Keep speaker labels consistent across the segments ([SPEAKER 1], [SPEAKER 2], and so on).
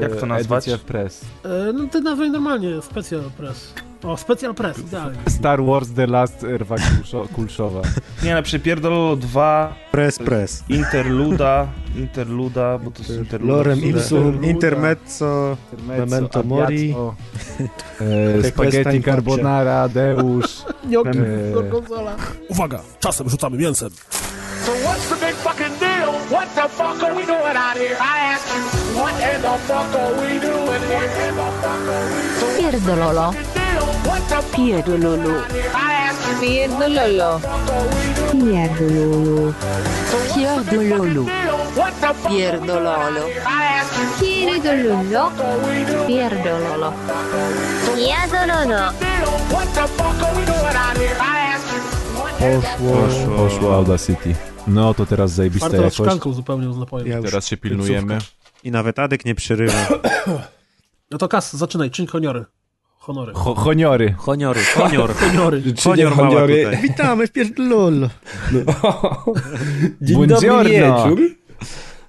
[SPEAKER 1] Jak to
[SPEAKER 2] e,
[SPEAKER 1] nazwać?
[SPEAKER 2] Edycja Press.
[SPEAKER 3] E, No to nazwij normalnie, Special Press. O, Special Press, idealnie.
[SPEAKER 2] Star Wars The Last Erwa Kulszo- Kulszowa.
[SPEAKER 1] Nie, no, ale przypierdololo 2,
[SPEAKER 4] Press, press.
[SPEAKER 1] Interluda, Interluda, bo to jest Interluda.
[SPEAKER 4] Lorem
[SPEAKER 1] które-
[SPEAKER 4] ipsum,
[SPEAKER 2] Interluda.
[SPEAKER 4] intermezzo. Memento mori.
[SPEAKER 2] E,
[SPEAKER 4] Questa
[SPEAKER 2] spaghetti
[SPEAKER 4] in
[SPEAKER 2] carbonara, Deusz.
[SPEAKER 3] Nie
[SPEAKER 2] Eee.
[SPEAKER 3] odkrył konsola.
[SPEAKER 5] Uwaga, czasem rzucamy mięsem.
[SPEAKER 6] So what's the big fucking deal? What the fuck are we doing out here? I ask you, what in the fuck are we doing here? What in the fuck are we
[SPEAKER 7] Pierdololo,
[SPEAKER 6] fucking deal? What the fuck
[SPEAKER 7] pierdololo,
[SPEAKER 6] here? I ask you,
[SPEAKER 7] pierdololo,
[SPEAKER 6] what the fuck are we doing?
[SPEAKER 7] pierdololo,
[SPEAKER 6] So what's the big fucking
[SPEAKER 7] Pierdololo.
[SPEAKER 6] deal? What the fuck are we doing out
[SPEAKER 7] Pierdololo.
[SPEAKER 6] here? I ask you,
[SPEAKER 7] pierdololo,
[SPEAKER 6] what are we doing?
[SPEAKER 7] pierdololo, pierdololo.
[SPEAKER 6] Deal. What the fuck are we doing out here? I ask you, what in the
[SPEAKER 4] Poszło.
[SPEAKER 2] Poszło Audacity. No to teraz zajebista
[SPEAKER 3] Bardzo
[SPEAKER 2] jakość.
[SPEAKER 3] szklanką zupełnie z napojem.
[SPEAKER 4] Ja już
[SPEAKER 8] Teraz się pilnujemy.
[SPEAKER 4] I nawet Adek nie przerywa.
[SPEAKER 3] No to Kas, zaczynaj, czyń honiory. Honory.
[SPEAKER 2] Ho honiory.
[SPEAKER 8] Honiory, honior.
[SPEAKER 3] Honiory.
[SPEAKER 4] Konior mała
[SPEAKER 9] honiory.
[SPEAKER 4] tutaj.
[SPEAKER 9] Witamy w pierdolol. Dzień
[SPEAKER 2] Buongiorno.
[SPEAKER 9] dobry wieczór.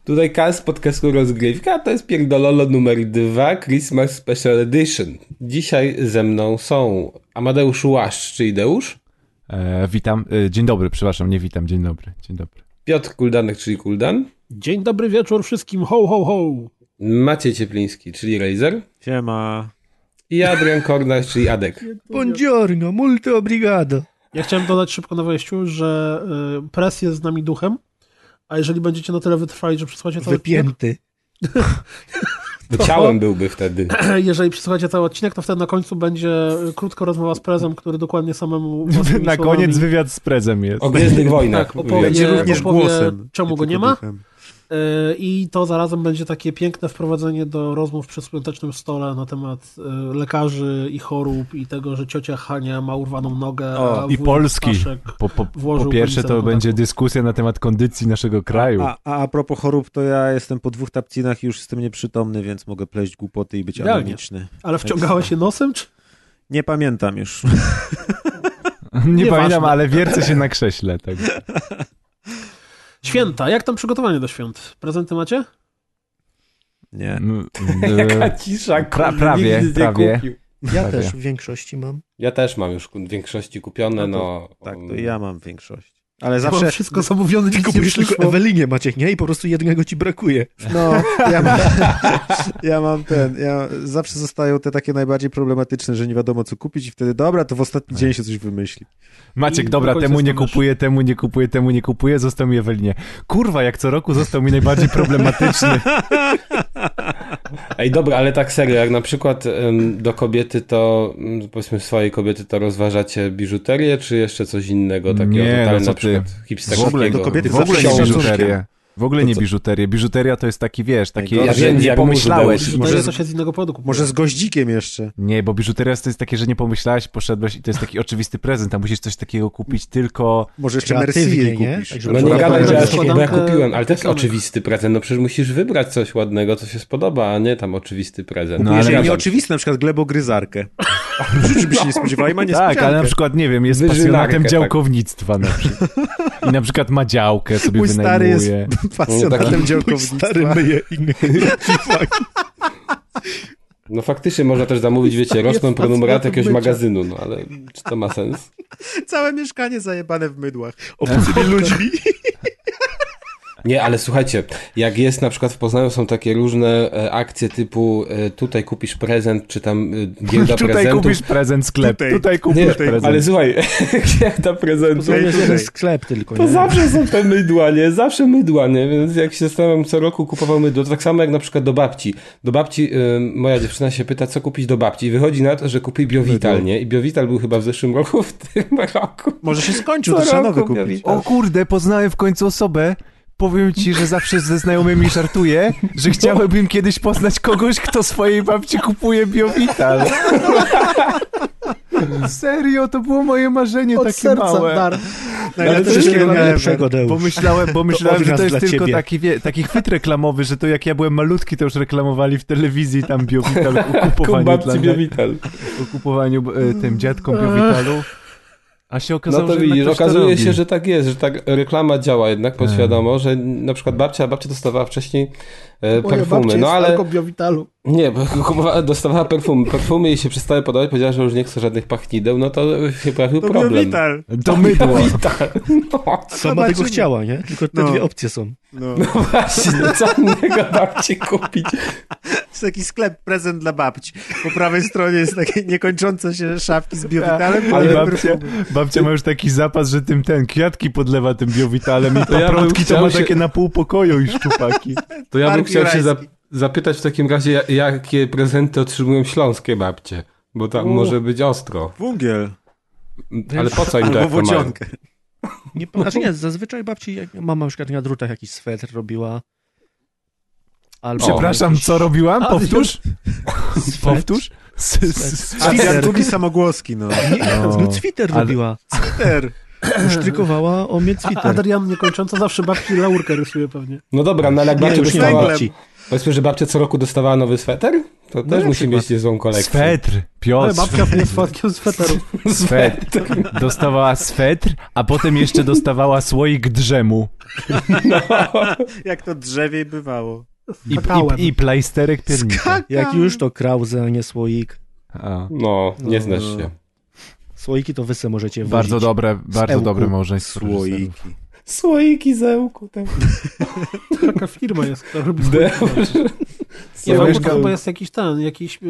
[SPEAKER 9] Tutaj Kas z podcastu Rozgrywka, a to jest pierdololo numer dwa Christmas Special Edition. Dzisiaj ze mną są Amadeusz Łaszcz, czyli Deusz,
[SPEAKER 2] E, witam. E, dzień dobry, przepraszam, nie witam. Dzień dobry. Dzień dobry.
[SPEAKER 9] Piotr Kuldanek, czyli Kuldan,
[SPEAKER 3] Dzień dobry wieczór wszystkim, ho, ho, ho.
[SPEAKER 9] Maciej Ciepliński, czyli Razer
[SPEAKER 4] Siema.
[SPEAKER 9] i Adrian Kornasz, czyli Adek.
[SPEAKER 10] Buongiorno, molto obrigado.
[SPEAKER 3] Ja chciałem dodać szybko na wejściu, że y, pres jest z nami duchem, a jeżeli będziecie na tyle wytrwali, że przesłuchacie cały odcinek,
[SPEAKER 10] Wypięty.
[SPEAKER 9] Ciałem byłby wtedy.
[SPEAKER 3] jeżeli przesłuchacie cały odcinek, to wtedy na końcu będzie y, krótka rozmowa z prezem, który dokładnie samemu własnymi
[SPEAKER 2] Na
[SPEAKER 3] słowami-
[SPEAKER 2] koniec wywiad z prezem jest.
[SPEAKER 9] O Gwiezdnych Wojnach.
[SPEAKER 3] Tak, opowie-
[SPEAKER 9] Będzie-
[SPEAKER 4] Będzie
[SPEAKER 3] Je-
[SPEAKER 4] również
[SPEAKER 3] opowie,
[SPEAKER 4] głosem.
[SPEAKER 3] czemu
[SPEAKER 4] nie
[SPEAKER 3] go nie
[SPEAKER 4] tylko
[SPEAKER 3] ma?
[SPEAKER 4] duchem.
[SPEAKER 3] Y, I to zarazem będzie takie piękne wprowadzenie do rozmów przy świątecznym stole na temat y, lekarzy i chorób i tego, że ciocia Hania ma urwaną nogę,
[SPEAKER 2] O,
[SPEAKER 3] a
[SPEAKER 2] i
[SPEAKER 3] wujek
[SPEAKER 2] Polski.
[SPEAKER 3] Staszek...
[SPEAKER 2] Po, po, po
[SPEAKER 3] włożył
[SPEAKER 2] pierwsze
[SPEAKER 3] penicę
[SPEAKER 2] to
[SPEAKER 3] do
[SPEAKER 2] będzie
[SPEAKER 3] ataku.
[SPEAKER 2] dyskusja na temat kondycji naszego kraju.
[SPEAKER 4] A, a, a propos chorób, to ja jestem po dwóch tapcinach i już jestem nieprzytomny, więc mogę pleść głupoty i być
[SPEAKER 3] Idealnie.
[SPEAKER 4] anonimiczny.
[SPEAKER 3] Ale wciągałeś się nosem, czy...
[SPEAKER 4] Nie pamiętam już.
[SPEAKER 2] nie
[SPEAKER 3] nieważne.
[SPEAKER 2] pamiętam, ale wiercę się na krześle. Tak.
[SPEAKER 3] Święta, jak tam przygotowanie do świąt? Prezenty macie?
[SPEAKER 4] Nie.
[SPEAKER 2] Mm,
[SPEAKER 9] Jaka
[SPEAKER 2] e, pra,
[SPEAKER 9] cisza, kurwa,
[SPEAKER 2] prawie,
[SPEAKER 9] nikt nic nie
[SPEAKER 2] prawie.
[SPEAKER 9] kupił.
[SPEAKER 10] Ja
[SPEAKER 2] Tak,
[SPEAKER 10] też
[SPEAKER 2] ja.
[SPEAKER 10] w większości mam.
[SPEAKER 9] Ja też mam już w większości kupione,
[SPEAKER 4] No
[SPEAKER 9] no.
[SPEAKER 4] Tak, to i ja mam większość. Ale
[SPEAKER 3] Mam
[SPEAKER 4] zawsze...
[SPEAKER 3] wszystko zamówione, nic nie
[SPEAKER 10] Kupujesz tylko
[SPEAKER 3] przyszło.
[SPEAKER 10] Ewelinie Maciek, nie? I po prostu jednego ci brakuje.
[SPEAKER 4] No, ja mam, ja mam ten, ja zawsze zostają te takie najbardziej problematyczne, że nie wiadomo co kupić i wtedy dobra, to w ostatni dzień się coś wymyśli.
[SPEAKER 2] Maciek,
[SPEAKER 3] I
[SPEAKER 2] dobra,
[SPEAKER 3] do końca
[SPEAKER 2] temu nie
[SPEAKER 3] stanąłeś.
[SPEAKER 2] kupuję, temu nie kupuję, temu nie kupuję, został mi Ewelinie. Kurwa, jak co roku został mi najbardziej problematyczny.
[SPEAKER 9] Ej, dobra, ale tak serio, jak na przykład em, do kobiety to, mm, powiedzmy swojej kobiety, to rozważacie biżuterię, czy jeszcze coś innego takiego
[SPEAKER 2] Nie,
[SPEAKER 9] totalnie
[SPEAKER 2] no co
[SPEAKER 9] na
[SPEAKER 2] ty.
[SPEAKER 9] przykład hipsterskiego?
[SPEAKER 2] W ogóle
[SPEAKER 4] do kobiety
[SPEAKER 2] w ogóle
[SPEAKER 4] zawsze
[SPEAKER 2] nie
[SPEAKER 4] się
[SPEAKER 2] biżuterię. W ogóle
[SPEAKER 4] To
[SPEAKER 2] nie
[SPEAKER 4] co?
[SPEAKER 2] biżuterię. Biżuteria to jest taki, wiesz, takie,
[SPEAKER 4] Najgorsze.
[SPEAKER 2] że
[SPEAKER 9] Ja wiem,
[SPEAKER 2] nie
[SPEAKER 9] jak mu
[SPEAKER 2] pomyślałeś.
[SPEAKER 9] zdałeś.
[SPEAKER 3] Może
[SPEAKER 4] Może-
[SPEAKER 3] to się z innego powodu kupuje.
[SPEAKER 4] Może z goździkiem jeszcze.
[SPEAKER 2] Nie, bo biżuteria to jest takie, że nie pomyślałeś, poszedłeś i to jest taki oczywisty prezent, a musisz coś takiego kupić tylko... Tak,
[SPEAKER 4] Może jeszcze
[SPEAKER 10] Kreatywnie,
[SPEAKER 4] Mercier
[SPEAKER 10] nie?
[SPEAKER 4] kupisz.
[SPEAKER 10] Tak,
[SPEAKER 9] No nie
[SPEAKER 10] Dobra,
[SPEAKER 9] gadaj, że
[SPEAKER 10] dobra,
[SPEAKER 9] ja,
[SPEAKER 10] dobra.
[SPEAKER 9] bo ja
[SPEAKER 3] Składankę
[SPEAKER 9] kupiłem, ale to jest
[SPEAKER 3] piosenek.
[SPEAKER 9] oczywisty prezent, no przecież musisz wybrać coś ładnego, co się spodoba, a nie tam oczywisty prezent.
[SPEAKER 2] No,
[SPEAKER 4] No,
[SPEAKER 2] ale
[SPEAKER 4] ale
[SPEAKER 2] ja-
[SPEAKER 4] nieoczywiste, na przykład glebogryzarkę. Rzeczy by się nie spodziewali, ma niespodziankę.
[SPEAKER 2] Tak, ale na przykład, nie wiem, jest
[SPEAKER 9] Wyżynarkę,
[SPEAKER 2] pasjonatem
[SPEAKER 9] tak.
[SPEAKER 2] działkownictwa na przykład. I na przykład ma działkę, sobie
[SPEAKER 4] Mój
[SPEAKER 2] wynajmuje.
[SPEAKER 4] stary jest
[SPEAKER 9] No, taki-
[SPEAKER 4] pasjonatem
[SPEAKER 10] Mój stary
[SPEAKER 4] działkownictwa.
[SPEAKER 10] myje innych.
[SPEAKER 9] No faktycznie można też zamówić,
[SPEAKER 2] Tak
[SPEAKER 9] wiecie, roczną prenumeratę jakiegoś magazynu, no ale czy to ma sens?
[SPEAKER 4] Całe mieszkanie zajebane w mydłach. Obcymi ludźmi.
[SPEAKER 9] Nie, ale słuchajcie, jak jest na przykład w Poznaniu są takie różne e, akcje typu e, tutaj kupisz prezent, czy tam e, giełda
[SPEAKER 2] Tutaj
[SPEAKER 9] prezentów.
[SPEAKER 2] kupisz prezent sklep, tutaj,
[SPEAKER 4] Tutaj.
[SPEAKER 2] kupisz
[SPEAKER 9] Nie,
[SPEAKER 2] prezent.
[SPEAKER 9] ale słuchaj, giełda prezentów.
[SPEAKER 10] To jest jeden
[SPEAKER 4] tutaj.
[SPEAKER 10] sklep tylko,
[SPEAKER 9] To
[SPEAKER 10] nie?
[SPEAKER 9] zawsze są te mydła, nie? Zawsze mydła, nie? Więc jak się zastanawiam, co roku kupował mydło, to tak samo jak na przykład do babci. Do babci, y, moja dziewczyna się pyta, co kupić do babci. I wychodzi na to, że kupi Biovital, nie? I Biovital był chyba w zeszłym roku, w tym roku.
[SPEAKER 4] Może się skończył,
[SPEAKER 9] Co
[SPEAKER 4] to trzeba
[SPEAKER 9] roku
[SPEAKER 4] nowy kupić.
[SPEAKER 9] Biovital.
[SPEAKER 2] O kurde, poznałem w końcu osobę. Powiem ci, że zawsze ze znajomymi żartuję, że chciałbym kiedyś poznać kogoś, kto swojej babci kupuje biowital. Serio, to było moje marzenie
[SPEAKER 3] Od
[SPEAKER 2] takie
[SPEAKER 3] serca
[SPEAKER 2] małe.
[SPEAKER 3] dar.
[SPEAKER 10] Ale to
[SPEAKER 4] Najlepsze
[SPEAKER 10] wszystkiego
[SPEAKER 4] ever.
[SPEAKER 10] najlepszego, Deusz.
[SPEAKER 2] Pomyślałem, bo myślałem,
[SPEAKER 10] od
[SPEAKER 2] że
[SPEAKER 10] nas
[SPEAKER 2] to jest
[SPEAKER 10] dla
[SPEAKER 2] tylko
[SPEAKER 10] ciebie.
[SPEAKER 2] taki, wie, taki chwyt reklamowy, że to jak ja byłem malutki, to już reklamowali w telewizji tam biowital o kupowaniu,
[SPEAKER 9] Ku
[SPEAKER 2] dla,
[SPEAKER 9] babci Biovital.
[SPEAKER 2] o kupowaniu e, tym dziadkom biowitalu. A się
[SPEAKER 9] No
[SPEAKER 2] okazało,
[SPEAKER 9] to Tak.
[SPEAKER 2] że
[SPEAKER 9] widzisz,
[SPEAKER 2] jednak ktoś to
[SPEAKER 9] okazuje
[SPEAKER 2] robi.
[SPEAKER 9] się, że tak jest, że tak reklama działa jednak podświadomo, że na przykład babcia, babcia dostawała wcześniej e, perfumy, no ale...
[SPEAKER 3] Biowitalu.
[SPEAKER 9] Nie, bo kupowała, dostawała perfumy, perfumy jej się przestały podobać, powiedziała, że już nie chce żadnych pachnideł, no to się pojawił
[SPEAKER 4] To był
[SPEAKER 9] problem.
[SPEAKER 4] Vital.
[SPEAKER 2] To mydło.
[SPEAKER 9] No,
[SPEAKER 10] Sama tego chciała, nie? Tylko te
[SPEAKER 4] No.
[SPEAKER 10] dwie opcje są.
[SPEAKER 4] No.
[SPEAKER 9] no właśnie, co innego babci kupić?
[SPEAKER 4] To jest taki sklep, prezent dla babci. Po prawej stronie jest takie niekończące się szafki z biowitalem.
[SPEAKER 2] Ale
[SPEAKER 4] ale
[SPEAKER 2] babcia, babcia ma już taki zapas, że tym ten, kwiatki podlewa tym biowitalem i
[SPEAKER 9] To ja bym
[SPEAKER 2] paprotki to
[SPEAKER 9] chciał
[SPEAKER 2] ma
[SPEAKER 9] się-
[SPEAKER 2] takie na pół pokoju i szczupaki.
[SPEAKER 9] To ja bym
[SPEAKER 4] Marki
[SPEAKER 9] chciał się za,
[SPEAKER 4] Rajski.
[SPEAKER 9] zapytać w takim razie, ja- jakie prezenty otrzymują śląskie babcie, bo tam może być ostro.
[SPEAKER 4] Wungiel.
[SPEAKER 9] Ale po co im
[SPEAKER 4] Albo
[SPEAKER 9] tak to mają?
[SPEAKER 4] włocionkę.
[SPEAKER 10] Nie, znaczy nie, zazwyczaj babci, jak mama na przykład na drutach jakiś swetr robiła. Albo
[SPEAKER 2] Przepraszam, co robiłam?
[SPEAKER 10] A,
[SPEAKER 2] Powtórz?
[SPEAKER 10] Swetr.
[SPEAKER 2] Powtórz? S- s-
[SPEAKER 10] Swetr.
[SPEAKER 4] Świadkuki samogłoski, no.
[SPEAKER 10] Nie, no, cwiter
[SPEAKER 2] ale-
[SPEAKER 10] robiła.
[SPEAKER 4] Ter.
[SPEAKER 10] Sztrykowała o mnie
[SPEAKER 3] A
[SPEAKER 10] cwiter.
[SPEAKER 3] Adrian niekończąco zawsze babci laurkę rysuje pewnie.
[SPEAKER 9] No dobra, no ale jak babcia
[SPEAKER 10] Nie, już nie
[SPEAKER 9] dostała...
[SPEAKER 4] węglem.
[SPEAKER 10] babci.
[SPEAKER 9] Powiedzmy, że babcia co roku dostawała nowy sweter? To też
[SPEAKER 10] na
[SPEAKER 9] musi
[SPEAKER 10] przykład.
[SPEAKER 9] mieć niezłą kolekcję.
[SPEAKER 2] Swetr,
[SPEAKER 3] Ale
[SPEAKER 2] Piotr,
[SPEAKER 3] babcia jest swatkiem z feteru.
[SPEAKER 2] swetr. Dostawała swetr, a potem jeszcze dostawała słoik drzemu
[SPEAKER 4] Jak to drzewie bywało.
[SPEAKER 2] i,
[SPEAKER 3] Kakałem.
[SPEAKER 2] i, i plajsterek piernika.
[SPEAKER 10] Jak już to krauze, a nie słoik.
[SPEAKER 2] A,
[SPEAKER 9] No, nie znasz się.
[SPEAKER 10] Słoiki to wy se możecie
[SPEAKER 2] Bardzo
[SPEAKER 10] wozić.
[SPEAKER 2] dobre, bardzo
[SPEAKER 10] Ełku.
[SPEAKER 2] dobre małżeństwo.
[SPEAKER 4] Słoiki.
[SPEAKER 9] Słoiki zełku. Tak.
[SPEAKER 3] Taka firma jest, która robi
[SPEAKER 9] De-
[SPEAKER 3] Nie,
[SPEAKER 9] Słoiki.
[SPEAKER 3] wełku to chyba jest jakiś ten, jakiś y,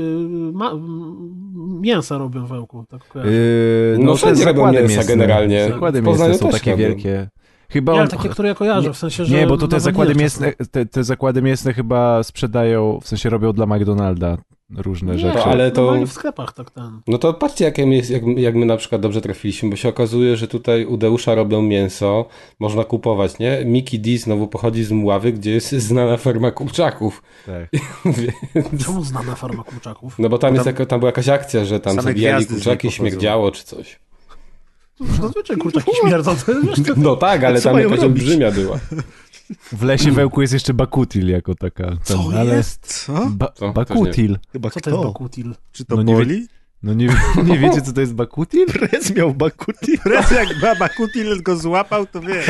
[SPEAKER 3] ma, m- mięsa robią wełku. Tak kojarzę.
[SPEAKER 2] Yy,
[SPEAKER 9] No, wszędzie robią mięsa
[SPEAKER 2] mięsne.
[SPEAKER 9] generalnie.
[SPEAKER 2] Zakłady
[SPEAKER 9] W
[SPEAKER 2] mięsne
[SPEAKER 9] Poznaniu
[SPEAKER 2] są
[SPEAKER 9] też
[SPEAKER 2] takie
[SPEAKER 9] robią.
[SPEAKER 2] wielkie. Chyba
[SPEAKER 3] Nie,
[SPEAKER 2] on,
[SPEAKER 3] ale takie, które ja kojarzę, w sensie, że...
[SPEAKER 2] nie, bo to te
[SPEAKER 3] nawet
[SPEAKER 2] zakłady
[SPEAKER 3] nie wiem,
[SPEAKER 2] mięsne, te, te zakłady mięsne chyba sprzedają, w sensie robią dla McDonalda różne
[SPEAKER 3] czasem.
[SPEAKER 2] rzeczy.
[SPEAKER 3] Nie,
[SPEAKER 9] ale
[SPEAKER 3] ale
[SPEAKER 9] to-
[SPEAKER 3] to... w sklepach tak ten.
[SPEAKER 9] No to patrzcie, jak, my- jak, jak my na przykład dobrze trafiliśmy, bo się okazuje, że tutaj u Deusza robią mięso, można kupować, nie? Miki D znowu pochodzi z Mławy, gdzie jest znana ferma kurczaków.
[SPEAKER 2] Tak.
[SPEAKER 9] Więc-
[SPEAKER 3] Czemu znana farma kurczaków?
[SPEAKER 9] no bo tam, jest jako, tam była jakaś akcja, że tam
[SPEAKER 4] Same
[SPEAKER 9] zabijali
[SPEAKER 4] gwiazdy z niej
[SPEAKER 9] kurczaki,
[SPEAKER 4] pochodzą.
[SPEAKER 9] śmierdziało czy coś.
[SPEAKER 3] Zazwyczaj kurczaki śmierdzą. to wiesz, to-
[SPEAKER 9] No tak, ale
[SPEAKER 10] co
[SPEAKER 9] tam
[SPEAKER 10] mają
[SPEAKER 9] jakaś
[SPEAKER 10] robić?
[SPEAKER 9] olbrzymia była.
[SPEAKER 2] W lesie wełku jest jeszcze bakutil jako taka. Ten,
[SPEAKER 3] Co
[SPEAKER 2] ale
[SPEAKER 3] jest?
[SPEAKER 4] Co?
[SPEAKER 2] Ba,
[SPEAKER 9] Co?
[SPEAKER 2] bakutil.
[SPEAKER 10] Chyba
[SPEAKER 3] Co to jest
[SPEAKER 10] kto?
[SPEAKER 3] bakutil?
[SPEAKER 4] Czy to
[SPEAKER 2] No nie
[SPEAKER 4] boli?
[SPEAKER 2] No nie, wie- nie wiecie, co to jest bakutil?
[SPEAKER 10] Prez miał bakuti.
[SPEAKER 4] Prez jak baba Kutil go złapał, to wie.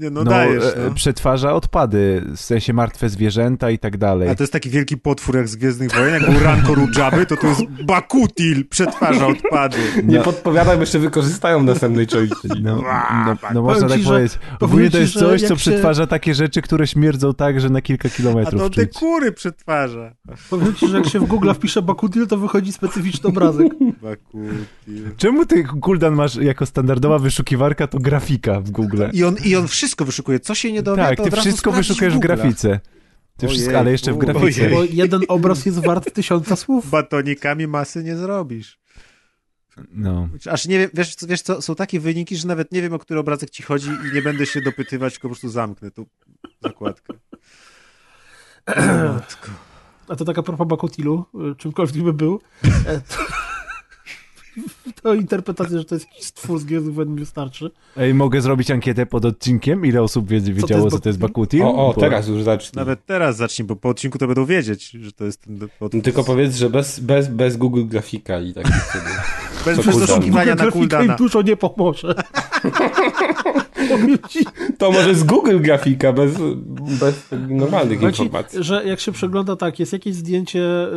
[SPEAKER 4] Nie, no, dajesz,
[SPEAKER 2] e,
[SPEAKER 4] no.
[SPEAKER 2] Przetwarza odpady, w sensie martwe zwierzęta i tak dalej.
[SPEAKER 4] A to jest taki wielki potwór jak z Gwiezdnych Wojen, jak był Ranko Rudżaby, to to jest Bakutil, przetwarza odpady.
[SPEAKER 9] Nie podpowiadam, jeszcze wykorzystają w następnej części.
[SPEAKER 2] No,
[SPEAKER 4] Ła,
[SPEAKER 2] no,
[SPEAKER 4] tak.
[SPEAKER 2] no można
[SPEAKER 3] Powiem
[SPEAKER 2] tak
[SPEAKER 3] ci, że-
[SPEAKER 2] powiedzieć. Ogólnie
[SPEAKER 3] powiem
[SPEAKER 2] to
[SPEAKER 3] ci,
[SPEAKER 2] jest
[SPEAKER 3] że
[SPEAKER 2] coś,
[SPEAKER 3] jak
[SPEAKER 2] co
[SPEAKER 3] się-
[SPEAKER 2] przetwarza takie rzeczy, które śmierdzą tak, że na kilka
[SPEAKER 4] A to
[SPEAKER 2] kilometrów
[SPEAKER 4] on te
[SPEAKER 2] czuć.
[SPEAKER 4] kury przetwarza.
[SPEAKER 3] Powiem ci, że jak się w Google wpisze bakutil, to wychodzi specyficzny obrazek.
[SPEAKER 4] Bakutil.
[SPEAKER 2] Czemu ty, Kuldan, masz jako standardowa wyszukiwarka to grafika w Google?
[SPEAKER 4] I on, I on wszystko wyszukuje. Co się nie dowie,
[SPEAKER 2] Tak,
[SPEAKER 4] to
[SPEAKER 2] ty
[SPEAKER 4] od razu
[SPEAKER 2] wszystko
[SPEAKER 4] sprawdzi
[SPEAKER 2] wyszukujesz w
[SPEAKER 4] Google'a.
[SPEAKER 2] grafice. Ty wszystko,
[SPEAKER 4] Ojej,
[SPEAKER 2] ale jeszcze w
[SPEAKER 4] u,
[SPEAKER 2] grafice.
[SPEAKER 10] ojej.
[SPEAKER 3] Bo jeden obraz jest wart tysiąca słów.
[SPEAKER 4] Batonikami masy nie zrobisz.
[SPEAKER 2] No.
[SPEAKER 4] Aż nie wiem, wiesz, co- wiesz co, są takie wyniki, że nawet nie wiem, o który obrazek ci chodzi i nie będę się dopytywać, tylko po prostu zamknę tu zakładkę. Matko.
[SPEAKER 3] A to taka propa bakutilu, y, czymkolwiek by był. e, To, to interpretacja, że to jest jakiś stwór z Gwiezdnych Wojen mi wystarczy.
[SPEAKER 2] Ej, mogę zrobić ankietę pod odcinkiem? Ile osób wie- wiedziało, co to jest Bakutil?
[SPEAKER 9] O, o,
[SPEAKER 2] Bo-
[SPEAKER 9] teraz już zacznij.
[SPEAKER 4] Nawet teraz zacznij, bo po odcinku to będą wiedzieć, że to jest ten... Pod...
[SPEAKER 9] No Tylko powiedz, że bez, bez, bez Google grafika i tak wtedy.
[SPEAKER 4] Bez
[SPEAKER 9] co
[SPEAKER 4] bez
[SPEAKER 9] Kuldan.
[SPEAKER 4] doszukiwania na
[SPEAKER 3] Grafika im
[SPEAKER 4] Kuldana.
[SPEAKER 3] dużo nie pomoże. Powiem ci,
[SPEAKER 9] To może z Google grafika, bez, bez normalnych
[SPEAKER 3] Znaczy,
[SPEAKER 9] informacji.
[SPEAKER 3] że jak się przegląda tak, jest jakieś zdjęcie y,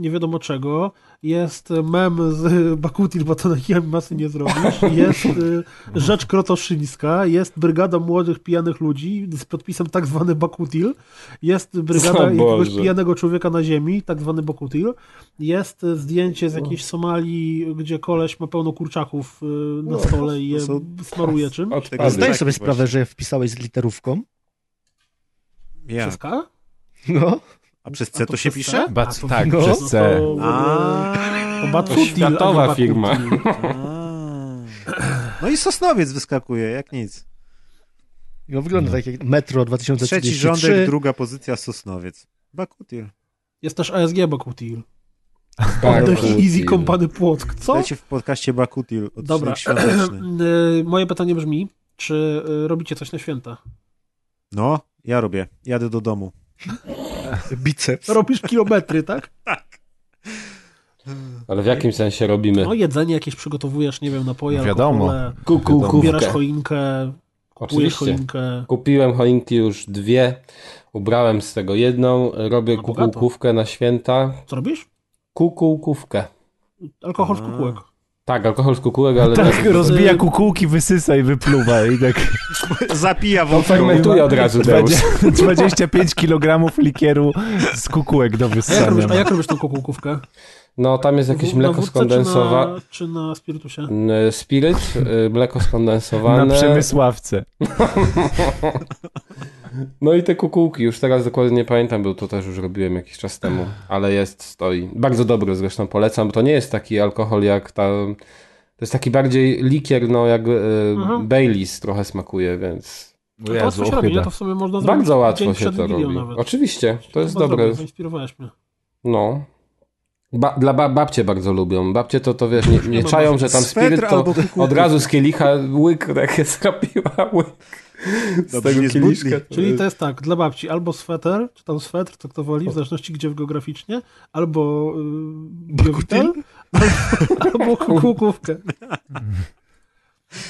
[SPEAKER 3] nie wiadomo czego, jest mem z y, Bakutil, bo to na kijem masy nie zrobisz, jest y, Rzecz Krotoszyńska, jest Brygada Młodych Pijanych Ludzi z podpisem tak zwany Bakutil, jest Brygada
[SPEAKER 9] O
[SPEAKER 3] jakiegoś
[SPEAKER 9] Boże.
[SPEAKER 3] pijanego człowieka na ziemi, tak zwany Bakutil, jest y, zdjęcie z jakiejś Somalii, gdzie koleś ma pełno kurczaków y, na stole i je
[SPEAKER 4] są-
[SPEAKER 3] smaruje czym.
[SPEAKER 4] Tego
[SPEAKER 9] Odpady.
[SPEAKER 3] tak
[SPEAKER 2] Tak,
[SPEAKER 4] zdaj-
[SPEAKER 10] Zdajesz sobie
[SPEAKER 4] Właśnie.
[SPEAKER 10] sprawę, że wpisałeś z literówką?
[SPEAKER 4] Jak?
[SPEAKER 3] Przez K?
[SPEAKER 10] No.
[SPEAKER 4] A przez C
[SPEAKER 3] A
[SPEAKER 4] to się
[SPEAKER 3] przez
[SPEAKER 4] pisze?
[SPEAKER 3] C?
[SPEAKER 2] Bac-
[SPEAKER 3] A, to-
[SPEAKER 2] tak,
[SPEAKER 3] no
[SPEAKER 2] przez
[SPEAKER 3] to-
[SPEAKER 2] C.
[SPEAKER 4] A,
[SPEAKER 3] To Bacutil,
[SPEAKER 9] To światowa
[SPEAKER 3] a nie Bakutil.
[SPEAKER 9] firma.
[SPEAKER 4] No i Sosnowiec wyskakuje, jak nic.
[SPEAKER 10] No wygląda tak jak Metro
[SPEAKER 4] Trzeci
[SPEAKER 10] 2033.
[SPEAKER 4] rządek, druga pozycja Sosnowiec. Bakutil.
[SPEAKER 3] Jest też ASG Bakutil.
[SPEAKER 9] Tak,
[SPEAKER 3] Oddech i Easy
[SPEAKER 9] Google.
[SPEAKER 3] Company Płock. Co?
[SPEAKER 4] Dajcie w podcaście Bakutil, odcinek
[SPEAKER 3] Dobra.
[SPEAKER 4] świąteczny.
[SPEAKER 3] Y, Moje pytanie brzmi, czy y, robicie coś na święta?
[SPEAKER 4] No, ja robię. Jadę do domu.
[SPEAKER 10] Biceps.
[SPEAKER 3] Robisz kilometry, tak?
[SPEAKER 9] Ale w jakim sensie robimy?
[SPEAKER 3] No jedzenie jakieś przygotowujesz, nie wiem, napoje,
[SPEAKER 2] Wiadomo.
[SPEAKER 3] alkohole,
[SPEAKER 9] Kuku,
[SPEAKER 3] ubierasz choinkę, kupujesz
[SPEAKER 9] Oczywiście.
[SPEAKER 3] choinkę.
[SPEAKER 9] Kupiłem choinki już dwie, ubrałem z tego jedną, robię
[SPEAKER 3] A, bogato.
[SPEAKER 9] kukułkówkę na święta.
[SPEAKER 3] Co robisz?
[SPEAKER 9] Kukułkówkę.
[SPEAKER 3] Alkohol z kukułek.
[SPEAKER 9] Tak, alkohol z kukułek, ale...
[SPEAKER 2] Tak, rozbija kukułki, wysysa i wypluwa i tak
[SPEAKER 4] Zapija
[SPEAKER 9] On
[SPEAKER 4] wątpią.
[SPEAKER 9] fermentuje od razu, Deus.
[SPEAKER 2] 25 kg likieru z kukułek do
[SPEAKER 3] A jak, robisz,
[SPEAKER 2] wyssania.
[SPEAKER 3] a jak robisz tą kukułkówkę?
[SPEAKER 9] No, tam jest jakieś
[SPEAKER 3] Na
[SPEAKER 9] mleko
[SPEAKER 3] wódce czy
[SPEAKER 9] skondensowane.
[SPEAKER 3] na- Czy na spirytusie?
[SPEAKER 9] Spiryt, y, mleko
[SPEAKER 2] Na
[SPEAKER 9] skondensowane.
[SPEAKER 2] Przemysławce.
[SPEAKER 9] No i te kukułki, już teraz dokładnie nie pamiętam, bo to też już robiłem jakiś czas temu, ale jest, stoi. Bardzo dobry zresztą polecam, bo to nie jest taki alkohol jak ta... To jest taki bardziej likier, no jak y,
[SPEAKER 3] Mhm.
[SPEAKER 9] Baileys trochę smakuje, więc
[SPEAKER 3] To łatwo się robi, nie? To w sumie można zrobić
[SPEAKER 9] bardzo łatwo
[SPEAKER 3] dzień
[SPEAKER 9] się
[SPEAKER 3] przed
[SPEAKER 9] to
[SPEAKER 3] Wigilią
[SPEAKER 9] robi.
[SPEAKER 3] nawet.
[SPEAKER 9] Oczywiście, to jest
[SPEAKER 3] Chyba
[SPEAKER 9] dobre.
[SPEAKER 3] zrobię, Zainspirowałeś mnie.
[SPEAKER 9] No. Ba- dla ba- babcie bardzo lubią. Babcie to, to wiesz, nie, nie
[SPEAKER 3] no,
[SPEAKER 9] czają, że tam
[SPEAKER 4] Swetr
[SPEAKER 9] spiryt to
[SPEAKER 4] albo kukułka.
[SPEAKER 9] od razu z kielicha łyk takie zrobiła, łyk. Z
[SPEAKER 4] Dobrze, nie zbudli.
[SPEAKER 9] to
[SPEAKER 3] Czyli
[SPEAKER 10] Y,
[SPEAKER 9] jest-
[SPEAKER 3] to jest tak, dla babci albo sweter, czy tam swetr, to kto woli, w zależności gdzie geograficznie, albo yy, biowitel, albo, albo kukułkówkę.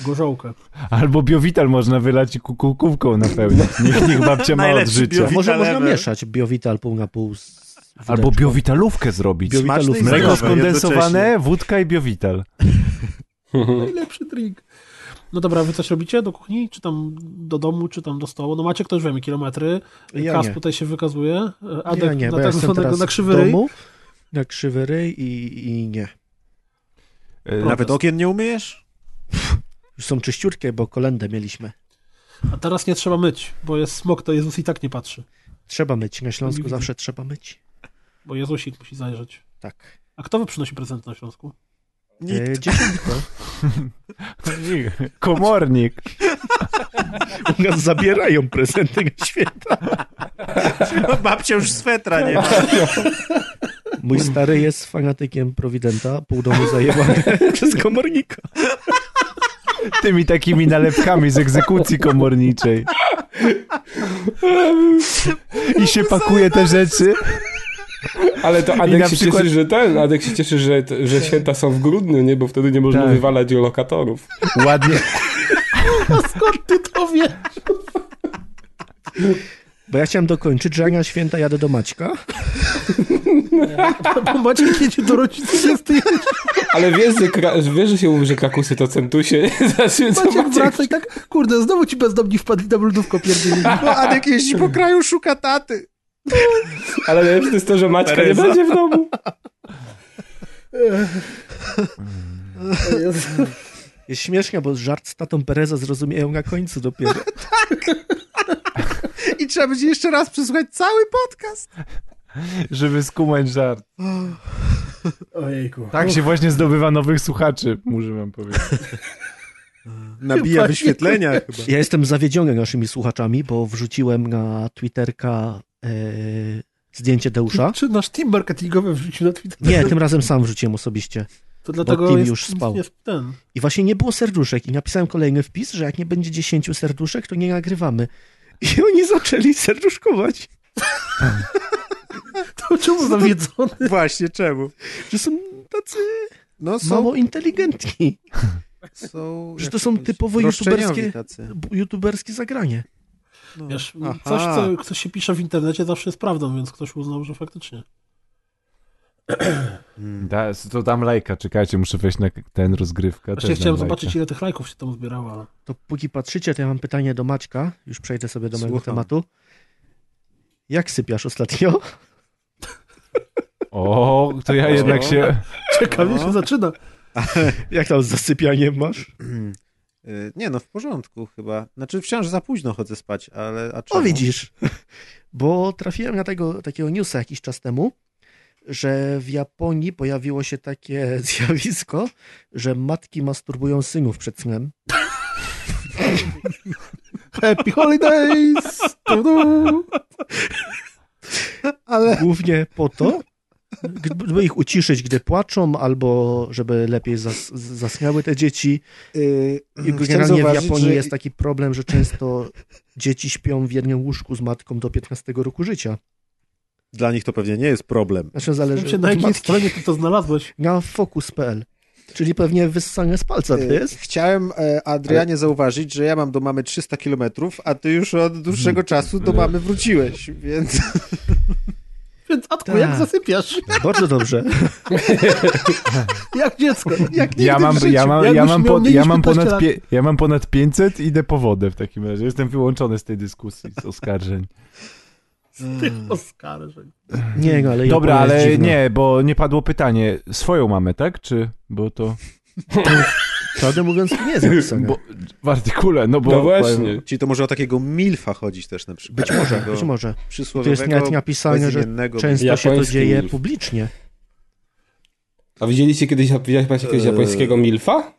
[SPEAKER 3] Gorzołkę.
[SPEAKER 2] Albo biowital można wylać i kukułkówką napełnić. Niech, niech babcia ma od
[SPEAKER 4] Najlepszy
[SPEAKER 2] życia.
[SPEAKER 4] biowital.
[SPEAKER 10] Może można
[SPEAKER 4] Witalewe.
[SPEAKER 10] mieszać biowital pół na pół z wódeczką.
[SPEAKER 2] Albo biowitalówkę zrobić.
[SPEAKER 10] Bio-
[SPEAKER 4] Smaczne
[SPEAKER 2] Mleko
[SPEAKER 4] i zdrowe jednocześnie.
[SPEAKER 2] skondensowane, wódka i biowital.
[SPEAKER 3] Najlepszy drink. No dobra, wy coś robicie do kuchni, czy tam do domu, czy tam do stołu? No macie ktoś, wiemy, kilometry.
[SPEAKER 10] Ja
[SPEAKER 3] Kas
[SPEAKER 10] nie.
[SPEAKER 3] tutaj się wykazuje. Adek
[SPEAKER 10] ja nie, bo
[SPEAKER 3] na
[SPEAKER 10] ja
[SPEAKER 3] tak
[SPEAKER 10] jestem
[SPEAKER 3] zwanego
[SPEAKER 10] teraz
[SPEAKER 3] na
[SPEAKER 10] w
[SPEAKER 3] krzywy ryj.
[SPEAKER 10] domu, na krzywy ryj i, i nie.
[SPEAKER 2] E,
[SPEAKER 4] Nawet okien nie umyjesz?
[SPEAKER 10] Już są czyściutkie, bo kolędę mieliśmy.
[SPEAKER 3] A teraz nie trzeba myć, bo jest smok, to Jezus i tak nie patrzy.
[SPEAKER 10] Trzeba myć, na Śląsku zawsze trzeba myć.
[SPEAKER 3] Bo Jezusik musi zajrzeć.
[SPEAKER 10] Tak.
[SPEAKER 3] A kto wy przynosi prezent na Śląsku?
[SPEAKER 10] E, dziesiątko.
[SPEAKER 2] Komornik.
[SPEAKER 10] U nas zabierają prezenty na święta. No,
[SPEAKER 4] Babcia już swetra nie ma.
[SPEAKER 10] Mój stary jest fanatykiem Prowidenta, pół domu zajebany przez komornika.
[SPEAKER 2] Tymi takimi nalepkami z egzekucji komorniczej. I się pakuje te rzeczy.
[SPEAKER 9] Ale to
[SPEAKER 2] I
[SPEAKER 9] Adek
[SPEAKER 2] na
[SPEAKER 9] się
[SPEAKER 2] przykład-
[SPEAKER 9] cieszy, że ten, Adek się cieszy, że, że święta są w grudniu, nie? Bo wtedy nie można
[SPEAKER 2] Tak.
[SPEAKER 9] wywalać lokatorów.
[SPEAKER 2] Ładnie.
[SPEAKER 10] Bo ja chciałem dokończyć, że jak na święta jadę do Maćka.
[SPEAKER 3] Bo Maciek jedzie do rodziców, jest ty
[SPEAKER 9] Ale wiesz, że, kra... wiesz, że się mówi, że krakusy to centusie. Znaczy, co
[SPEAKER 3] Maciek
[SPEAKER 9] Maciek?
[SPEAKER 3] wraca i tak, kurde, znowu ci bezdomni wpadli na bludówko pierdzieli.
[SPEAKER 4] Bo Adek jeździ po kraju, szuka taty.
[SPEAKER 9] Ale najlepsze to jest to, że Maćka
[SPEAKER 4] Teresa.
[SPEAKER 9] nie będzie w domu.
[SPEAKER 10] Jest śmiesznie, bo żart z tatą Pereza zrozumieją na końcu dopiero.
[SPEAKER 4] Tak. I trzeba będzie jeszcze raz przesłuchać cały podcast.
[SPEAKER 2] Żeby skumać żart.
[SPEAKER 3] Ojejku.
[SPEAKER 2] Tak się właśnie zdobywa nowych słuchaczy, muszę wam powiedzieć.
[SPEAKER 4] Nabija wyświetlenia chyba.
[SPEAKER 10] Ja jestem zawiedziony naszymi słuchaczami, bo wrzuciłem na Twitterka e, zdjęcie Deusza.
[SPEAKER 3] Czy nasz team marketingowy wrzucił na Twitter?
[SPEAKER 10] Nie, tym razem sam wrzuciłem osobiście.
[SPEAKER 3] to dlatego
[SPEAKER 10] team
[SPEAKER 3] jest,
[SPEAKER 10] już spał.
[SPEAKER 3] Jest ten.
[SPEAKER 10] I właśnie nie było serduszek. I napisałem kolejny wpis, że jak nie będzie 10 serduszek, to nie nagrywamy. I oni zaczęli serduszkować,
[SPEAKER 3] To czemu zawiedzony?
[SPEAKER 4] Właśnie, czemu?
[SPEAKER 10] że są tacy
[SPEAKER 4] No są...
[SPEAKER 10] mało inteligentni.
[SPEAKER 4] są
[SPEAKER 10] że to są
[SPEAKER 4] jakoś
[SPEAKER 10] typowo
[SPEAKER 4] roszczeniowi
[SPEAKER 10] youtuberskie-
[SPEAKER 4] tacy.
[SPEAKER 10] YouTuberskie zagranie.
[SPEAKER 4] No.
[SPEAKER 3] Wiesz,
[SPEAKER 4] Aha.
[SPEAKER 3] coś, co ktoś się pisze w internecie, zawsze jest prawdą, więc ktoś uznał, że faktycznie.
[SPEAKER 2] Da, to dam lajka, czekajcie, muszę wejść na ten rozgrywkę.
[SPEAKER 3] Właśnie chciałem zobaczyć, ile tych lajków się tam zbierało. ale-
[SPEAKER 10] To póki patrzycie, to ja mam pytanie do Maćka. Już przejdę sobie do mojego
[SPEAKER 4] Słucham.
[SPEAKER 10] tematu. Jak sypiasz ostatnio?
[SPEAKER 2] O, to ja jednak się...
[SPEAKER 3] Ciekawie się zaczyna.
[SPEAKER 10] Jak tam z zasypianiem masz?
[SPEAKER 4] Y, Nie no, w porządku chyba. Znaczy wciąż za późno chodzę spać, ale... A
[SPEAKER 10] O,
[SPEAKER 4] czemu?
[SPEAKER 10] widzisz. Bo trafiłem na tego, takiego newsa jakiś czas temu, że w Japonii pojawiło się takie zjawisko, że matki masturbują synów przed snem.
[SPEAKER 3] Happy holidays! Tu-du!
[SPEAKER 4] Ale...
[SPEAKER 10] Głównie po to, żeby ich uciszyć, gdy płaczą, albo żeby lepiej zas zasnęły te dzieci.
[SPEAKER 4] Y,
[SPEAKER 10] I
[SPEAKER 4] chciałem
[SPEAKER 10] generalnie w
[SPEAKER 4] zauważyć,
[SPEAKER 10] Japonii
[SPEAKER 4] że-
[SPEAKER 10] jest tak- taki problem, że często dzieci śpią w jednym łóżku z matką do 15 roku życia.
[SPEAKER 4] Dla nich to pewnie nie jest problem.
[SPEAKER 10] Znaczy zależy
[SPEAKER 3] Wiem się, na
[SPEAKER 10] od
[SPEAKER 3] jakiej
[SPEAKER 10] matki.
[SPEAKER 3] stronie ty to znalazłeś.
[SPEAKER 10] Na focus.pl. Czyli pewnie wyssanie z palca to
[SPEAKER 4] Y,
[SPEAKER 10] jest.
[SPEAKER 4] Chciałem e, Adrianie zauważyć, że ja mam do mamy 300 kilometrów, a ty już od dłuższego czasu do mamy wróciłeś, więc...
[SPEAKER 3] Więc Atku,
[SPEAKER 10] Tak.
[SPEAKER 3] jak zasypiasz?
[SPEAKER 10] Bardzo dobrze.
[SPEAKER 3] Jak dziecko. Jak nigdy
[SPEAKER 2] Ja mam,
[SPEAKER 3] w życiu.
[SPEAKER 2] ja mam, ja
[SPEAKER 3] Jakbyś
[SPEAKER 2] mam,
[SPEAKER 3] miał
[SPEAKER 2] po,
[SPEAKER 3] mniej
[SPEAKER 2] ja
[SPEAKER 3] niż
[SPEAKER 2] mam
[SPEAKER 3] 15
[SPEAKER 2] ponad,
[SPEAKER 3] lat.
[SPEAKER 2] pie, ja mam ponad 500 i idę po wodę w takim razie. Jestem wyłączony z tej dyskusji, z oskarżeń.
[SPEAKER 3] Oskarżeń.
[SPEAKER 10] Nie, no ale
[SPEAKER 2] Dobra,
[SPEAKER 10] Japonia jest
[SPEAKER 2] ale
[SPEAKER 10] dziwna.
[SPEAKER 2] nie, bo nie padło pytanie. Swoją mamy, tak? Czy, bo to...
[SPEAKER 10] Prawdę mówiąc, to nie jest wyssanie.
[SPEAKER 2] Bo, w artykule, no bo...
[SPEAKER 9] No właśnie.
[SPEAKER 4] Czyli to może o takiego milfa chodzić też na przykład. Być może.
[SPEAKER 10] Być może. To
[SPEAKER 4] Przysłowiowego,
[SPEAKER 10] jest nawet napisane, że
[SPEAKER 4] bezimiennego
[SPEAKER 10] często się to
[SPEAKER 9] Japoński
[SPEAKER 10] dzieje
[SPEAKER 9] milf.
[SPEAKER 10] publicznie.
[SPEAKER 9] A widzieliście kiedyś, widziałeś Państwo kiedyś
[SPEAKER 4] Eee.
[SPEAKER 9] japońskiego milfa?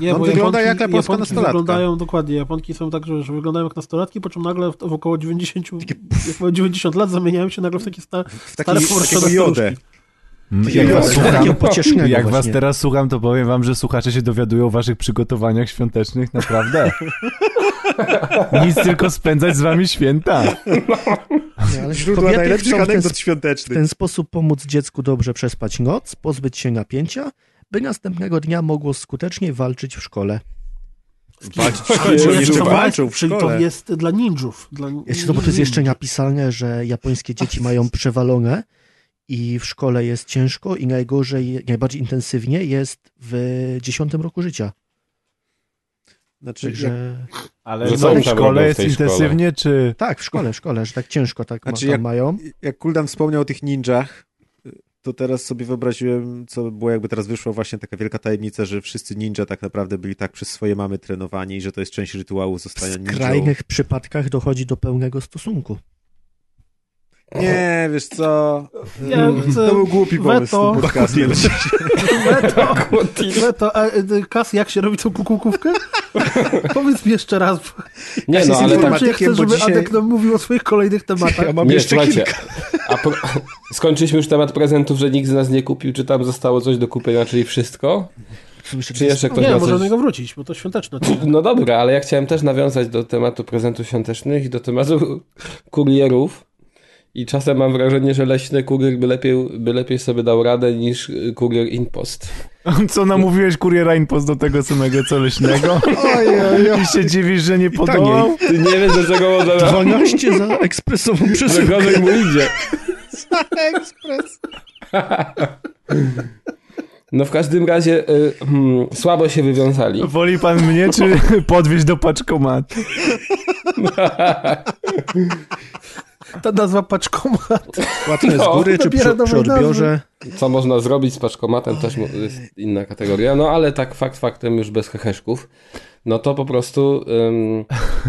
[SPEAKER 3] Nie,
[SPEAKER 4] On
[SPEAKER 3] bo
[SPEAKER 4] No, wygląda
[SPEAKER 3] Japonki-
[SPEAKER 4] jak japońska
[SPEAKER 3] Japonki
[SPEAKER 4] nastolatka.
[SPEAKER 3] Wyglądają dokładnie. Japonki są tak, że, że wyglądają jak nastolatki, po czym nagle w, w około 90, jak mają 90 lat zamieniają się nagle w takie stare.
[SPEAKER 4] W
[SPEAKER 3] Ale
[SPEAKER 4] taki,
[SPEAKER 3] kurczę,
[SPEAKER 4] takiego
[SPEAKER 3] bez
[SPEAKER 4] jodę.
[SPEAKER 2] Mm,
[SPEAKER 4] Ja
[SPEAKER 2] jak was
[SPEAKER 4] was-
[SPEAKER 2] słucham,
[SPEAKER 10] Takiego pociesznego
[SPEAKER 2] jak was
[SPEAKER 10] właśnie.
[SPEAKER 2] teraz słucham, to powiem wam, że słuchacze się dowiadują o waszych przygotowaniach świątecznych, naprawdę. Nic tylko spędzać z wami święta.
[SPEAKER 10] Nie, ale
[SPEAKER 4] Źródła
[SPEAKER 10] kobiety
[SPEAKER 4] najlepszych
[SPEAKER 10] chcą w ten
[SPEAKER 4] anegdot
[SPEAKER 10] W
[SPEAKER 4] świątecznych.
[SPEAKER 10] ten sposób pomóc dziecku dobrze przespać noc, pozbyć się napięcia, by następnego dnia mogło skutecznie walczyć w szkole.
[SPEAKER 9] Jeszcze
[SPEAKER 3] Czyli to
[SPEAKER 4] walczą w
[SPEAKER 3] jest- Czyli to
[SPEAKER 4] szkole.
[SPEAKER 3] jest dla ninjów. Dla
[SPEAKER 10] Jeszcze, no bo to jest jeszcze napisane, że japońskie dzieci mają przewalone i w szkole jest ciężko i najgorzej, najbardziej intensywnie jest w dziesiątym roku życia.
[SPEAKER 4] Znaczy, jak,
[SPEAKER 10] Także
[SPEAKER 2] Ale
[SPEAKER 9] Że
[SPEAKER 2] w szkole,
[SPEAKER 9] są zawody w
[SPEAKER 2] jest
[SPEAKER 9] tej szkole.
[SPEAKER 2] intensywnie, czy...
[SPEAKER 10] tak, w szkole, w szkole, że tak ciężko tak
[SPEAKER 4] Znaczy,
[SPEAKER 10] ma, tam
[SPEAKER 4] jak-
[SPEAKER 10] mają.
[SPEAKER 4] jak Kuldan wspomniał o tych ninjach, to teraz sobie wyobraziłem, co by było, jakby teraz wyszła właśnie taka wielka tajemnica, że wszyscy ninja tak naprawdę byli tak przez swoje mamy trenowani i że to jest część rytuału
[SPEAKER 10] W
[SPEAKER 4] zostania ninją.
[SPEAKER 10] skrajnych przypadkach dochodzi do pełnego stosunku.
[SPEAKER 4] Nie, wiesz co...
[SPEAKER 3] Ja chcę-
[SPEAKER 4] to był głupi pomysł. z tym
[SPEAKER 3] Weto.
[SPEAKER 4] podcastem.
[SPEAKER 3] Leto, leto, a, e, Kas, jak się robi tą kukułkówkę? Powiedz mi jeszcze raz. bo
[SPEAKER 9] Nie, no
[SPEAKER 4] jest
[SPEAKER 9] ale tak...
[SPEAKER 4] informatykiem,
[SPEAKER 3] Ja chcę,
[SPEAKER 4] bo
[SPEAKER 3] żeby
[SPEAKER 4] dzisiaj-
[SPEAKER 3] Adek nam mówił o swoich kolejnych tematach.
[SPEAKER 10] mam
[SPEAKER 9] Nie, słuchajcie, a pro... skończyliśmy już temat prezentów, że nikt z nas nie kupił, czy tam zostało coś do kupienia, czyli wszystko? Czy jeszcze ktoś
[SPEAKER 3] Nie, no,
[SPEAKER 9] ma coś?
[SPEAKER 3] możemy go wrócić, bo to świąteczne.
[SPEAKER 9] No dobra, ale ja chciałem też nawiązać do tematu prezentów świątecznych i do tematu kurierów. I czasem mam wrażenie, że leśny kurier by lepiej, by lepiej sobie dał radę niż y, kurier InPost.
[SPEAKER 2] Co namówiłeś kuriera impost do tego samego co leśnego?
[SPEAKER 4] Oj, oj, oj.
[SPEAKER 2] I się dziwisz, że nie
[SPEAKER 3] tak,
[SPEAKER 2] podobał?
[SPEAKER 9] Ty nie wiesz, do czego można...
[SPEAKER 10] 12 za ekspresową
[SPEAKER 9] Że
[SPEAKER 10] przesyłkę.
[SPEAKER 9] gorzej mu idzie.
[SPEAKER 4] Ekspres.
[SPEAKER 9] No w każdym razie y, hmm, słabo się wywiązali.
[SPEAKER 2] Woli pan mnie, czy podwieźć do paczkomatu?
[SPEAKER 3] Ta nazwa paczkomat.
[SPEAKER 10] Płatne z
[SPEAKER 9] No.
[SPEAKER 10] góry czy
[SPEAKER 3] Nabiera
[SPEAKER 10] przy, przy
[SPEAKER 3] nowej nazwy.
[SPEAKER 10] odbiorze.
[SPEAKER 9] Co można zrobić z paczkomatem, też mu- jest inna kategoria. No ale tak fakt faktem już bez heheszków. No to po prostu ym,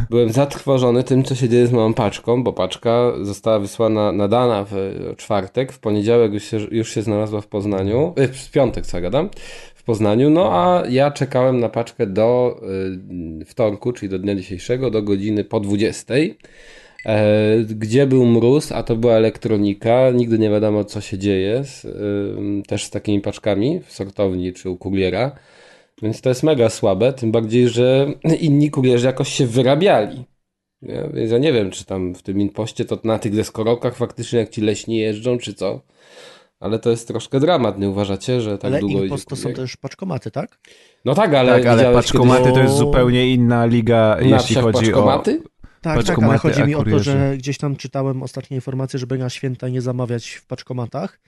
[SPEAKER 9] byłem zatrwożony tym, co się dzieje z moją paczką, bo paczka została wysłana, nadana w czwartek, w poniedziałek już się, już się znalazła w Poznaniu, y, w piątek, co ja gadam, w Poznaniu, no a ja czekałem na paczkę do y, wtorku, czyli do dnia dzisiejszego, do godziny po 20. E, Gdzie był mróz, a to była elektronika, nigdy nie wiadomo co się dzieje, z, ym, też z takimi paczkami w sortowni czy u kuriera, więc to jest mega słabe, tym bardziej, że inni kurierzy jakoś się wyrabiali. Ja, więc ja nie wiem, czy tam w tym impoście to na tych deskorolkach faktycznie jak ci leśni jeżdżą, czy co, ale to jest troszkę dramat, nie uważacie, że tak
[SPEAKER 10] ale
[SPEAKER 9] długo idzie
[SPEAKER 10] impost to są
[SPEAKER 9] kurier?
[SPEAKER 10] też paczkomaty, tak?
[SPEAKER 9] No tak, ale,
[SPEAKER 2] tak, ale
[SPEAKER 9] widziałeś
[SPEAKER 2] paczkomaty
[SPEAKER 9] kiedyś
[SPEAKER 2] to jest zupełnie inna liga,
[SPEAKER 9] na
[SPEAKER 2] jeśli
[SPEAKER 9] wsiach
[SPEAKER 2] chodzi o...
[SPEAKER 9] paczkomaty?
[SPEAKER 10] Tak, tak, ale
[SPEAKER 2] Paczkomaty,
[SPEAKER 10] chodzi mi
[SPEAKER 2] a
[SPEAKER 10] o to,
[SPEAKER 2] kurierzy.
[SPEAKER 10] że gdzieś tam czytałem ostatnie informacje, żeby na święta nie zamawiać w paczkomatach,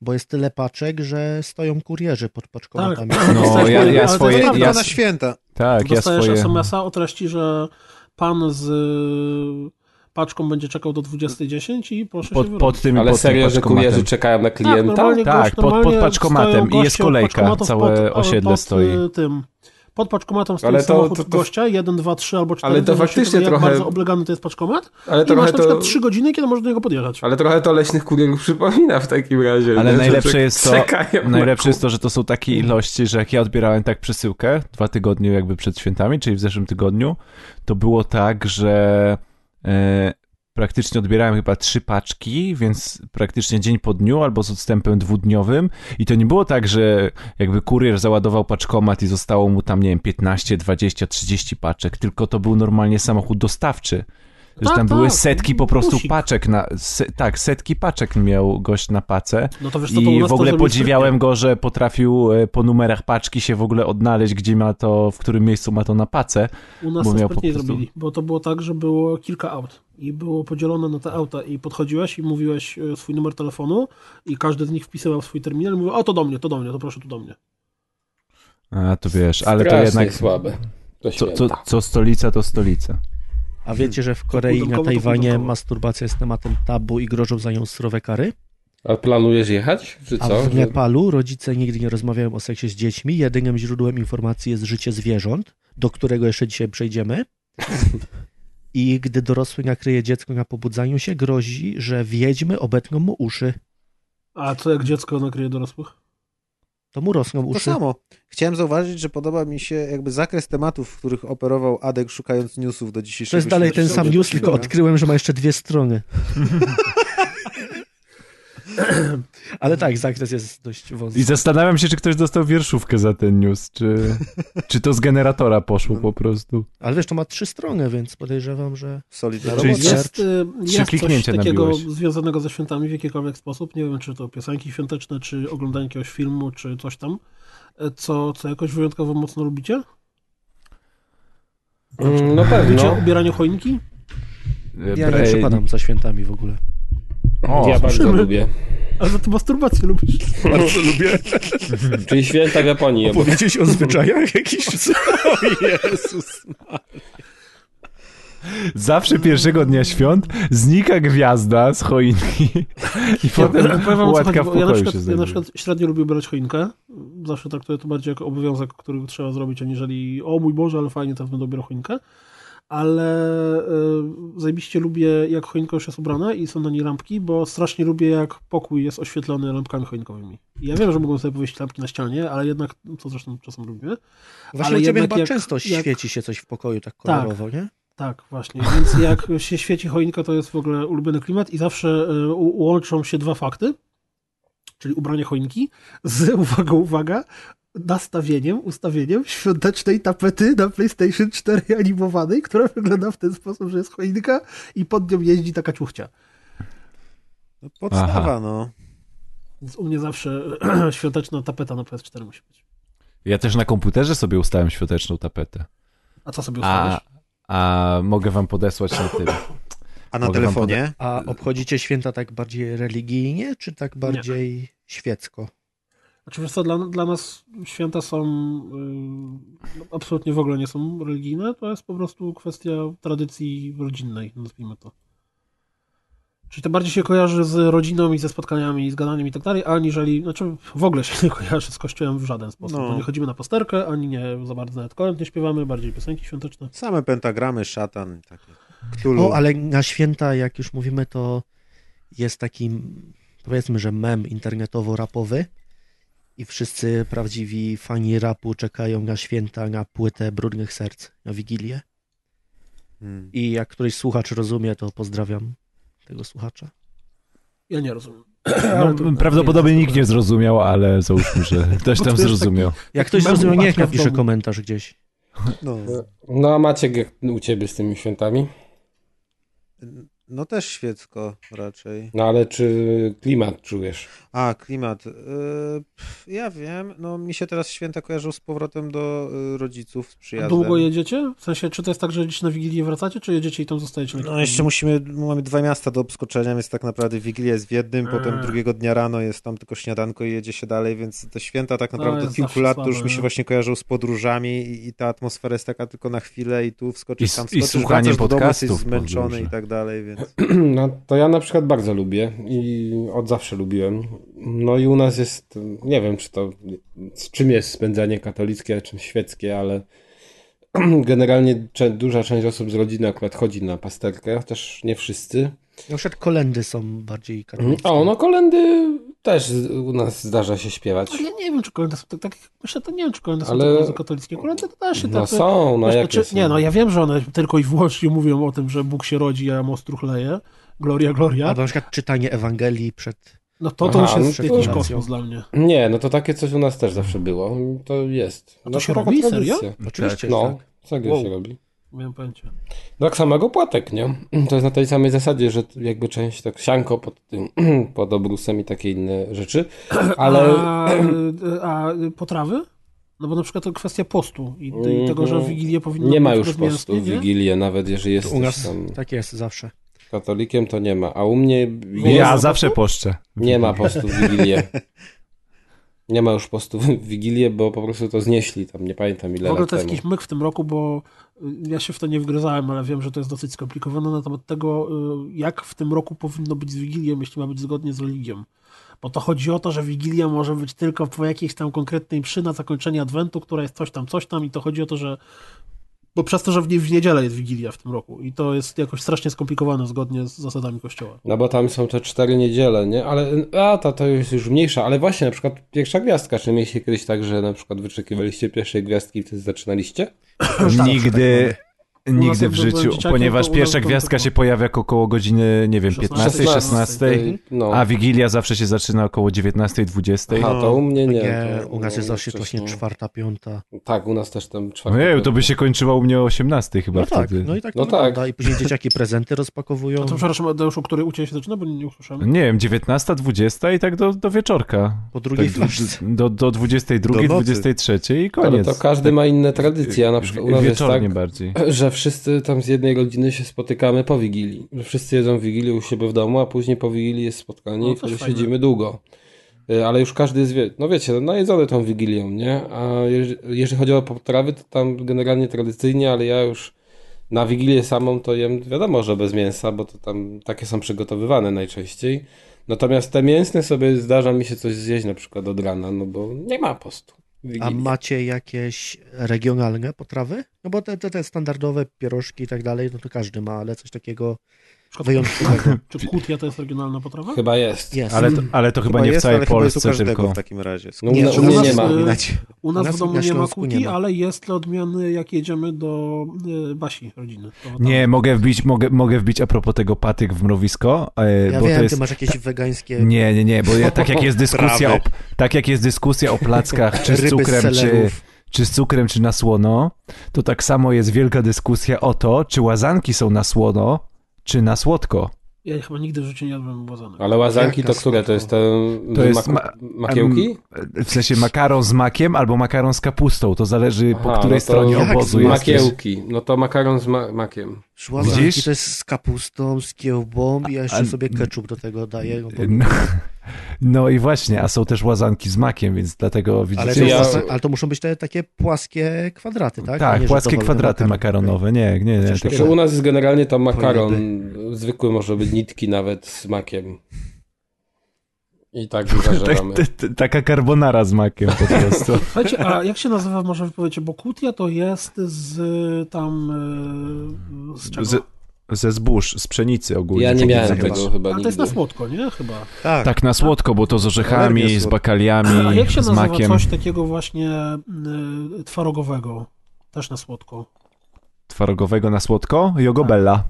[SPEAKER 10] bo jest tyle paczek, że stoją kurierzy pod paczkomatami.
[SPEAKER 2] No, ja, ja
[SPEAKER 3] Tak. Ale to
[SPEAKER 2] swoje...
[SPEAKER 3] jest
[SPEAKER 2] Ja,
[SPEAKER 3] prawda,
[SPEAKER 4] na święta.
[SPEAKER 2] tak, ja
[SPEAKER 3] Dostajesz
[SPEAKER 2] swoje...
[SPEAKER 3] SMS-a o treści, że pan z y, paczką będzie czekał do 20.10 i proszę
[SPEAKER 2] Pod,
[SPEAKER 3] się wyrobić.
[SPEAKER 2] pod tym
[SPEAKER 9] Ale
[SPEAKER 2] pod tym
[SPEAKER 9] serio, że
[SPEAKER 2] paczkomatem.
[SPEAKER 9] kurierzy czekają na klienta?
[SPEAKER 3] normalnie gość-
[SPEAKER 2] Tak, pod- pod
[SPEAKER 3] normalnie
[SPEAKER 2] paczkomatem
[SPEAKER 3] stoją
[SPEAKER 2] i jest
[SPEAKER 3] goście od
[SPEAKER 2] kolejka,
[SPEAKER 3] paczkomatów
[SPEAKER 2] całe
[SPEAKER 3] pod-
[SPEAKER 2] osiedle
[SPEAKER 3] pod,
[SPEAKER 2] stoi.
[SPEAKER 3] y, Tym. Pod paczkomatem stoi
[SPEAKER 9] Ale to-
[SPEAKER 3] samochód
[SPEAKER 9] to- to-
[SPEAKER 3] gościa, 1, 2, 3 albo 4.
[SPEAKER 9] Ale to faktycznie
[SPEAKER 3] jak
[SPEAKER 9] trochę-
[SPEAKER 3] bardzo oblegany to jest paczkomat.
[SPEAKER 9] Ale
[SPEAKER 3] I masz
[SPEAKER 9] trochę
[SPEAKER 3] na przykład
[SPEAKER 9] to...
[SPEAKER 3] 3 godziny, kiedy możesz do niego podjechać.
[SPEAKER 9] Ale trochę to leśnych kurierów przypomina w takim razie.
[SPEAKER 2] Ale
[SPEAKER 9] nie? Że czek-
[SPEAKER 2] najlepsze jest to,
[SPEAKER 9] czekają na
[SPEAKER 2] najlepsze jest
[SPEAKER 9] kur-
[SPEAKER 2] to, że to są takie
[SPEAKER 3] Mhm.
[SPEAKER 2] ilości, że jak ja odbierałem tak przesyłkę dwa tygodnie jakby przed świętami, czyli w zeszłym tygodniu, to było tak, że e, praktycznie odbierałem chyba trzy paczki, więc praktycznie dzień po dniu albo z odstępem dwudniowym i to nie było tak, że jakby kurier załadował paczkomat i zostało mu tam, nie wiem, 15, 20, 30 paczek, tylko to był normalnie samochód dostawczy. że
[SPEAKER 3] Tak,
[SPEAKER 2] tam były
[SPEAKER 3] tak,
[SPEAKER 2] setki po prostu
[SPEAKER 3] busik.
[SPEAKER 2] paczek na... Se, tak, setki paczek miał gość na pace.
[SPEAKER 3] No to wiesz, co to u
[SPEAKER 2] I
[SPEAKER 3] nas
[SPEAKER 2] w ogóle
[SPEAKER 3] to zrobił
[SPEAKER 2] podziwiałem go, że potrafił e, po numerach paczki się w ogóle odnaleźć, gdzie ma to, w którym miejscu ma to na pace.
[SPEAKER 3] sprytnie. U nas
[SPEAKER 2] bo
[SPEAKER 3] to
[SPEAKER 2] miał po
[SPEAKER 3] sprytniej
[SPEAKER 2] prostu-
[SPEAKER 3] zrobili, bo to było tak, że było kilka aut i było podzielone na te auta i podchodziłeś i mówiłeś e, swój numer telefonu i każdy z nich wpisywał swój terminal i mówił, o to do mnie, to do mnie, to proszę tu do mnie.
[SPEAKER 2] A, to wiesz, ale to
[SPEAKER 9] Strasznie
[SPEAKER 2] jednak...
[SPEAKER 9] słabe. To
[SPEAKER 2] Co,
[SPEAKER 9] święta.
[SPEAKER 2] co, co stolica, to stolica.
[SPEAKER 10] A wiecie, że w Korei i na
[SPEAKER 3] Budynkowo to
[SPEAKER 10] Tajwanie
[SPEAKER 3] budynkowo.
[SPEAKER 10] masturbacja jest tematem tabu i grożą za nią surowe kary?
[SPEAKER 9] A planujesz jechać? Czy
[SPEAKER 10] A
[SPEAKER 9] co?
[SPEAKER 10] w Nepalu rodzice nigdy nie rozmawiają o seksie z dziećmi. Jedynym źródłem informacji jest życie zwierząt, do którego jeszcze dzisiaj przejdziemy. I gdy dorosły nakryje dziecko na pobudzaniu się, grozi, że wiedźmy obetną mu uszy.
[SPEAKER 3] A co jak dziecko nakryje dorosłych?
[SPEAKER 10] To mu rosną
[SPEAKER 4] To
[SPEAKER 10] uszy.
[SPEAKER 4] samo. Chciałem zauważyć, że podoba mi się jakby zakres tematów, w których operował Adek szukając newsów do dzisiejszego
[SPEAKER 10] To jest dalej ten sam
[SPEAKER 4] śledztwa.
[SPEAKER 10] news, tylko odkryłem, że ma jeszcze dwie strony. Ale tak, zakres jest dość wąski.
[SPEAKER 2] I zastanawiam się, czy ktoś dostał wierszówkę za ten news, czy, czy to z generatora poszło po prostu.
[SPEAKER 10] Ale wiesz, to ma trzy strony, więc podejrzewam, że...
[SPEAKER 4] Solidarność.
[SPEAKER 2] Czyli
[SPEAKER 10] Robocza.
[SPEAKER 3] Jest, y, jest coś
[SPEAKER 2] kliknięcia
[SPEAKER 3] takiego
[SPEAKER 2] nabiłeś.
[SPEAKER 3] związanego ze świętami w jakikolwiek sposób. Nie wiem, czy to piosenki świąteczne, czy oglądanie jakiegoś filmu, czy coś tam, y, co, co jakoś wyjątkowo mocno lubicie?
[SPEAKER 9] Mm, No pewnie.
[SPEAKER 3] Lubicie
[SPEAKER 9] No.
[SPEAKER 3] ubieranie choinki?
[SPEAKER 2] E,
[SPEAKER 10] Ja nie
[SPEAKER 2] Brain-
[SPEAKER 10] przepadam za świętami w ogóle.
[SPEAKER 2] O,
[SPEAKER 9] ja bardzo
[SPEAKER 3] słyszymy.
[SPEAKER 9] lubię.
[SPEAKER 3] A za to masturbację lubisz.
[SPEAKER 9] Czyli święta w Japonii. ja-
[SPEAKER 10] Powiedzieć o zwyczajach jakichś... O Jezus.
[SPEAKER 2] Zawsze pierwszego dnia świąt znika gwiazda z choinki i potem
[SPEAKER 3] Ja- powiem wam, o co
[SPEAKER 2] łatka
[SPEAKER 3] chodzi,
[SPEAKER 2] w
[SPEAKER 3] bo ja, na
[SPEAKER 2] pokoju się
[SPEAKER 3] przykład, ja na
[SPEAKER 2] znajduje.
[SPEAKER 3] przykład średnio lubię brać choinkę. Zawsze traktuję to bardziej jako obowiązek, który trzeba zrobić, aniżeli o mój Boże, ale fajnie, teraz będę ubierał choinkę. Ale y, zajebiście lubię, jak choinka już jest ubrana i są na niej lampki, bo strasznie lubię, jak pokój jest oświetlony lampkami choinkowymi. Ja wiem, że mogą sobie powiesić lampki na ścianie, ale jednak, co zresztą czasem lubimy,
[SPEAKER 10] Właśnie
[SPEAKER 3] Ale
[SPEAKER 10] u ciebie
[SPEAKER 3] jednak
[SPEAKER 10] chyba
[SPEAKER 3] jak-
[SPEAKER 10] często
[SPEAKER 3] jak-
[SPEAKER 10] świeci się coś w pokoju tak kolorowo, nie?
[SPEAKER 3] Tak, właśnie. Więc jak się świeci choinka, to jest w ogóle ulubiony klimat i zawsze y, u- łączą się dwa fakty, czyli ubranie choinki z, uwaga, uwaga, nastawieniem, ustawieniem świątecznej tapety na PlayStation 4 animowanej, która wygląda w ten sposób, że jest choinka i pod nią jeździ taka ciuchcia.
[SPEAKER 4] No, podstawa,
[SPEAKER 2] Aha.
[SPEAKER 4] no.
[SPEAKER 3] Więc u mnie zawsze e, świąteczna tapeta na PS4 musi być.
[SPEAKER 2] Ja też na komputerze sobie ustałem świąteczną tapetę.
[SPEAKER 3] A co sobie ustawisz?
[SPEAKER 2] A, a mogę wam podesłać na tym.
[SPEAKER 4] A na
[SPEAKER 2] Mogę wam
[SPEAKER 4] telefonie?
[SPEAKER 10] A obchodzicie święta tak bardziej religijnie, czy tak bardziej świecko?
[SPEAKER 3] Znaczy, wiesz co, dla, dla nas święta są y, no, absolutnie w ogóle nie są religijne, to jest po prostu kwestia tradycji rodzinnej, nazwijmy to. Czyli to bardziej się kojarzy z rodziną i ze spotkaniami, z gadaniem i tak dalej, aniżeli, znaczy w ogóle się nie kojarzy z kościołem w żaden sposób.
[SPEAKER 4] No.
[SPEAKER 3] Bo nie chodzimy na pasterkę, ani nie za bardzo nawet kolęd nie śpiewamy, bardziej piosenki świąteczne.
[SPEAKER 4] Same pentagramy, szatan i takie. Cthulhu.
[SPEAKER 10] O, ale na święta, jak już mówimy, to jest taki, powiedzmy, że mem internetowo-rapowy i wszyscy prawdziwi fani rapu czekają na święta, na płytę Brudnych Serc, na Wigilię.
[SPEAKER 4] Hmm.
[SPEAKER 10] I jak któryś słuchacz rozumie, to pozdrawiam tego słuchacza.
[SPEAKER 3] Ja nie rozumiem.
[SPEAKER 2] No, prawdopodobnie nikt nie zrozumiał, ale załóżmy, że ktoś
[SPEAKER 3] Bo
[SPEAKER 2] tam
[SPEAKER 3] to jest
[SPEAKER 2] zrozumiał.
[SPEAKER 10] Jak
[SPEAKER 3] Taki
[SPEAKER 10] ktoś
[SPEAKER 3] mem
[SPEAKER 10] zrozumiał, niech
[SPEAKER 3] Batman w
[SPEAKER 10] napisze
[SPEAKER 3] domu.
[SPEAKER 10] komentarz gdzieś.
[SPEAKER 4] No.
[SPEAKER 9] No a Maciek, jak u ciebie z tymi świętami?
[SPEAKER 4] no też świecko raczej.
[SPEAKER 9] No ale czy klimat czujesz?
[SPEAKER 4] A, klimat. Y, pff, ja wiem, no mi się teraz święta kojarzą z powrotem do y, rodziców, z
[SPEAKER 3] A
[SPEAKER 4] przyjazdem.
[SPEAKER 3] długo jedziecie? W sensie, czy to jest tak, że gdzieś na Wigilię wracacie, czy jedziecie i tam zostajecie? na
[SPEAKER 4] No
[SPEAKER 3] kilka
[SPEAKER 4] jeszcze musimy, mamy dwa miasta do obskoczenia, więc tak naprawdę Wigilia jest w jednym,
[SPEAKER 2] E.
[SPEAKER 4] potem
[SPEAKER 3] Eee.
[SPEAKER 4] drugiego dnia rano jest tam tylko śniadanko i jedzie się dalej, więc te święta tak
[SPEAKER 3] No,
[SPEAKER 4] naprawdę od
[SPEAKER 3] jest
[SPEAKER 4] kilku
[SPEAKER 3] zawsze
[SPEAKER 4] lat to
[SPEAKER 3] słabe,
[SPEAKER 4] już mi się
[SPEAKER 2] no.
[SPEAKER 3] nie?
[SPEAKER 4] właśnie kojarzą z podróżami i, i ta atmosfera jest taka tylko na chwilę i tu wskoczysz,
[SPEAKER 2] I s-
[SPEAKER 4] tam
[SPEAKER 2] i
[SPEAKER 4] wskoczysz,
[SPEAKER 2] słuchanie
[SPEAKER 4] wracasz do domu, jesteś
[SPEAKER 2] podcastów w
[SPEAKER 4] zmęczony
[SPEAKER 2] podróży.
[SPEAKER 4] i tak dalej, więc...
[SPEAKER 9] No to ja na przykład bardzo lubię i od zawsze lubiłem. No i u nas jest, nie wiem czy to, z czym jest spędzanie katolickie, a czym świeckie, ale generalnie cze- duża część osób z rodziny akurat chodzi na pasterkę, chociaż nie wszyscy.
[SPEAKER 10] Na przykład kolendy są bardziej katolickie.
[SPEAKER 9] O, no kolendy też z- u nas zdarza się śpiewać.
[SPEAKER 3] Ale ja nie wiem, czy kolędy są tak, tak myślę, to nie wiem, czy kolędy są
[SPEAKER 9] Ale-
[SPEAKER 3] tak bardzo katolickie. Kolędy to też się
[SPEAKER 9] No
[SPEAKER 3] tak...
[SPEAKER 9] są, no
[SPEAKER 3] wiesz, to
[SPEAKER 9] jakie
[SPEAKER 3] czy,
[SPEAKER 9] są?
[SPEAKER 3] nie, no ja wiem, że one tylko i wyłącznie mówią o tym, że Bóg się rodzi, a most truchleje. Gloria, gloria.
[SPEAKER 10] Albo na przykład czytanie Ewangelii przed...
[SPEAKER 3] No to to
[SPEAKER 9] Aha,
[SPEAKER 3] już jest
[SPEAKER 9] no to-
[SPEAKER 3] jakiś kosmos dla mnie.
[SPEAKER 9] Nie, no to takie coś u nas też zawsze było. To jest.
[SPEAKER 3] to
[SPEAKER 9] No
[SPEAKER 3] się
[SPEAKER 9] taka
[SPEAKER 3] robi?
[SPEAKER 9] tradycja.
[SPEAKER 10] Oczywiście,
[SPEAKER 9] No,
[SPEAKER 10] tak.
[SPEAKER 9] tak
[SPEAKER 10] Wow.
[SPEAKER 9] się robi.
[SPEAKER 3] Miałem pojęcia.
[SPEAKER 9] No tak samo jak opłatek, nie? To jest na tej samej zasadzie, że jakby część tak sianko pod tym, pod obrusem i takie inne rzeczy, ale...
[SPEAKER 3] A, y, a y, potrawy? No bo na przykład to kwestia postu i, i tego, że w Wigilię powinno
[SPEAKER 9] Mhm. Nie ma
[SPEAKER 3] być
[SPEAKER 9] już
[SPEAKER 3] bezmięsnie,
[SPEAKER 9] postu w
[SPEAKER 3] nie?
[SPEAKER 9] Wigilię, nawet jeżeli
[SPEAKER 10] To
[SPEAKER 9] jesteś
[SPEAKER 10] u nas
[SPEAKER 9] tam
[SPEAKER 10] tak jest zawsze.
[SPEAKER 9] katolikiem, to nie ma. A u mnie jest,
[SPEAKER 2] Ja zawsze poszczę.
[SPEAKER 9] nie ma postu w Wigilię. Nie ma już postu w Wigilię, bo po prostu to znieśli tam, nie pamiętam ile
[SPEAKER 3] W ogóle
[SPEAKER 9] lat
[SPEAKER 3] to jest
[SPEAKER 9] temu.
[SPEAKER 3] jakiś myk w tym roku, bo y, ja się w to nie wgryzałem, ale wiem, że to jest dosyć skomplikowane na temat tego, y, jak w tym roku powinno być z Wigilią, jeśli ma być zgodnie z religią. Bo to chodzi o to, że Wigilia może być tylko po jakiejś tam konkretnej mszy na zakończenie Adwentu, która jest coś tam, coś tam i to chodzi o to, że bo przez to, że w, nie, w niedzielę jest Wigilia w tym roku i to jest jakoś strasznie skomplikowane zgodnie z zasadami Kościoła.
[SPEAKER 9] No bo tam są te cztery niedziele, nie? Ale a, ta to jest już mniejsza, ale właśnie na przykład pierwsza gwiazdka, czy mieliście kiedyś tak, że na przykład wyczekiwaliście pierwszej gwiazdki i wtedy zaczynaliście?
[SPEAKER 2] Nigdy,
[SPEAKER 3] U nas
[SPEAKER 2] nigdy
[SPEAKER 3] jak
[SPEAKER 2] w
[SPEAKER 3] byłem
[SPEAKER 2] życiu,
[SPEAKER 3] dzieciakiem,
[SPEAKER 2] ponieważ
[SPEAKER 3] to
[SPEAKER 2] pierwsza
[SPEAKER 3] udało-
[SPEAKER 2] gwiazdka się pojawia około godziny, nie wiem,
[SPEAKER 3] 16,
[SPEAKER 2] 15, 16,
[SPEAKER 9] Znaczy, No.
[SPEAKER 2] a Wigilia zawsze się zaczyna około 19, 20.
[SPEAKER 9] Aha, to u mnie nie.
[SPEAKER 10] Nie,
[SPEAKER 9] to no,
[SPEAKER 10] u nas jest zawsze
[SPEAKER 9] wcześniej.
[SPEAKER 10] właśnie czwarta, piąta.
[SPEAKER 9] Tak, u nas też tam czwarta.
[SPEAKER 2] No Nie, to by się kończyło u mnie o 18 chyba
[SPEAKER 10] No tak,
[SPEAKER 2] wtedy.
[SPEAKER 10] no i tak
[SPEAKER 9] No
[SPEAKER 10] to
[SPEAKER 9] tak.
[SPEAKER 10] wygląda. I później dzieciaki prezenty
[SPEAKER 3] A
[SPEAKER 10] rozpakowują.
[SPEAKER 3] No to przepraszam, Adeuszu, który u Ciebie się zaczyna, bo nie, nie usłyszałem.
[SPEAKER 2] Nie wiem, 19, 20 i tak do, do wieczorka.
[SPEAKER 10] Po drugiej
[SPEAKER 2] tak,
[SPEAKER 10] flaszce.
[SPEAKER 2] do, do, do 22,
[SPEAKER 4] Do nocy.
[SPEAKER 2] 23 i
[SPEAKER 9] Ale
[SPEAKER 2] koniec.
[SPEAKER 9] to każdy ma inne tradycje, a na przykład u nas jest tak,
[SPEAKER 2] Wieczornie bardziej.
[SPEAKER 9] że wszyscy tam z jednej rodziny się spotykamy po Wigilii. Że wszyscy jedzą Wigilię u siebie w domu, a później po Wigilii jest spotkanie
[SPEAKER 3] No,
[SPEAKER 9] i
[SPEAKER 3] też
[SPEAKER 9] wtedy
[SPEAKER 3] fajne.
[SPEAKER 9] siedzimy długo. Y, Ale już każdy jest, wie- no wiecie, no jedzony tą Wigilią, nie? A jeż- jeżeli chodzi o potrawy, to tam generalnie tradycyjnie, ale ja już na Wigilię samą to jem, wiadomo, że bez mięsa, bo to tam takie są przygotowywane najczęściej. Natomiast te mięsne sobie zdarza mi się coś zjeść na przykład od rana, no bo nie ma postu. Wigilii.
[SPEAKER 10] A macie jakieś regionalne potrawy? No bo te, te, te standardowe pierożki i tak dalej, no to każdy ma, ale coś takiego wyjątkowego
[SPEAKER 3] Czy kutia to jest oryginalna potrawa?
[SPEAKER 9] Chyba jest.
[SPEAKER 10] jest.
[SPEAKER 2] Ale to, ale to chyba, nie w
[SPEAKER 4] jest,
[SPEAKER 2] całej
[SPEAKER 4] ale chyba jest u
[SPEAKER 2] Polsce,
[SPEAKER 4] każdego tak
[SPEAKER 2] tylko.
[SPEAKER 4] w takim razie.
[SPEAKER 9] No,
[SPEAKER 10] Nie,
[SPEAKER 9] u,
[SPEAKER 10] u
[SPEAKER 9] u mnie
[SPEAKER 10] nas,
[SPEAKER 9] nie ma.
[SPEAKER 3] y,
[SPEAKER 4] Wspominać.
[SPEAKER 3] U nas
[SPEAKER 10] U nas
[SPEAKER 3] w domu
[SPEAKER 10] na
[SPEAKER 3] nie ma
[SPEAKER 10] Śląsku
[SPEAKER 3] kuti,
[SPEAKER 10] nie ma.
[SPEAKER 3] ale jest dla odmiany, jak jedziemy do y, Basi rodziny. To tam-
[SPEAKER 2] Nie, mogę wbić, mogę, mogę wbić a propos tego patyk w mrowisko, e,
[SPEAKER 10] Ja
[SPEAKER 2] bo to
[SPEAKER 10] wiem,
[SPEAKER 2] jest...
[SPEAKER 10] ty masz jakieś wegańskie...
[SPEAKER 2] Nie, nie, nie, bo ja, tak jak jest dyskusja o,
[SPEAKER 4] Prawy.
[SPEAKER 2] tak jak jest dyskusja o plackach, czy z
[SPEAKER 10] Ryby z
[SPEAKER 2] cukrem, czy,
[SPEAKER 10] selerów.
[SPEAKER 2] czy z cukrem, czy na słono, to tak samo jest wielka dyskusja o to, czy łazanki są na słono, czy na słodko.
[SPEAKER 3] Ja chyba nigdy w życiu nie jadłem błazanek.
[SPEAKER 9] Ale łazanki
[SPEAKER 10] Jaka
[SPEAKER 9] to które? To jest te
[SPEAKER 2] To
[SPEAKER 9] to
[SPEAKER 2] jest
[SPEAKER 9] jest
[SPEAKER 2] ma-
[SPEAKER 9] makiełki?
[SPEAKER 2] Em, W sensie makaron z makiem albo makaron z kapustą, to zależy po
[SPEAKER 9] Aha,
[SPEAKER 2] której
[SPEAKER 9] no to
[SPEAKER 2] stronie
[SPEAKER 10] jak
[SPEAKER 2] obozu
[SPEAKER 10] z
[SPEAKER 2] jest.
[SPEAKER 9] Makiełki. No to makaron z ma- makiem.
[SPEAKER 10] Szłazanki
[SPEAKER 2] Widzisz?
[SPEAKER 10] to jest z kapustą, z kiełbą i ja jeszcze
[SPEAKER 2] A-
[SPEAKER 10] sobie ketchup do tego daję. No bo...
[SPEAKER 2] No, no i właśnie, a są też łazanki z makiem, więc dlatego
[SPEAKER 10] ale,
[SPEAKER 2] widzicie...
[SPEAKER 10] to
[SPEAKER 9] Czy ja-
[SPEAKER 10] ale to muszą być te takie płaskie kwadraty, tak? A
[SPEAKER 2] Tak,
[SPEAKER 10] nie, że
[SPEAKER 2] płaskie
[SPEAKER 10] dowolny
[SPEAKER 2] kwadraty
[SPEAKER 10] makaron.
[SPEAKER 2] makaronowe, nie, nie, nie. tak-
[SPEAKER 10] Przecież
[SPEAKER 2] Takie...
[SPEAKER 9] Że u nas jest generalnie to makaron zwykły może być nitki nawet z makiem. I tak zażeramy.
[SPEAKER 2] Tak, t- t- taka carbonara z makiem po prostu.
[SPEAKER 3] Słuchajcie, a jak się nazywa, może wypowiecie, bo kutia to jest z y, tam... y, z czego?
[SPEAKER 2] Z, ze zbóż, z pszenicy ogólnie.
[SPEAKER 9] Ja nie
[SPEAKER 2] Tak
[SPEAKER 9] miałem
[SPEAKER 2] nazywać.
[SPEAKER 9] tego chyba
[SPEAKER 3] Ale to jest
[SPEAKER 9] nigdy.
[SPEAKER 3] na słodko, nie? Chyba.
[SPEAKER 4] Tak,
[SPEAKER 2] Tak na słodko, bo to z orzechami,
[SPEAKER 4] Alergia
[SPEAKER 2] z
[SPEAKER 4] słodka.
[SPEAKER 3] A
[SPEAKER 2] bakaliami,
[SPEAKER 3] jak się
[SPEAKER 2] z
[SPEAKER 3] nazywa
[SPEAKER 2] makiem.
[SPEAKER 3] coś takiego właśnie y, twarogowego? Też na słodko.
[SPEAKER 2] Twarogowego na słodko?
[SPEAKER 10] Tak.
[SPEAKER 2] Jogobella.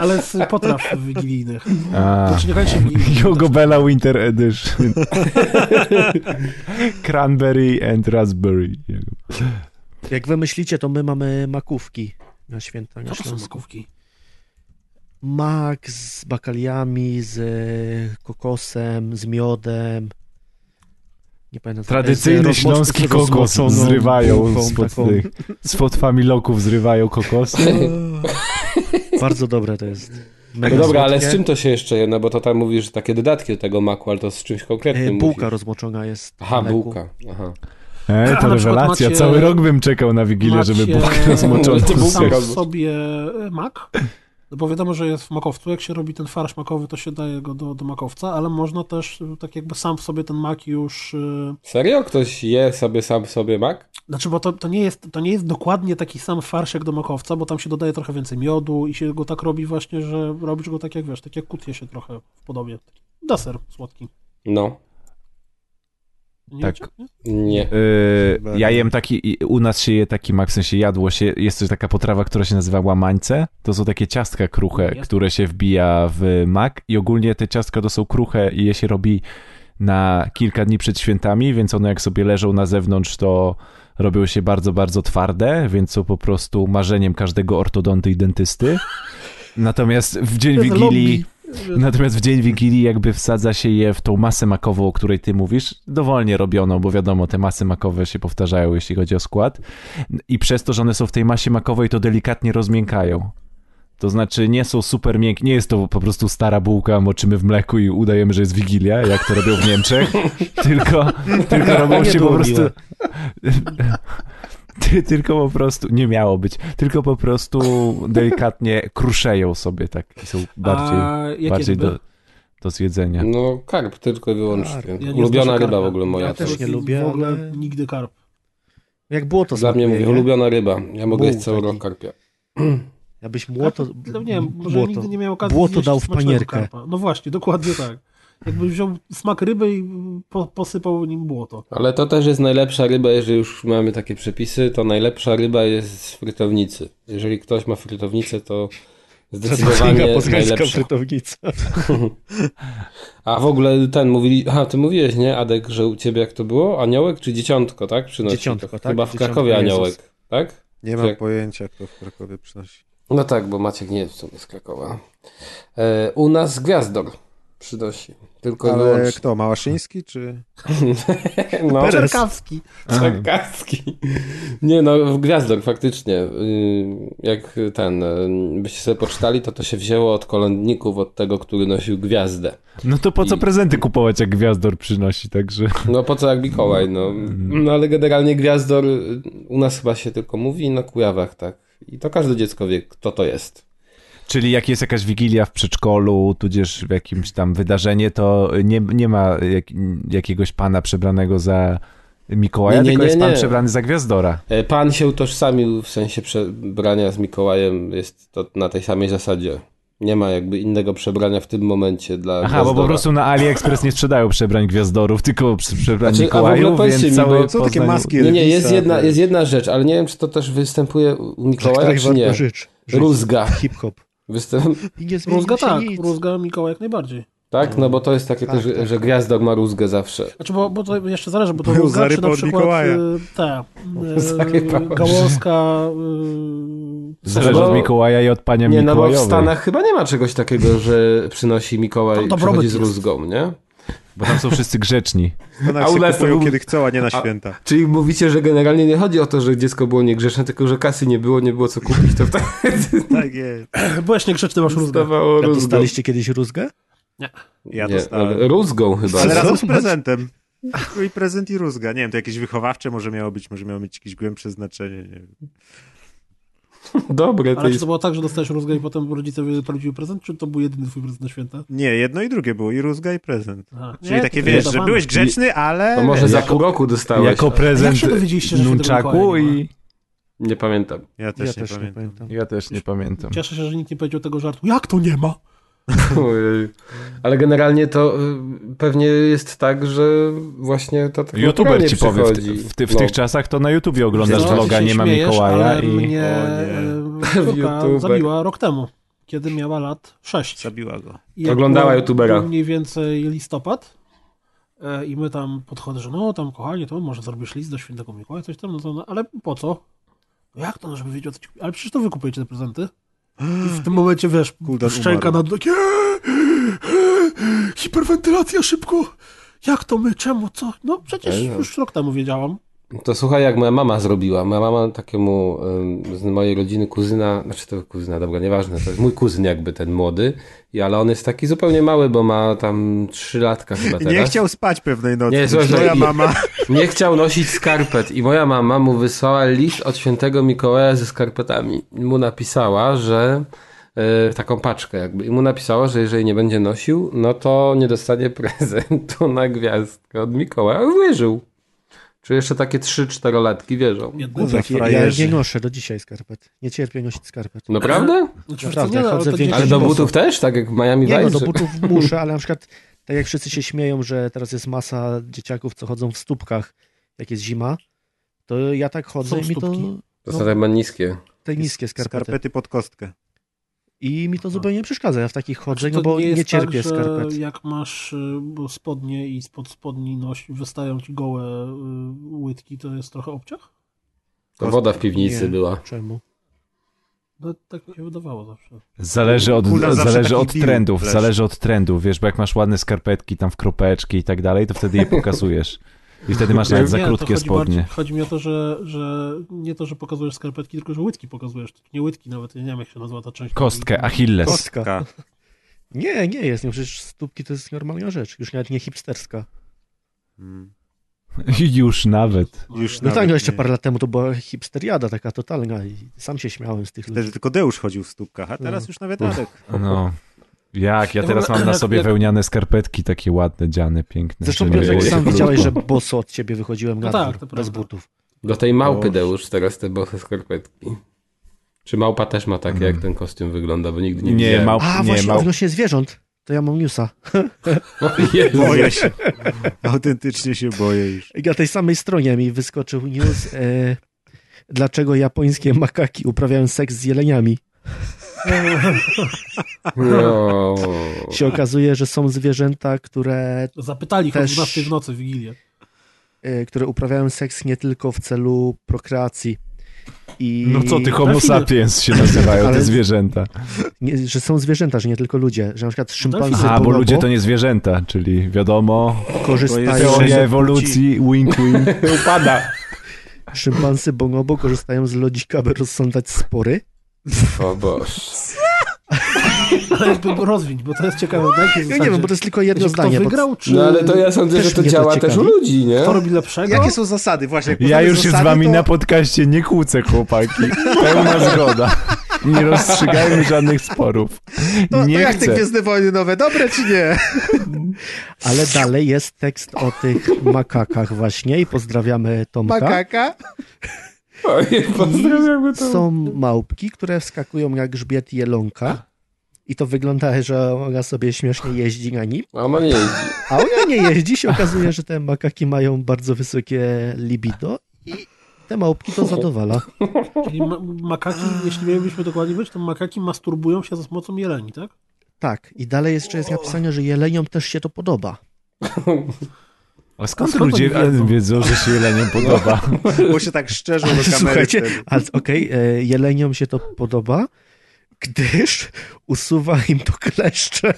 [SPEAKER 3] Ale z potraw wigilijnych.
[SPEAKER 2] A.
[SPEAKER 3] Znaczy nie kończy wigilijnych.
[SPEAKER 2] Jogobella Winter Edition. Cranberry and raspberry.
[SPEAKER 10] Jak wy myślicie, to my mamy makówki na święta na
[SPEAKER 3] To są
[SPEAKER 10] Śląsku.
[SPEAKER 3] makówki.
[SPEAKER 10] Mak z bakaliami, z e, kokosem, z miodem. Nie pamiętam. co-
[SPEAKER 2] Tradycyjny
[SPEAKER 10] z rozmoczką
[SPEAKER 2] śląski
[SPEAKER 10] z rozmoczoną
[SPEAKER 2] kokos zrywają
[SPEAKER 10] bułką
[SPEAKER 2] spod,
[SPEAKER 10] taką.
[SPEAKER 2] tych, spod familoków, zrywają kokosy. E,
[SPEAKER 10] Bardzo dobre to jest.
[SPEAKER 9] No
[SPEAKER 10] Mega
[SPEAKER 9] dobra, ale
[SPEAKER 10] słodkie.
[SPEAKER 9] z czym to się jeszcze je? No bo to tam mówisz, że takie dodatki do tego maku, ale to z czymś
[SPEAKER 10] E,
[SPEAKER 9] konkretnym
[SPEAKER 10] Bułka
[SPEAKER 9] musisz.
[SPEAKER 10] rozmoczona jest. w
[SPEAKER 9] Aha,
[SPEAKER 10] mleku.
[SPEAKER 9] bułka. Aha.
[SPEAKER 2] E,
[SPEAKER 3] A
[SPEAKER 2] to
[SPEAKER 3] na przykład
[SPEAKER 2] rewelacja.
[SPEAKER 3] macie-
[SPEAKER 2] Cały rok bym czekał na Wigilię, żeby
[SPEAKER 3] Macie-
[SPEAKER 2] Bóg rozmoczony
[SPEAKER 9] Macie bułkę
[SPEAKER 3] sam w
[SPEAKER 9] robić.
[SPEAKER 3] sobie mak. No bo wiadomo, że jest w makowcu. Jak się robi ten farsz makowy, to się daje go do, do makowca, ale można też y, tak jakby sam w sobie ten mak już. y,
[SPEAKER 9] Serio? Ktoś je sobie sam sobie mak?
[SPEAKER 3] Znaczy, bo to, to, nie jest, to nie jest dokładnie taki sam farsz jak do makowca, bo tam się dodaje trochę więcej miodu i się go tak robi właśnie, że robisz go tak jak wiesz, tak jak kutie się trochę w podobie. Deser słodki.
[SPEAKER 9] No.
[SPEAKER 3] Nie
[SPEAKER 2] Tak.
[SPEAKER 3] wiecie? Nie?
[SPEAKER 9] Nie.
[SPEAKER 2] Yy,
[SPEAKER 4] Chyba
[SPEAKER 2] ja
[SPEAKER 4] nie.
[SPEAKER 2] jem taki, i- u nas się je taki mak, w sensie jadło się, jest też taka potrawa, która się nazywa łamańce, to są takie ciastka kruche,
[SPEAKER 3] Jest.
[SPEAKER 2] które się wbija w mak i ogólnie te ciastka to są kruche i je się robi na kilka dni przed świętami, więc one jak sobie leżą na zewnątrz, to robią się bardzo, bardzo twarde, więc są po prostu marzeniem każdego ortodonty i dentysty. Natomiast w dzień
[SPEAKER 3] To jest
[SPEAKER 2] Wigilii...
[SPEAKER 3] lobby.
[SPEAKER 2] Natomiast w dzień Wigilii jakby wsadza się je w tą masę makową, o której ty mówisz, dowolnie robioną, bo wiadomo, te masy makowe się powtarzają, jeśli chodzi o skład. I przez to, że one są w tej masie makowej, to delikatnie rozmiękają. To znaczy nie są super miękkie, nie jest to po prostu stara bułka, moczymy w mleku i udajemy, że jest Wigilia, jak to robią w Niemczech, tylko, tylko robią
[SPEAKER 10] Nie
[SPEAKER 2] się po
[SPEAKER 10] było
[SPEAKER 2] prostu...
[SPEAKER 10] miłe.
[SPEAKER 2] Ty- Tylko po prostu, nie miało być, tylko po prostu delikatnie kruszeją sobie tak i są bardziej
[SPEAKER 3] A jakie
[SPEAKER 2] bardziej
[SPEAKER 3] ryby?
[SPEAKER 2] do, do zjedzenia.
[SPEAKER 9] No karp tylko i wyłącznie.
[SPEAKER 10] Karp.
[SPEAKER 3] Ja nie
[SPEAKER 9] ulubiona
[SPEAKER 3] znoszę
[SPEAKER 9] ryba
[SPEAKER 3] karpa.
[SPEAKER 9] w ogóle moja.
[SPEAKER 10] Ja
[SPEAKER 9] to
[SPEAKER 10] też
[SPEAKER 9] jest.
[SPEAKER 10] nie lubię,
[SPEAKER 3] W ogóle
[SPEAKER 10] ale-
[SPEAKER 3] nigdy karp.
[SPEAKER 10] Jak było to
[SPEAKER 9] Dla mnie
[SPEAKER 10] smakuje,
[SPEAKER 9] mówię,
[SPEAKER 10] nie?
[SPEAKER 9] ulubiona ryba. Ja mogę
[SPEAKER 10] Był
[SPEAKER 9] jeść cały
[SPEAKER 10] taki.
[SPEAKER 9] rok karpia.
[SPEAKER 10] Jakbyś młoto...
[SPEAKER 3] Karpa- no nie wiem, może
[SPEAKER 10] błoto.
[SPEAKER 3] nigdy nie miał okazji
[SPEAKER 10] Błoto
[SPEAKER 3] zjeść
[SPEAKER 10] dał w
[SPEAKER 3] smacznego
[SPEAKER 10] panierkę.
[SPEAKER 3] karpa. No właśnie, dokładnie tak. Jakbyś wziął smak ryby i po, posypał nim błoto.
[SPEAKER 9] Ale to też jest najlepsza ryba, jeżeli już mamy takie przepisy, to najlepsza ryba jest z frytownicy. Jeżeli ktoś ma frytownicę, to zdecydowanie najlepsza.
[SPEAKER 10] frytownica.
[SPEAKER 9] A w ogóle ten mówili, aha, ty mówiłeś, nie, Adek, że u ciebie jak to było? Aniołek czy dzieciątko, tak? Przynosi
[SPEAKER 10] Dzieciątko,
[SPEAKER 9] to.
[SPEAKER 10] tak?
[SPEAKER 9] Chyba w
[SPEAKER 10] Dzieciątko
[SPEAKER 9] Krakowie
[SPEAKER 10] Jezus.
[SPEAKER 9] aniołek, tak?
[SPEAKER 4] Nie mam
[SPEAKER 9] Tak.
[SPEAKER 4] pojęcia, kto w Krakowie przynosi.
[SPEAKER 9] No tak, bo Maciek nie jest w sumie z Krakowa. E, u nas gwiazdor przynosi. Tylko i
[SPEAKER 4] Ale
[SPEAKER 9] wyłącznie.
[SPEAKER 4] kto, Małaszyński czy...
[SPEAKER 9] No.
[SPEAKER 3] Czerkawski.
[SPEAKER 9] Czerkaski. Nie no, gwiazdor faktycznie. Yy, Jak ten, yy, byście sobie poczytali, to to się wzięło od kolędników, od tego, który nosił gwiazdę.
[SPEAKER 2] No to po co
[SPEAKER 9] I-
[SPEAKER 2] prezenty kupować, jak gwiazdor przynosi, także...
[SPEAKER 9] No po co jak Mikołaj, no. no ale generalnie gwiazdor yy, u nas chyba się tylko mówi na Kujawach, tak. I to każde dziecko wie, kto to jest.
[SPEAKER 2] Czyli jak jest jakaś wigilia w przedszkolu, tudzież w jakimś tam wydarzenie, to nie, nie ma jak, jakiegoś pana przebranego za Mikołaja,
[SPEAKER 9] Nie, nie,
[SPEAKER 2] tylko
[SPEAKER 9] nie,
[SPEAKER 2] jest pan
[SPEAKER 9] nie.
[SPEAKER 2] przebrany za gwiazdora.
[SPEAKER 9] E, Pan się utożsamił w sensie przebrania z Mikołajem, jest to na tej samej zasadzie. Nie ma jakby innego przebrania w tym momencie dla
[SPEAKER 2] Aha,
[SPEAKER 9] gwiazdora.
[SPEAKER 2] bo po prostu na AliExpress nie sprzedają przebrań gwiazdorów, tylko przy- przebrań
[SPEAKER 9] Znaczy, a w ogóle
[SPEAKER 2] Mikołajów,
[SPEAKER 9] powiedzcie
[SPEAKER 2] więc
[SPEAKER 9] mi,
[SPEAKER 2] całe
[SPEAKER 9] bo-
[SPEAKER 4] Są takie
[SPEAKER 2] Poznań-
[SPEAKER 4] maski
[SPEAKER 9] Nie, nie,
[SPEAKER 4] Elvisa,
[SPEAKER 9] jest jedna,
[SPEAKER 4] te-
[SPEAKER 9] jest jedna rzecz, ale nie wiem, czy to też występuje u Mikołaja,
[SPEAKER 10] których
[SPEAKER 9] czy nie.
[SPEAKER 10] Tak, warto żyć. żyć.
[SPEAKER 9] Rózga.
[SPEAKER 10] Hip-hop.
[SPEAKER 9] Występ,
[SPEAKER 10] I nie zmieniło
[SPEAKER 3] Rózga
[SPEAKER 10] się
[SPEAKER 3] tak,
[SPEAKER 10] nic.
[SPEAKER 3] rózga Mikołaj jak najbardziej.
[SPEAKER 9] tak? No bo to jest takie
[SPEAKER 10] Tak,
[SPEAKER 9] też,
[SPEAKER 10] tak.
[SPEAKER 9] że gwiazdor ma rózgę zawsze.
[SPEAKER 3] Znaczy, bo, bo to jeszcze zależy, bo to
[SPEAKER 4] Był
[SPEAKER 3] rózga, czy
[SPEAKER 4] zarypa
[SPEAKER 3] na
[SPEAKER 4] od
[SPEAKER 3] przykład
[SPEAKER 4] Mikołaja.
[SPEAKER 3] y, ta y,
[SPEAKER 9] Zarypa.
[SPEAKER 3] gałązka y,
[SPEAKER 2] Zależy
[SPEAKER 9] Bo-
[SPEAKER 2] od Mikołaja i od pania
[SPEAKER 9] Nie, no bo w
[SPEAKER 2] Mikołajowej.
[SPEAKER 9] Stanach chyba nie ma czegoś takiego, że przynosi
[SPEAKER 3] To
[SPEAKER 9] Mikołaj,
[SPEAKER 3] dobrobyt
[SPEAKER 9] przychodzi z
[SPEAKER 3] jest.
[SPEAKER 9] rózgą, nie?
[SPEAKER 2] Bo tam są wszyscy grzeczni.
[SPEAKER 4] Ona
[SPEAKER 9] A u
[SPEAKER 4] się
[SPEAKER 9] nas to
[SPEAKER 4] kupują
[SPEAKER 9] był-
[SPEAKER 4] kiedy chcą, a nie na
[SPEAKER 9] A-
[SPEAKER 4] święta.
[SPEAKER 9] Czyli mówicie, że generalnie nie chodzi o to, że dziecko było niegrzeczne, tylko że kasy nie było, nie było co kupić, to wtedy
[SPEAKER 4] Tak jest.
[SPEAKER 3] Byłeś niegrzeczny, masz rózgę.
[SPEAKER 9] dostawało
[SPEAKER 10] A
[SPEAKER 9] rózgą.
[SPEAKER 10] dostaliście kiedyś rózgę?
[SPEAKER 4] Ja
[SPEAKER 9] nie,
[SPEAKER 4] dostałem.
[SPEAKER 9] ale Rózgą chyba.
[SPEAKER 4] Ale
[SPEAKER 10] Ale
[SPEAKER 4] razem z
[SPEAKER 10] zobacz.
[SPEAKER 4] prezentem. Tylko i prezent i rózga. Nie wiem, to jakieś wychowawcze może miało być, może miało mieć jakieś głębsze znaczenie. Nie wiem.
[SPEAKER 9] Dobre, to
[SPEAKER 3] Ale czy
[SPEAKER 9] jest...
[SPEAKER 3] to było tak, że dostałeś rózgę i potem rodzice wyprawdziły prezent, czy to był jedyny twój prezent na święta?
[SPEAKER 4] Nie, jedno i drugie było, i rózga, i prezent.
[SPEAKER 3] Aha.
[SPEAKER 4] Czyli
[SPEAKER 3] Nie,
[SPEAKER 4] takie,
[SPEAKER 3] to
[SPEAKER 4] wiesz, że
[SPEAKER 3] wydawane.
[SPEAKER 4] byłeś grzeczny, ale...
[SPEAKER 9] To może za pół roku dostałeś.
[SPEAKER 2] Jako
[SPEAKER 3] Jak
[SPEAKER 2] prezent
[SPEAKER 3] się dowiedzieliście, że Świętego
[SPEAKER 2] nunchaku
[SPEAKER 3] Mikołaja nie ma?
[SPEAKER 2] i...
[SPEAKER 9] Nie pamiętam.
[SPEAKER 4] Ja też
[SPEAKER 10] ja
[SPEAKER 4] nie pamiętam.
[SPEAKER 2] Ja też nie pamiętam.
[SPEAKER 3] Cieszę się, że nikt nie powiedział tego żartu. Jak to nie ma?
[SPEAKER 9] Ojej. Ale generalnie to y, pewnie jest tak, że właśnie to tak
[SPEAKER 2] YouTuber
[SPEAKER 9] naturalnie
[SPEAKER 2] ci powie, w,
[SPEAKER 9] przychodzi.
[SPEAKER 2] ty, w, ty, w
[SPEAKER 9] No.
[SPEAKER 2] tych czasach to na YouTubie oglądasz
[SPEAKER 3] Co?
[SPEAKER 2] Znaczy, vloga
[SPEAKER 3] No, Ty się
[SPEAKER 2] Nie ma
[SPEAKER 3] śmiejesz,
[SPEAKER 2] Mikołaja
[SPEAKER 3] ale
[SPEAKER 2] i...
[SPEAKER 3] mnie
[SPEAKER 4] O
[SPEAKER 3] e, córka
[SPEAKER 9] YouTuber.
[SPEAKER 3] zabiła rok temu, kiedy miała lat 6.
[SPEAKER 4] Zabiła go.
[SPEAKER 3] I jak
[SPEAKER 9] Oglądała
[SPEAKER 3] było-
[SPEAKER 9] youtubera.
[SPEAKER 3] był Mniej więcej listopad. e, I my tam podchodzę, że no tam kochanie, to może zrobisz list do świętego Mikołaja, coś tam, no to, no, ale po co? No jak to, no, żeby wiedzieć, o co ci... Ale przecież to wy kupujecie te prezenty. I w tym momencie, wiesz,
[SPEAKER 4] Kuldan
[SPEAKER 3] szczęka
[SPEAKER 4] umarł.
[SPEAKER 3] na dno, hiperwentylacja szybko. Jak to my, czemu, co? No przecież
[SPEAKER 9] Ej, no.
[SPEAKER 3] już rok temu wiedziałam.
[SPEAKER 9] To słuchaj, jak moja mama zrobiła. Moja mama takiemu ym, z mojej rodziny kuzyna, znaczy to kuzyna, dobra, nieważne, to jest mój kuzyn jakby ten młody, i, ale on jest taki zupełnie mały, bo ma tam trzy latka chyba
[SPEAKER 4] I
[SPEAKER 9] teraz.
[SPEAKER 4] Nie chciał spać pewnej nocy.
[SPEAKER 9] Nie, słuchaj,
[SPEAKER 4] Moja
[SPEAKER 9] i-
[SPEAKER 4] mama...
[SPEAKER 9] nie chciał nosić skarpet i moja mama mu wysłała list od świętego Mikołaja ze skarpetami. I Mu napisała, że e, taką paczkę jakby i mu napisała, że jeżeli nie będzie nosił, no to nie dostanie prezentu na gwiazdkę od Mikołaja. Wierzył. Czy jeszcze takie 3-4 latki wierzą.
[SPEAKER 3] Jednego.
[SPEAKER 4] Za
[SPEAKER 10] Kuzak, ja, ja
[SPEAKER 4] frajerzy.
[SPEAKER 10] nie noszę do dzisiaj skarpet. Nie cierpię nosić skarpet.
[SPEAKER 9] Naprawdę?
[SPEAKER 3] Znaczy,
[SPEAKER 10] Naprawdę,
[SPEAKER 3] no,
[SPEAKER 10] chodzę
[SPEAKER 3] to
[SPEAKER 10] w większości
[SPEAKER 9] No Ale
[SPEAKER 3] dzieci-
[SPEAKER 9] do
[SPEAKER 10] Sposób.
[SPEAKER 9] butów też? Tak jak Miami
[SPEAKER 10] Nie, no
[SPEAKER 9] Vice?
[SPEAKER 10] do butów muszę, ale na przykład tak jak wszyscy się śmieją, że teraz jest masa dzieciaków, co chodzą w stópkach, jak jest zima, to ja tak chodzę
[SPEAKER 3] Są
[SPEAKER 10] i mi to
[SPEAKER 3] stópki?
[SPEAKER 9] To są chyba niskie.
[SPEAKER 10] te niskie skarpety.
[SPEAKER 4] Skarpety pod kostkę.
[SPEAKER 10] I mi to zupełnie nie przeszkadza. Ja w takich chodzę,
[SPEAKER 3] Czy No.
[SPEAKER 10] no
[SPEAKER 3] Znaczy, to
[SPEAKER 10] bo nie,
[SPEAKER 3] jest tak,
[SPEAKER 10] cierpię
[SPEAKER 3] że
[SPEAKER 10] skarpet.
[SPEAKER 3] Jak masz y, bo spodnie i spod spodni noś, wystają ci gołe y, łydki, to jest trochę obciach?
[SPEAKER 4] Kostka.
[SPEAKER 8] woda w piwnicy
[SPEAKER 10] Nie.
[SPEAKER 8] była.
[SPEAKER 10] Czemu?
[SPEAKER 3] No tak mi się wydawało zawsze.
[SPEAKER 2] Zależy od,
[SPEAKER 4] Kurwa, zawsze
[SPEAKER 2] zależy
[SPEAKER 4] taki
[SPEAKER 2] od
[SPEAKER 4] deal
[SPEAKER 2] trendów,
[SPEAKER 4] wleci.
[SPEAKER 2] zależy od trendów, wiesz, bo jak masz ładne skarpetki tam w kropeczki i tak dalej, to wtedy je pokazujesz. I wtedy masz nawet za
[SPEAKER 3] to
[SPEAKER 2] krótkie
[SPEAKER 3] chodzi
[SPEAKER 2] spodnie.
[SPEAKER 3] Bardziej, chodzi mi o to, że, że nie to, że pokazujesz skarpetki, tylko że łydki pokazujesz. Nie łydki nawet, ja nie wiem jak się nazywa ta część.
[SPEAKER 2] Kostkę, Achilles.
[SPEAKER 10] Kostka. Nie, nie jest. Nie, przecież stópki to jest normalna rzecz. Już nawet nie hipsterska. No
[SPEAKER 4] Mm.
[SPEAKER 2] Już nawet.
[SPEAKER 4] Już
[SPEAKER 10] No
[SPEAKER 4] nawet
[SPEAKER 10] tak, no jeszcze
[SPEAKER 4] nie.
[SPEAKER 10] parę lat temu to była hipsteriada taka totalna i sam się śmiałem z tych ludzi.
[SPEAKER 4] Wtedy tylko Deusz chodził w stópkach, a teraz
[SPEAKER 10] No.
[SPEAKER 4] już nawet Adek.
[SPEAKER 2] No. Jak? Ja
[SPEAKER 3] Ja
[SPEAKER 2] teraz
[SPEAKER 3] w ogóle-
[SPEAKER 2] mam na
[SPEAKER 3] jak-
[SPEAKER 2] sobie
[SPEAKER 3] jak-
[SPEAKER 2] wełniane skarpetki takie ładne, dziane, piękne.
[SPEAKER 10] Zresztą
[SPEAKER 2] że nie
[SPEAKER 10] Piotrek,
[SPEAKER 2] było
[SPEAKER 10] sam
[SPEAKER 2] krótko.
[SPEAKER 10] widziałeś, że boso od ciebie wychodziłem na
[SPEAKER 3] No tak,
[SPEAKER 10] dwór,
[SPEAKER 3] to
[SPEAKER 10] bez
[SPEAKER 3] prawda.
[SPEAKER 10] butów.
[SPEAKER 8] Do tej małpy
[SPEAKER 4] Boże.
[SPEAKER 8] Deusz teraz te bose skarpetki. Czy małpa też ma takie,
[SPEAKER 10] Mhm.
[SPEAKER 8] jak ten kostium wygląda, bo nigdy nie,
[SPEAKER 2] Nie,
[SPEAKER 8] widziałem.
[SPEAKER 2] mał,
[SPEAKER 10] A,
[SPEAKER 2] nie,
[SPEAKER 10] właśnie
[SPEAKER 2] mał,
[SPEAKER 10] odnośnie zwierząt, to ja mam newsa.
[SPEAKER 8] O Jezu.
[SPEAKER 4] Boję się. Autentycznie się boję już.
[SPEAKER 10] I Na tej samej stronie mi wyskoczył news, e, dlaczego japońskie makaki uprawiają seks z jeleniami.
[SPEAKER 8] No.
[SPEAKER 10] Się okazuje, że są zwierzęta, które,
[SPEAKER 3] Zapytali ich o
[SPEAKER 10] Też-
[SPEAKER 3] 12 w nocy w Wigilię.
[SPEAKER 10] e, które uprawiają seks nie tylko w celu prokreacji. I
[SPEAKER 2] No co ty, homo
[SPEAKER 3] Delfiny.
[SPEAKER 2] sapiens się nazywają te
[SPEAKER 10] Ale-
[SPEAKER 2] zwierzęta.
[SPEAKER 10] nie, że są zwierzęta, że nie tylko ludzie, że na
[SPEAKER 3] No
[SPEAKER 10] przykład szympanzy
[SPEAKER 3] Delfiny.
[SPEAKER 2] A, bo
[SPEAKER 10] bonobo
[SPEAKER 2] ludzie to nie zwierzęta, czyli wiadomo,
[SPEAKER 10] korzystają
[SPEAKER 4] To jest-
[SPEAKER 2] teoria ewolucji, wink wink.
[SPEAKER 9] Upada.
[SPEAKER 10] Szympansy bonobo korzystają z lodzika, by rozsądzać spory.
[SPEAKER 8] O Boże.
[SPEAKER 3] Ale jakby go rozwiń, bo to jest ciekawe. Dajcie
[SPEAKER 10] Ja nie wiem, bo to jest tylko
[SPEAKER 3] Znaczy,
[SPEAKER 10] jedno
[SPEAKER 3] Że kto
[SPEAKER 10] zdanie. bo-
[SPEAKER 3] wygrał, czy
[SPEAKER 8] No ale to ja sądzę,
[SPEAKER 10] Też
[SPEAKER 8] że to
[SPEAKER 10] mnie to
[SPEAKER 8] działa też u
[SPEAKER 10] ciekawi.
[SPEAKER 8] ludzi, nie?
[SPEAKER 3] kto robi lepszego?
[SPEAKER 4] Jakie są zasady? Właśnie, jak
[SPEAKER 2] Ja
[SPEAKER 4] poznamy
[SPEAKER 2] już się z
[SPEAKER 4] zasady,
[SPEAKER 2] wami
[SPEAKER 4] to-
[SPEAKER 2] na podcaście nie kłócę, chłopaki. Pełna zgoda. Nie rozstrzygajmy żadnych sporów.
[SPEAKER 4] to, to
[SPEAKER 2] Nie
[SPEAKER 4] No, jak te
[SPEAKER 2] chcę.
[SPEAKER 4] Gwiezdne Wojny nowe, dobre czy nie?
[SPEAKER 10] Ale dalej jest tekst o tych makakach właśnie i pozdrawiamy Tomka.
[SPEAKER 4] Makaka?
[SPEAKER 8] Ojej, pozdrawiam to.
[SPEAKER 10] Są małpki, które wskakują na grzbiet jelonka i to wygląda, że ona sobie śmiesznie jeździ na nim,
[SPEAKER 8] A
[SPEAKER 9] no
[SPEAKER 8] ma nie jeździ.
[SPEAKER 10] a ona nie jeździ. Się okazuje, że te makaki mają bardzo wysokie libido i te małpki to zadowala.
[SPEAKER 3] Czyli ma- makaki, jeśli mielibyśmy dokładnie być, to makaki masturbują się za pomocą jeleni, tak?
[SPEAKER 10] Tak, i dalej jeszcze jest napisane, że jeleniom też się to podoba.
[SPEAKER 2] A skąd
[SPEAKER 3] skąd
[SPEAKER 2] ludzie
[SPEAKER 3] oni wiedzą?
[SPEAKER 2] wiedzą, że się jeleniom podoba?
[SPEAKER 4] Bo się tak szczerze do kamery
[SPEAKER 10] Słuchajcie,
[SPEAKER 4] wtedy.
[SPEAKER 10] a okej, e, jeleniom się to podoba, gdyż usuwa im to kleszcze.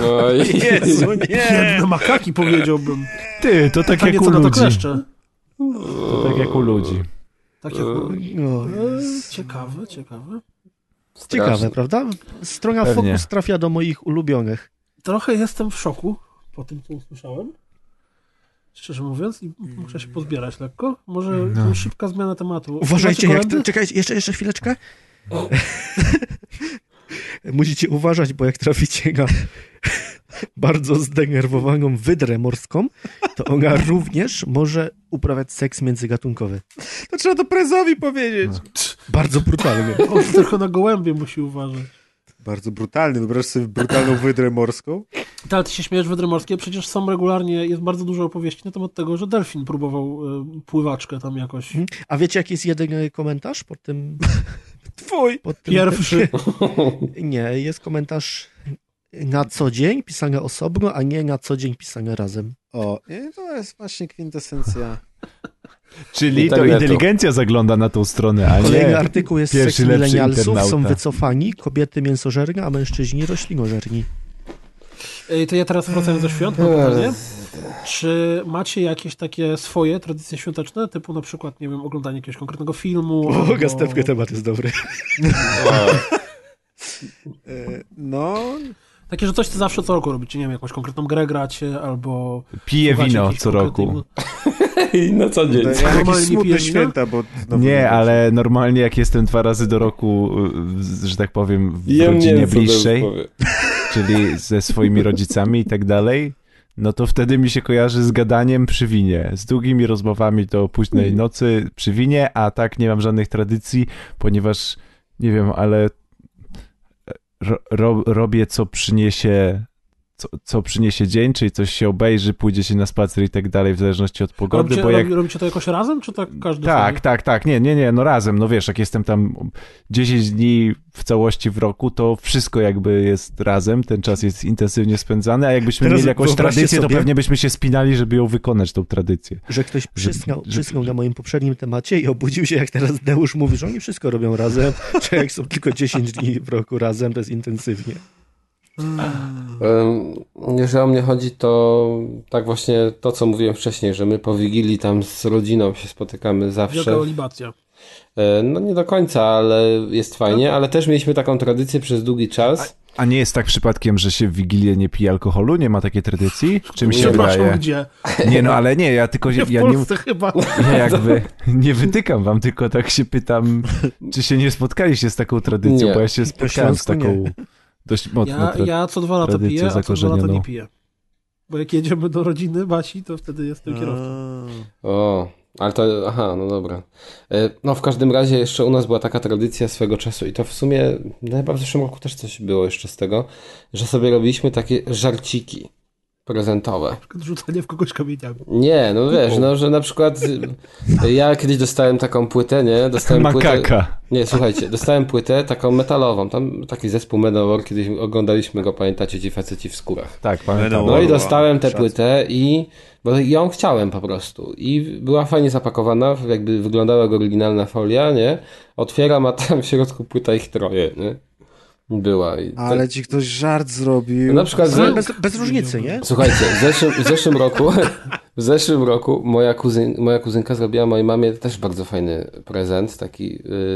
[SPEAKER 8] No i...
[SPEAKER 10] Jezu, nie!
[SPEAKER 3] Biedne makaki powiedziałbym.
[SPEAKER 2] Ty, to tak
[SPEAKER 3] Pytanie
[SPEAKER 2] jak
[SPEAKER 3] co
[SPEAKER 2] u
[SPEAKER 3] na to
[SPEAKER 2] ludzi.
[SPEAKER 3] kleszcze.
[SPEAKER 2] To tak jak u ludzi.
[SPEAKER 3] Tak jak...
[SPEAKER 10] No,
[SPEAKER 3] E, Ciekawe, ciekawe.
[SPEAKER 10] ciekawe, prawda? Strona
[SPEAKER 2] Pewnie.
[SPEAKER 10] Focus trafia do moich ulubionych.
[SPEAKER 3] Trochę jestem w szoku po tym, co usłyszałem. Szczerze mówiąc, i muszę się pozbierać lekko. Może szybka zmiana tematu.
[SPEAKER 10] No. Uważajcie,
[SPEAKER 3] Macie
[SPEAKER 10] jak
[SPEAKER 3] kolędy?
[SPEAKER 10] ty... Czekajcie, jeszcze, jeszcze chwileczkę. Musicie uważać, bo jak traficie na bardzo zdenerwowaną wydrę morską, to ona również może uprawiać seks międzygatunkowy.
[SPEAKER 4] To trzeba to prezowi powiedzieć.
[SPEAKER 10] Bardzo brutalnie.
[SPEAKER 3] On tylko na gołębie musi uważać.
[SPEAKER 4] Bardzo brutalny. Wyobraź sobie brutalną wydrę morską.
[SPEAKER 3] Ty, Ale ty się śmiejesz wydry morskie, przecież są regularnie, jest bardzo dużo opowieści na temat tego, że delfin próbował y, pływaczkę tam jakoś.
[SPEAKER 10] A wiecie, jaki jest jedyny komentarz pod tym...
[SPEAKER 4] Twój.
[SPEAKER 10] Pod tym
[SPEAKER 3] Pierwszy.
[SPEAKER 10] Nie, jest komentarz na co dzień pisane osobno, a nie na co dzień pisane razem.
[SPEAKER 4] O, i to jest właśnie kwintesencja.
[SPEAKER 2] Czyli to
[SPEAKER 8] Internetu.
[SPEAKER 2] inteligencja zagląda na tą stronę, a
[SPEAKER 10] Kolejny
[SPEAKER 2] nie...
[SPEAKER 10] artykuł jest
[SPEAKER 2] Pierwszy
[SPEAKER 10] seks
[SPEAKER 2] lepszy
[SPEAKER 10] milenialsów, są
[SPEAKER 2] internauta.
[SPEAKER 10] wycofani, kobiety mięsożerne, a mężczyźni roślinożerni.
[SPEAKER 3] Ej, to ja teraz wracając do świąt, mam pytanie. Czy macie jakieś takie swoje tradycje świąteczne, typu na przykład, nie wiem, oglądanie jakiegoś konkretnego filmu? albo-
[SPEAKER 10] temat jest dobry.
[SPEAKER 4] E, No,
[SPEAKER 3] Takie, że coś ty zawsze co roku robicie, nie wiem, jakąś konkretną grę gracie, albo...
[SPEAKER 2] Pije
[SPEAKER 3] słuchacie
[SPEAKER 2] wino
[SPEAKER 3] jakichś
[SPEAKER 2] co roku.
[SPEAKER 3] konkretnych-
[SPEAKER 8] I na co dzień.
[SPEAKER 4] to ja
[SPEAKER 3] Normalnie
[SPEAKER 4] jakieś smutne
[SPEAKER 3] pijesz wino?
[SPEAKER 4] święta, bo... znowu
[SPEAKER 2] Nie,
[SPEAKER 4] będzie.
[SPEAKER 2] ale normalnie jak jestem dwa razy do roku, y, że tak powiem, w rodzinie bliższej, czyli ze swoimi rodzicami i tak dalej, no to wtedy mi się kojarzy z gadaniem przy winie, z długimi rozmowami do późnej nocy przy winie, a tak nie mam żadnych tradycji, ponieważ nie wiem, ale ro, ro, robię co przyniesie co, co przyniesie dzień, czyli coś się obejrzy, pójdzie się na spacer i tak dalej, w zależności od pogody,
[SPEAKER 3] Robicie,
[SPEAKER 2] bo jak...
[SPEAKER 3] robi- robicie to jakoś razem, czy tak każdy
[SPEAKER 2] Tak, tak, tak, nie, nie, nie, no razem, no wiesz, jak jestem tam 10 dni w całości w roku, to wszystko jakby jest razem, ten czas jest intensywnie spędzany, a jakbyśmy
[SPEAKER 10] Teraz
[SPEAKER 2] mieli jakąś
[SPEAKER 10] wyobraźcie
[SPEAKER 2] tradycję, to
[SPEAKER 10] sobie-
[SPEAKER 2] pewnie byśmy się spinali, żeby ją wykonać, tą tradycję.
[SPEAKER 10] Że ktoś przysknął, przysknął na moim poprzednim temacie i obudził się, jak teraz Deusz mówi, że oni wszystko robią razem, że jak są tylko 10 dni w roku razem, to jest intensywnie.
[SPEAKER 9] Em, Jeżeli o mnie chodzi, to tak właśnie to, co mówiłem wcześniej, że my po Wigilii tam z rodziną się spotykamy zawsze.
[SPEAKER 3] Wielka olibacja.
[SPEAKER 9] E, No nie do końca, ale jest
[SPEAKER 10] No.
[SPEAKER 9] fajnie, ale też mieliśmy taką tradycję przez długi czas.
[SPEAKER 2] A nie jest tak przypadkiem, że się w Wigilię nie pije alkoholu, nie ma takiej tradycji? Czy mi się
[SPEAKER 3] Przepraszam,
[SPEAKER 2] wydaje?
[SPEAKER 3] gdzie?
[SPEAKER 2] Nie, no ale nie, ja tylko...
[SPEAKER 3] Nie w
[SPEAKER 2] ja
[SPEAKER 3] Polsce chyba.
[SPEAKER 2] Ja jakby nie wytykam wam, tylko tak się pytam, czy się nie spotkaliście z taką tradycją,
[SPEAKER 9] Nie.
[SPEAKER 2] bo ja się
[SPEAKER 9] Na
[SPEAKER 2] spotkałem z
[SPEAKER 9] Śląsku
[SPEAKER 2] taką
[SPEAKER 9] nie.
[SPEAKER 2] dość mocną
[SPEAKER 3] Ja,
[SPEAKER 2] No, tra-
[SPEAKER 3] ja co dwa lata
[SPEAKER 2] tradycją
[SPEAKER 3] piję, a co dwa lata
[SPEAKER 2] zakorzenioną.
[SPEAKER 3] nie piję. Bo jak jedziemy do rodziny Basi, to wtedy jestem kierowcą.
[SPEAKER 9] O, ale to, aha, no dobra. E, No w każdym razie jeszcze u nas była taka tradycja swego czasu i to w sumie, no chyba w zeszłym roku też coś było jeszcze z tego, że sobie robiliśmy takie żarciki prezentowe.
[SPEAKER 3] Rzucanie w kogoś kamieniami.
[SPEAKER 9] Nie, no wiesz, no że na przykład y, ja kiedyś dostałem taką płytę, nie? Dostałem płytę.
[SPEAKER 2] Makaka.
[SPEAKER 9] Nie, słuchajcie, dostałem płytę taką metalową. Tam taki zespół Manowar, kiedyś oglądaliśmy go, pamiętacie, ci faceci w skórach.
[SPEAKER 2] Tak, pamiętam.
[SPEAKER 9] No i dostałem tę
[SPEAKER 2] Szac.
[SPEAKER 9] płytę i bo ją chciałem po prostu. I była fajnie zapakowana, jakby wyglądała jak oryginalna folia, nie? Otwieram, a tam w środku płyta ich troje, nie? Była. I to-
[SPEAKER 4] Ale ci ktoś żart zrobił.
[SPEAKER 9] Na przykład
[SPEAKER 4] Ale
[SPEAKER 9] ze-
[SPEAKER 4] bez, bez różnicy, nie?
[SPEAKER 9] Słuchajcie, w zeszłym, w zeszłym roku, w zeszłym roku moja, kuzyn, moja kuzynka zrobiła mojej mamie też bardzo fajny prezent, taki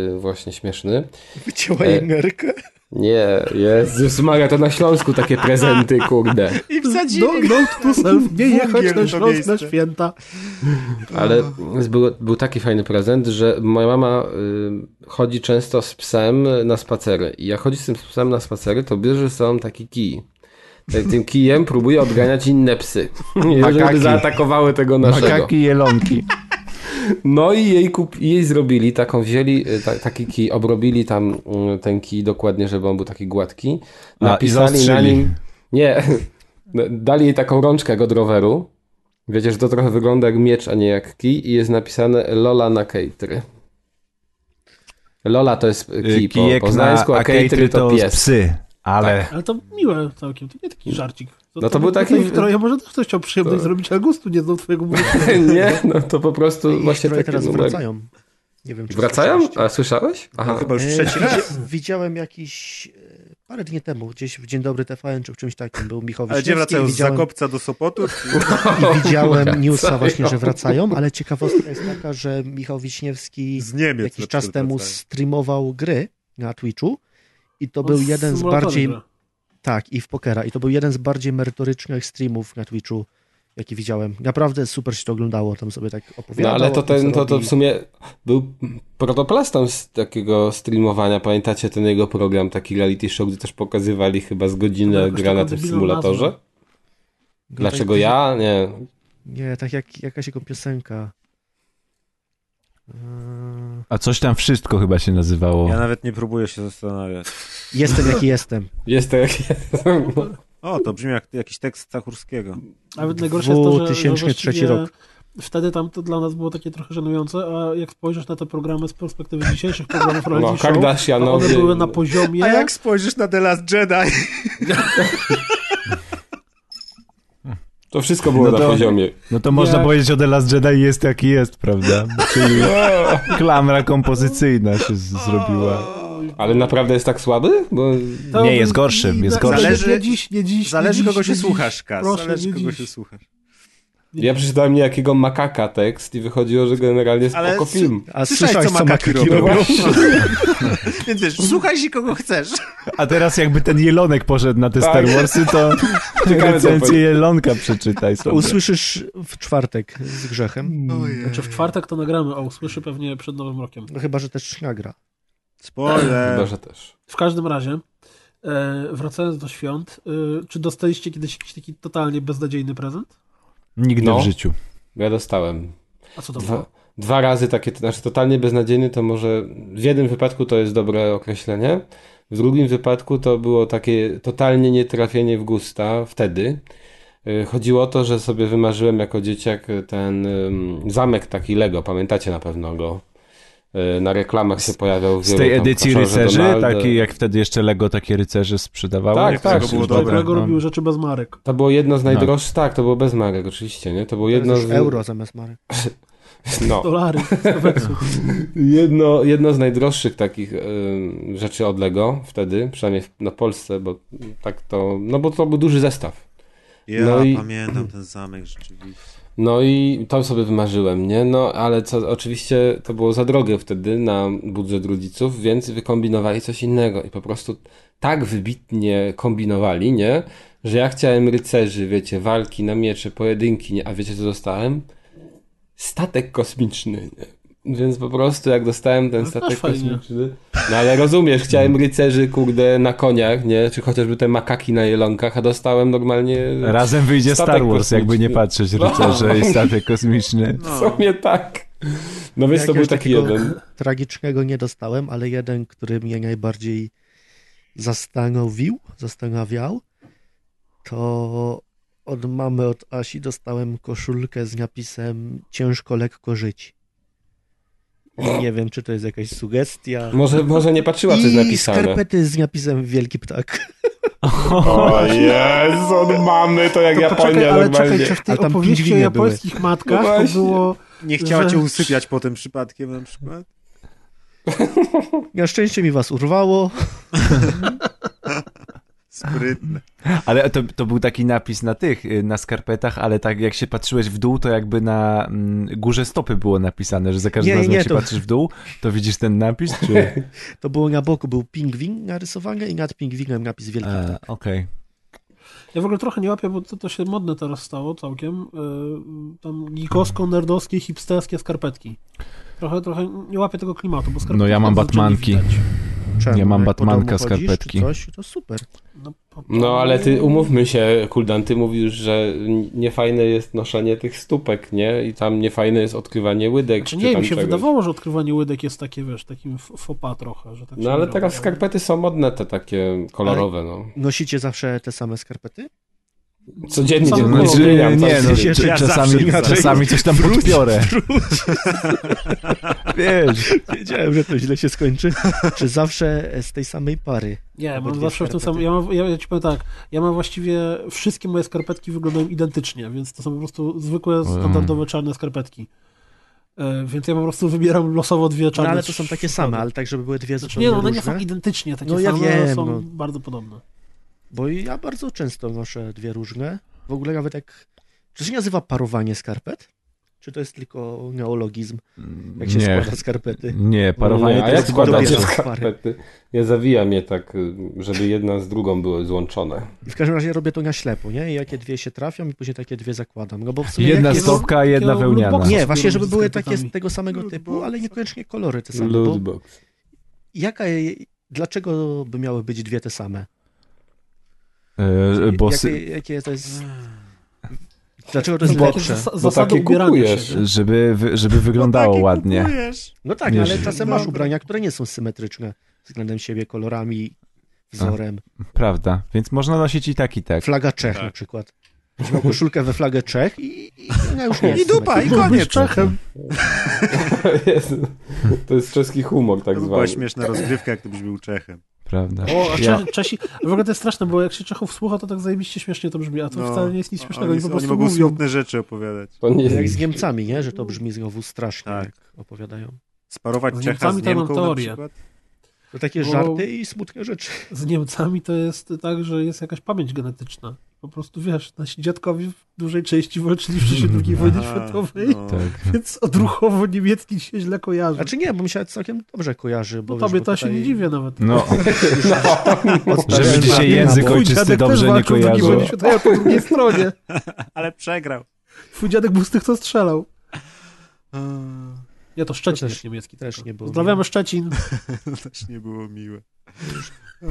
[SPEAKER 9] yy, właśnie śmieszny.
[SPEAKER 10] Wycięła
[SPEAKER 9] E,
[SPEAKER 10] jej nerkę
[SPEAKER 9] Nie, Jezus Maria, to na Śląsku takie prezenty, kurde.
[SPEAKER 10] i
[SPEAKER 3] No,
[SPEAKER 10] wsadzili.
[SPEAKER 3] no to self, nie jechać
[SPEAKER 10] Węgiel
[SPEAKER 3] na
[SPEAKER 10] to
[SPEAKER 3] Śląsk na
[SPEAKER 10] miejsce.
[SPEAKER 3] święta.
[SPEAKER 9] Ale
[SPEAKER 2] No,
[SPEAKER 9] był, był taki fajny prezent, że moja mama y, chodzi często z psem na spacery. I jak chodzi z tym psem na spacery, to bierze ze sobą taki kij. Tak, Tym kijem próbuje odganiać inne psy. Żeby
[SPEAKER 2] Makaki.
[SPEAKER 9] zaatakowały tego naszego.
[SPEAKER 2] Makaki, jelonki.
[SPEAKER 9] No i jej, kup, jej zrobili taką, wzięli y, ta, taki kij, obrobili tam y, ten kij dokładnie, żeby on był taki gładki.
[SPEAKER 2] A, i
[SPEAKER 9] Napisali na
[SPEAKER 2] zaostrzyli.
[SPEAKER 9] nim. Nie, No, dali jej taką rączkę jak od roweru. Wiecie, że to trochę wygląda jak miecz, a nie jak kij, i jest napisane Lola na kejtry. Lola to jest y, kij po
[SPEAKER 2] Kijek na
[SPEAKER 9] poznańsku, a,
[SPEAKER 2] a
[SPEAKER 9] kejtry
[SPEAKER 2] catering
[SPEAKER 9] to
[SPEAKER 2] to
[SPEAKER 9] pies. Tak.
[SPEAKER 2] psy, ale...
[SPEAKER 3] Ale to miłe całkiem, to nie taki żarcik.
[SPEAKER 9] No to był taki-
[SPEAKER 3] W troje może też ktoś chciał przyjemność zrobić, a gustu nie znał twojego mówienia.
[SPEAKER 9] nie, no to po prostu właśnie
[SPEAKER 10] Troje
[SPEAKER 9] taki
[SPEAKER 10] teraz
[SPEAKER 9] numer.
[SPEAKER 10] wracają. Nie wiem, czy
[SPEAKER 9] Wracają?
[SPEAKER 10] słyszeliście.
[SPEAKER 9] A słyszałeś? Aha.
[SPEAKER 4] Chyba już
[SPEAKER 10] E,
[SPEAKER 4] trzeci raz.
[SPEAKER 10] widzi- Widziałem jakiś e, parę dni temu, gdzieś w Dzień Dobry TVN czy w czymś takim, był Michał
[SPEAKER 4] Ale gdzie
[SPEAKER 10] Wiśniewski i
[SPEAKER 4] wracają? Z
[SPEAKER 10] widziałem,
[SPEAKER 4] Zakopca do Sopotu?
[SPEAKER 10] i widziałem newsa
[SPEAKER 9] Wracają.
[SPEAKER 10] właśnie, że wracają, ale ciekawostka jest taka, że Michał Wiśniewski
[SPEAKER 4] Z Niemiec. na
[SPEAKER 10] jakiś
[SPEAKER 4] przykład
[SPEAKER 10] czas
[SPEAKER 4] tak.
[SPEAKER 10] temu
[SPEAKER 4] wracają.
[SPEAKER 10] streamował gry na Twitchu i to
[SPEAKER 3] On
[SPEAKER 10] był jeden z
[SPEAKER 3] symulatorem
[SPEAKER 10] bardziej
[SPEAKER 3] gra.
[SPEAKER 10] Tak, i w pokera. I to był jeden z bardziej merytorycznych streamów na Twitchu, jaki widziałem. Naprawdę super się to oglądało, tam sobie tak
[SPEAKER 9] No
[SPEAKER 10] opowiadało.
[SPEAKER 9] ale to,
[SPEAKER 10] o tym,
[SPEAKER 9] ten,
[SPEAKER 10] co
[SPEAKER 9] to, to
[SPEAKER 10] robi.
[SPEAKER 9] w sumie był protoplastą z takiego streamowania. Pamiętacie ten jego program, taki reality show, gdzie też pokazywali chyba z
[SPEAKER 3] To
[SPEAKER 9] godzinę
[SPEAKER 3] jakoś
[SPEAKER 9] gra na
[SPEAKER 3] taka
[SPEAKER 9] tym
[SPEAKER 3] debilna
[SPEAKER 9] symulatorze?
[SPEAKER 3] nazwa.
[SPEAKER 10] No,
[SPEAKER 9] Dlaczego
[SPEAKER 10] tak,
[SPEAKER 9] ja? Nie.
[SPEAKER 10] Nie, tak jak jakaś jego piosenka. Eee,
[SPEAKER 2] A coś tam wszystko chyba się nazywało.
[SPEAKER 4] Ja nawet nie próbuję się zastanawiać.
[SPEAKER 10] Jestem jaki jestem.
[SPEAKER 9] Jest to jak jestem.
[SPEAKER 4] O, to brzmi jak jakiś tekst Stachurskiego.
[SPEAKER 3] Nawet najgorsze jest to, że- że
[SPEAKER 10] 2003
[SPEAKER 3] właściwie
[SPEAKER 10] rok.
[SPEAKER 3] Wtedy tam to dla nas było takie trochę żenujące, a jak spojrzysz na te programy z perspektywy dzisiejszych programów
[SPEAKER 9] No,
[SPEAKER 3] reality show, to
[SPEAKER 9] Kardashianowie.
[SPEAKER 3] one były na poziomie...
[SPEAKER 4] A jak spojrzysz na The Last Jedi?
[SPEAKER 9] To wszystko było
[SPEAKER 2] No
[SPEAKER 9] na
[SPEAKER 2] to-
[SPEAKER 9] poziomie.
[SPEAKER 2] No to można
[SPEAKER 3] Jak-
[SPEAKER 2] powiedzieć o The Last Jedi jest jaki jest, prawda? Czyli klamra kompozycyjna się z- zrobiła.
[SPEAKER 9] Ale naprawdę jest tak słaby? Bo...
[SPEAKER 3] To
[SPEAKER 2] Nie, jest
[SPEAKER 3] i-
[SPEAKER 2] gorszy,
[SPEAKER 3] i-
[SPEAKER 2] jest
[SPEAKER 3] tak,
[SPEAKER 2] gorszy.
[SPEAKER 3] Zależy, nie dziś, nie dziś,
[SPEAKER 4] Zależy
[SPEAKER 3] nie dziś,
[SPEAKER 4] kogo się
[SPEAKER 3] nie dziś.
[SPEAKER 4] słuchasz, Kas.
[SPEAKER 3] Proszę,
[SPEAKER 4] Zależy
[SPEAKER 3] nie
[SPEAKER 4] kogo
[SPEAKER 3] dziś.
[SPEAKER 4] się słuchasz.
[SPEAKER 9] Ja przeczytałem niejakiego makaka tekst i wychodziło, że generalnie spoko
[SPEAKER 4] Ale su-
[SPEAKER 9] film.
[SPEAKER 10] A
[SPEAKER 4] Słyszałeś,
[SPEAKER 10] słyszałeś,
[SPEAKER 4] co
[SPEAKER 10] co
[SPEAKER 4] makaki
[SPEAKER 10] makaki
[SPEAKER 4] robią? No.
[SPEAKER 10] robią?
[SPEAKER 4] Więc wiesz, słuchaj się kogo chcesz.
[SPEAKER 2] A teraz jakby ten jelonek poszedł na te
[SPEAKER 9] Tak.
[SPEAKER 2] Star Warsy, to
[SPEAKER 9] Ciekawe, co
[SPEAKER 2] recencję
[SPEAKER 9] powie.
[SPEAKER 2] jelonka przeczytaj sobie.
[SPEAKER 10] Usłyszysz w czwartek z
[SPEAKER 4] Mm.
[SPEAKER 10] grzechem.
[SPEAKER 3] Znaczy w czwartek to nagramy, a usłyszy pewnie przed Nowym Rokiem.
[SPEAKER 10] No chyba, że też nagra.
[SPEAKER 9] Chyba,
[SPEAKER 4] Spoiler.
[SPEAKER 9] że też.
[SPEAKER 3] W każdym razie, e, wracając do świąt, e, czy dostaliście kiedyś jakiś taki totalnie beznadziejny prezent?
[SPEAKER 2] Nigdy
[SPEAKER 9] No.
[SPEAKER 2] w życiu.
[SPEAKER 9] Ja dostałem.
[SPEAKER 3] A co to
[SPEAKER 9] Dwa,
[SPEAKER 3] było?
[SPEAKER 9] dwa razy takie, to znaczy totalnie beznadziejny, to może w jednym wypadku to jest dobre określenie, w drugim wypadku to było takie totalnie nietrafienie w gusta wtedy. Y, Chodziło o to, że sobie wymarzyłem jako dzieciak y, ten ym, zamek taki Lego, pamiętacie na pewno go. Y, Na reklamach się pojawiał
[SPEAKER 2] Z
[SPEAKER 9] wielu
[SPEAKER 2] tej
[SPEAKER 9] tam
[SPEAKER 2] edycji
[SPEAKER 9] Kraszorze,
[SPEAKER 2] rycerzy,
[SPEAKER 9] Donalda.
[SPEAKER 2] taki jak wtedy jeszcze Lego takie rycerze sprzedawały.
[SPEAKER 9] Tak,
[SPEAKER 2] jak
[SPEAKER 9] tak,
[SPEAKER 2] to
[SPEAKER 9] było
[SPEAKER 2] już
[SPEAKER 9] dobre.
[SPEAKER 3] Lego
[SPEAKER 2] no.
[SPEAKER 3] robił rzeczy bez marek.
[SPEAKER 9] To było jedno z
[SPEAKER 2] No.
[SPEAKER 9] najdroższych, tak, to było bez marek oczywiście, nie? To było jedno
[SPEAKER 10] Teraz
[SPEAKER 9] z...
[SPEAKER 10] już euro zamiast marek.
[SPEAKER 9] No.
[SPEAKER 3] Dolary.
[SPEAKER 9] Jedno, jedno z najdroższych takich ym, rzeczy od Lego wtedy, przynajmniej w, na Polsce, bo tak to, no bo to był duży zestaw.
[SPEAKER 4] Ja
[SPEAKER 9] No i-
[SPEAKER 4] pamiętam ten zamek rzeczywiście.
[SPEAKER 9] No i to sobie wymarzyłem, nie? No ale co, oczywiście to było za drogie wtedy na budżet rodziców, więc wykombinowali coś innego i po prostu tak wybitnie kombinowali, nie? Że ja chciałem rycerzy, wiecie, walki na miecze, pojedynki, nie? A wiecie co dostałem? Statek kosmiczny, nie? Więc po prostu jak dostałem ten
[SPEAKER 3] No,
[SPEAKER 9] statek
[SPEAKER 3] też fajnie.
[SPEAKER 9] kosmiczny... No ale rozumiesz, chciałem rycerzy, kurde, na koniach, nie? Czy chociażby te makaki na jelonkach, a dostałem normalnie...
[SPEAKER 2] Razem wyjdzie
[SPEAKER 9] Statek
[SPEAKER 2] Star Wars,
[SPEAKER 9] kosmiczny. No.
[SPEAKER 2] jakby nie patrzeć, rycerze i statek kosmiczny.
[SPEAKER 9] W sumie tak. No więc to był
[SPEAKER 10] Jakiegoś
[SPEAKER 9] taki
[SPEAKER 10] takiego
[SPEAKER 9] jeden.
[SPEAKER 10] Tragicznego nie dostałem, ale jeden, który mnie najbardziej zastanowił, zastanawiał, to od mamy, od Asi dostałem koszulkę z napisem ciężko, lekko żyć. I nie wiem, czy to jest jakaś sugestia.
[SPEAKER 9] Może, może nie patrzyła, co jest
[SPEAKER 10] I
[SPEAKER 9] napisane.
[SPEAKER 10] skarpety z napisem wielki ptak.
[SPEAKER 9] O Jezu, mamy to jak
[SPEAKER 3] To poczekaj, ale czekaj, czy w tej
[SPEAKER 10] A tam
[SPEAKER 3] opowieści o
[SPEAKER 10] pingwinie były.
[SPEAKER 3] japońskich matkach
[SPEAKER 9] No
[SPEAKER 3] to
[SPEAKER 9] właśnie.
[SPEAKER 3] było...
[SPEAKER 4] Nie chciała
[SPEAKER 3] Że-
[SPEAKER 4] cię usypiać po tym przypadkiem na przykład?
[SPEAKER 10] Na szczęście mi was urwało.
[SPEAKER 4] Sprytne.
[SPEAKER 2] Ale to, to był taki napis na tych, y, na skarpetach, ale tak jak się patrzyłeś w dół, to jakby na mm, górze stopy było napisane, że za każdym
[SPEAKER 10] Nie,
[SPEAKER 2] razem
[SPEAKER 10] nie,
[SPEAKER 2] jak się
[SPEAKER 10] to-
[SPEAKER 2] patrzysz w dół, to widzisz ten napis, czy...
[SPEAKER 10] To było na boku, był pingwin narysowany i nad pingwinem napis wielki ptak.
[SPEAKER 2] E, Okej.
[SPEAKER 3] Ja w ogóle trochę nie łapię, bo to, to się modne teraz stało całkiem. Yy, tam gikowsko-nerdowskie, hipsterskie skarpetki. Trochę, trochę nie łapię tego klimatu, bo skarpetki
[SPEAKER 2] No ja mam
[SPEAKER 3] bardzo nie
[SPEAKER 2] Batmanki.
[SPEAKER 3] widać.
[SPEAKER 10] Czemu?
[SPEAKER 2] Ja mam
[SPEAKER 10] Jak po domu
[SPEAKER 2] Batmanka,
[SPEAKER 10] chodzisz czy
[SPEAKER 2] skarpetki.
[SPEAKER 10] Coś, to super.
[SPEAKER 3] No, po-
[SPEAKER 9] No ale ty umówmy się, Kuldan, ty mówisz, że niefajne jest noszenie tych stópek, nie? I tam niefajne jest odkrywanie łydek.
[SPEAKER 3] Znaczy,
[SPEAKER 9] czy
[SPEAKER 3] nie,
[SPEAKER 9] tam
[SPEAKER 3] mi się
[SPEAKER 9] czegoś.
[SPEAKER 3] wydawało, że odkrywanie łydek jest takie, wiesz, takim f- fopa trochę, że tak się
[SPEAKER 9] No ale
[SPEAKER 3] robi.
[SPEAKER 9] teraz skarpety są modne, te takie kolorowe, no.
[SPEAKER 10] Nosicie zawsze te same skarpety?
[SPEAKER 9] Codziennie tak.
[SPEAKER 3] Sam
[SPEAKER 9] dzień
[SPEAKER 3] kolor.
[SPEAKER 2] No, czy,
[SPEAKER 9] zmieniam, tam
[SPEAKER 2] nie, no,
[SPEAKER 9] się-
[SPEAKER 10] Ja
[SPEAKER 2] czy,
[SPEAKER 10] zawsze
[SPEAKER 2] czasami,
[SPEAKER 10] inaczej.
[SPEAKER 2] czasami coś tam podpiorę. Wiesz,
[SPEAKER 10] Wiedziałem, że to źle się skończy. Czy zawsze z tej samej pary?
[SPEAKER 3] Nie, mam
[SPEAKER 10] Obydwie
[SPEAKER 3] zawsze w tym samym.
[SPEAKER 10] skarpety.
[SPEAKER 3] Ja, mam, ja, ja ci powiem tak, ja mam właściwie wszystkie moje skarpetki wyglądają identycznie, więc to są po prostu zwykłe,
[SPEAKER 10] Mm.
[SPEAKER 3] standardowe czarne skarpetki. E, Więc ja po prostu wybieram losowo dwie
[SPEAKER 10] No
[SPEAKER 3] czarne.
[SPEAKER 10] ale to są
[SPEAKER 3] z-
[SPEAKER 10] takie same, ale tak, żeby były dwie
[SPEAKER 3] Znaczy, nie,
[SPEAKER 10] zupełnie
[SPEAKER 3] no one nie
[SPEAKER 10] różne.
[SPEAKER 3] są identycznie takie
[SPEAKER 10] No, ja
[SPEAKER 3] same, ale
[SPEAKER 10] wiem,
[SPEAKER 3] są
[SPEAKER 10] no.
[SPEAKER 3] bardzo podobne.
[SPEAKER 10] Bo ja bardzo często noszę dwie różne. W ogóle nawet jak... Czy to się nazywa parowanie skarpet? Czy to jest tylko neologizm, jak się
[SPEAKER 2] nie,
[SPEAKER 10] składa skarpety?
[SPEAKER 2] nie, parowanie no,
[SPEAKER 9] Nie,
[SPEAKER 2] to
[SPEAKER 9] a jak
[SPEAKER 2] jest składa
[SPEAKER 9] składacie
[SPEAKER 10] dopiero-
[SPEAKER 9] skarpety? Ja zawijam je tak, y, żeby jedna z drugą były złączone.
[SPEAKER 10] I w każdym razie robię to na ślepo, nie? I jakie dwie się trafią i później takie dwie zakładam. No bo w sumie
[SPEAKER 2] Jedna
[SPEAKER 10] jak jest...
[SPEAKER 3] stop-
[SPEAKER 2] stopka, jedna
[SPEAKER 3] takiego
[SPEAKER 2] wełniana.
[SPEAKER 3] lootboxa.
[SPEAKER 10] Nie, właśnie, żeby
[SPEAKER 3] z
[SPEAKER 10] były takie
[SPEAKER 3] skarpetami.
[SPEAKER 10] z tego samego typu, ale niekoniecznie kolory te same. Bo
[SPEAKER 9] Lootbox.
[SPEAKER 10] jaka, dlaczego by miały być dwie te same?
[SPEAKER 2] E, Bo sy-
[SPEAKER 10] jakie, jakie to jest. Dlaczego to jest
[SPEAKER 3] Takie
[SPEAKER 10] lepsze?
[SPEAKER 3] zas-
[SPEAKER 9] Bo
[SPEAKER 3] zasady
[SPEAKER 9] No, takie
[SPEAKER 3] ubierania
[SPEAKER 9] kupujesz.
[SPEAKER 3] się, nie?
[SPEAKER 2] żeby, wy- żeby wyglądało ładnie.
[SPEAKER 10] No tak,
[SPEAKER 2] Wiesz,
[SPEAKER 10] ale czasem masz ubrania, które nie są symetryczne względem siebie, kolorami, wzorem.
[SPEAKER 2] Prawda, więc można nosić i tak, i tak.
[SPEAKER 10] Flaga Czech na przykład. Będziesz miał koszulkę we flagę Czech i, i ona już nie jest
[SPEAKER 4] I dupa, i
[SPEAKER 10] symetryczna.
[SPEAKER 4] koniec.
[SPEAKER 9] Jezu, To jest czeski humor tak
[SPEAKER 4] To by
[SPEAKER 9] zwany.
[SPEAKER 4] była śmieszna rozgrywka, jak gdybyś był Czechem.
[SPEAKER 2] Prawda.
[SPEAKER 3] O, a Czesi,
[SPEAKER 2] Ja,
[SPEAKER 3] Czesi, w ogóle to jest straszne, bo jak się Czechów słucha, to tak zajebiście śmiesznie to brzmi, a to
[SPEAKER 4] No,
[SPEAKER 3] wcale nie jest nic śmiesznego.
[SPEAKER 4] Oni,
[SPEAKER 3] Oni, po
[SPEAKER 4] oni
[SPEAKER 3] prostu
[SPEAKER 4] mogą
[SPEAKER 3] mówią.
[SPEAKER 4] smutne rzeczy opowiadać.
[SPEAKER 9] To nie
[SPEAKER 10] Jak
[SPEAKER 9] jest
[SPEAKER 10] z Niemcami, nie? Że to brzmi znowu strasznie,
[SPEAKER 4] Tak.
[SPEAKER 10] jak opowiadają.
[SPEAKER 4] Sparować
[SPEAKER 3] Z
[SPEAKER 4] Czecha z
[SPEAKER 3] Niemcami to mam
[SPEAKER 4] Niemką na
[SPEAKER 3] teorię.
[SPEAKER 4] przykład?
[SPEAKER 10] To takie
[SPEAKER 3] Bo-
[SPEAKER 10] żarty i smutne rzeczy.
[SPEAKER 3] Z Niemcami to jest tak, że jest jakaś pamięć genetyczna. Po prostu wiesz, nasi dziadkowie w dużej części walczyli w czasie II wojny
[SPEAKER 4] Aha,
[SPEAKER 3] światowej,
[SPEAKER 4] no.
[SPEAKER 2] tak.
[SPEAKER 3] więc odruchowo niemiecki się źle kojarzy.
[SPEAKER 10] Znaczy nie, bo mi się całkiem dobrze kojarzy. Bo
[SPEAKER 3] bo
[SPEAKER 10] wiesz,
[SPEAKER 3] No tobie
[SPEAKER 10] bo
[SPEAKER 3] to się
[SPEAKER 10] tutaj
[SPEAKER 3] nie dziwię nawet.
[SPEAKER 2] No,
[SPEAKER 9] No.
[SPEAKER 10] odstawiam
[SPEAKER 2] żeby
[SPEAKER 10] na-
[SPEAKER 2] dzisiaj język
[SPEAKER 10] na bok.
[SPEAKER 2] ojczysty dobrze nie
[SPEAKER 3] walczył w II
[SPEAKER 2] kojarzył.
[SPEAKER 3] wojnie światowej, a po drugiej stronie.
[SPEAKER 4] Ale przegrał.
[SPEAKER 3] Twój dziadek był z tych, co strzelał.
[SPEAKER 4] Eee,
[SPEAKER 3] Nie, to Szczecin
[SPEAKER 10] To też-
[SPEAKER 3] jest niemiecki. tak.
[SPEAKER 10] też
[SPEAKER 3] tylko.
[SPEAKER 10] nie było.
[SPEAKER 3] Pozdrawiamy Szczecin.
[SPEAKER 4] To też nie było miłe.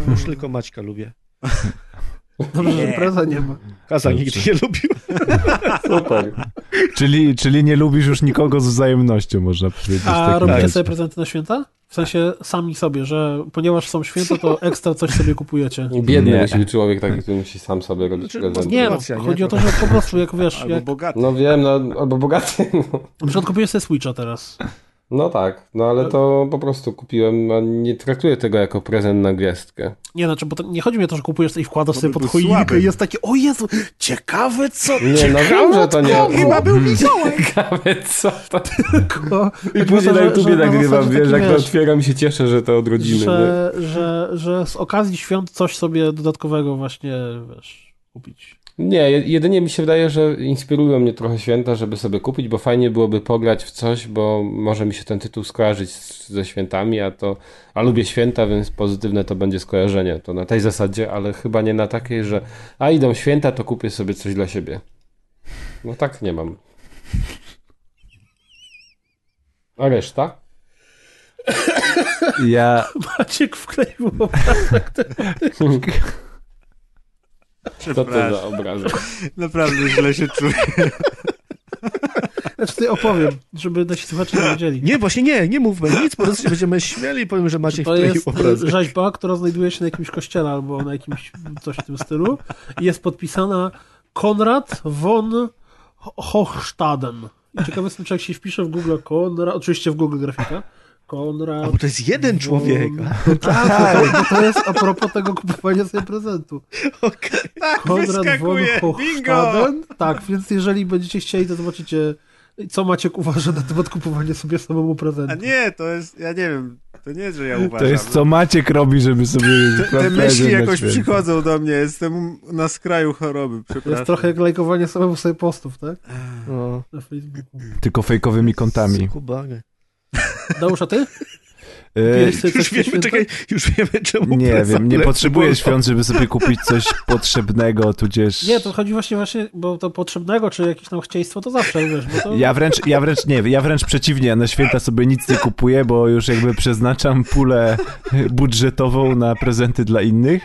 [SPEAKER 10] Już tylko Maćka lubię.
[SPEAKER 3] Dobrze, że preza nie ma.
[SPEAKER 10] Kaza nigdy nie lubił.
[SPEAKER 9] super.
[SPEAKER 2] Czyli, czyli nie lubisz już nikogo z wzajemnością, można powiedzieć. w
[SPEAKER 3] A
[SPEAKER 2] takim
[SPEAKER 3] robicie
[SPEAKER 2] razie.
[SPEAKER 3] sobie prezenty na święta? W sensie sami sobie, że ponieważ są święta, to ekstra coś sobie kupujecie.
[SPEAKER 9] Biedny
[SPEAKER 2] Nie.
[SPEAKER 9] musi być człowiek taki, który musi sam sobie robić prezenty.
[SPEAKER 3] Nie, no,
[SPEAKER 1] Racja, nie?
[SPEAKER 3] chodzi o to, że po prostu jak wiesz,
[SPEAKER 4] Albo
[SPEAKER 3] jak...
[SPEAKER 4] bogaty.
[SPEAKER 9] No wiem, no, albo bogaty. No.
[SPEAKER 3] Na przykład kupujesz sobie Switcha teraz.
[SPEAKER 9] no tak, no ale to po prostu kupiłem, a nie traktuję tego jako prezent na gwiazdkę.
[SPEAKER 3] Nie, znaczy, bo to, nie chodzi mi o to, że kupujesz sobie i wkładasz
[SPEAKER 4] To
[SPEAKER 3] sobie
[SPEAKER 4] by
[SPEAKER 3] pod
[SPEAKER 4] był
[SPEAKER 3] choinkę
[SPEAKER 4] słaby.
[SPEAKER 3] i jest takie, o Jezu, ciekawe co,
[SPEAKER 9] Nie, no wiem, że to nie...
[SPEAKER 4] Chyba był
[SPEAKER 2] Hmm.
[SPEAKER 4] Mikołaj.
[SPEAKER 9] Nawet co to...
[SPEAKER 3] tylko...
[SPEAKER 9] I później na YouTubie nagrywam, wiesz, jak to
[SPEAKER 3] to
[SPEAKER 9] otwieram się cieszę, że to od rodziny. nie?
[SPEAKER 3] że, że, że z okazji świąt coś sobie dodatkowego właśnie, wiesz, kupić.
[SPEAKER 9] Nie, je- jedynie mi się wydaje, że inspirują mnie trochę święta, żeby sobie kupić, bo fajnie byłoby pograć w coś, bo może mi się ten tytuł skojarzyć z, ze świętami, a to, a lubię święta, więc pozytywne to będzie skojarzenie, to na tej zasadzie, ale chyba nie na takiej, że a idą święta, to kupię sobie coś dla siebie. No tak nie mam. A reszta?
[SPEAKER 2] Ja,
[SPEAKER 3] Maciek wkleił
[SPEAKER 9] Co to za
[SPEAKER 4] Przepraszam.
[SPEAKER 9] obrazy?
[SPEAKER 4] Naprawdę źle się czuję.
[SPEAKER 3] Znaczy ty opowiem, żeby nasi słuchacze nie wiedzieli.
[SPEAKER 10] Nie, właśnie nie, nie mówmy nic, po prostu się będziemy śmieli i powiem, że Maciek
[SPEAKER 3] To
[SPEAKER 10] wkleił
[SPEAKER 3] jest
[SPEAKER 10] obraz.
[SPEAKER 3] y, rzeźba, która znajduje się na jakimś kościele albo na jakimś coś w tym stylu. I Jest podpisana Konrad von Ho- Hochstaden. I ciekawy jestem, czy jak się wpisze w Google Konrad, oczywiście w Google grafika, Konrad...
[SPEAKER 10] A bo to jest jeden człowiek. a?
[SPEAKER 3] No tak, no to, to jest a propos tego kupowania sobie prezentu.
[SPEAKER 10] Okej.
[SPEAKER 3] Konrad von
[SPEAKER 4] Tak, wyskakuje,
[SPEAKER 3] Hochstaden. Tak, więc jeżeli będziecie chcieli, to zobaczycie, co Maciek uważa na temat kupowania sobie samemu prezentu.
[SPEAKER 4] A nie, to jest, ja nie wiem, to nie jest, że ja
[SPEAKER 2] to
[SPEAKER 4] uważam.
[SPEAKER 2] jest co Maciek robi, żeby sobie...
[SPEAKER 4] Te myśli jakoś
[SPEAKER 2] przychodzą.
[SPEAKER 4] przychodzą do mnie, jestem na skraju choroby,
[SPEAKER 3] To jest
[SPEAKER 4] przepraszam.
[SPEAKER 3] trochę jak lajkowanie samemu sobie postów, tak?
[SPEAKER 10] No.
[SPEAKER 3] Na Facebooku.
[SPEAKER 2] Tylko fejkowymi kontami.
[SPEAKER 10] Kubany.
[SPEAKER 3] Dałóż, a ty?
[SPEAKER 2] E,
[SPEAKER 3] Kupiłeś sobie
[SPEAKER 10] Już
[SPEAKER 3] coś na
[SPEAKER 10] wiemy,
[SPEAKER 3] święta?
[SPEAKER 10] czekaj, już wiemy czemu
[SPEAKER 2] nie
[SPEAKER 10] prezent
[SPEAKER 2] wiem, nie
[SPEAKER 10] lepszy
[SPEAKER 2] potrzebuję
[SPEAKER 10] był.
[SPEAKER 2] świąt, żeby sobie kupić coś potrzebnego, tudzież...
[SPEAKER 3] Nie, to chodzi właśnie właśnie, bo to potrzebnego, czy jakieś tam chcieństwo, to zawsze, wiesz, bo to...
[SPEAKER 2] Ja wręcz, ja wręcz nie, ja wręcz przeciwnie, na święta sobie nic nie kupuję, bo już jakby przeznaczam pulę budżetową na prezenty dla innych,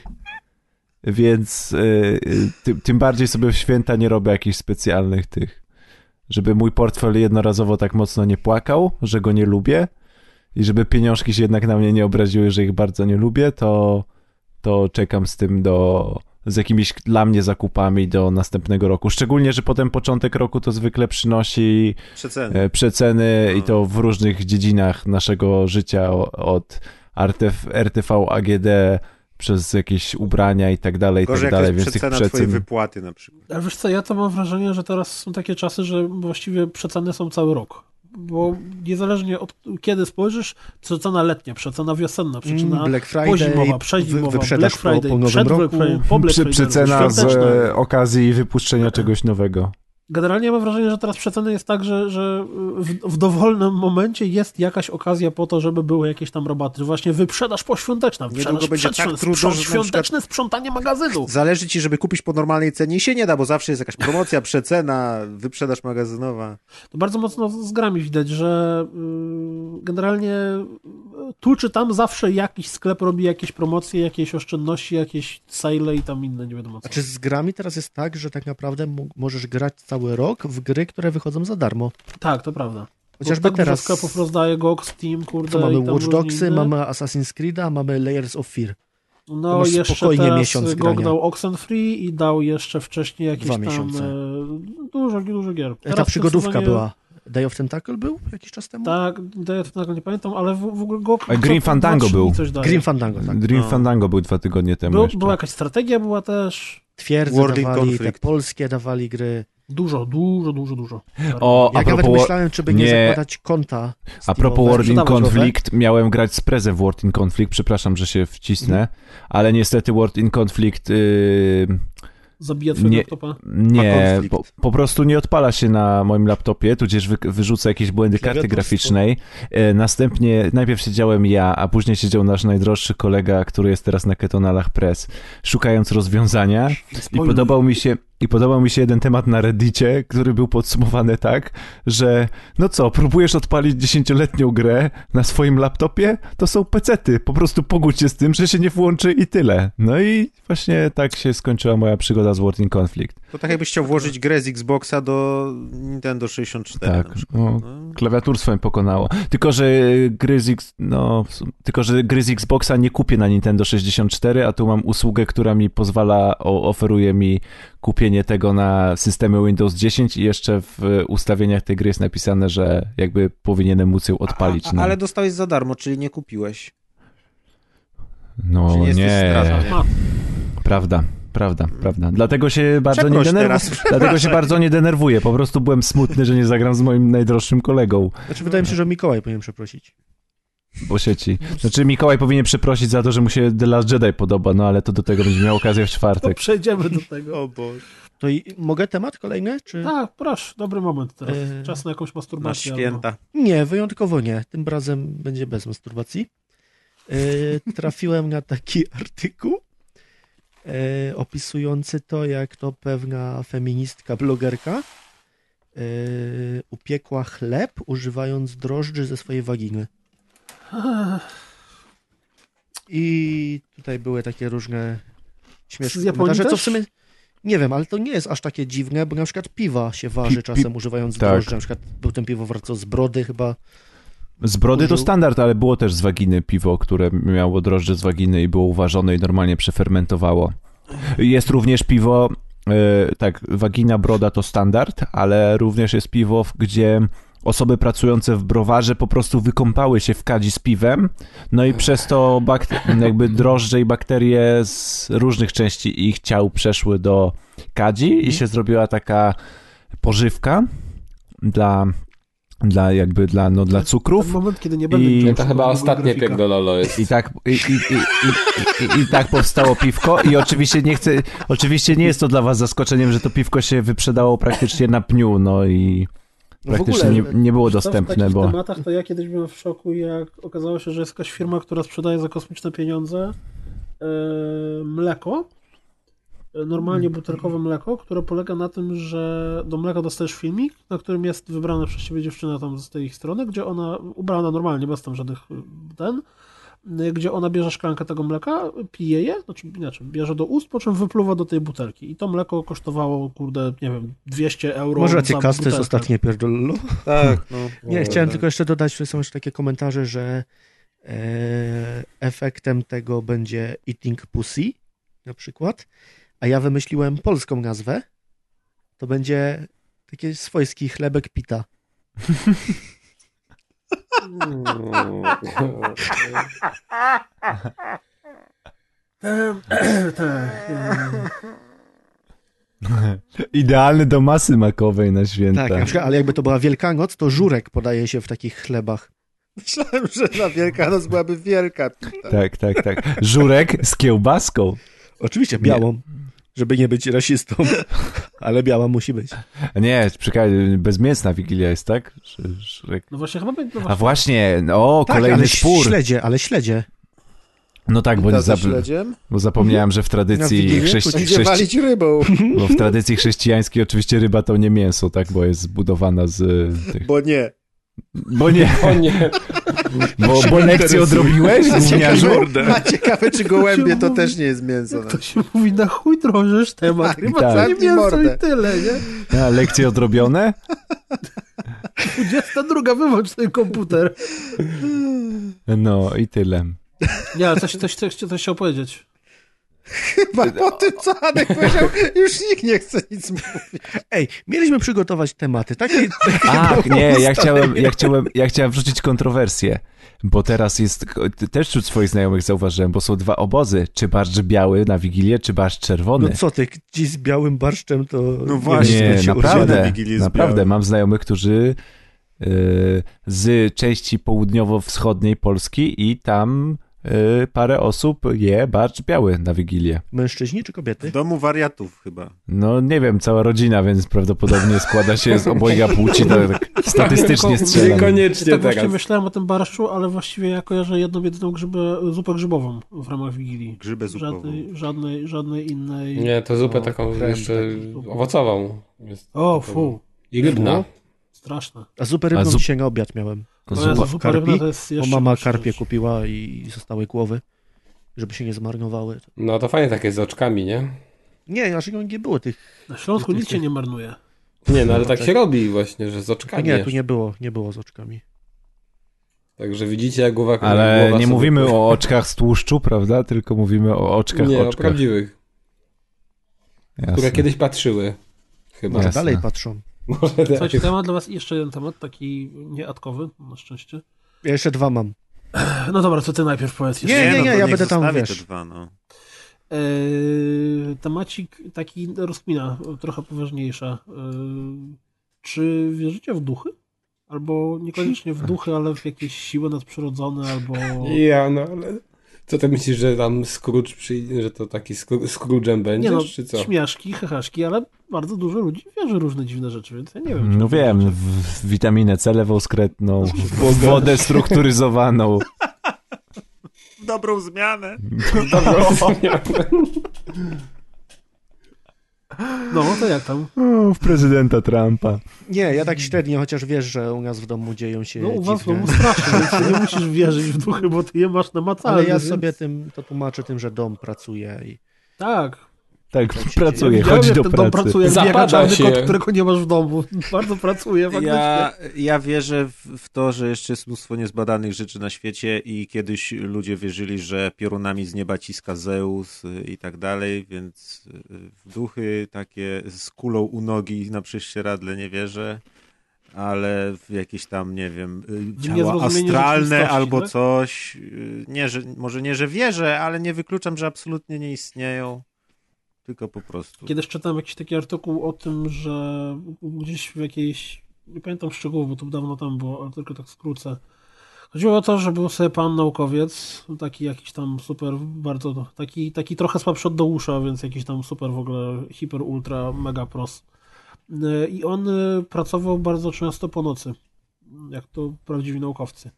[SPEAKER 2] więc y, y, tym- tym bardziej sobie w święta nie robię jakichś specjalnych tych, żeby mój portfel jednorazowo tak mocno nie płakał, że go nie lubię i żeby pieniążki się jednak na mnie nie obraziły, że ich bardzo nie lubię, to, to czekam z tym do... Z jakimiś dla mnie zakupami do następnego roku. Szczególnie, że potem początek roku to zwykle przynosi
[SPEAKER 4] Przeceny.
[SPEAKER 2] e, przeceny i to w różnych dziedzinach naszego życia o- od RTV, RTV AGD przez jakieś ubrania i tak dalej, i
[SPEAKER 4] Gorzej
[SPEAKER 2] tak
[SPEAKER 4] jak
[SPEAKER 2] dalej,
[SPEAKER 4] to jest
[SPEAKER 2] więc tych
[SPEAKER 4] przecena twojej
[SPEAKER 2] przecen...
[SPEAKER 4] wypłaty na przykład.
[SPEAKER 3] Ale wiesz co, ja to mam wrażenie, że teraz są takie czasy, że właściwie przeceny są cały rok. Bo niezależnie od kiedy spojrzysz, przecena letnia, przecena wiosenna, przecena
[SPEAKER 10] Mm, Black Friday,
[SPEAKER 3] pozimowa, przezimowa,
[SPEAKER 10] wyprzedaż
[SPEAKER 3] Black
[SPEAKER 10] po-
[SPEAKER 3] Friday,
[SPEAKER 10] po nowym
[SPEAKER 3] przed
[SPEAKER 10] roku.
[SPEAKER 3] Black Friday, po Black
[SPEAKER 2] Prze-
[SPEAKER 3] Friday,
[SPEAKER 2] przecena z
[SPEAKER 3] świąteczna.
[SPEAKER 2] e, okazji wypuszczenia czegoś nowego.
[SPEAKER 3] Generalnie mam wrażenie, że teraz przeceny jest tak, że, że w, w dowolnym momencie jest jakaś okazja po to, żeby były jakieś tam rabaty. Że Właśnie wyprzedaż poświąteczna, wyprzedaż
[SPEAKER 4] Niedługo będzie tak
[SPEAKER 3] przedświąt,
[SPEAKER 4] trudno,
[SPEAKER 3] sprząt
[SPEAKER 4] że na
[SPEAKER 3] świąteczny, sprzątanie magazynu.
[SPEAKER 4] Zależy ci, żeby kupić po normalnej cenie i się nie da, bo zawsze jest jakaś promocja, przecena, wyprzedaż magazynowa.
[SPEAKER 3] To bardzo mocno z grami widać, że y, generalnie y, tu czy tam zawsze jakiś sklep robi jakieś promocje, jakieś oszczędności, jakieś sale i tam inne, nie wiadomo co.
[SPEAKER 10] A czy z grami teraz jest tak, że tak naprawdę mo- możesz grać cały rok w gry, które wychodzą za darmo?
[SPEAKER 3] Tak, to prawda. Bo
[SPEAKER 10] Znaczy- Chociażby
[SPEAKER 3] tak dużo
[SPEAKER 10] teraz.
[SPEAKER 3] sklepów rozdaje GOG, Steam, kurde.
[SPEAKER 10] Co
[SPEAKER 3] i
[SPEAKER 10] mamy
[SPEAKER 3] tam
[SPEAKER 10] Watch
[SPEAKER 3] różne
[SPEAKER 10] Dogsy,
[SPEAKER 3] inne.
[SPEAKER 10] mamy Assassin's Creed'a, mamy Layers of Fear. E,
[SPEAKER 3] No
[SPEAKER 10] masz
[SPEAKER 3] jeszcze
[SPEAKER 10] spokojnie
[SPEAKER 3] teraz
[SPEAKER 10] miesiąc
[SPEAKER 3] GOG
[SPEAKER 10] grania.
[SPEAKER 3] dał Oxenfree i dał jeszcze wcześniej jakieś
[SPEAKER 10] Dwa
[SPEAKER 3] tam
[SPEAKER 10] miesiące.
[SPEAKER 3] e, dużo, dużo gier. Teraz w
[SPEAKER 10] Ta
[SPEAKER 3] tym
[SPEAKER 10] przygodówka
[SPEAKER 3] sezonie-
[SPEAKER 10] była. Day of Tentacle był jakiś czas temu?
[SPEAKER 3] Tak, daję to nagle nie pamiętam, ale w, w ogóle GOG...
[SPEAKER 2] A E, Grim
[SPEAKER 3] co-
[SPEAKER 2] Fandango
[SPEAKER 3] dwa, trzy
[SPEAKER 2] był.
[SPEAKER 3] dni Coś daje.
[SPEAKER 10] Grim Fandango, tak.
[SPEAKER 2] Dream
[SPEAKER 4] No.
[SPEAKER 2] Fandango był dwa tygodnie temu
[SPEAKER 3] Był,
[SPEAKER 2] jeszcze.
[SPEAKER 3] była jakaś strategia, była też...
[SPEAKER 10] Twierdze
[SPEAKER 4] World
[SPEAKER 10] dawali, te
[SPEAKER 4] Conflict.
[SPEAKER 10] polskie dawali gry.
[SPEAKER 3] Dużo, dużo, dużo, dużo.
[SPEAKER 2] O,
[SPEAKER 10] Ja
[SPEAKER 2] a
[SPEAKER 10] nawet
[SPEAKER 2] propos,
[SPEAKER 10] myślałem, czy by nie,
[SPEAKER 2] nie.
[SPEAKER 10] zakładać konta
[SPEAKER 2] a propos
[SPEAKER 10] Steamowe.
[SPEAKER 2] World in
[SPEAKER 10] Sprzedawać
[SPEAKER 2] Conflict, miałem grać z prezem w World in Conflict, przepraszam, że się wcisnę, ale niestety World in Conflict... Yy...
[SPEAKER 3] Zabija twojego
[SPEAKER 2] Nie.
[SPEAKER 3] laptopa.
[SPEAKER 4] Ma
[SPEAKER 2] Nie,
[SPEAKER 4] konflikt.
[SPEAKER 2] po, po prostu nie odpala się na moim laptopie, tudzież wy, wyrzuca jakieś błędy karty
[SPEAKER 10] Klawiaturstwo.
[SPEAKER 2] graficznej. E, następnie, najpierw siedziałem ja, a później siedział nasz najdroższy kolega, który jest teraz na Ketonalach Press, szukając rozwiązania i
[SPEAKER 3] Spojrzyj.
[SPEAKER 2] podobał mi się... I podobał mi się jeden temat na Reddicie, który był podsumowany tak, że no co, próbujesz odpalić dziesięcioletnią grę na swoim laptopie? To są pecety, po prostu pogódź się z tym, że się nie włączy i tyle. No i właśnie tak się skończyła moja przygoda z World Conflict.
[SPEAKER 4] To tak jakbyś chciał włożyć grę z Xboxa do Nintendo 64.
[SPEAKER 2] Tak, no, klawiaturstwem pokonało. Tylko, że gry z X, no, w sum- tylko, że gry z Xboxa nie kupię na Nintendo 64, a tu mam usługę, która mi pozwala, o, oferuje mi kupienie tego na systemie Windows 10 i jeszcze w e, ustawieniach tej gry jest napisane, że jakby powinienem móc ją odpalić. no.
[SPEAKER 4] A,
[SPEAKER 2] na-
[SPEAKER 4] ale dostałeś za darmo, czyli nie kupiłeś.
[SPEAKER 2] no
[SPEAKER 4] czy nie
[SPEAKER 2] nie,
[SPEAKER 4] jesteś zdradzony?
[SPEAKER 3] A,
[SPEAKER 2] prawda. Prawda, prawda. Dlatego się bardzo nie
[SPEAKER 4] Przeproś teraz,
[SPEAKER 2] denerwuję. Dlatego się
[SPEAKER 4] przepraszam.
[SPEAKER 2] bardzo nie denerwuję. Po prostu byłem smutny, że nie zagram z moim najdroższym kolegą.
[SPEAKER 10] Znaczy, wydaje mi się, że Mikołaj powinien przeprosić.
[SPEAKER 2] po sieci. Znaczy Mikołaj powinien przeprosić za to, że mu się The Last Jedi podoba, no ale to do tego będzie miał okazję w
[SPEAKER 3] to
[SPEAKER 10] Tak.
[SPEAKER 2] czwartek.
[SPEAKER 3] przejdziemy do tego.
[SPEAKER 10] To i mogę temat kolejny? Czy...
[SPEAKER 3] Tak, proszę, dobry moment teraz.
[SPEAKER 10] Yy.
[SPEAKER 3] Czas na jakąś
[SPEAKER 4] Na
[SPEAKER 3] masturbację. albo-
[SPEAKER 4] święta.
[SPEAKER 10] Nie, wyjątkowo nie. Tym razem będzie bez masturbacji. E, Trafiłem na taki artykuł e, opisujący to, jak to pewna feministka, blogerka e, upiekła chleb używając drożdży ze swojej waginy. I tutaj były takie różne
[SPEAKER 3] Z
[SPEAKER 10] śmieszne
[SPEAKER 3] Japonii
[SPEAKER 10] komentarze, co
[SPEAKER 3] też?
[SPEAKER 10] w sumie nie wiem, ale to nie jest aż takie dziwne, bo na przykład piwa się waży
[SPEAKER 2] Pi-
[SPEAKER 10] czasem
[SPEAKER 2] pi-
[SPEAKER 10] używając
[SPEAKER 2] tak.
[SPEAKER 10] drożdży. Na przykład był ten piwowar, co z brody chyba
[SPEAKER 2] Z brody to
[SPEAKER 10] Użył.
[SPEAKER 2] standard, ale było też z waginy piwo, które miało drożdże z waginy i było uważone i normalnie przefermentowało. Jest również piwo, e, tak, wagina, broda to standard, ale również jest piwo, w- gdzie osoby pracujące w browarze po prostu wykąpały się w kadzi z piwem, no i przez to bakt- jakby drożdże i bakterie z różnych części ich ciał przeszły do kadzi i się zrobiła taka pożywka dla, dla jakby dla, no, dla cukrów.
[SPEAKER 3] Ten moment, kiedy nie będę
[SPEAKER 2] I-
[SPEAKER 3] widział
[SPEAKER 2] Ja
[SPEAKER 3] tego
[SPEAKER 8] To chyba
[SPEAKER 3] mojego
[SPEAKER 8] ostatnie
[SPEAKER 3] grafika.
[SPEAKER 8] pierdololo jest.
[SPEAKER 2] I tak, i, i, i, i, i, i tak powstało piwko i oczywiście nie chcę, oczywiście nie jest to dla was zaskoczeniem, że to piwko się wyprzedało praktycznie na pniu, no i
[SPEAKER 10] No w
[SPEAKER 2] praktycznie nie,
[SPEAKER 10] ogóle,
[SPEAKER 2] nie było
[SPEAKER 3] To w
[SPEAKER 2] dostępne,
[SPEAKER 3] takich
[SPEAKER 2] bo
[SPEAKER 3] tematach to ja kiedyś byłem w szoku, jak okazało się, że jest jakaś firma, która sprzedaje za kosmiczne pieniądze e, mleko, e, normalnie
[SPEAKER 10] Mm.
[SPEAKER 3] butelkowe mleko, które polega na tym, że do mleka dostajesz filmik, na którym jest wybrana przez ciebie dziewczyna tam z tej ich strony, gdzie ona, ubrana normalnie, bez tam żadnych y, ten, y, gdzie ona bierze szklankę tego mleka, pije je, znaczy inaczej, bierze do ust, po czym wypluwa do tej butelki. I to mleko kosztowało, kurde, nie wiem, 200 euro.
[SPEAKER 10] Może
[SPEAKER 3] za
[SPEAKER 10] raczej kasty jest
[SPEAKER 3] butelkę.
[SPEAKER 10] ostatnie pierdololo?
[SPEAKER 4] Tak, no.
[SPEAKER 10] Nie, chciałem tylko jeszcze dodać, że są jeszcze takie komentarze, że e, efektem tego będzie Eating Pussy na przykład, a ja wymyśliłem polską nazwę. To będzie taki swojski chlebek pita.
[SPEAKER 3] Tak, e,
[SPEAKER 2] idealny do masy makowej na święta.
[SPEAKER 10] Tak, na przykład, ale jakby to była Wielkanoc, to żurek podaje się w takich chlebach.
[SPEAKER 4] Myślałem, że na Wielkanoc byłaby wielka.
[SPEAKER 2] tak, tak, tak. Żurek z kiełbaską.
[SPEAKER 10] Oczywiście białą, żeby nie być rasistą, ale biała musi być.
[SPEAKER 2] Nie, czekaj, bezmięsna Wigilia jest, tak? Ż- Żurek.
[SPEAKER 3] No właśnie, chyba będzie. No
[SPEAKER 2] A
[SPEAKER 3] właśnie,
[SPEAKER 2] właśnie, o,
[SPEAKER 10] Tak,
[SPEAKER 2] kolejny
[SPEAKER 10] ale
[SPEAKER 2] spór.
[SPEAKER 10] śledzie, ale śledzie.
[SPEAKER 2] No tak, bo,
[SPEAKER 4] Pita
[SPEAKER 2] nie
[SPEAKER 4] ze
[SPEAKER 2] zap...
[SPEAKER 4] śledziem?
[SPEAKER 2] bo zapomniałem, że w
[SPEAKER 10] Na
[SPEAKER 2] tradycji
[SPEAKER 10] Wigilię?
[SPEAKER 2] chrześci...
[SPEAKER 4] Będzie
[SPEAKER 2] chrześci...
[SPEAKER 4] walić rybą,
[SPEAKER 2] Bo w tradycji chrześcijańskiej oczywiście ryba to nie mięso, tak? Bo jest zbudowana z y, tych...
[SPEAKER 4] bo nie.
[SPEAKER 2] Bo nie,
[SPEAKER 8] O nie.
[SPEAKER 2] bo, bo lekcję odrobiłeś, gówniarzu?
[SPEAKER 4] A ciekawe, czy gołębie to też nie jest mięso. no.
[SPEAKER 3] to się mówi na chuj drążysz temat. Chyba
[SPEAKER 2] tak.
[SPEAKER 3] tak. nie
[SPEAKER 4] Zamknij
[SPEAKER 3] mięso
[SPEAKER 4] mordę.
[SPEAKER 3] i tyle, nie?
[SPEAKER 2] A, lekcje odrobione?
[SPEAKER 3] 22 wyłącz ten komputer.
[SPEAKER 2] No i tyle.
[SPEAKER 3] Nie, ale coś, coś, coś, coś chciał powiedzieć.
[SPEAKER 4] Chyba po tym, co Adek powiedział, już nikt nie chce nic mówić.
[SPEAKER 10] Ej, mieliśmy przygotować tematy. Takie, takie
[SPEAKER 2] Ach,
[SPEAKER 10] było
[SPEAKER 2] Tak, nie, ja
[SPEAKER 10] ustalenie.
[SPEAKER 2] chciałem, ja, chciałem, ja chciałem wrzucić kontrowersję, bo teraz jest, ty- też wśród swoich znajomych zauważyłem, bo są dwa obozy, czy barszcz biały na Wigilię, czy barszcz czerwony.
[SPEAKER 10] No co ty, ci z białym barszczem to... No
[SPEAKER 4] właśnie,
[SPEAKER 2] nie,
[SPEAKER 4] na
[SPEAKER 2] naprawdę,
[SPEAKER 4] Wigilię z
[SPEAKER 2] naprawdę
[SPEAKER 4] białym.
[SPEAKER 2] mam znajomych, którzy e, y, z części południowo-wschodniej Polski i tam y, parę osób je barszcz biały na Wigilię.
[SPEAKER 10] Mężczyźni czy kobiety?
[SPEAKER 4] W domu wariatów chyba.
[SPEAKER 2] No nie wiem, cała rodzina, więc prawdopodobnie składa się z obojga płci, to tak statystycznie strzelam.
[SPEAKER 9] Niekoniecznie
[SPEAKER 3] Ja tak właśnie
[SPEAKER 9] teraz.
[SPEAKER 3] myślałem o tym barszczu, ale właściwie ja kojarzę jedną jedyną grzybę, zupę grzybową w ramach Wigilii.
[SPEAKER 4] Grzybę zupową.
[SPEAKER 3] Żadnej, żadnej, żadnej innej...
[SPEAKER 9] Nie, to zupę
[SPEAKER 3] No,
[SPEAKER 9] taką
[SPEAKER 3] krem
[SPEAKER 9] jeszcze
[SPEAKER 3] taki, zupę.
[SPEAKER 9] owocową. Jest
[SPEAKER 3] O,
[SPEAKER 9] taką.
[SPEAKER 3] fu,
[SPEAKER 9] I no? rybna.
[SPEAKER 3] straszne.
[SPEAKER 10] A zupę rybną
[SPEAKER 2] A zup-
[SPEAKER 10] dzisiaj na obiad miałem.
[SPEAKER 2] To
[SPEAKER 3] O Jezu,
[SPEAKER 2] zupa w
[SPEAKER 3] zupa
[SPEAKER 10] karpi?
[SPEAKER 3] rybna to jest
[SPEAKER 10] Bo
[SPEAKER 3] jeszcze...
[SPEAKER 10] mama
[SPEAKER 3] gorsze
[SPEAKER 10] karpie
[SPEAKER 3] rzeczy.
[SPEAKER 10] kupiła i zostały głowy, żeby się nie zmarnowały.
[SPEAKER 9] No to fajnie takie z oczkami, nie?
[SPEAKER 10] Nie, znaczy no, nie było tych.
[SPEAKER 3] Na Śląsku nic się nie marnuje.
[SPEAKER 9] Nie, no ale tak się robi właśnie, że z
[SPEAKER 10] A
[SPEAKER 9] oczkami.
[SPEAKER 10] nie, tu
[SPEAKER 9] jeszcze.
[SPEAKER 10] nie było, nie było z oczkami.
[SPEAKER 9] Także widzicie, jak głowa
[SPEAKER 2] Ale
[SPEAKER 9] głowa
[SPEAKER 2] nie
[SPEAKER 9] sobie-
[SPEAKER 2] mówimy o oczkach z tłuszczu, prawda? Tylko mówimy o oczkach,
[SPEAKER 9] Nie, o
[SPEAKER 2] oczkach.
[SPEAKER 9] prawdziwych,
[SPEAKER 2] Jasne.
[SPEAKER 9] które kiedyś patrzyły. Chyba.
[SPEAKER 10] Może
[SPEAKER 2] Jasne.
[SPEAKER 10] dalej patrzą.
[SPEAKER 9] Może
[SPEAKER 3] Słuchajcie,
[SPEAKER 9] tak.
[SPEAKER 3] ja mam dla was jeszcze jeden temat, taki nieatkowy, na szczęście.
[SPEAKER 10] Ja jeszcze dwa mam.
[SPEAKER 3] No dobra, co ty najpierw powiedz jeszcze.
[SPEAKER 10] Nie, nie,
[SPEAKER 4] no
[SPEAKER 10] nie,
[SPEAKER 4] to
[SPEAKER 10] ja
[SPEAKER 4] niech
[SPEAKER 10] będę tam,
[SPEAKER 4] zostawię
[SPEAKER 10] wiesz.
[SPEAKER 4] te dwa, no.
[SPEAKER 3] Eee, temacik taki rozkmina, trochę poważniejsza. Eee, czy wierzycie w duchy? Albo niekoniecznie w duchy, ale w jakieś siły nadprzyrodzone, albo...
[SPEAKER 9] Ja, no ale... Co ty myślisz, że tam Scrooge przyjdzie, że to taki Scroo- Scrooge'em
[SPEAKER 3] Nie
[SPEAKER 9] będziesz,
[SPEAKER 3] no,
[SPEAKER 9] czy co?
[SPEAKER 3] śmiaszki, hehaszki, ale bardzo dużo ludzi wierzy w różne dziwne rzeczy, więc ja nie
[SPEAKER 10] Mhm.
[SPEAKER 3] wiem. czy-
[SPEAKER 2] No wiem, w witaminę C lewoskretną, w wodę strukturyzowaną.
[SPEAKER 4] Dobrą zmianę.
[SPEAKER 3] No, to jak tam?
[SPEAKER 2] O, w prezydenta Trumpa.
[SPEAKER 10] Nie, ja tak średnio, chociaż wiesz, że u nas w domu dzieją się
[SPEAKER 3] No u was w
[SPEAKER 10] dziwne...
[SPEAKER 3] domu strasznie, więc ty nie musisz wierzyć w duchy, bo ty je masz namacalne.
[SPEAKER 10] Ale ja
[SPEAKER 3] więc-
[SPEAKER 10] sobie tym to tłumaczę tym, że dom pracuje i
[SPEAKER 3] Tak.
[SPEAKER 2] Tak,
[SPEAKER 3] Ja
[SPEAKER 2] pracuje,
[SPEAKER 3] widziałem,
[SPEAKER 2] chodzi
[SPEAKER 3] jak
[SPEAKER 2] do
[SPEAKER 3] ten dom
[SPEAKER 2] pracy.
[SPEAKER 3] pracuje, jak biega
[SPEAKER 9] Zapada
[SPEAKER 3] czarny
[SPEAKER 9] się.
[SPEAKER 3] kot, którego nie masz w domu. Bardzo pracuje, faktycznie.
[SPEAKER 4] Ja, ja wierzę w, w to, że jeszcze jest mnóstwo niezbadanych rzeczy na świecie i kiedyś ludzie wierzyli, że piorunami z nieba ciska Zeus y, i tak dalej, więc y, w duchy takie z kulą u nogi na prześcieradle nie wierzę, ale w jakieś tam, nie wiem, y,
[SPEAKER 3] W
[SPEAKER 4] ciała
[SPEAKER 3] niezrozumienie
[SPEAKER 4] astralne
[SPEAKER 3] rzeczywistości,
[SPEAKER 4] albo
[SPEAKER 3] tak?
[SPEAKER 4] coś. y, Nie, że, może nie, że wierzę, ale nie wykluczam, że absolutnie nie istnieją, tylko po prostu.
[SPEAKER 3] Kiedyś czytałem jakiś taki artykuł o tym, że gdzieś w jakiejś, nie pamiętam szczegółów, bo to dawno tam było, ale tylko tak skrócę. Chodziło o to, że był sobie pan naukowiec, taki jakiś tam super, bardzo, taki, taki trochę słabszy od Dołusza, więc jakiś tam super w ogóle, hiper, ultra, mega pros. Y, I on y, pracował bardzo często po nocy, jak to prawdziwi naukowcy.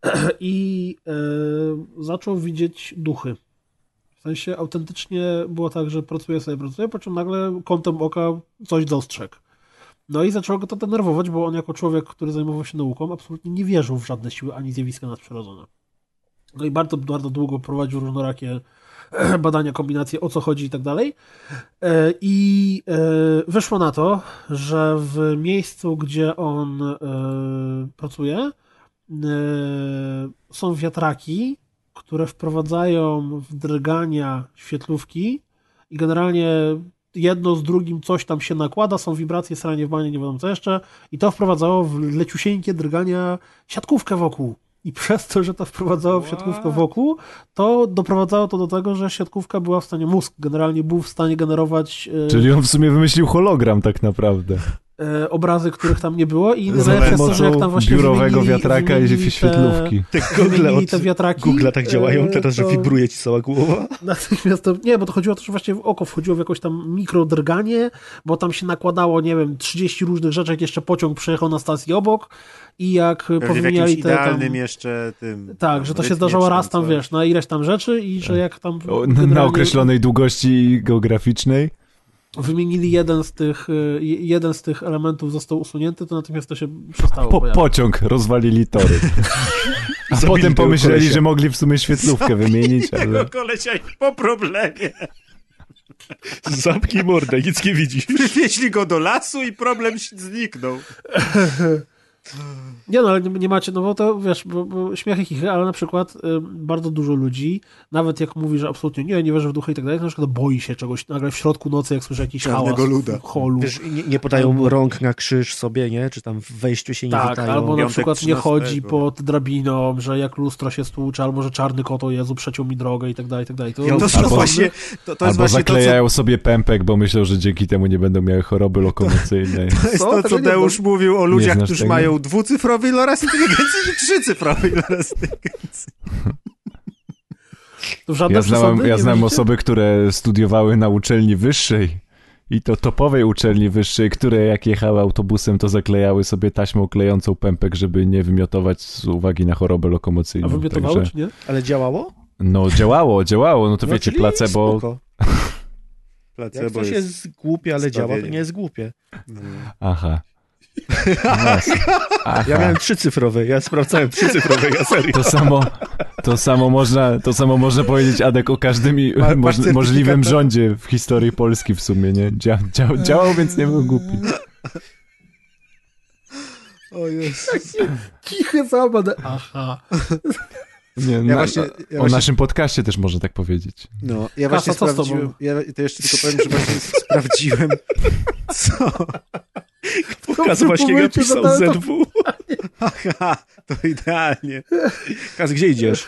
[SPEAKER 3] I y, zaczął widzieć duchy. W sensie autentycznie było tak, że pracuje sobie, pracuje, po czym nagle kątem oka coś dostrzegł. No i zaczęło go to denerwować, bo on jako człowiek, który zajmował się nauką, absolutnie nie wierzył w żadne siły ani zjawiska nadprzyrodzone. No i bardzo, bardzo długo prowadził różnorakie badania, kombinacje, o co chodzi i tak dalej. E, I e, wyszło na to, że w miejscu, gdzie on e, pracuje, e, są wiatraki, które wprowadzają w drgania świetlówki i generalnie jedno z drugim coś tam się nakłada, są wibracje, sranie w banie, nie wiadomo co jeszcze i to wprowadzało w leciusieńkie drgania siatkówkę wokół. I przez to, że to wprowadzało w siatkówkę wokół, to doprowadzało to do tego, że siatkówka była w stanie, mózg generalnie był w stanie generować e,
[SPEAKER 2] Czyli on w sumie wymyślił hologram tak naprawdę.
[SPEAKER 3] e, obrazy, których tam nie było i
[SPEAKER 2] Za
[SPEAKER 3] najlepsze jest to, że jak tam
[SPEAKER 2] pomocą
[SPEAKER 3] właśnie
[SPEAKER 2] biurowego
[SPEAKER 3] wymienili-
[SPEAKER 2] wiatraka i
[SPEAKER 3] wymienili te-
[SPEAKER 2] świetlówki.
[SPEAKER 10] Te
[SPEAKER 3] Google od- te wiatraki,
[SPEAKER 10] Google tak działają
[SPEAKER 3] e,
[SPEAKER 10] teraz, że
[SPEAKER 3] to-
[SPEAKER 10] wibruje ci cała głowa.
[SPEAKER 3] Natychmiast to, nie, bo to chodziło o to, że właśnie w oko wchodziło w jakoś tam mikrodrganie, bo tam się nakładało, nie wiem, 30 różnych rzeczy, jak jeszcze pociąg przejechał na stacji obok i jak
[SPEAKER 4] Pewnie w jakimś
[SPEAKER 3] powymieniali te tam...
[SPEAKER 4] idealnym jeszcze tym.
[SPEAKER 3] Tak,
[SPEAKER 4] tam
[SPEAKER 3] że to się
[SPEAKER 4] rytmie
[SPEAKER 3] zdarzało
[SPEAKER 4] czy
[SPEAKER 3] raz tam,
[SPEAKER 4] coś.
[SPEAKER 3] wiesz, na ileś tam rzeczy i że jak tam
[SPEAKER 2] O, na- Na
[SPEAKER 3] generalnie
[SPEAKER 2] określonej długości geograficznej.
[SPEAKER 3] wymienili jeden z tych y, jeden z tych elementów został usunięty, to natychmiast to się przestało
[SPEAKER 2] Po,
[SPEAKER 3] pojawiać.
[SPEAKER 2] pociąg rozwalili tory. A
[SPEAKER 10] Zabili
[SPEAKER 2] potem
[SPEAKER 10] tego
[SPEAKER 2] pomyśleli,
[SPEAKER 10] kolesia.
[SPEAKER 2] że mogli w sumie świetlówkę wymienić, ale...
[SPEAKER 4] Tego kolesia i po problemie.
[SPEAKER 10] Zamknij mordę, nic nie widzisz.
[SPEAKER 4] Przywieźli go do lasu i problem ś- zniknął.
[SPEAKER 3] Nie no, ale nie, nie macie, no bo to wiesz, bo, bo śmiechy chichy, ale na przykład ym, bardzo dużo ludzi, nawet jak mówi, że absolutnie nie, nie wierzy w duchy i tak dalej, to na przykład boi się czegoś, nagle w środku nocy, jak słyszy jakiś
[SPEAKER 4] Czarnego
[SPEAKER 3] hałas
[SPEAKER 4] luda.
[SPEAKER 3] w holu.
[SPEAKER 10] Wiesz, nie, nie podają rąk na krzyż sobie, nie? Czy tam w wejściu się nie
[SPEAKER 3] tak,
[SPEAKER 10] witają.
[SPEAKER 3] albo na
[SPEAKER 4] Piątek
[SPEAKER 3] przykład nie
[SPEAKER 4] 13.
[SPEAKER 3] chodzi pod drabiną, że jak lustro się stłucze, albo że czarny kot, o Jezu, przeciął mi drogę i tak dalej, i tak dalej. To,
[SPEAKER 4] To,
[SPEAKER 2] Albo-
[SPEAKER 4] to właśnie, to, to jest
[SPEAKER 2] Albo
[SPEAKER 4] właśnie to, co,
[SPEAKER 2] zaklejają sobie pępek, bo myślą, że dzięki temu nie będą miały choroby lokomocyjnej.
[SPEAKER 4] to, jest
[SPEAKER 3] Co?
[SPEAKER 4] to,
[SPEAKER 3] Tego
[SPEAKER 4] co
[SPEAKER 3] nie
[SPEAKER 4] Deusz mówił o ludziach,
[SPEAKER 2] znasz
[SPEAKER 4] którzy
[SPEAKER 2] tego?
[SPEAKER 4] mają dwucyfrowy iloraz inteligencji i trzycyfrowy iloraz inteligencji.
[SPEAKER 3] To żadne
[SPEAKER 2] Ja znam,
[SPEAKER 3] przesady,
[SPEAKER 2] ja
[SPEAKER 3] nie
[SPEAKER 2] znam
[SPEAKER 3] myślicie?
[SPEAKER 2] osoby, które studiowały na uczelni wyższej i to topowej uczelni wyższej, które jak jechały autobusem, to zaklejały sobie taśmą klejącą pępek, żeby nie wymiotować z uwagi na chorobę lokomocyjną.
[SPEAKER 3] A wymiotowało,
[SPEAKER 2] Także-
[SPEAKER 3] czy nie?
[SPEAKER 10] Ale działało?
[SPEAKER 2] No działało, działało, no to
[SPEAKER 10] No,
[SPEAKER 2] wiecie,
[SPEAKER 10] czyli
[SPEAKER 2] placebo.
[SPEAKER 10] spoko. Jak
[SPEAKER 4] Placebo
[SPEAKER 10] coś jest głupie, ale działa, to
[SPEAKER 4] zbawieniem.
[SPEAKER 10] nie jest głupie.
[SPEAKER 2] Aha. Yes. Aha.
[SPEAKER 10] Ja miałem trzycyfrowe, ja sprawdzałem trzycyfrowe, ja serio.
[SPEAKER 2] To samo, to samo można, to samo można powiedzieć Adek o każdym i,
[SPEAKER 11] Ma- masz
[SPEAKER 2] moż,
[SPEAKER 11] certyfikat
[SPEAKER 2] możliwym
[SPEAKER 11] na-
[SPEAKER 2] rządzie w historii Polski w sumie, nie? Dzia, dzia, działał, więc nie był głupi.
[SPEAKER 11] O Jezu.
[SPEAKER 3] Cichy zabadę. Aha.
[SPEAKER 2] Nie,
[SPEAKER 4] Ja
[SPEAKER 2] na,
[SPEAKER 4] właśnie-
[SPEAKER 2] o
[SPEAKER 4] ja właśnie-
[SPEAKER 2] naszym podcaście też można tak powiedzieć.
[SPEAKER 4] No,
[SPEAKER 3] Kasa,
[SPEAKER 4] ja właśnie
[SPEAKER 3] co z tobą?
[SPEAKER 4] sprawdziłem. Ja to jeszcze tylko powiem, że właśnie sprawdziłem. Co?
[SPEAKER 10] Kaz właśnie
[SPEAKER 3] Próbujcie
[SPEAKER 10] napisał
[SPEAKER 3] zadać to-
[SPEAKER 10] ZW.
[SPEAKER 4] Aha, to idealnie. Kaz, gdzie idziesz?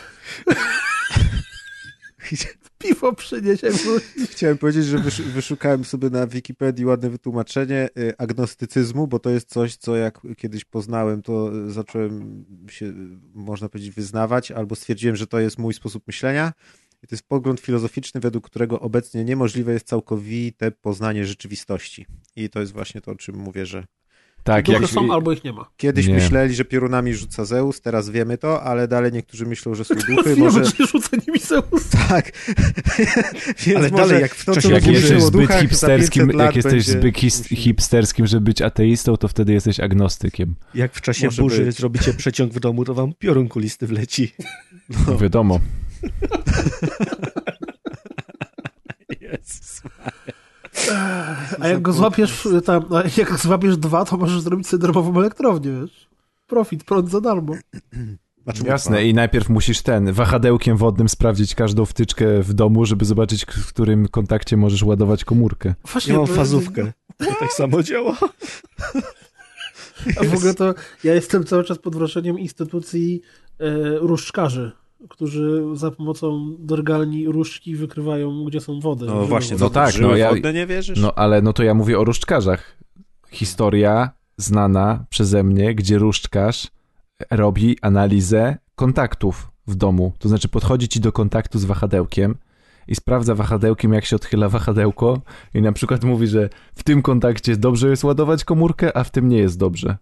[SPEAKER 3] Piwo przyniesie.
[SPEAKER 4] Chciałem powiedzieć, że wysz- wyszukałem sobie na Wikipedii ładne wytłumaczenie y, agnostycyzmu, bo to jest coś, co jak kiedyś poznałem, to y, zacząłem się, y, można powiedzieć, wyznawać, albo stwierdziłem, że to jest mój sposób myślenia. I to jest pogląd filozoficzny, według którego obecnie niemożliwe jest całkowite poznanie rzeczywistości. I to jest właśnie to, o czym mówię, że
[SPEAKER 2] Tak,
[SPEAKER 3] Duchy
[SPEAKER 2] jak,
[SPEAKER 3] są albo ich nie ma.
[SPEAKER 4] Kiedyś
[SPEAKER 2] Nie.
[SPEAKER 4] myśleli, że piorunami rzuca Zeus, teraz wiemy to, ale dalej niektórzy myślą, że są duchy,
[SPEAKER 3] Teraz wiemy,
[SPEAKER 4] może
[SPEAKER 3] może... czy rzuca nimi Zeus.
[SPEAKER 4] tak. Więc
[SPEAKER 10] Ale
[SPEAKER 4] może
[SPEAKER 10] dalej, jak w
[SPEAKER 4] to,
[SPEAKER 10] czasie
[SPEAKER 4] co
[SPEAKER 2] jak
[SPEAKER 10] Mówię,
[SPEAKER 2] jesteś
[SPEAKER 4] mówisz o
[SPEAKER 2] zbyt
[SPEAKER 4] duchach, za 500
[SPEAKER 2] hipsterskim,
[SPEAKER 4] lat
[SPEAKER 2] jak jesteś
[SPEAKER 4] będzie-
[SPEAKER 2] zbyt his, hipsterskim, żeby być ateistą, to wtedy jesteś agnostykiem.
[SPEAKER 10] Jak w czasie
[SPEAKER 4] Może
[SPEAKER 10] burzy
[SPEAKER 4] być.
[SPEAKER 10] zrobicie przeciąg w domu, to wam piorun kulisty wleci.
[SPEAKER 4] No.
[SPEAKER 2] Wiadomo.
[SPEAKER 3] A jak go złapiesz y, tam, a jak złapiesz dwa, to możesz zrobić sobie darmową elektrownię, wiesz? Profit, prąd za darmo.
[SPEAKER 4] Znaczy,
[SPEAKER 2] Jasne, i najpierw musisz ten wahadełkiem wodnym sprawdzić każdą wtyczkę w domu, żeby zobaczyć, k- w którym kontakcie możesz ładować komórkę.
[SPEAKER 3] Właśnie,
[SPEAKER 10] Ja mam
[SPEAKER 3] to-
[SPEAKER 10] fazówkę. To tak samo działa.
[SPEAKER 3] A w ogóle to ja jestem cały czas pod wrażeniem instytucji e, różdżkarzy, którzy za pomocą drgalni różdżki wykrywają, gdzie są wody.
[SPEAKER 4] No właśnie,
[SPEAKER 2] No
[SPEAKER 4] no
[SPEAKER 2] tak,
[SPEAKER 4] tak,
[SPEAKER 2] no ja-
[SPEAKER 4] wodne nie wierzysz?
[SPEAKER 2] No ale no to ja mówię o różdżkarzach. Historia znana przeze mnie, gdzie różdżkarz robi analizę kontaktów w domu. To znaczy podchodzi ci do kontaktu z wahadełkiem i sprawdza wahadełkiem, jak się odchyla wahadełko i na przykład mówi, że w tym kontakcie dobrze jest ładować komórkę, a w tym nie jest dobrze.
[SPEAKER 10] no.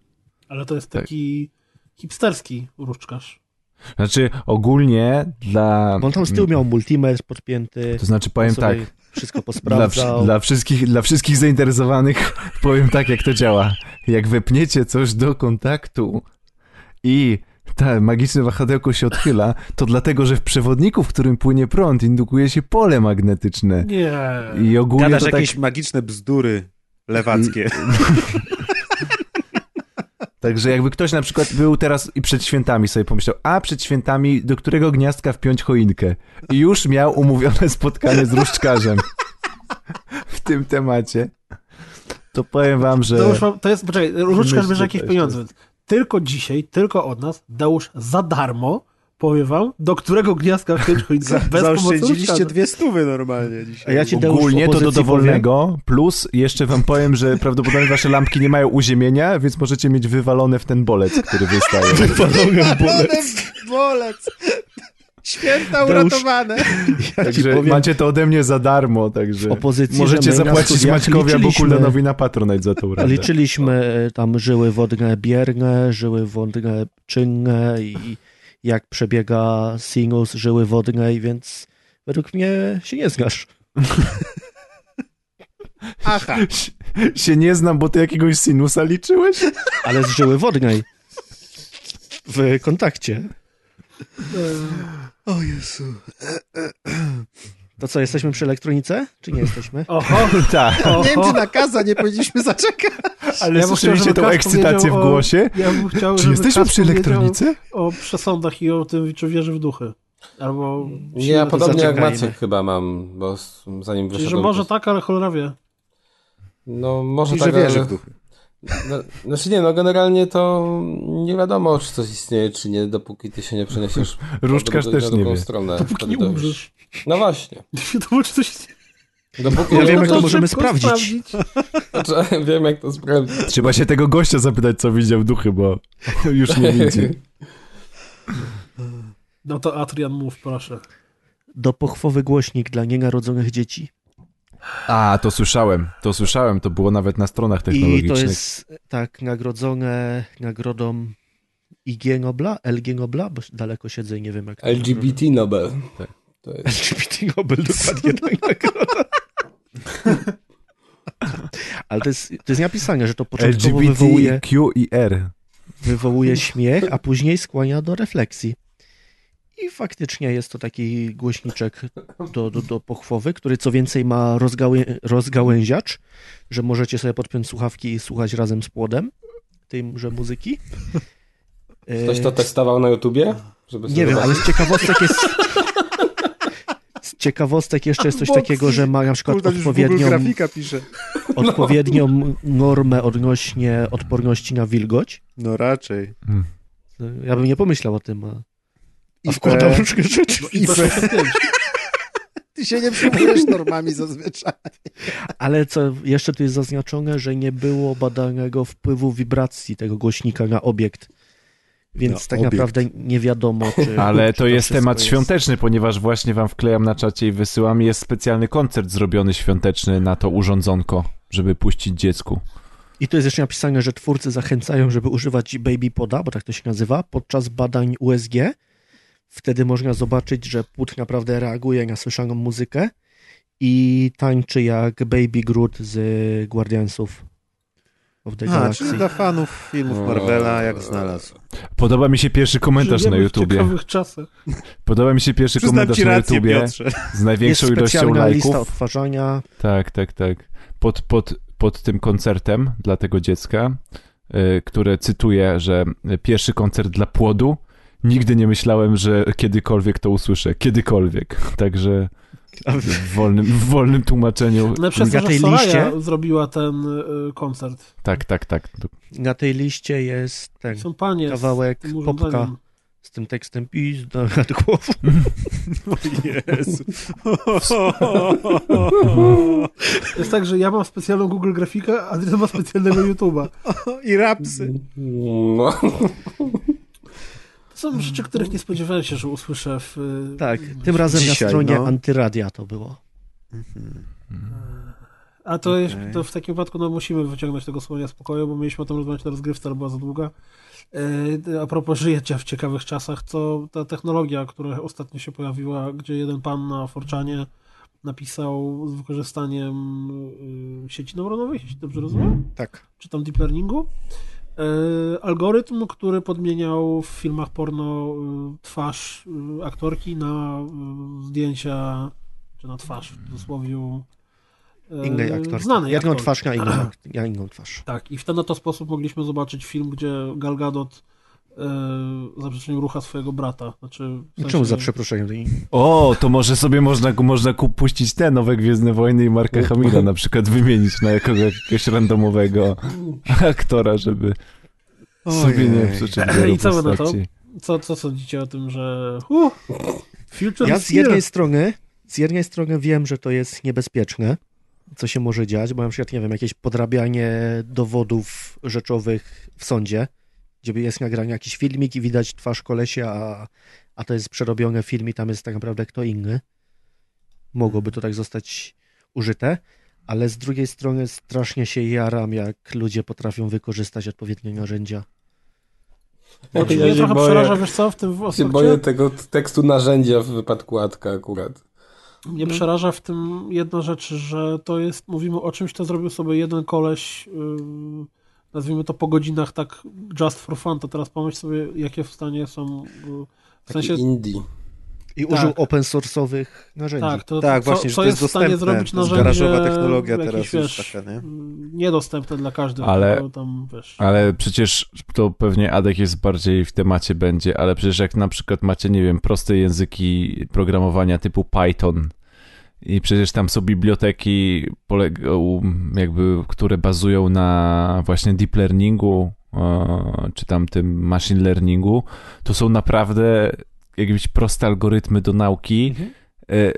[SPEAKER 3] Ale to jest
[SPEAKER 2] Tak.
[SPEAKER 3] taki hipsterski różdżkarz.
[SPEAKER 2] Znaczy ogólnie dla...
[SPEAKER 10] Bo on tam z tyłu miał multimer podpięty.
[SPEAKER 2] Mm. To znaczy powiem tak,
[SPEAKER 10] sobie Wszystko
[SPEAKER 2] Dla, wsz-
[SPEAKER 10] posprawdzał.
[SPEAKER 2] dla, wszystkich, dla wszystkich zainteresowanych powiem tak, jak to działa. Jak wepniecie coś do kontaktu i ta magiczne wahadełko się odchyla, to dlatego, że w przewodniku, w którym płynie prąd, indukuje się pole magnetyczne.
[SPEAKER 3] Nie.
[SPEAKER 2] I ogólnie
[SPEAKER 4] Gadasz
[SPEAKER 2] to tak,
[SPEAKER 4] jakieś magiczne bzdury lewackie.
[SPEAKER 2] Także jakby ktoś na przykład był teraz i przed świętami sobie pomyślał, a przed świętami do którego gniazdka wpiąć choinkę? I już miał umówione spotkanie z różdżkarzem w tym temacie. To powiem wam, że...
[SPEAKER 3] To,
[SPEAKER 4] E,
[SPEAKER 3] już mam, to jest, poczekaj, różdżkarz
[SPEAKER 2] Myślę,
[SPEAKER 3] bierze
[SPEAKER 2] że
[SPEAKER 3] jakieś
[SPEAKER 2] to
[SPEAKER 3] pieniądze,
[SPEAKER 2] jest-
[SPEAKER 3] więc tylko dzisiaj, tylko od nas, Deusz za darmo, powiem wam, do którego gniazdka wpiąć choinkę bez pomocy
[SPEAKER 4] Zaoszczędziliście
[SPEAKER 2] no.
[SPEAKER 3] różdżkarza.
[SPEAKER 4] dwie stówy normalnie
[SPEAKER 10] A
[SPEAKER 4] dzisiaj.
[SPEAKER 10] ja ci Deusz, w
[SPEAKER 2] Ogólnie to do
[SPEAKER 10] opozycji
[SPEAKER 2] dowolnego, plus jeszcze wam powiem, że prawdopodobnie wasze lampki nie mają uziemienia, więc możecie mieć wywalone w ten bolec, który wystaje.
[SPEAKER 10] powiem-
[SPEAKER 4] Bolec! Święta
[SPEAKER 10] Deusz-
[SPEAKER 4] uratowane!
[SPEAKER 10] Ja ci
[SPEAKER 2] Także
[SPEAKER 10] powiem,
[SPEAKER 2] macie to ode mnie za darmo, także
[SPEAKER 10] Opozycji, że
[SPEAKER 2] możecie
[SPEAKER 10] my na
[SPEAKER 2] zapłacić
[SPEAKER 10] studiach
[SPEAKER 2] Maćkowi albo
[SPEAKER 10] liczyliśmy-
[SPEAKER 2] Kuldanowi na Patronite za tą radę.
[SPEAKER 10] Liczyliśmy e, tam żyły wodne bierne, żyły wodne czynne i jak przebiega sinus żyły wodnej, więc według mnie się nie znasz.
[SPEAKER 4] Aha,
[SPEAKER 2] Się nie znam, bo ty jakiegoś sinusa liczyłeś?
[SPEAKER 10] Ale z żyły wodnej. W kontakcie.
[SPEAKER 4] o Jezu.
[SPEAKER 10] To co, jesteśmy przy elektronice? Czy nie jesteśmy?
[SPEAKER 3] Oho,
[SPEAKER 2] Tak,
[SPEAKER 3] oho.
[SPEAKER 4] Nie wiem, czy na kaza nie powinniśmy zaczekać.
[SPEAKER 2] ale
[SPEAKER 3] Ja bym chciał,
[SPEAKER 2] słyszeliście
[SPEAKER 3] żeby
[SPEAKER 2] tą
[SPEAKER 3] Kaz
[SPEAKER 2] ekscytację w
[SPEAKER 3] powiedział o-
[SPEAKER 2] głosie?
[SPEAKER 3] Ja bym chciał,
[SPEAKER 2] Czy
[SPEAKER 3] żeby
[SPEAKER 2] jesteśmy
[SPEAKER 3] Kas
[SPEAKER 2] przy
[SPEAKER 3] powiedział
[SPEAKER 2] elektronice?
[SPEAKER 3] O przesądach i o tym, czy wierzy w duchy. Albo
[SPEAKER 8] Nie, ja podobnie jak
[SPEAKER 10] zaczekajmy.
[SPEAKER 8] Maciek chyba mam, bo s- zanim
[SPEAKER 3] Czyli,
[SPEAKER 8] wyszedłem...
[SPEAKER 3] że może
[SPEAKER 8] to-
[SPEAKER 3] tak, ale cholera wie.
[SPEAKER 8] No może
[SPEAKER 4] I
[SPEAKER 8] tak,
[SPEAKER 4] że wierzy
[SPEAKER 8] ale-
[SPEAKER 4] w duchy.
[SPEAKER 8] No, znaczy nie, no generalnie to nie wiadomo, czy coś istnieje, czy nie, dopóki ty się nie przeniesiesz
[SPEAKER 2] Różdżkarz
[SPEAKER 8] na drugą-
[SPEAKER 2] też
[SPEAKER 8] na
[SPEAKER 2] nie
[SPEAKER 8] drugą
[SPEAKER 2] wie.
[SPEAKER 8] stronę.
[SPEAKER 3] Dopóki
[SPEAKER 8] wtedy
[SPEAKER 3] nie
[SPEAKER 8] to już-
[SPEAKER 3] umrzesz.
[SPEAKER 8] No właśnie.
[SPEAKER 3] Nie wiadomo, czy coś...
[SPEAKER 8] Dopóki
[SPEAKER 10] Ja wiem,
[SPEAKER 3] No
[SPEAKER 10] jak to
[SPEAKER 3] szybko
[SPEAKER 10] możemy sprawdzić.
[SPEAKER 8] Znaczy, wiem, jak to sprawdzić.
[SPEAKER 2] Trzeba się tego gościa zapytać, co widział duchy, bo już nie widzi.
[SPEAKER 3] No to Adrian, mów, proszę.
[SPEAKER 10] dopochwowy głośnik dla nienarodzonych dzieci.
[SPEAKER 2] A, to słyszałem, to słyszałem, to było nawet na stronach
[SPEAKER 10] I to
[SPEAKER 2] technologicznych.
[SPEAKER 10] jest tak nagrodzone nagrodą IG Nobla, LG Nobla, bo daleko siedzę i nie wiem jak to
[SPEAKER 9] LGBT Nobel.
[SPEAKER 2] Tak.
[SPEAKER 9] To jest...
[SPEAKER 10] LGBT Nobel, dokładnie tak nagroda. Ale to jest, to jest napisane, że to początkowo wywołuje,
[SPEAKER 2] LGBTQ i R.
[SPEAKER 10] wywołuje śmiech, a później skłania do refleksji. I faktycznie jest to taki głośniczek do, do, do pochwowy, który co więcej ma rozgałę, rozgałęziacz, że możecie sobie podpiąć słuchawki i słuchać razem z płodem tejże muzyki.
[SPEAKER 9] Ktoś to
[SPEAKER 10] E,
[SPEAKER 9] testował na YouTubie? Żeby
[SPEAKER 10] nie wiem, ale z ciekawostek jest. Z ciekawostek jeszcze jest coś
[SPEAKER 11] Box.
[SPEAKER 10] takiego, że ma na przykład
[SPEAKER 11] Kurde, już w Google
[SPEAKER 10] odpowiednią,
[SPEAKER 11] grafika pisze.
[SPEAKER 10] odpowiednią normę odnośnie odporności na wilgoć.
[SPEAKER 11] No raczej.
[SPEAKER 10] Ja bym nie pomyślał o tym, a, a
[SPEAKER 11] IP.
[SPEAKER 10] wkładał różne rzeczy.
[SPEAKER 11] No IP. Ty się nie przyjmujesz normami zazwyczaj.
[SPEAKER 10] Ale co jeszcze tu jest zaznaczone, że nie było badanego wpływu wibracji tego głośnika na obiekt. Więc
[SPEAKER 2] Na
[SPEAKER 10] tak
[SPEAKER 2] obiekt.
[SPEAKER 10] naprawdę nie wiadomo, czy.
[SPEAKER 2] Ale
[SPEAKER 10] czy
[SPEAKER 2] to jest
[SPEAKER 10] wszystko
[SPEAKER 2] temat świąteczny, ponieważ właśnie wam wklejam na czacie i wysyłam. Jest specjalny koncert zrobiony świąteczny na to urządzonko, żeby puścić dziecku.
[SPEAKER 10] I tu jest jeszcze napisane, że twórcy zachęcają, żeby używać baby poda, bo tak to się nazywa, podczas badań USG. Wtedy można zobaczyć, że płód naprawdę reaguje na słyszaną muzykę i tańczy jak Baby Groot z Guardiansów of the
[SPEAKER 4] A,
[SPEAKER 10] Galaxy.
[SPEAKER 4] czyli dla fanów filmów Marvela jak znalazł.
[SPEAKER 2] Podoba mi się pierwszy komentarz na
[SPEAKER 4] Żyjemy w
[SPEAKER 2] YouTubie.
[SPEAKER 4] ciekawych
[SPEAKER 3] czasach.
[SPEAKER 2] Podoba mi się pierwszy
[SPEAKER 4] Przyznam
[SPEAKER 2] komentarz
[SPEAKER 4] ci
[SPEAKER 2] na
[SPEAKER 4] rację,
[SPEAKER 2] YouTubie
[SPEAKER 4] Piotrze.
[SPEAKER 2] z największą
[SPEAKER 10] jest
[SPEAKER 2] ilością
[SPEAKER 10] specjalna
[SPEAKER 2] lajków.
[SPEAKER 10] lista odtwarzania.
[SPEAKER 2] Tak, tak, tak. Pod, pod, pod tym koncertem dla tego dziecka, y, które cytuję, że pierwszy koncert dla płodu. Nigdy nie myślałem, że kiedykolwiek to usłyszę. Kiedykolwiek. Także w wolnym, w wolnym tłumaczeniu.
[SPEAKER 3] No przez to, że Soraya zrobiła ten y, koncert.
[SPEAKER 2] Tak, tak, tak.
[SPEAKER 10] Na tej liście jest ten
[SPEAKER 3] Są panie z
[SPEAKER 10] kawałek
[SPEAKER 3] tym urządzeniem.
[SPEAKER 10] popka z tym tekstem pizda nad głową.
[SPEAKER 3] O
[SPEAKER 4] Jezu.
[SPEAKER 3] Jest tak, że ja mam specjalną Google grafikę, a Adrian ma specjalnego YouTube'a.
[SPEAKER 11] I rapsy.
[SPEAKER 9] No.
[SPEAKER 3] To są rzeczy, których nie spodziewałem się, że usłyszę w... y,
[SPEAKER 10] Tak, tym razem
[SPEAKER 3] dzisiaj,
[SPEAKER 10] na stronie
[SPEAKER 3] no.
[SPEAKER 10] Antyradia to było.
[SPEAKER 4] Mhm.
[SPEAKER 3] A to, jest, to w takim wypadku no, musimy wyciągnąć tego słonia z pokoju, bo mieliśmy o tym rozmawiać na rozgrywce, ale była za długa. Yy, A propos życia w ciekawych czasach, to ta technologia, która ostatnio się pojawiła, gdzie jeden pan na Forczanie napisał z wykorzystaniem yy, sieci neuronowej, jeśli dobrze rozumiem?
[SPEAKER 11] Tak.
[SPEAKER 3] Czy tam deep learningu? Yy, Algorytm, który podmieniał w filmach porno yy, twarz yy, aktorki na yy, zdjęcia, czy na twarz w cudzysłowie
[SPEAKER 10] Innej
[SPEAKER 3] e,
[SPEAKER 10] aktorki.
[SPEAKER 3] znanej
[SPEAKER 10] Jedną
[SPEAKER 3] aktorki.
[SPEAKER 10] twarz na inną, ak- na inną twarz.
[SPEAKER 3] Tak, i w ten oto sposób mogliśmy zobaczyć film, gdzie Gal Gadot e, za przeproszeniem rucha swojego brata. Znaczy, w sensie-
[SPEAKER 10] Czemu za przeproszeniem? To nie-
[SPEAKER 2] O, to może sobie można, można ku- puścić te nowe Gwiezdne Wojny i Marka Hamila na przykład wymienić na jakogo, jakiegoś randomowego aktora, żeby sobie nie przeczytać
[SPEAKER 3] I co wy na to?
[SPEAKER 2] postaci.
[SPEAKER 3] Co, co sądzicie o tym, że... Uh, future
[SPEAKER 10] Ja
[SPEAKER 3] is
[SPEAKER 10] z
[SPEAKER 3] here.
[SPEAKER 10] jednej strony, z jednej strony wiem, że to jest niebezpieczne, co się może dziać, bo na przykład, nie wiem, jakieś podrabianie dowodów rzeczowych w sądzie, gdzie jest nagrany jakiś filmik i widać twarz kolesia, a, a to jest przerobiony film i tam jest tak naprawdę kto inny. Mogłoby to tak zostać użyte, ale z drugiej strony strasznie się jaram, jak ludzie potrafią wykorzystać odpowiednie narzędzia.
[SPEAKER 3] Znaczy,
[SPEAKER 9] Ja
[SPEAKER 3] mnie
[SPEAKER 9] się
[SPEAKER 3] trochę
[SPEAKER 9] boję-
[SPEAKER 3] przeraża, wiesz co, w tym w
[SPEAKER 9] Się
[SPEAKER 3] aspekcie-
[SPEAKER 9] boję tego t- tekstu narzędzia w wypadku Atka akurat.
[SPEAKER 3] Mnie
[SPEAKER 2] No.
[SPEAKER 3] przeraża w tym jedna rzecz, że to jest, mówimy o czymś, co zrobił sobie jeden koleś, ym, nazwijmy to po godzinach, tak just for fun, to teraz pomyśl sobie, jakie w stanie są, y, w
[SPEAKER 9] Taki
[SPEAKER 3] sensie...
[SPEAKER 9] indie.
[SPEAKER 10] I
[SPEAKER 3] Tak.
[SPEAKER 10] użył open source'owych narzędzi.
[SPEAKER 3] Tak, to,
[SPEAKER 4] Tak,
[SPEAKER 3] co,
[SPEAKER 4] właśnie, że
[SPEAKER 3] co
[SPEAKER 4] to jest
[SPEAKER 3] jest w stanie
[SPEAKER 4] dostępne,
[SPEAKER 3] zrobić
[SPEAKER 4] to jest
[SPEAKER 3] narzędzie
[SPEAKER 4] garażowa technologia
[SPEAKER 3] jakieś,
[SPEAKER 4] teraz już
[SPEAKER 3] wiesz,
[SPEAKER 4] taka, nie?
[SPEAKER 3] m, niedostępne dla każdego,
[SPEAKER 2] Ale,
[SPEAKER 3] tylko tam, wiesz...
[SPEAKER 2] ale przecież to pewnie Adek jest bardziej w temacie będzie, ale przecież jak na przykład macie, nie wiem, proste języki programowania typu Python i przecież tam są biblioteki, poleg- um, jakby, które bazują na właśnie deep learningu, e, czy tam tym machine learningu, to są naprawdę jakieś proste algorytmy do nauki, e,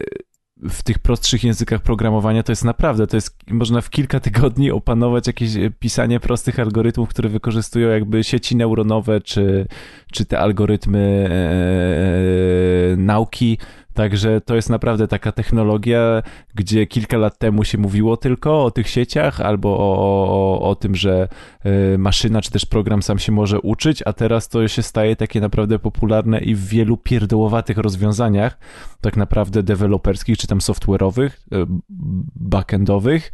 [SPEAKER 2] w tych prostszych językach programowania to jest naprawdę, to jest, można w kilka tygodni opanować jakieś e, pisanie prostych algorytmów, które wykorzystują jakby sieci neuronowe, czy, czy te algorytmy e, nauki Także to jest naprawdę taka technologia, gdzie kilka lat temu się mówiło tylko o tych sieciach albo o, o, o, o tym, że y, maszyna czy też program sam się może uczyć, a teraz to się staje takie naprawdę popularne i w wielu pierdołowatych rozwiązaniach, tak naprawdę deweloperskich czy tam software'owych, y, backendowych.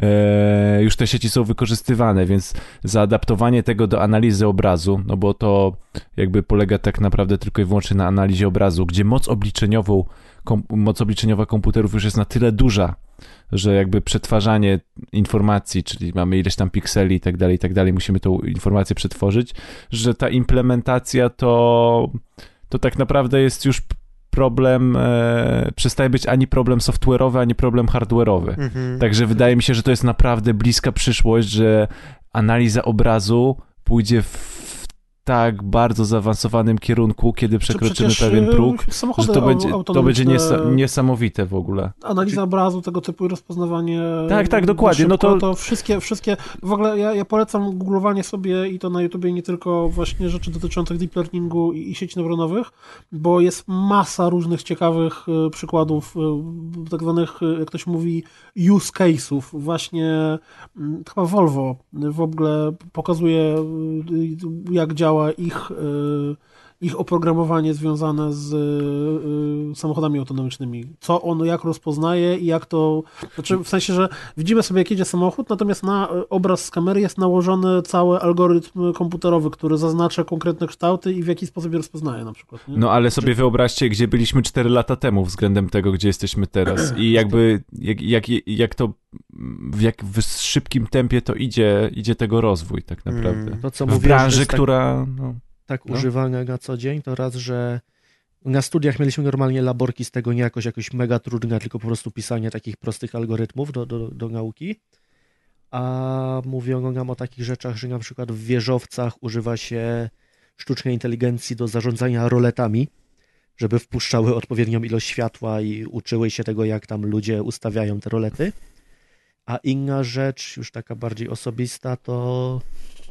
[SPEAKER 2] e, Już te sieci są wykorzystywane, więc zaadaptowanie tego do analizy obrazu, no bo to jakby polega tak naprawdę tylko i wyłącznie na analizie obrazu, gdzie moc obliczeniową, kom, moc obliczeniowa komputerów już jest na tyle duża, że jakby przetwarzanie informacji, czyli mamy ileś tam pikseli i tak dalej, i tak dalej, musimy tą informację przetworzyć, że ta implementacja to, to tak naprawdę jest już problem, e, przestaje być ani problem software'owy, ani problem hardware'owy.
[SPEAKER 12] Mhm.
[SPEAKER 4] Tak.
[SPEAKER 2] Także wydaje mi się, że to jest naprawdę bliska przyszłość, że analiza obrazu pójdzie w tak bardzo zaawansowanym kierunku, kiedy przekroczymy
[SPEAKER 3] przecież,
[SPEAKER 2] pewien
[SPEAKER 3] e,
[SPEAKER 2] próg, że
[SPEAKER 3] samochody
[SPEAKER 2] to
[SPEAKER 3] au-
[SPEAKER 2] będzie, to będzie
[SPEAKER 3] autonomiczne-
[SPEAKER 2] niesa- niesamowite w ogóle.
[SPEAKER 3] Analiza obrazu, tego typu i rozpoznawanie.
[SPEAKER 2] Znaczy- Tak, tak, dokładnie, no
[SPEAKER 3] Szybko,
[SPEAKER 2] to-
[SPEAKER 3] to wszystkie, wszystkie. W ogóle ja, ja polecam googlowanie sobie i to na YouTubie nie tylko właśnie rzeczy dotyczących deep learningu i, i sieci neuronowych, bo jest masa różnych ciekawych y, przykładów, y, tak zwanych, y, jak ktoś mówi, use case'ów. Właśnie mm, chyba Volvo w ogóle pokazuje, y, jak działa ich. y, ich oprogramowanie związane z y, y, samochodami autonomicznymi. Co ono jak rozpoznaje i jak to. Znaczy, w sensie, że widzimy sobie, jak jedzie samochód, natomiast na y, obraz z kamery jest nałożony cały algorytm komputerowy, który zaznacza konkretne kształty i w jaki sposób je rozpoznaje na przykład. Nie?
[SPEAKER 2] No ale sobie wyobraźcie, gdzie byliśmy 4 lata temu względem tego, gdzie jesteśmy teraz. I jakby, jak, jak, jak to, w jak w szybkim tempie to idzie, idzie tego rozwój tak naprawdę.
[SPEAKER 10] To, co
[SPEAKER 3] Mm.
[SPEAKER 2] w
[SPEAKER 10] mówiłeś, że
[SPEAKER 2] branży,
[SPEAKER 10] jest tak-
[SPEAKER 2] która... No,
[SPEAKER 10] tak
[SPEAKER 2] no.
[SPEAKER 10] używane na co dzień, to raz, że na studiach mieliśmy normalnie laborki z tego nie jakoś jakoś mega trudne, tylko po prostu pisanie takich prostych algorytmów do, do, do nauki. A mówiono nam o takich rzeczach, że na przykład w wieżowcach używa się sztucznej inteligencji do zarządzania roletami, żeby wpuszczały odpowiednią ilość światła i uczyły się tego, jak tam ludzie ustawiają te rolety. A inna rzecz, już taka bardziej osobista, to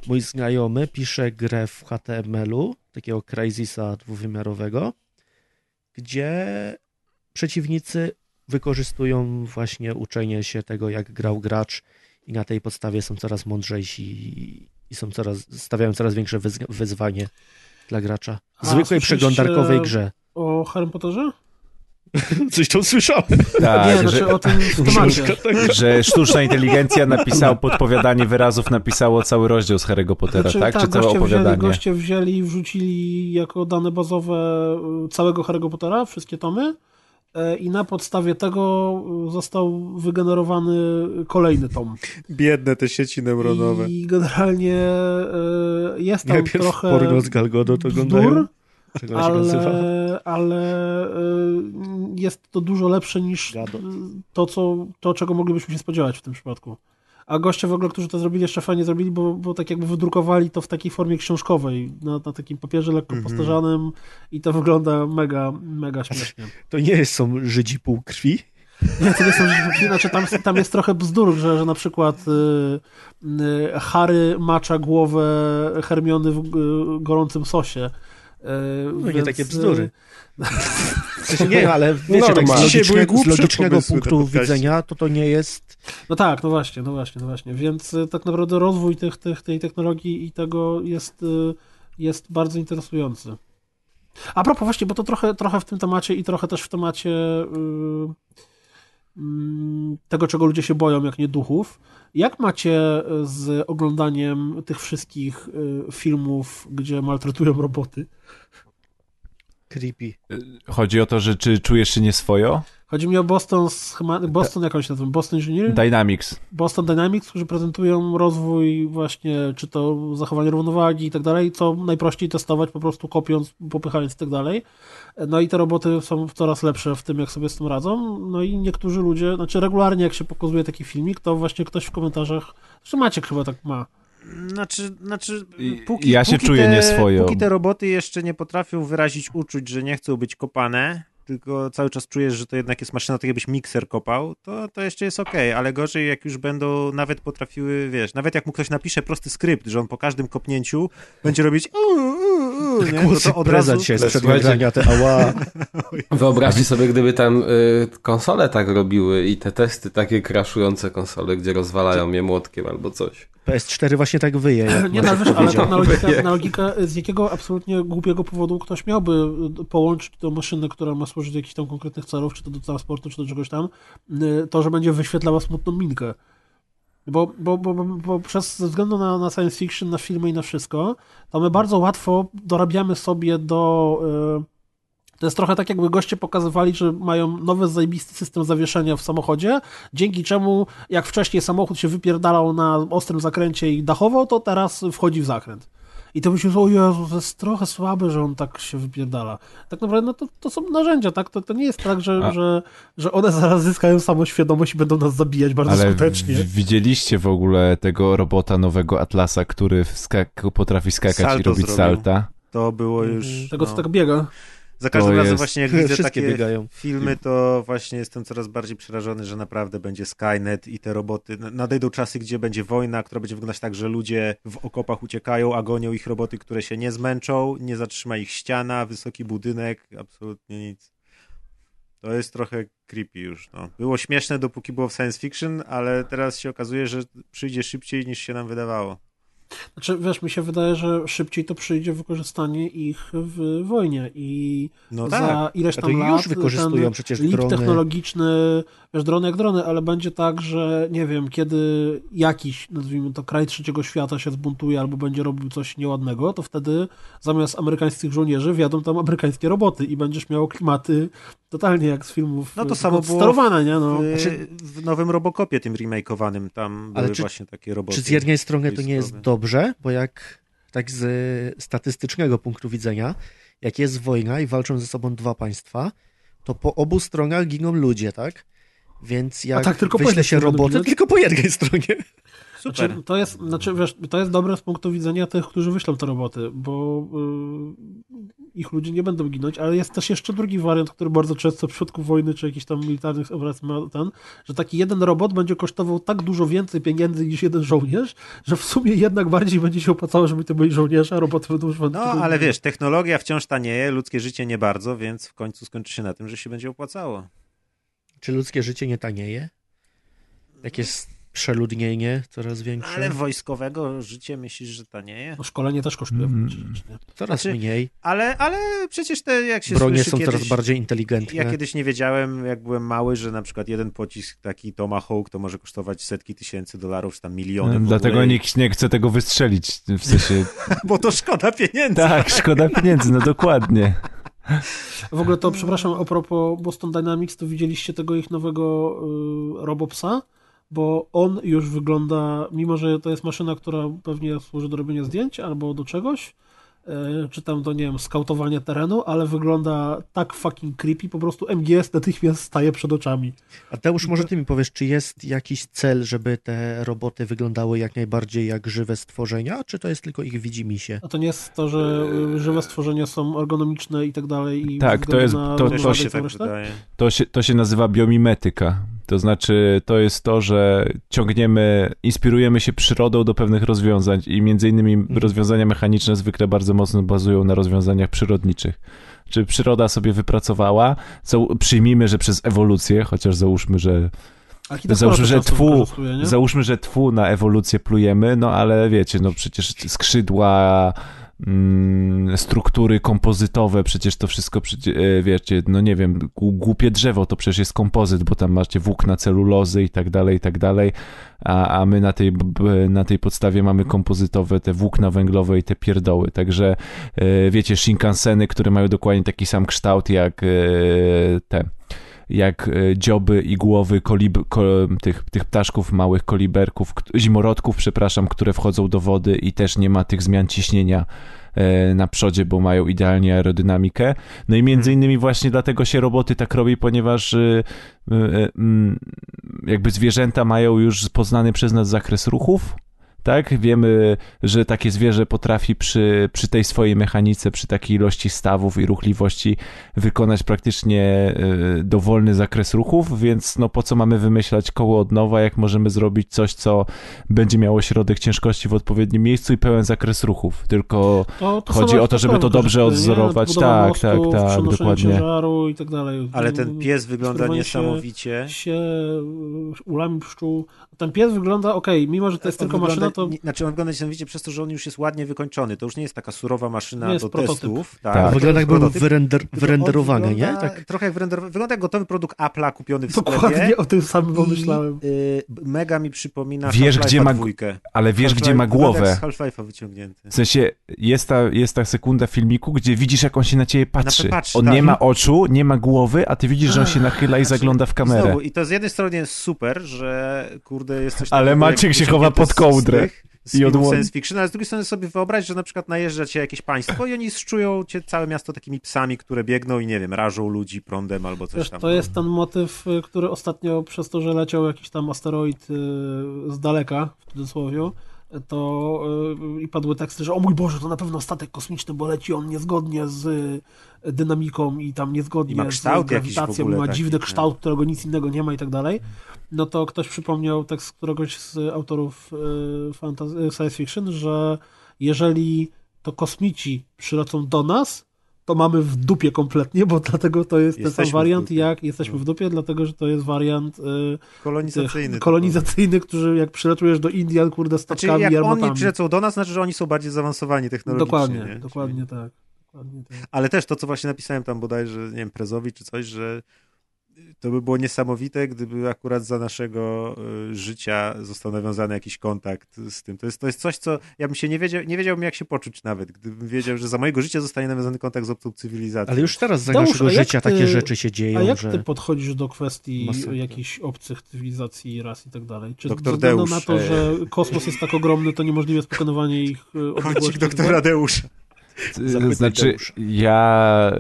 [SPEAKER 10] mój znajomy pisze grę w HTML-u, takiego Crazysa dwuwymiarowego, gdzie przeciwnicy wykorzystują właśnie uczenie się tego, jak grał gracz i na tej podstawie są coraz mądrzejsi i- i są coraz, stawiają coraz większe wyzg- wyzwanie dla gracza. W
[SPEAKER 3] A
[SPEAKER 10] zwykłej
[SPEAKER 3] słyszeliście
[SPEAKER 10] przeglądarkowej grze.
[SPEAKER 3] O Harry Potterze?
[SPEAKER 10] Coś tam słyszałem.
[SPEAKER 2] Tak,
[SPEAKER 3] nie, znaczy o tym w temacie.
[SPEAKER 2] że sztuczna inteligencja napisała podpowiadanie wyrazów, napisało cały rozdział z Harry'ego Pottera,
[SPEAKER 3] Znaczy,
[SPEAKER 2] tak? Czy całe
[SPEAKER 3] goście
[SPEAKER 2] opowiadanie?
[SPEAKER 3] Wzięli, goście wzięli i wrzucili jako dane bazowe y, całego Harry'ego Pottera, wszystkie tomy y, i na podstawie tego y, został wygenerowany kolejny tom.
[SPEAKER 12] Biedne te sieci neuronowe.
[SPEAKER 3] I generalnie y, jest tam
[SPEAKER 12] Najpierw
[SPEAKER 3] trochę
[SPEAKER 12] porno z Gal Gadot oglądają.
[SPEAKER 3] bzdur,
[SPEAKER 12] Czego ona się nazywa?
[SPEAKER 3] ale, ale y, jest to dużo lepsze niż y, to, co, to, czego moglibyśmy się spodziewać w tym przypadku. A goście w ogóle, którzy to zrobili, jeszcze fajnie zrobili, bo, bo tak jakby wydrukowali to w takiej formie książkowej, na, na takim papierze lekko
[SPEAKER 10] Mhm.
[SPEAKER 3] postarzanym i to wygląda mega, mega śmiesznie.
[SPEAKER 10] To nie są Żydzi półkrwi.
[SPEAKER 3] Nie, to nie są rzeczy, znaczy tam, tam jest trochę bzdur, że, że na przykład y, y, Harry macza głowę Hermiony w y, gorącym sosie. Y,
[SPEAKER 10] No nie
[SPEAKER 3] więc,
[SPEAKER 10] takie
[SPEAKER 3] y,
[SPEAKER 10] bzdury. W sensie nie, ale wiecie, tak z,
[SPEAKER 3] Normalnie.
[SPEAKER 10] logiczne, z logicznego punktu widzenia to to nie jest...
[SPEAKER 3] No tak, no właśnie, no właśnie, no właśnie. Więc y, tak naprawdę rozwój tych, tych, tej technologii i tego jest, y, jest bardzo interesujący. A propos właśnie, bo to trochę, trochę w tym temacie i trochę też w temacie y, mm, tego, czego ludzie się boją, jak nie duchów. Jak macie y, z oglądaniem tych wszystkich y, filmów, gdzie maltretują roboty?
[SPEAKER 10] Creepy.
[SPEAKER 2] Chodzi o to, że czy czujesz się nieswojo?
[SPEAKER 3] Chodzi mi o Boston, Schema- Boston jakąś nazwę, Boston Engineering?
[SPEAKER 2] Dynamics.
[SPEAKER 3] Boston Dynamics, którzy prezentują rozwój właśnie, czy to zachowanie równowagi i tak dalej, co najprościej testować po prostu kopiąc, popychając i tak dalej. No i te roboty są coraz lepsze w tym, jak sobie z tym radzą. No i niektórzy ludzie, znaczy regularnie jak się pokazuje taki filmik, to właśnie ktoś w komentarzach, zresztą Maciek chyba tak ma.
[SPEAKER 4] Znaczy, znaczy
[SPEAKER 2] I-
[SPEAKER 4] póki,
[SPEAKER 2] ja się
[SPEAKER 4] póki
[SPEAKER 2] czuję
[SPEAKER 4] te,
[SPEAKER 2] nieswojo.
[SPEAKER 4] Póki te roboty jeszcze nie potrafią wyrazić uczuć, że nie chcą być kopane, tylko cały czas czujesz, że to jednak jest maszyna, tak jakbyś mikser kopał, to, to jeszcze jest okej, ale gorzej jak już będą nawet potrafiły, wiesz, nawet jak mu ktoś napisze prosty skrypt, że on po każdym kopnięciu będzie robić "U, u,
[SPEAKER 11] uuu, nie?
[SPEAKER 10] Głosy prezent się sprzed nagrania, te ała.
[SPEAKER 8] Wyobraźcie sobie, gdyby tam y, konsole tak robiły i te testy takie kraszujące konsole, gdzie rozwalają je młotkiem albo coś.
[SPEAKER 10] PS4 właśnie tak wyje. jak
[SPEAKER 3] Nie, no,
[SPEAKER 10] Maciek
[SPEAKER 3] ale wiesz, ale
[SPEAKER 10] powiedział.
[SPEAKER 3] tam na logikę, na logikę, z jakiego absolutnie głupiego powodu ktoś miałby y, połączyć do maszyny, która ma służyć do jakichś tam konkretnych celów, czy to do transportu, czy do czegoś tam, y, to, że będzie wyświetlała smutną minkę. Bo, bo, bo, bo, bo przez, ze względu na, na science fiction, na filmy i na wszystko, to my bardzo łatwo dorabiamy sobie do... y, to jest trochę tak, jakby goście pokazywali, że mają nowy, zajebisty system zawieszenia w samochodzie, dzięki czemu jak wcześniej samochód się wypierdalał na ostrym zakręcie i dachował, to teraz wchodzi w zakręt. I to myślisz, o Jezu, to jest trochę słabe, że on tak się wypierdala. Tak naprawdę no to, to są narzędzia, tak? To, to nie jest tak, że,
[SPEAKER 2] A-
[SPEAKER 3] że, że one zaraz zyskają samoświadomość i będą nas zabijać bardzo
[SPEAKER 2] Ale
[SPEAKER 3] skutecznie.
[SPEAKER 2] w- widzieliście w ogóle tego robota nowego Atlasa, który wskak- potrafi skakać i
[SPEAKER 4] Salto
[SPEAKER 2] robić
[SPEAKER 4] zrobił.
[SPEAKER 2] salta?
[SPEAKER 4] To było już. no.
[SPEAKER 3] Tego,
[SPEAKER 10] No.
[SPEAKER 3] co tak biega.
[SPEAKER 4] Za każdym
[SPEAKER 2] To
[SPEAKER 4] razem
[SPEAKER 2] jest-
[SPEAKER 4] właśnie jak widzę
[SPEAKER 10] Wszystkie
[SPEAKER 4] takie
[SPEAKER 10] biegają.
[SPEAKER 4] filmy, to właśnie jestem coraz bardziej przerażony, że naprawdę będzie Skynet i te roboty. N- Nadejdą czasy, gdzie będzie wojna, która będzie wyglądać tak, że ludzie w okopach uciekają, a gonią ich roboty, które się nie zmęczą, nie zatrzyma ich ściana, wysoki budynek, absolutnie nic. To jest trochę creepy już. No. Było śmieszne, dopóki było w science fiction, ale teraz się okazuje, że przyjdzie szybciej niż się nam wydawało.
[SPEAKER 3] Znaczy, wiesz, mi się wydaje, że szybciej to przyjdzie wykorzystanie ich w wojnie i
[SPEAKER 4] No
[SPEAKER 3] za
[SPEAKER 4] tak.
[SPEAKER 3] ileś
[SPEAKER 10] A
[SPEAKER 3] tam
[SPEAKER 10] to już
[SPEAKER 3] lat
[SPEAKER 10] wykorzystują
[SPEAKER 3] ten
[SPEAKER 10] przecież
[SPEAKER 3] leap
[SPEAKER 10] drony.
[SPEAKER 3] technologiczny, wiesz, drony jak drony, ale będzie tak, że nie wiem, kiedy jakiś, nazwijmy to, kraj trzeciego świata się zbuntuje albo będzie robił coś nieładnego, to wtedy zamiast amerykańskich żołnierzy wjadą tam amerykańskie roboty i będziesz miał klimaty totalnie jak z filmów
[SPEAKER 4] No to
[SPEAKER 3] e,
[SPEAKER 4] samo było
[SPEAKER 3] sterowane, nie? No.
[SPEAKER 4] W, Znaczy, w nowym Robocopie tym remakeowanym tam
[SPEAKER 10] Ale
[SPEAKER 4] były
[SPEAKER 10] czy-
[SPEAKER 4] właśnie takie roboty.
[SPEAKER 10] Czy z jednej strony to nie jest
[SPEAKER 4] wojskowe.
[SPEAKER 10] dobrze, bo jak tak z statystycznego punktu widzenia, jak jest wojna i walczą ze sobą dwa państwa, to po obu stronach giną ludzie, tak? Więc jak
[SPEAKER 3] tak, tylko po
[SPEAKER 10] wyśle
[SPEAKER 3] jednej
[SPEAKER 10] się
[SPEAKER 3] stronie będą
[SPEAKER 10] roboty,
[SPEAKER 3] ginąć?
[SPEAKER 10] tylko po jednej stronie.
[SPEAKER 3] Znaczy, to, jest, znaczy, wiesz, to jest dobre z punktu widzenia tych, którzy wyślą te roboty, bo y, ich ludzie nie będą ginąć, ale jest też jeszcze drugi wariant, który bardzo często w przypadku wojny czy jakichś tam militarnych operacji ma ten, że taki jeden robot będzie kosztował tak dużo więcej pieniędzy niż jeden żołnierz, że w sumie jednak bardziej będzie się opłacało, żeby to byli żołnierze, a roboty będą już
[SPEAKER 4] No, ale wiesz, technologia wciąż tanieje, ludzkie życie nie bardzo, więc w końcu skończy się na tym, że się będzie opłacało.
[SPEAKER 10] Czy ludzkie życie nie tanieje? Jak jest przeludnienie coraz większe?
[SPEAKER 4] Ale wojskowego życie myślisz, że tanieje?
[SPEAKER 3] No, Szkolenie też kosztuje.
[SPEAKER 10] Mm.
[SPEAKER 3] rzeczywiście.
[SPEAKER 10] Coraz
[SPEAKER 4] Znaczy,
[SPEAKER 10] mniej.
[SPEAKER 4] Ale, ale przecież te, jak się
[SPEAKER 10] Bronie
[SPEAKER 4] słyszy
[SPEAKER 10] są
[SPEAKER 4] kiedyś,
[SPEAKER 10] coraz bardziej inteligentne.
[SPEAKER 4] Ja kiedyś nie wiedziałem, jak byłem mały, że na przykład jeden pocisk taki Tomahawk to może kosztować setki tysięcy dolarów, czy tam miliony. w
[SPEAKER 2] No, Dlatego
[SPEAKER 4] ogóle.
[SPEAKER 2] nikt nie chce tego wystrzelić, w sensie...
[SPEAKER 4] Bo to szkoda pieniędzy.
[SPEAKER 2] tak, szkoda pieniędzy, no dokładnie.
[SPEAKER 3] W ogóle to, przepraszam, a propos Boston Dynamics, to widzieliście tego ich nowego y, Robopsa? Bo on już wygląda, mimo że to jest maszyna, która pewnie służy do robienia zdjęć albo do czegoś, y, czy tam do, nie wiem, skautowania terenu, ale wygląda tak fucking creepy, po prostu MGS natychmiast staje przed oczami.
[SPEAKER 10] A Deusz, może ty mi powiesz, czy jest jakiś cel, żeby te roboty wyglądały jak najbardziej jak żywe stworzenia, czy to jest tylko ich widzimisię?
[SPEAKER 3] A to nie jest to, że y, żywe stworzenia są ergonomiczne i tak dalej. I
[SPEAKER 2] Tak, to jest- to- to się
[SPEAKER 4] tak
[SPEAKER 2] To się, to się nazywa biomimetyka. To znaczy, to jest to, że ciągniemy, inspirujemy się przyrodą do pewnych rozwiązań i między innymi rozwiązania mechaniczne zwykle bardzo mocno bazują na rozwiązaniach przyrodniczych. Czy przyroda sobie wypracowała, co, przyjmijmy, że przez ewolucję, chociaż załóżmy, że
[SPEAKER 3] Architektura
[SPEAKER 2] załóżmy,
[SPEAKER 3] to
[SPEAKER 2] że
[SPEAKER 3] często
[SPEAKER 2] twu,
[SPEAKER 3] wykorzystuje, nie?
[SPEAKER 2] załóżmy, że twu na ewolucję plujemy, no ale wiecie, no przecież skrzydła, mm, struktury kompozytowe, przecież to wszystko, przecie- e, wiecie, no nie wiem, gu- głupie drzewo to przecież jest kompozyt, bo tam macie włókna celulozy i tak dalej, i tak dalej, a, a my na tej, b- b- na tej podstawie mamy kompozytowe te włókna węglowe i te pierdoły, także e, wiecie, shinkanseny, które mają dokładnie taki sam kształt jak e, te jak e, dzioby i głowy kolib, ko, tych, tych ptaszków, małych koliberków, kt- zimorodków, przepraszam, które wchodzą do wody i też nie ma tych zmian ciśnienia e, na przodzie, bo mają idealnie aerodynamikę. No i między innymi właśnie dlatego się roboty tak robi, ponieważ e, e, mm, jakby zwierzęta mają już poznany przez nas zakres ruchów, tak? Wiemy, że takie zwierzę potrafi przy, przy tej swojej mechanice, przy takiej ilości stawów i ruchliwości wykonać praktycznie y, dowolny zakres ruchów, więc no po co mamy wymyślać koło od nowa, jak możemy zrobić coś, co będzie miało środek ciężkości w odpowiednim miejscu i pełen zakres ruchów, tylko
[SPEAKER 3] To- to
[SPEAKER 2] chodzi
[SPEAKER 3] samo
[SPEAKER 2] o to,
[SPEAKER 3] jak
[SPEAKER 2] żeby to
[SPEAKER 3] Pawlowka,
[SPEAKER 2] dobrze
[SPEAKER 3] nie?
[SPEAKER 2] odzorować.
[SPEAKER 3] Budowa
[SPEAKER 2] Tak, tak,
[SPEAKER 3] mostów,
[SPEAKER 2] tak,
[SPEAKER 3] przenoszenie
[SPEAKER 2] dokładnie.
[SPEAKER 3] ciężaru i tak dalej.
[SPEAKER 4] Ale ten pies wygląda
[SPEAKER 3] Skierowanie
[SPEAKER 4] niesamowicie.
[SPEAKER 3] Się, się y, ulami pszczół. Ten pies wygląda okej, mimo że to jest
[SPEAKER 4] On
[SPEAKER 3] tylko
[SPEAKER 4] wygląda-
[SPEAKER 3] maszyna, to
[SPEAKER 4] nie- Znaczy on wygląda niesamowicie przez to, że on już jest ładnie wykończony. To już nie jest taka surowa maszyna
[SPEAKER 3] Nie jest
[SPEAKER 4] do
[SPEAKER 3] prototyp.
[SPEAKER 4] testów.
[SPEAKER 3] Tak. Wygląda
[SPEAKER 10] jakby był wyrender- wyrenderowany, nie? Tak.
[SPEAKER 4] Tak. Trochę jak wyrenderowany. Wygląda jak gotowy produkt Apple'a kupiony w sklepie.
[SPEAKER 3] dokładnie o tym samym pomyślałem.
[SPEAKER 4] I, y, mega mi przypomina
[SPEAKER 2] Wiesz,
[SPEAKER 4] Half-Life'a
[SPEAKER 2] gdzie ma,
[SPEAKER 4] dwójkę.
[SPEAKER 2] ale wiesz,
[SPEAKER 4] Half-Life-
[SPEAKER 2] gdzie ma
[SPEAKER 4] wygląda
[SPEAKER 2] głowę.
[SPEAKER 4] Jak z Half-Life'a wyciągnięty.
[SPEAKER 2] W sensie jest ta, jest ta sekunda filmiku, gdzie widzisz, jak on się na ciebie patrzy.
[SPEAKER 4] patrzy,
[SPEAKER 2] on
[SPEAKER 4] tak.
[SPEAKER 2] nie ma oczu, nie ma głowy, a ty widzisz, że on się nachyla i zagląda w kamerę.
[SPEAKER 4] Znowu, I to z jednej strony jest super, że kurde jest coś
[SPEAKER 2] Ale
[SPEAKER 4] takiego,
[SPEAKER 2] Maciek
[SPEAKER 4] jak
[SPEAKER 2] się chowa
[SPEAKER 4] wyciągnięte
[SPEAKER 2] pod
[SPEAKER 4] z-
[SPEAKER 2] kołdrę
[SPEAKER 4] Z tych, z
[SPEAKER 2] i
[SPEAKER 4] filmów
[SPEAKER 2] odłoni.
[SPEAKER 4] science fiction, ale z drugiej strony sobie wyobraź, że na przykład najeżdża cię jakieś państwo i oni szczują cię całe miasto takimi psami, które biegną i nie wiem, rażą ludzi prądem albo coś
[SPEAKER 3] Wiesz,
[SPEAKER 4] tam. No,
[SPEAKER 3] to jest ten motyw, y, który ostatnio przez to, że leciał jakiś tam asteroid y, z daleka, w cudzysłowie, y, to y, i padły teksty, że o mój Boże, to na pewno statek kosmiczny, bo leci on niezgodnie z y, dynamiką i tam niezgodnie
[SPEAKER 4] I ma kształt
[SPEAKER 3] z
[SPEAKER 4] jakiś w
[SPEAKER 3] grawitacją,
[SPEAKER 4] ogóle
[SPEAKER 3] ma
[SPEAKER 4] taki,
[SPEAKER 3] dziwny
[SPEAKER 4] nie?
[SPEAKER 3] kształt, którego nic innego nie ma i tak dalej. No to ktoś przypomniał tekst któregoś z autorów y, fantasy, y, science fiction, że jeżeli to kosmici przylecą do nas, to mamy w dupie kompletnie, bo dlatego to jest ten
[SPEAKER 4] Jesteśmy
[SPEAKER 3] sam
[SPEAKER 4] w
[SPEAKER 3] wariant
[SPEAKER 4] dupie.
[SPEAKER 3] jak jesteśmy w dupie, dlatego że to jest wariant y,
[SPEAKER 4] Kolonizacyjny
[SPEAKER 3] tych-
[SPEAKER 4] to
[SPEAKER 3] kolonizacyjny, którzy jak przylatujesz do Indian, kurde,
[SPEAKER 4] Znaczy,
[SPEAKER 3] statkami i
[SPEAKER 4] jak oni
[SPEAKER 3] armatami.
[SPEAKER 4] przylecą do nas, znaczy, że oni są bardziej zaawansowani technologicznie.
[SPEAKER 3] Dokładnie,
[SPEAKER 4] nie?
[SPEAKER 3] dokładnie tak. Dokładnie tak.
[SPEAKER 4] Ale też to, co właśnie napisałem tam bodajże, nie wiem, Prezowi czy coś, że to by było niesamowite, gdyby akurat za naszego y, życia został nawiązany jakiś kontakt z tym. To jest, to jest coś, co ja bym się nie wiedział, nie wiedziałbym jak się poczuć nawet, gdybym wiedział, że za mojego życia zostanie nawiązany kontakt z obcą cywilizacją.
[SPEAKER 10] Ale już teraz za
[SPEAKER 3] Tadeusz,
[SPEAKER 10] naszego
[SPEAKER 3] a jak
[SPEAKER 10] życia takie rzeczy się dzieją,
[SPEAKER 3] A jak
[SPEAKER 10] że...
[SPEAKER 3] ty podchodzisz do kwestii
[SPEAKER 10] Masakra.
[SPEAKER 3] jakichś obcych cywilizacji, ras i tak dalej? Czy
[SPEAKER 4] Doktor
[SPEAKER 3] ze względu na
[SPEAKER 4] Deusz. e.
[SPEAKER 3] to, że kosmos jest tak ogromny, to niemożliwe jest pokonywanie ich e, odległości?
[SPEAKER 4] Kącik doktora Deusza.
[SPEAKER 2] Zapytaj, znaczy, ja,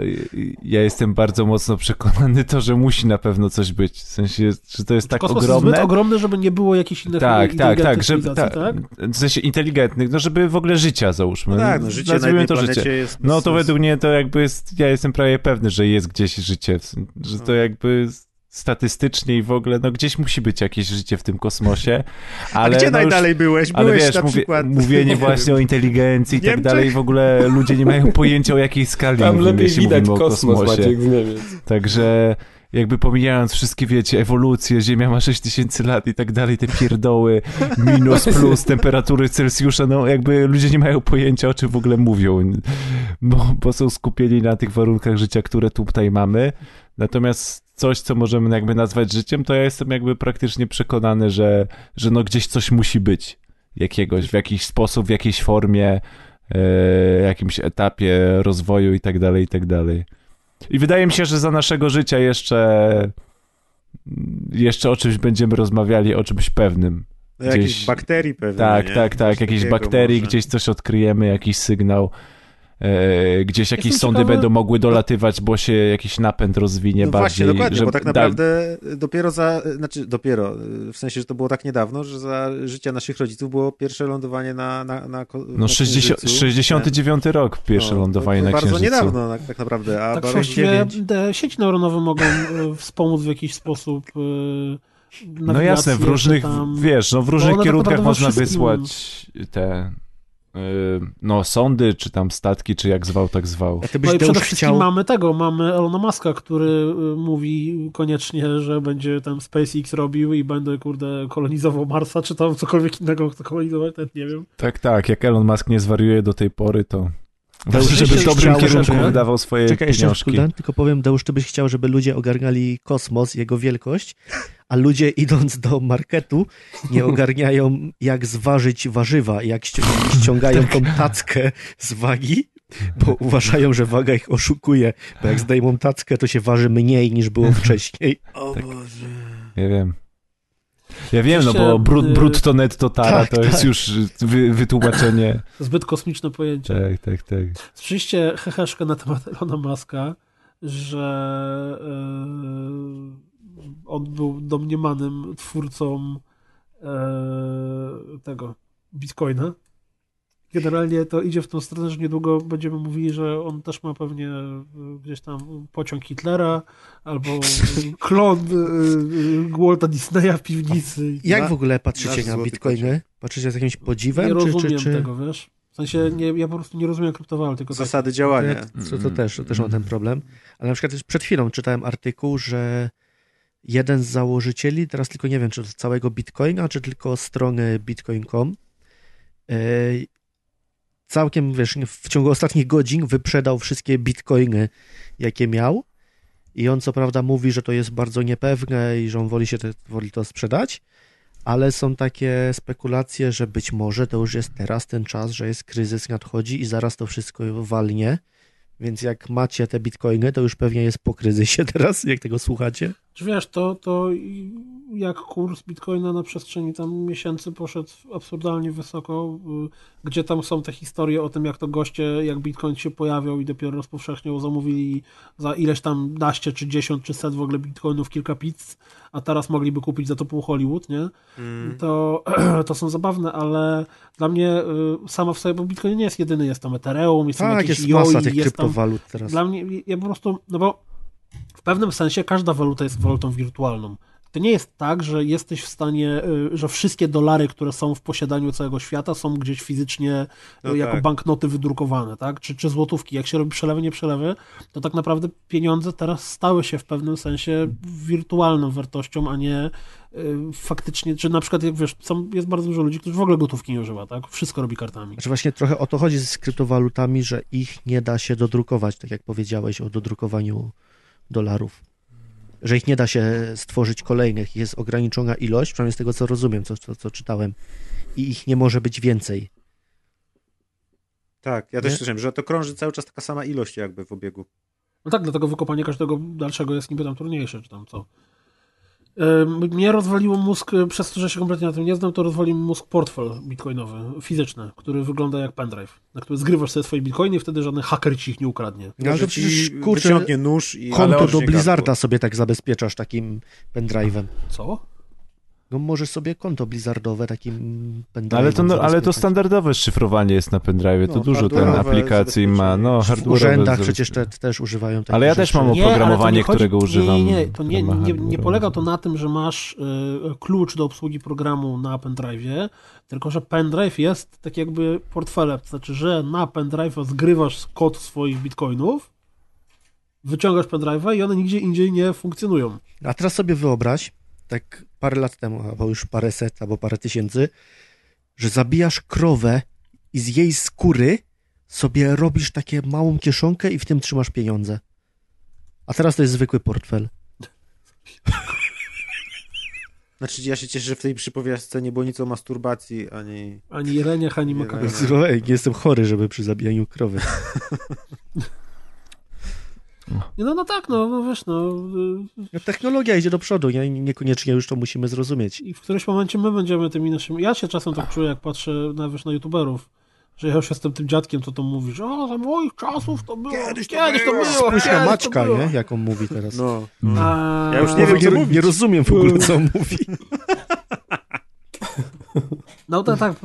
[SPEAKER 2] ja jestem bardzo mocno przekonany to, że musi na pewno coś być. W sensie, że to jest tak
[SPEAKER 3] Kosmos
[SPEAKER 2] ogromne.
[SPEAKER 3] jest zbyt ogromny, żeby nie było jakichś innych
[SPEAKER 2] tak, tak,
[SPEAKER 3] inteligentnych
[SPEAKER 2] tak, żeby,
[SPEAKER 3] cywilizacji, tak?
[SPEAKER 2] W sensie inteligentnych, no żeby w ogóle życia załóżmy.
[SPEAKER 4] No tak, no życie na
[SPEAKER 2] Nazwijmy
[SPEAKER 4] jednej
[SPEAKER 2] to
[SPEAKER 4] planecie
[SPEAKER 2] życie.
[SPEAKER 4] jest bez
[SPEAKER 2] no to
[SPEAKER 4] sensu.
[SPEAKER 2] według mnie to jakby jest, ja jestem prawie pewny, że jest gdzieś życie, w sen- że
[SPEAKER 4] No.
[SPEAKER 2] to jakby statystycznie i w ogóle, no gdzieś musi być jakieś życie w tym kosmosie, ale...
[SPEAKER 4] gdzie
[SPEAKER 2] no już-
[SPEAKER 4] najdalej byłeś?
[SPEAKER 2] Ale
[SPEAKER 4] Byłeś
[SPEAKER 2] wiesz,
[SPEAKER 4] na
[SPEAKER 2] mówię,
[SPEAKER 4] przykład-
[SPEAKER 2] mówienie właśnie o inteligencji i tak
[SPEAKER 4] Niemczech?
[SPEAKER 2] dalej, w ogóle ludzie nie mają pojęcia o jakiej skali
[SPEAKER 9] Tam
[SPEAKER 2] mówimy,
[SPEAKER 9] lepiej
[SPEAKER 2] jeśli
[SPEAKER 9] widać
[SPEAKER 2] mówimy o
[SPEAKER 9] kosmos,
[SPEAKER 2] kosmosie.
[SPEAKER 9] Maciek, z Niemiec.
[SPEAKER 2] Także jakby pomijając wszystkie, wiecie, ewolucje, Ziemia ma 6000 lat i tak dalej, te pierdoły, minus, plus, temperatury Celsjusza, no jakby ludzie nie mają pojęcia, o czym w ogóle mówią, bo, bo są skupieni na tych warunkach życia, które tu tutaj mamy. Natomiast coś, co możemy jakby nazwać życiem, to ja jestem jakby praktycznie przekonany, że, że no gdzieś coś musi być jakiegoś, w jakiś sposób, w jakiejś formie, e, jakimś etapie rozwoju i tak dalej, i tak dalej. I wydaje mi się, że za naszego życia jeszcze jeszcze o czymś będziemy rozmawiali, o czymś pewnym.
[SPEAKER 4] No, jakichś bakterii pewnie,
[SPEAKER 2] Tak,
[SPEAKER 4] nie?
[SPEAKER 2] tak, tak.
[SPEAKER 4] Coś
[SPEAKER 2] Jakieś
[SPEAKER 4] takiego
[SPEAKER 2] bakterii,
[SPEAKER 4] może.
[SPEAKER 2] gdzieś coś odkryjemy, jakiś sygnał. E, gdzieś jakieś
[SPEAKER 4] Jestem
[SPEAKER 2] sondy
[SPEAKER 4] ciekawy-
[SPEAKER 2] będą mogły dolatywać, bo się jakiś napęd rozwinie
[SPEAKER 4] no
[SPEAKER 2] bardziej.
[SPEAKER 4] właśnie, dokładnie,
[SPEAKER 2] że
[SPEAKER 4] bo tak
[SPEAKER 2] dal-
[SPEAKER 4] naprawdę dopiero za, znaczy dopiero, w sensie, że to było tak niedawno, że za życia naszych rodziców było pierwsze lądowanie na, na, na ko- na
[SPEAKER 2] No 60,
[SPEAKER 4] Księżycu.
[SPEAKER 2] 69 rok pierwsze
[SPEAKER 4] No,
[SPEAKER 2] lądowanie
[SPEAKER 4] to
[SPEAKER 2] na
[SPEAKER 4] bardzo
[SPEAKER 2] Księżycu.
[SPEAKER 4] niedawno tak, tak naprawdę. A
[SPEAKER 3] Tak
[SPEAKER 4] bardzo-
[SPEAKER 3] właściwie te sieci neuronowe mogą e, wspomóc w jakiś sposób e,
[SPEAKER 2] No
[SPEAKER 3] nawigację,
[SPEAKER 2] jasne, w
[SPEAKER 3] czy
[SPEAKER 2] różnych,
[SPEAKER 3] tam-
[SPEAKER 2] wiesz, no w
[SPEAKER 3] Bo
[SPEAKER 2] różnych
[SPEAKER 3] one tak
[SPEAKER 2] kierunkach
[SPEAKER 3] naprawdę we
[SPEAKER 2] można
[SPEAKER 3] wszystkim-
[SPEAKER 2] wysłać te y, no sądy, czy tam statki, czy jak zwał, tak zwał.
[SPEAKER 10] A ty
[SPEAKER 3] No i przede wszystkim mamy tego, mamy Elona Muska, który y, mówi koniecznie, że będzie tam SpaceX robił i będę, kurde, kolonizował Marsa, czy tam cokolwiek innego chce kolonizować, nawet nie wiem.
[SPEAKER 2] Tak, tak, jak Elon Musk nie zwariuje do tej pory, to...
[SPEAKER 10] Deusz, ty
[SPEAKER 2] żeby
[SPEAKER 10] byś
[SPEAKER 2] w dobrym
[SPEAKER 10] chciał,
[SPEAKER 2] kierunku
[SPEAKER 10] żeby-
[SPEAKER 2] wydawał swoje
[SPEAKER 10] Czekaj, jeszcze
[SPEAKER 2] pieniążki.
[SPEAKER 10] sekundę, tylko powiem, Deusz, ty byś chciał, żeby ludzie ogarniali kosmos, jego wielkość, a ludzie idąc do marketu nie ogarniają, jak zważyć warzywa, jak ści- ściągają tą tackę z wagi, bo uważają, że waga ich oszukuje, bo jak zdejmą tackę, to się waży mniej niż było wcześniej.
[SPEAKER 2] Tak. Ja wiem. Ja wiem, no
[SPEAKER 3] Oczywiście,
[SPEAKER 2] bo brut,
[SPEAKER 3] y,
[SPEAKER 2] brut to net to tara,
[SPEAKER 3] tak,
[SPEAKER 2] to jest
[SPEAKER 3] tak.
[SPEAKER 2] już wy, wytłumaczenie.
[SPEAKER 3] Zbyt kosmiczne pojęcie.
[SPEAKER 2] Tak, tak, tak.
[SPEAKER 3] Słyszeliście heheszkę na temat Elona Muska, że e, on był domniemanym twórcą e, tego bitcoina. Generalnie to idzie w tą stronę, że niedługo będziemy mówili, że on też ma pewnie y, gdzieś tam pociąg Hitlera albo y, klon y, y, Walta Disneya w piwnicy.
[SPEAKER 10] Jak
[SPEAKER 3] Na-
[SPEAKER 10] w ogóle patrzycie
[SPEAKER 3] nasz
[SPEAKER 10] na
[SPEAKER 3] złoty
[SPEAKER 10] bitcoiny? Patrzycie z jakimś podziwem?
[SPEAKER 3] Nie
[SPEAKER 10] czy,
[SPEAKER 3] rozumiem
[SPEAKER 10] czy, czy...
[SPEAKER 3] tego, wiesz? W sensie nie, ja po prostu nie rozumiem kryptowalut. Tylko
[SPEAKER 4] Zasady
[SPEAKER 3] tak.
[SPEAKER 4] działania.
[SPEAKER 10] Co to też, to też mam ten problem. Ale na przykład też przed chwilą czytałem artykuł, że jeden z założycieli, teraz tylko nie wiem, czy to całego Bitcoina, czy tylko strony bitcoin.com, e, całkiem, wiesz, w ciągu ostatnich godzin wyprzedał wszystkie bitcoiny, jakie miał. I on co prawda mówi, że to jest bardzo niepewne i że on woli się te, woli to sprzedać, ale są takie spekulacje, że być może to już jest teraz ten czas, że jest kryzys nadchodzi i zaraz to wszystko walnie. Więc jak macie te bitcoiny, to już pewnie jest po kryzysie teraz, jak tego słuchacie.
[SPEAKER 3] Czy wiesz, to, to i- jak kurs bitcoina na przestrzeni tam miesięcy poszedł absurdalnie wysoko, y, gdzie tam są te historie o tym, jak to goście, jak bitcoin się pojawiał i dopiero rozpowszechniał, zamówili za ileś tam naście, czy dziesiąt, czy set w ogóle bitcoinów kilka pizz, a teraz mogliby kupić za to pół Hollywood, nie?
[SPEAKER 4] Mm.
[SPEAKER 3] To, to są zabawne, ale dla mnie y, sama w sobie, bo bitcoin nie jest jedyny, jest tam Ethereum, jest tam
[SPEAKER 10] Tak,
[SPEAKER 3] jakieś
[SPEAKER 10] jest masa
[SPEAKER 3] IOI, jest
[SPEAKER 10] tych
[SPEAKER 3] tam,
[SPEAKER 10] kryptowalut teraz.
[SPEAKER 3] Dla mnie, ja po prostu, no bo w pewnym sensie każda waluta jest walutą wirtualną. To nie jest tak, że jesteś w stanie, y, że wszystkie dolary, które są w posiadaniu całego świata, są gdzieś fizycznie
[SPEAKER 4] No
[SPEAKER 3] y, jako
[SPEAKER 4] tak.
[SPEAKER 3] banknoty wydrukowane, tak? Czy, czy złotówki. Jak się robi przelewy, nie przelewy, to tak naprawdę pieniądze teraz stały się w pewnym sensie wirtualną wartością, a nie y, faktycznie, czy na przykład, jak wiesz, są, jest bardzo dużo ludzi, którzy w ogóle gotówki nie używa, tak? Wszystko robi kartami.
[SPEAKER 10] Znaczy właśnie trochę o to chodzi z kryptowalutami, że ich nie da się dodrukować, tak jak powiedziałeś o dodrukowaniu dolarów. Że ich nie da się stworzyć kolejnych, jest ograniczona ilość, przynajmniej z tego co rozumiem, co, co, co czytałem, i ich nie może być więcej.
[SPEAKER 4] Tak, ja też
[SPEAKER 10] Nie?
[SPEAKER 4] słyszałem, że to krąży cały czas taka sama ilość jakby w obiegu.
[SPEAKER 3] No tak, dlatego wykopanie każdego dalszego jest niby tam trudniejsze, czy tam co. Ym, Mnie rozwaliło mózg, y, przez to, że się kompletnie na tym nie znam, to rozwalił mi mózg portfel bitcoinowy, fizyczny, który wygląda jak pendrive, na który zgrywasz sobie swoje bitcoiny i wtedy żaden haker ci ich nie ukradnie.
[SPEAKER 10] No, ale to przecież kurczę,
[SPEAKER 4] wyciągnie nóż i- ale
[SPEAKER 10] konto
[SPEAKER 4] on
[SPEAKER 10] do
[SPEAKER 4] się
[SPEAKER 10] Blizzarda sobie tak zabezpieczasz takim pendrive'em.
[SPEAKER 3] Co?
[SPEAKER 10] No możesz sobie konto Blizzardowe takim pendrive'em
[SPEAKER 2] No, ale, to, no, ale to
[SPEAKER 10] zabezpieczać.
[SPEAKER 2] standardowe szyfrowanie jest na pendrive, to
[SPEAKER 10] No,
[SPEAKER 2] dużo ten
[SPEAKER 10] hardware'owe
[SPEAKER 2] aplikacji ma. No,
[SPEAKER 10] W
[SPEAKER 2] hardware'owe
[SPEAKER 10] urzędach
[SPEAKER 2] zabezpieczenie.
[SPEAKER 10] przecież te, tak, też używają takich
[SPEAKER 2] Ale ja też
[SPEAKER 10] rzeczy.
[SPEAKER 2] mam
[SPEAKER 3] Nie, ale to nie
[SPEAKER 2] oprogramowanie,
[SPEAKER 3] chodzi-
[SPEAKER 2] którego używam.
[SPEAKER 3] Nie, nie, to nie,
[SPEAKER 2] które ma
[SPEAKER 3] nie, nie
[SPEAKER 2] hardware.
[SPEAKER 3] polega to na tym, że masz y, klucz do obsługi programu na pendrive'ie, tylko że pendrive jest tak jakby portfelem, to znaczy, że na pendrive'a zgrywasz kod swoich bitcoinów, wyciągasz pendrive'a i one nigdzie indziej nie funkcjonują.
[SPEAKER 10] A teraz sobie wyobraź, tak parę lat temu, albo już parę set, albo parę tysięcy, że zabijasz krowę i z jej skóry sobie robisz takie małą kieszonkę i w tym trzymasz pieniądze. A teraz to jest zwykły portfel.
[SPEAKER 4] Znaczy ja się cieszę, że w tej przypowiastce nie było nic o masturbacji, ani...
[SPEAKER 3] Ani jeleniach, ani
[SPEAKER 4] Nie,
[SPEAKER 10] no
[SPEAKER 2] Tak.
[SPEAKER 3] makaronach.
[SPEAKER 10] Ej, Jestem chory, żeby przy zabijaniu krowy.
[SPEAKER 3] Nie, No, no tak, no, no wiesz, no. y,
[SPEAKER 10] No, technologia idzie do przodu, nie? niekoniecznie już to musimy zrozumieć.
[SPEAKER 3] I w którymś momencie my będziemy tymi naszymi. Ja się czasem tak czuję, jak patrzę na, wiesz, na youtuberów, że ja już jestem tym dziadkiem, co to mówi, że o, za moich czasów to było. Kiedyś to było.
[SPEAKER 10] Spójrz na
[SPEAKER 3] kiedyś to
[SPEAKER 10] Maćka,
[SPEAKER 3] było.
[SPEAKER 10] nie? Jak on mówi teraz.
[SPEAKER 4] No.
[SPEAKER 3] A-
[SPEAKER 4] Ja już nie wiem, co
[SPEAKER 10] nie,
[SPEAKER 4] mówić. Tak
[SPEAKER 10] nie rozumiem w ogóle, co on mówi.
[SPEAKER 3] No tak, tak.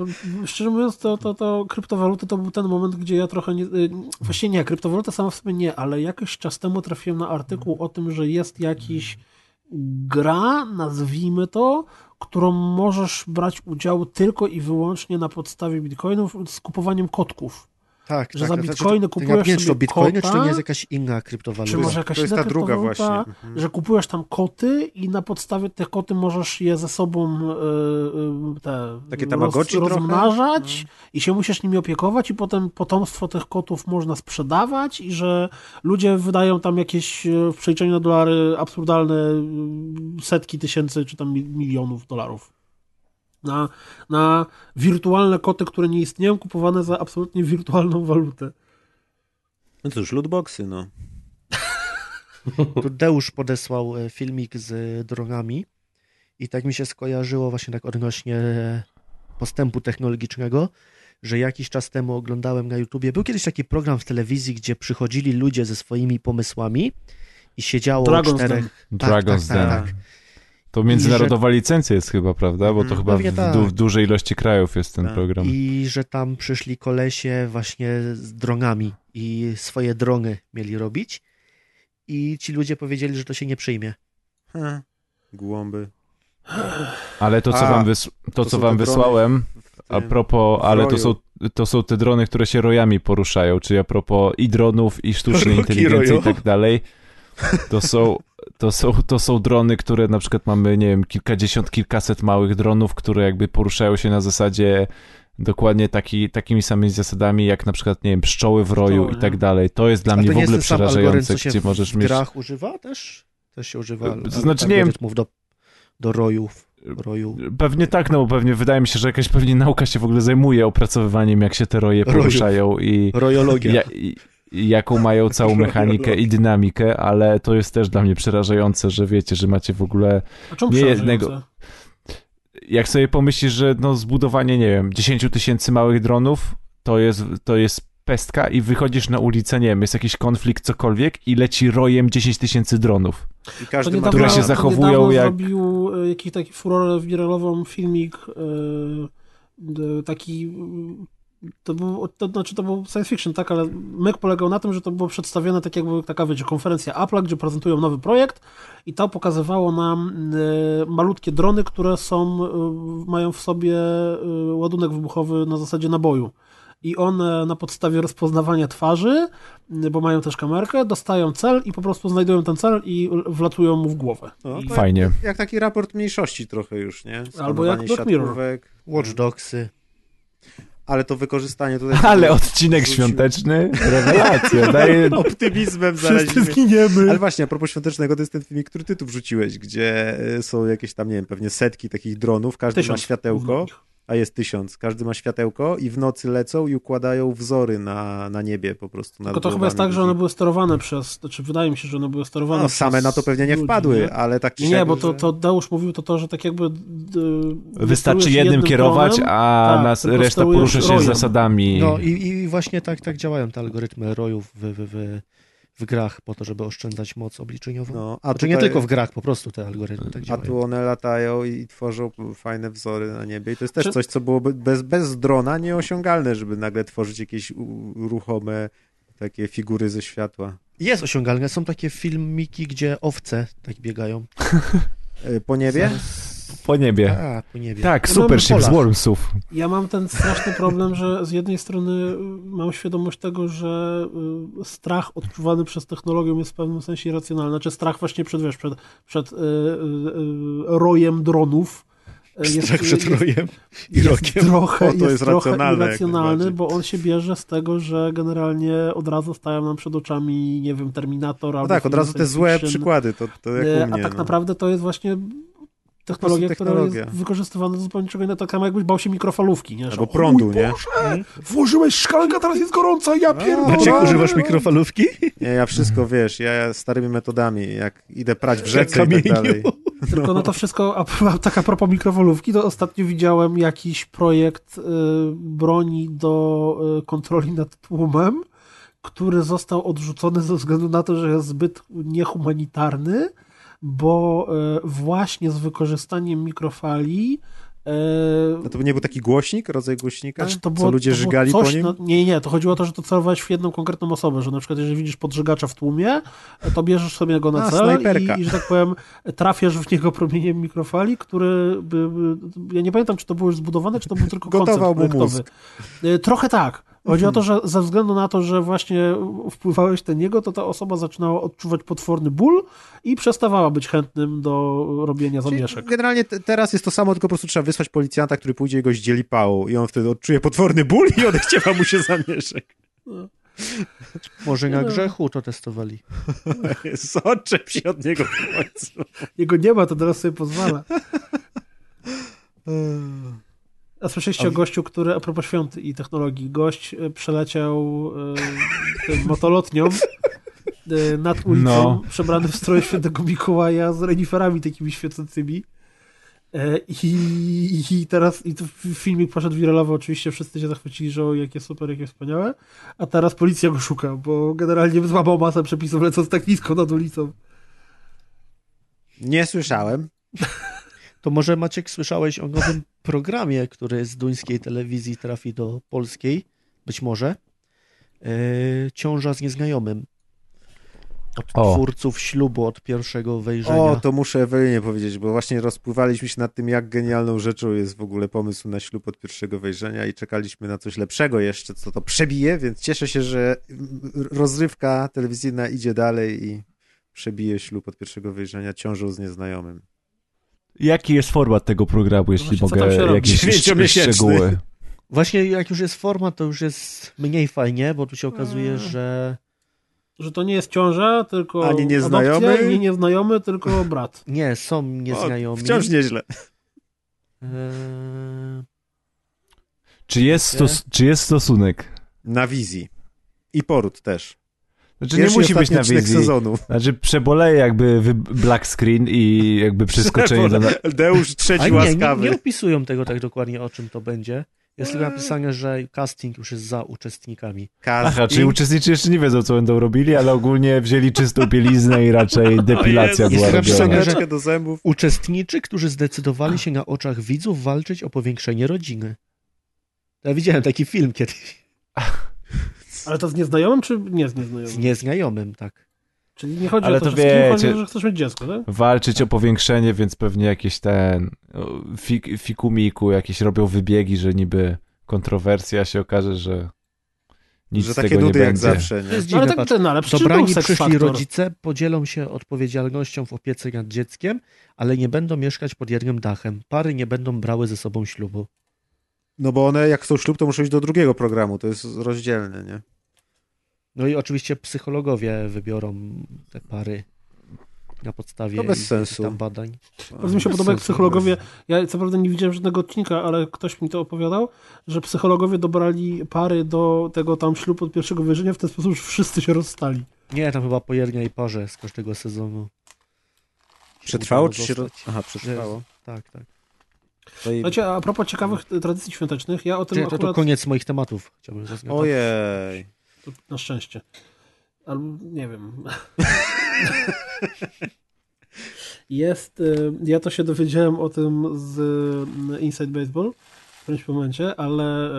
[SPEAKER 3] Szczerze mówiąc, to, to, to kryptowaluty to był ten moment, gdzie ja trochę nie. y, Właściwie nie, kryptowaluta sama w sobie nie, ale jakiś czas temu trafiłem na artykuł o tym, że jest jakiś gra, nazwijmy to, którą możesz brać udział tylko i wyłącznie na podstawie bitcoinów z kupowaniem kotków.
[SPEAKER 10] Tak,
[SPEAKER 3] że
[SPEAKER 10] tak,
[SPEAKER 3] za
[SPEAKER 10] to znaczy,
[SPEAKER 3] bitcoiny
[SPEAKER 10] to- to
[SPEAKER 3] kupujesz
[SPEAKER 10] nie wiem, czy to
[SPEAKER 3] sobie
[SPEAKER 10] bitcoiny,
[SPEAKER 3] kota,
[SPEAKER 10] czy to nie jest jakaś inna kryptowaluta?
[SPEAKER 3] Czy może jakaś inna kryptowaluta,
[SPEAKER 10] Mhm.
[SPEAKER 3] Że kupujesz tam koty i na podstawie tych koty możesz je ze sobą y, y, te,
[SPEAKER 4] Takie Tamagotchi trochę?
[SPEAKER 3] rozmnażać
[SPEAKER 10] Mhm.
[SPEAKER 3] i się musisz nimi opiekować i potem potomstwo tych kotów można sprzedawać i że ludzie wydają tam jakieś y, w przeliczeniu na dolary absurdalne y, setki tysięcy czy tam mi- milionów dolarów. Na, na wirtualne koty, które nie istnieją, kupowane za absolutnie wirtualną walutę.
[SPEAKER 4] No cóż, lootboxy, no.
[SPEAKER 10] Tu Deusz podesłał e, filmik z e, dronami i tak mi się skojarzyło właśnie tak odnośnie e, postępu technologicznego, że jakiś czas temu oglądałem na YouTubie, był kiedyś taki program w telewizji, gdzie przychodzili ludzie ze swoimi pomysłami i siedziało
[SPEAKER 2] Dragon's
[SPEAKER 10] czterech... Tak,
[SPEAKER 2] Den. Dragon's Den.
[SPEAKER 10] I
[SPEAKER 2] To To międzynarodowa licencja jest chyba, prawda? Bo to chyba w,
[SPEAKER 10] Pewnie tak.
[SPEAKER 2] du- w dużej ilości krajów jest ten program.
[SPEAKER 10] I że tam przyszli kolesie właśnie z dronami i swoje drony mieli robić. I ci ludzie powiedzieli, że to się nie przyjmie.
[SPEAKER 4] Głąby.
[SPEAKER 2] Ale to, co
[SPEAKER 4] A,
[SPEAKER 2] wam, wys- to,
[SPEAKER 4] to
[SPEAKER 2] co
[SPEAKER 4] są
[SPEAKER 2] wam
[SPEAKER 4] te drony
[SPEAKER 2] wysłałem, a
[SPEAKER 4] tym
[SPEAKER 2] propos, ale to
[SPEAKER 4] stroju.
[SPEAKER 2] są, to są te drony, które się rojami poruszają, czyli a propos i dronów, i sztucznej
[SPEAKER 4] Roki
[SPEAKER 2] inteligencji
[SPEAKER 4] roją.
[SPEAKER 2] i tak dalej. To są, to, są, to są drony, które na przykład mamy, nie wiem, kilkadziesiąt, kilkaset małych dronów, które jakby poruszają się na zasadzie dokładnie taki, takimi samymi zasadami, jak na przykład, nie wiem, pszczoły w roju i tak dalej. To jest dla
[SPEAKER 10] A
[SPEAKER 2] mnie
[SPEAKER 10] to
[SPEAKER 2] w
[SPEAKER 10] nie jest
[SPEAKER 2] ogóle
[SPEAKER 10] ten sam algorytm,
[SPEAKER 2] przerażające,
[SPEAKER 10] co się
[SPEAKER 2] gdzie
[SPEAKER 10] w
[SPEAKER 2] możesz mieć...
[SPEAKER 10] grach używa też? Też się używa
[SPEAKER 2] To znaczy, nie wiem-
[SPEAKER 10] algorytmów do, do rojów. roju.
[SPEAKER 2] Pewnie tak, no bo pewnie wydaje mi się, że jakaś pewnie nauka się w ogóle zajmuje opracowywaniem, jak się te roje
[SPEAKER 10] Rojów.
[SPEAKER 2] poruszają i,
[SPEAKER 10] Rojologia.
[SPEAKER 2] ja- i, i jaką mają całą mechanikę
[SPEAKER 3] no.
[SPEAKER 2] i dynamikę, ale to jest też dla mnie przerażające, że wiecie, że macie w ogóle
[SPEAKER 3] A czemu
[SPEAKER 2] nie
[SPEAKER 3] przerażające?
[SPEAKER 2] jednego. Jak sobie pomyślisz, że no zbudowanie, nie wiem, 10 tysięcy małych dronów to jest, to jest pestka i wychodzisz na ulicę, nie wiem, jest jakiś konflikt, cokolwiek i leci rojem 10 tysięcy dronów.
[SPEAKER 4] I
[SPEAKER 3] To
[SPEAKER 4] każdy
[SPEAKER 3] niedawno-
[SPEAKER 4] ma...
[SPEAKER 2] które się
[SPEAKER 3] to
[SPEAKER 2] zachowują
[SPEAKER 3] niedawno
[SPEAKER 2] jak-
[SPEAKER 3] zrobił e, jakiś taki furorę wiralową filmik e, d- taki mm, to był, to, znaczy to był science fiction, tak, ale myk polegał na tym, że to było przedstawione tak jakby taka, wiecie, konferencja Apple, gdzie prezentują nowy projekt i to pokazywało nam e, malutkie drony, które są, e, mają w sobie e, ładunek wybuchowy na zasadzie naboju. I one na podstawie rozpoznawania twarzy, e, bo mają też kamerkę, dostają cel i po prostu znajdują ten cel i l- wlatują mu w głowę.
[SPEAKER 4] No,
[SPEAKER 3] I-
[SPEAKER 4] to
[SPEAKER 2] Fajnie.
[SPEAKER 4] Jak, jak taki raport mniejszości trochę już, nie?
[SPEAKER 3] Albo jak
[SPEAKER 4] Skanowanie
[SPEAKER 3] Black Mirror.
[SPEAKER 4] siatkówek.
[SPEAKER 10] Watch Dogsy.
[SPEAKER 4] Ale to wykorzystanie tutaj...
[SPEAKER 2] Ale odcinek świąteczny, rewelacja, daje
[SPEAKER 3] No,
[SPEAKER 4] Optymizmem
[SPEAKER 2] Wszyscy
[SPEAKER 4] zarazimy.
[SPEAKER 2] zginiemy.
[SPEAKER 4] Ale właśnie, a propos świątecznego, to jest ten filmik, który ty tu wrzuciłeś, gdzie y, są jakieś tam, nie wiem, pewnie setki takich dronów, każdy ma
[SPEAKER 3] Tysiąc. Mhm.
[SPEAKER 4] światełko, a jest tysiąc, każdy ma światełko i w nocy lecą i układają wzory na, na niebie po prostu. nad
[SPEAKER 3] Tylko to chyba
[SPEAKER 4] głowami
[SPEAKER 3] jest tak, że
[SPEAKER 4] ludzi.
[SPEAKER 3] one były sterowane przez, znaczy wydaje mi się, że one były sterowane
[SPEAKER 4] No,
[SPEAKER 3] przez
[SPEAKER 4] same na to pewnie nie
[SPEAKER 3] ludzi,
[SPEAKER 4] wpadły, ale tak
[SPEAKER 3] Nie,
[SPEAKER 4] średnio,
[SPEAKER 3] bo to,
[SPEAKER 4] że-
[SPEAKER 3] to Deusz mówił to to, że tak jakby... d-
[SPEAKER 2] Wystarczy
[SPEAKER 3] sterujesz
[SPEAKER 2] jednym kierować,
[SPEAKER 3] dronem,
[SPEAKER 2] a
[SPEAKER 3] tak,
[SPEAKER 2] nas,
[SPEAKER 3] tylko
[SPEAKER 2] reszta
[SPEAKER 3] sterujesz
[SPEAKER 2] porusza się
[SPEAKER 3] rojem.
[SPEAKER 2] zasadami.
[SPEAKER 10] No i, i właśnie tak, tak działają te algorytmy rojów w, w, w, w grach po to, żeby oszczędzać moc obliczeniową.
[SPEAKER 4] No,
[SPEAKER 10] No,
[SPEAKER 4] a
[SPEAKER 10] a znaczy nie
[SPEAKER 4] tutaj-
[SPEAKER 10] tylko w grach, po prostu te algorytmy tak
[SPEAKER 4] A
[SPEAKER 10] działają.
[SPEAKER 4] tu one latają i tworzą fajne wzory na niebie. I to jest też
[SPEAKER 3] Czy-
[SPEAKER 4] coś, co byłoby bez, bez drona nieosiągalne, żeby nagle tworzyć jakieś u- ruchome takie figury ze światła.
[SPEAKER 10] Jest osiągalne, są takie filmiki, gdzie owce tak biegają.
[SPEAKER 4] E, Po niebie?
[SPEAKER 2] Po niebie.
[SPEAKER 10] A, po niebie.
[SPEAKER 2] Tak,
[SPEAKER 3] Ja
[SPEAKER 2] super
[SPEAKER 3] mam
[SPEAKER 2] ship z
[SPEAKER 3] Polak.
[SPEAKER 2] Wormsów.
[SPEAKER 3] Ja mam ten straszny problem, że z jednej strony y, mam świadomość tego, że y, strach odczuwany przez technologię jest w pewnym sensie irracjonalny. Znaczy strach właśnie przed, wiesz, przed, przed y, y, y, rojem dronów. y,
[SPEAKER 12] Strach przed rojem i rokiem.
[SPEAKER 3] Trochę,
[SPEAKER 12] O, to
[SPEAKER 3] jest,
[SPEAKER 12] jest
[SPEAKER 3] trochę
[SPEAKER 12] racjonalne jak
[SPEAKER 3] irracjonalny,
[SPEAKER 12] najbardziej.
[SPEAKER 3] bo on się bierze z tego, że generalnie od razu stają nam przed oczami, nie wiem, Terminator
[SPEAKER 4] No
[SPEAKER 3] albo
[SPEAKER 4] tak, od
[SPEAKER 3] filmy
[SPEAKER 4] razu te
[SPEAKER 3] science
[SPEAKER 4] złe
[SPEAKER 3] fiction.
[SPEAKER 4] przykłady, to, to jak
[SPEAKER 3] E,
[SPEAKER 4] u mnie.
[SPEAKER 3] A tak
[SPEAKER 4] no.
[SPEAKER 3] naprawdę to jest właśnie technologia, która jest
[SPEAKER 4] technologia.
[SPEAKER 3] wykorzystywana do zupełnie czego innego. Tak samo jakbyś bał się mikrofalówki, nie? Że,
[SPEAKER 4] Albo
[SPEAKER 3] o
[SPEAKER 4] prądu,
[SPEAKER 3] mój
[SPEAKER 4] nie?
[SPEAKER 3] Boże, Włożyłeś szklankę, teraz jest gorąca, ja pierdolę.
[SPEAKER 10] Znaczy,
[SPEAKER 12] Maciek,
[SPEAKER 2] no,
[SPEAKER 12] używasz mikrofalówki?
[SPEAKER 4] Nie, ja wszystko, wiesz, ja starymi metodami, jak idę prać w rzece i tak
[SPEAKER 12] kamieniu.
[SPEAKER 4] dalej.
[SPEAKER 3] Tylko no to wszystko, a, p- a tak a propos mikrofalówki, to ostatnio widziałem jakiś projekt y, broni do y, kontroli nad tłumem, który został odrzucony ze względu na to, że jest zbyt niehumanitarny, bo y, właśnie z wykorzystaniem mikrofali y,
[SPEAKER 4] No to nie był taki głośnik, rodzaj głośnika,
[SPEAKER 3] Znaczy, to
[SPEAKER 4] co
[SPEAKER 3] było,
[SPEAKER 4] ludzie
[SPEAKER 3] to było
[SPEAKER 4] żygali
[SPEAKER 3] coś,
[SPEAKER 4] po nim?
[SPEAKER 3] No, nie, nie, to chodziło o to, że to celowałeś w jedną konkretną osobę, że na przykład jeżeli widzisz podżegacza w tłumie, to bierzesz sobie go na
[SPEAKER 4] A,
[SPEAKER 3] cel
[SPEAKER 4] snajperka.
[SPEAKER 3] i, i, że tak powiem, trafiasz w niego promieniem mikrofali, który, by, by, ja nie pamiętam, czy to było już zbudowane, czy to był tylko koncept
[SPEAKER 4] Gotował mu
[SPEAKER 3] projektowy.
[SPEAKER 4] mózg.
[SPEAKER 3] Y, Trochę tak. Chodzi o to, że ze względu na to, że właśnie wpływałeś na niego, to ta osoba zaczynała odczuwać potworny ból i przestawała być chętnym do robienia
[SPEAKER 4] Czyli
[SPEAKER 3] zamieszek.
[SPEAKER 4] Generalnie te, teraz jest to samo, tylko po prostu trzeba wysłać policjanta, który pójdzie i go zdzieli pałą i on wtedy odczuje potworny ból i odechciewa mu się zamieszek.
[SPEAKER 10] Może na
[SPEAKER 3] no.
[SPEAKER 10] grzechu to testowali.
[SPEAKER 4] Soczep się od niego w końcu.
[SPEAKER 3] Jego nie ma, to teraz sobie pozwala. A słyszeliście o gościu, który a propos świąt i technologii, gość e, przeleciał e, tym motolotnią e, nad ulicą,
[SPEAKER 2] No.
[SPEAKER 3] przebrany w stroju świętego Mikołaja z reniferami takimi świecącymi. E, I, I teraz i to f- filmik poszedł wiralowo, oczywiście wszyscy się zachwycili, że o, jakie super, jakie wspaniałe, a teraz policja go szuka, bo generalnie złamał masę przepisów lecąc tak nisko nad ulicą.
[SPEAKER 4] Nie słyszałem.
[SPEAKER 10] To może Maciek słyszałeś o nowym programie, który z duńskiej telewizji trafi do polskiej, być może. E, Ciąża z nieznajomym. Od
[SPEAKER 4] O.
[SPEAKER 10] twórców ślubu, od pierwszego wejrzenia.
[SPEAKER 4] O, to muszę Ewelinie powiedzieć, bo właśnie rozpływaliśmy się nad tym, jak genialną rzeczą jest w ogóle pomysł na ślub od pierwszego wejrzenia i czekaliśmy na coś lepszego jeszcze, co to przebije, więc cieszę się, że mm, rozrywka telewizyjna idzie dalej i przebije ślub od pierwszego wejrzenia ciążą z nieznajomym.
[SPEAKER 2] Jaki jest format tego programu, jeśli mogę jakieś szcz- szczegóły?
[SPEAKER 10] Właśnie jak już jest forma, to już jest mniej fajnie, bo tu się okazuje, że...
[SPEAKER 3] Że to nie jest ciąża, tylko
[SPEAKER 10] Ani nieznajomy?
[SPEAKER 3] nieznajomy, adopcja, nie nieznajomy, tylko brat.
[SPEAKER 10] Nie, są nieznajomi.
[SPEAKER 3] wciąż nieźle.
[SPEAKER 10] Eee,
[SPEAKER 2] Czy jest, stos- czy jest stosunek?
[SPEAKER 4] Na wizji. I poród też.
[SPEAKER 2] Znaczy
[SPEAKER 4] Pierwszy
[SPEAKER 2] nie musi być
[SPEAKER 4] i
[SPEAKER 2] na
[SPEAKER 4] ostatni odcinek
[SPEAKER 2] wizji.
[SPEAKER 4] sezonu.
[SPEAKER 2] Znaczy przeboleje jakby wy- black screen i jakby przeskoczenie do... Na...
[SPEAKER 10] A nie, Nie, nie opisują tego tak dokładnie, o czym to będzie. Jest tylko napisane, że casting już jest za uczestnikami.
[SPEAKER 2] Aha, czyli uczestniczy jeszcze nie wiedzą, co będą robili, ale ogólnie wzięli czystą bieliznę i raczej depilacja była
[SPEAKER 10] Jest
[SPEAKER 2] robiona.
[SPEAKER 10] napisane, że uczestniczy, którzy zdecydowali się na oczach widzów walczyć o powiększenie rodziny. Ja widziałem taki film kiedyś
[SPEAKER 3] Ale to z nieznajomym, czy nie z nieznajomym?
[SPEAKER 10] z nieznajomym, tak.
[SPEAKER 3] Czyli nie chodzi
[SPEAKER 2] Ale
[SPEAKER 3] o to,
[SPEAKER 2] to
[SPEAKER 3] że z kim chodzi,
[SPEAKER 2] wiecie.
[SPEAKER 3] że chcesz mieć dziecko, tak?
[SPEAKER 2] Walczyć o powiększenie, więc pewnie jakieś ten o, fik, fikumiku, jakieś robią wybiegi, że niby kontrowersja się okaże, że nic
[SPEAKER 4] Że
[SPEAKER 2] z
[SPEAKER 4] takie
[SPEAKER 2] tego
[SPEAKER 4] nudy
[SPEAKER 2] nie
[SPEAKER 4] jak
[SPEAKER 2] będzie.
[SPEAKER 4] zawsze, nie?
[SPEAKER 10] To jest
[SPEAKER 3] No ale tak,
[SPEAKER 10] dziwne, patrz.
[SPEAKER 3] ten, ale przy czym był
[SPEAKER 10] Dobrani
[SPEAKER 3] Sex
[SPEAKER 10] przyszli
[SPEAKER 3] Factor?
[SPEAKER 10] rodzice podzielą się odpowiedzialnością w opiece nad dzieckiem, ale nie będą mieszkać pod jednym dachem. Pary nie będą brały ze sobą ślubu.
[SPEAKER 4] No bo one jak chcą ślub, to muszą iść do drugiego programu, to jest rozdzielne, nie?
[SPEAKER 10] No i oczywiście psychologowie wybiorą te pary na podstawie
[SPEAKER 4] To bez
[SPEAKER 10] ich- ich
[SPEAKER 4] sensu.
[SPEAKER 10] tam badań.
[SPEAKER 3] Bardzo mi się podoba, jak psychologowie. Ja co prawda nie widziałem żadnego odcinka, ale ktoś mi to opowiadał, że psychologowie dobrali pary do tego tam ślubu od pierwszego wyjrzenia w ten sposób, że wszyscy się rozstali.
[SPEAKER 10] Nie, tam chyba po jednej i parze z każdego sezonu. się
[SPEAKER 4] Przetrwało,
[SPEAKER 10] udało
[SPEAKER 4] czy się ro-
[SPEAKER 10] zostać.
[SPEAKER 4] Aha, przetrwało.
[SPEAKER 10] Tak, tak.
[SPEAKER 3] Znaczy, a propos ciekawych y, tradycji świątecznych, ja o tym
[SPEAKER 10] Czy to,
[SPEAKER 3] akurat...
[SPEAKER 10] to koniec moich tematów. Chciałbym zaznaczyć.
[SPEAKER 4] Ojej.
[SPEAKER 3] To Na szczęście. Albo nie wiem. Jest. y, Ja to się dowiedziałem o tym z y, Inside Baseball w którymś momencie, ale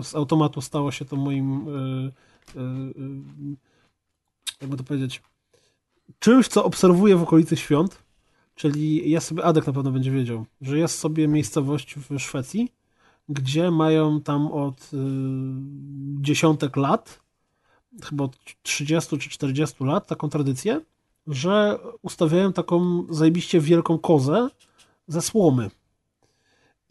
[SPEAKER 3] y, z automatu stało się to moim. y, y, y, Jakby to powiedzieć. Czymś, co obserwuję w okolicy świąt. Czyli ja sobie, Adek na pewno będzie wiedział, że jest sobie miejscowość w Szwecji, gdzie mają tam od y, dziesiątek lat chyba od 30 czy 40 lat taką tradycję, że ustawiają taką zajebiście wielką kozę ze słomy.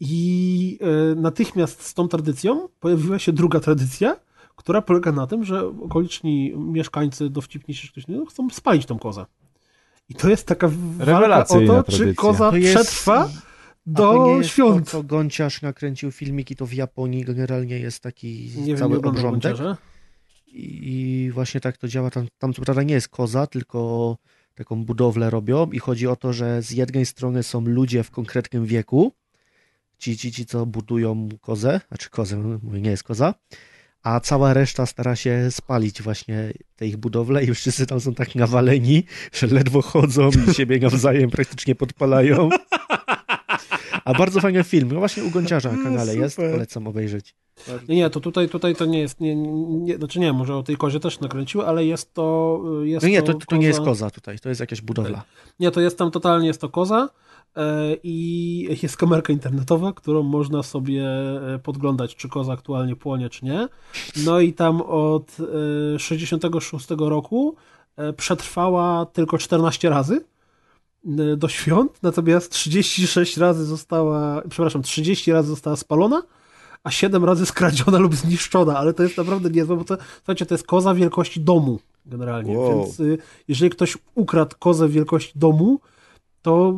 [SPEAKER 3] I e, natychmiast z tą tradycją pojawiła się druga tradycja, która polega na tym, że okoliczni mieszkańcy dowcipniejsi czy ktoś inny chcą spalić tą kozę. I to jest taka walka o
[SPEAKER 2] Rewelacyjna
[SPEAKER 3] to,
[SPEAKER 2] tradycja.
[SPEAKER 3] czy koza
[SPEAKER 10] To jest-
[SPEAKER 3] przetrwa
[SPEAKER 10] A to nie
[SPEAKER 3] do
[SPEAKER 10] jest
[SPEAKER 3] świąt.
[SPEAKER 10] To, co Gonciarz nakręcił filmiki, to w Japonii generalnie jest taki
[SPEAKER 3] Nie wiem,
[SPEAKER 10] cały
[SPEAKER 3] nie oglądam
[SPEAKER 10] obrządek.
[SPEAKER 3] Gonciarza.
[SPEAKER 10] I, I właśnie tak to działa. Tam, tam co prawda nie jest koza, tylko taką budowlę robią i chodzi o to, że z jednej strony są ludzie w konkretnym wieku, ci, ci, ci co budują kozę, znaczy kozę, no, mówię, nie jest koza, a cała reszta stara się spalić właśnie te ich budowle i już wszyscy tam są tak nawaleni, że ledwo chodzą i siebie nawzajem praktycznie podpalają. A bardzo fajny film, no właśnie u Gonciarza na kanale
[SPEAKER 4] No,
[SPEAKER 10] jest,
[SPEAKER 3] Super.
[SPEAKER 10] polecam obejrzeć.
[SPEAKER 3] Nie, nie, to tutaj, tutaj to nie jest, nie, nie, nie, znaczy nie, może o tej kozie też nakręciły, ale jest to... y, Jest
[SPEAKER 10] No nie, to, to nie jest
[SPEAKER 3] koza- Tak.
[SPEAKER 10] koza tutaj, to jest jakaś budowla.
[SPEAKER 3] Nie, to jest tam totalnie jest to koza e, i jest kamerka internetowa, którą można sobie e, podglądać, czy koza aktualnie płonie, czy nie. No i tam od e, 66 roku e, przetrwała tylko 14 razy e, do świąt, natomiast 36 razy została, przepraszam, 30 razy została spalona, a 7 razy skradziona lub zniszczona, ale to jest naprawdę niezłe, bo to, słuchajcie, to jest koza wielkości domu generalnie,
[SPEAKER 4] Wow.
[SPEAKER 3] więc y, jeżeli ktoś ukradł kozę wielkości domu, to,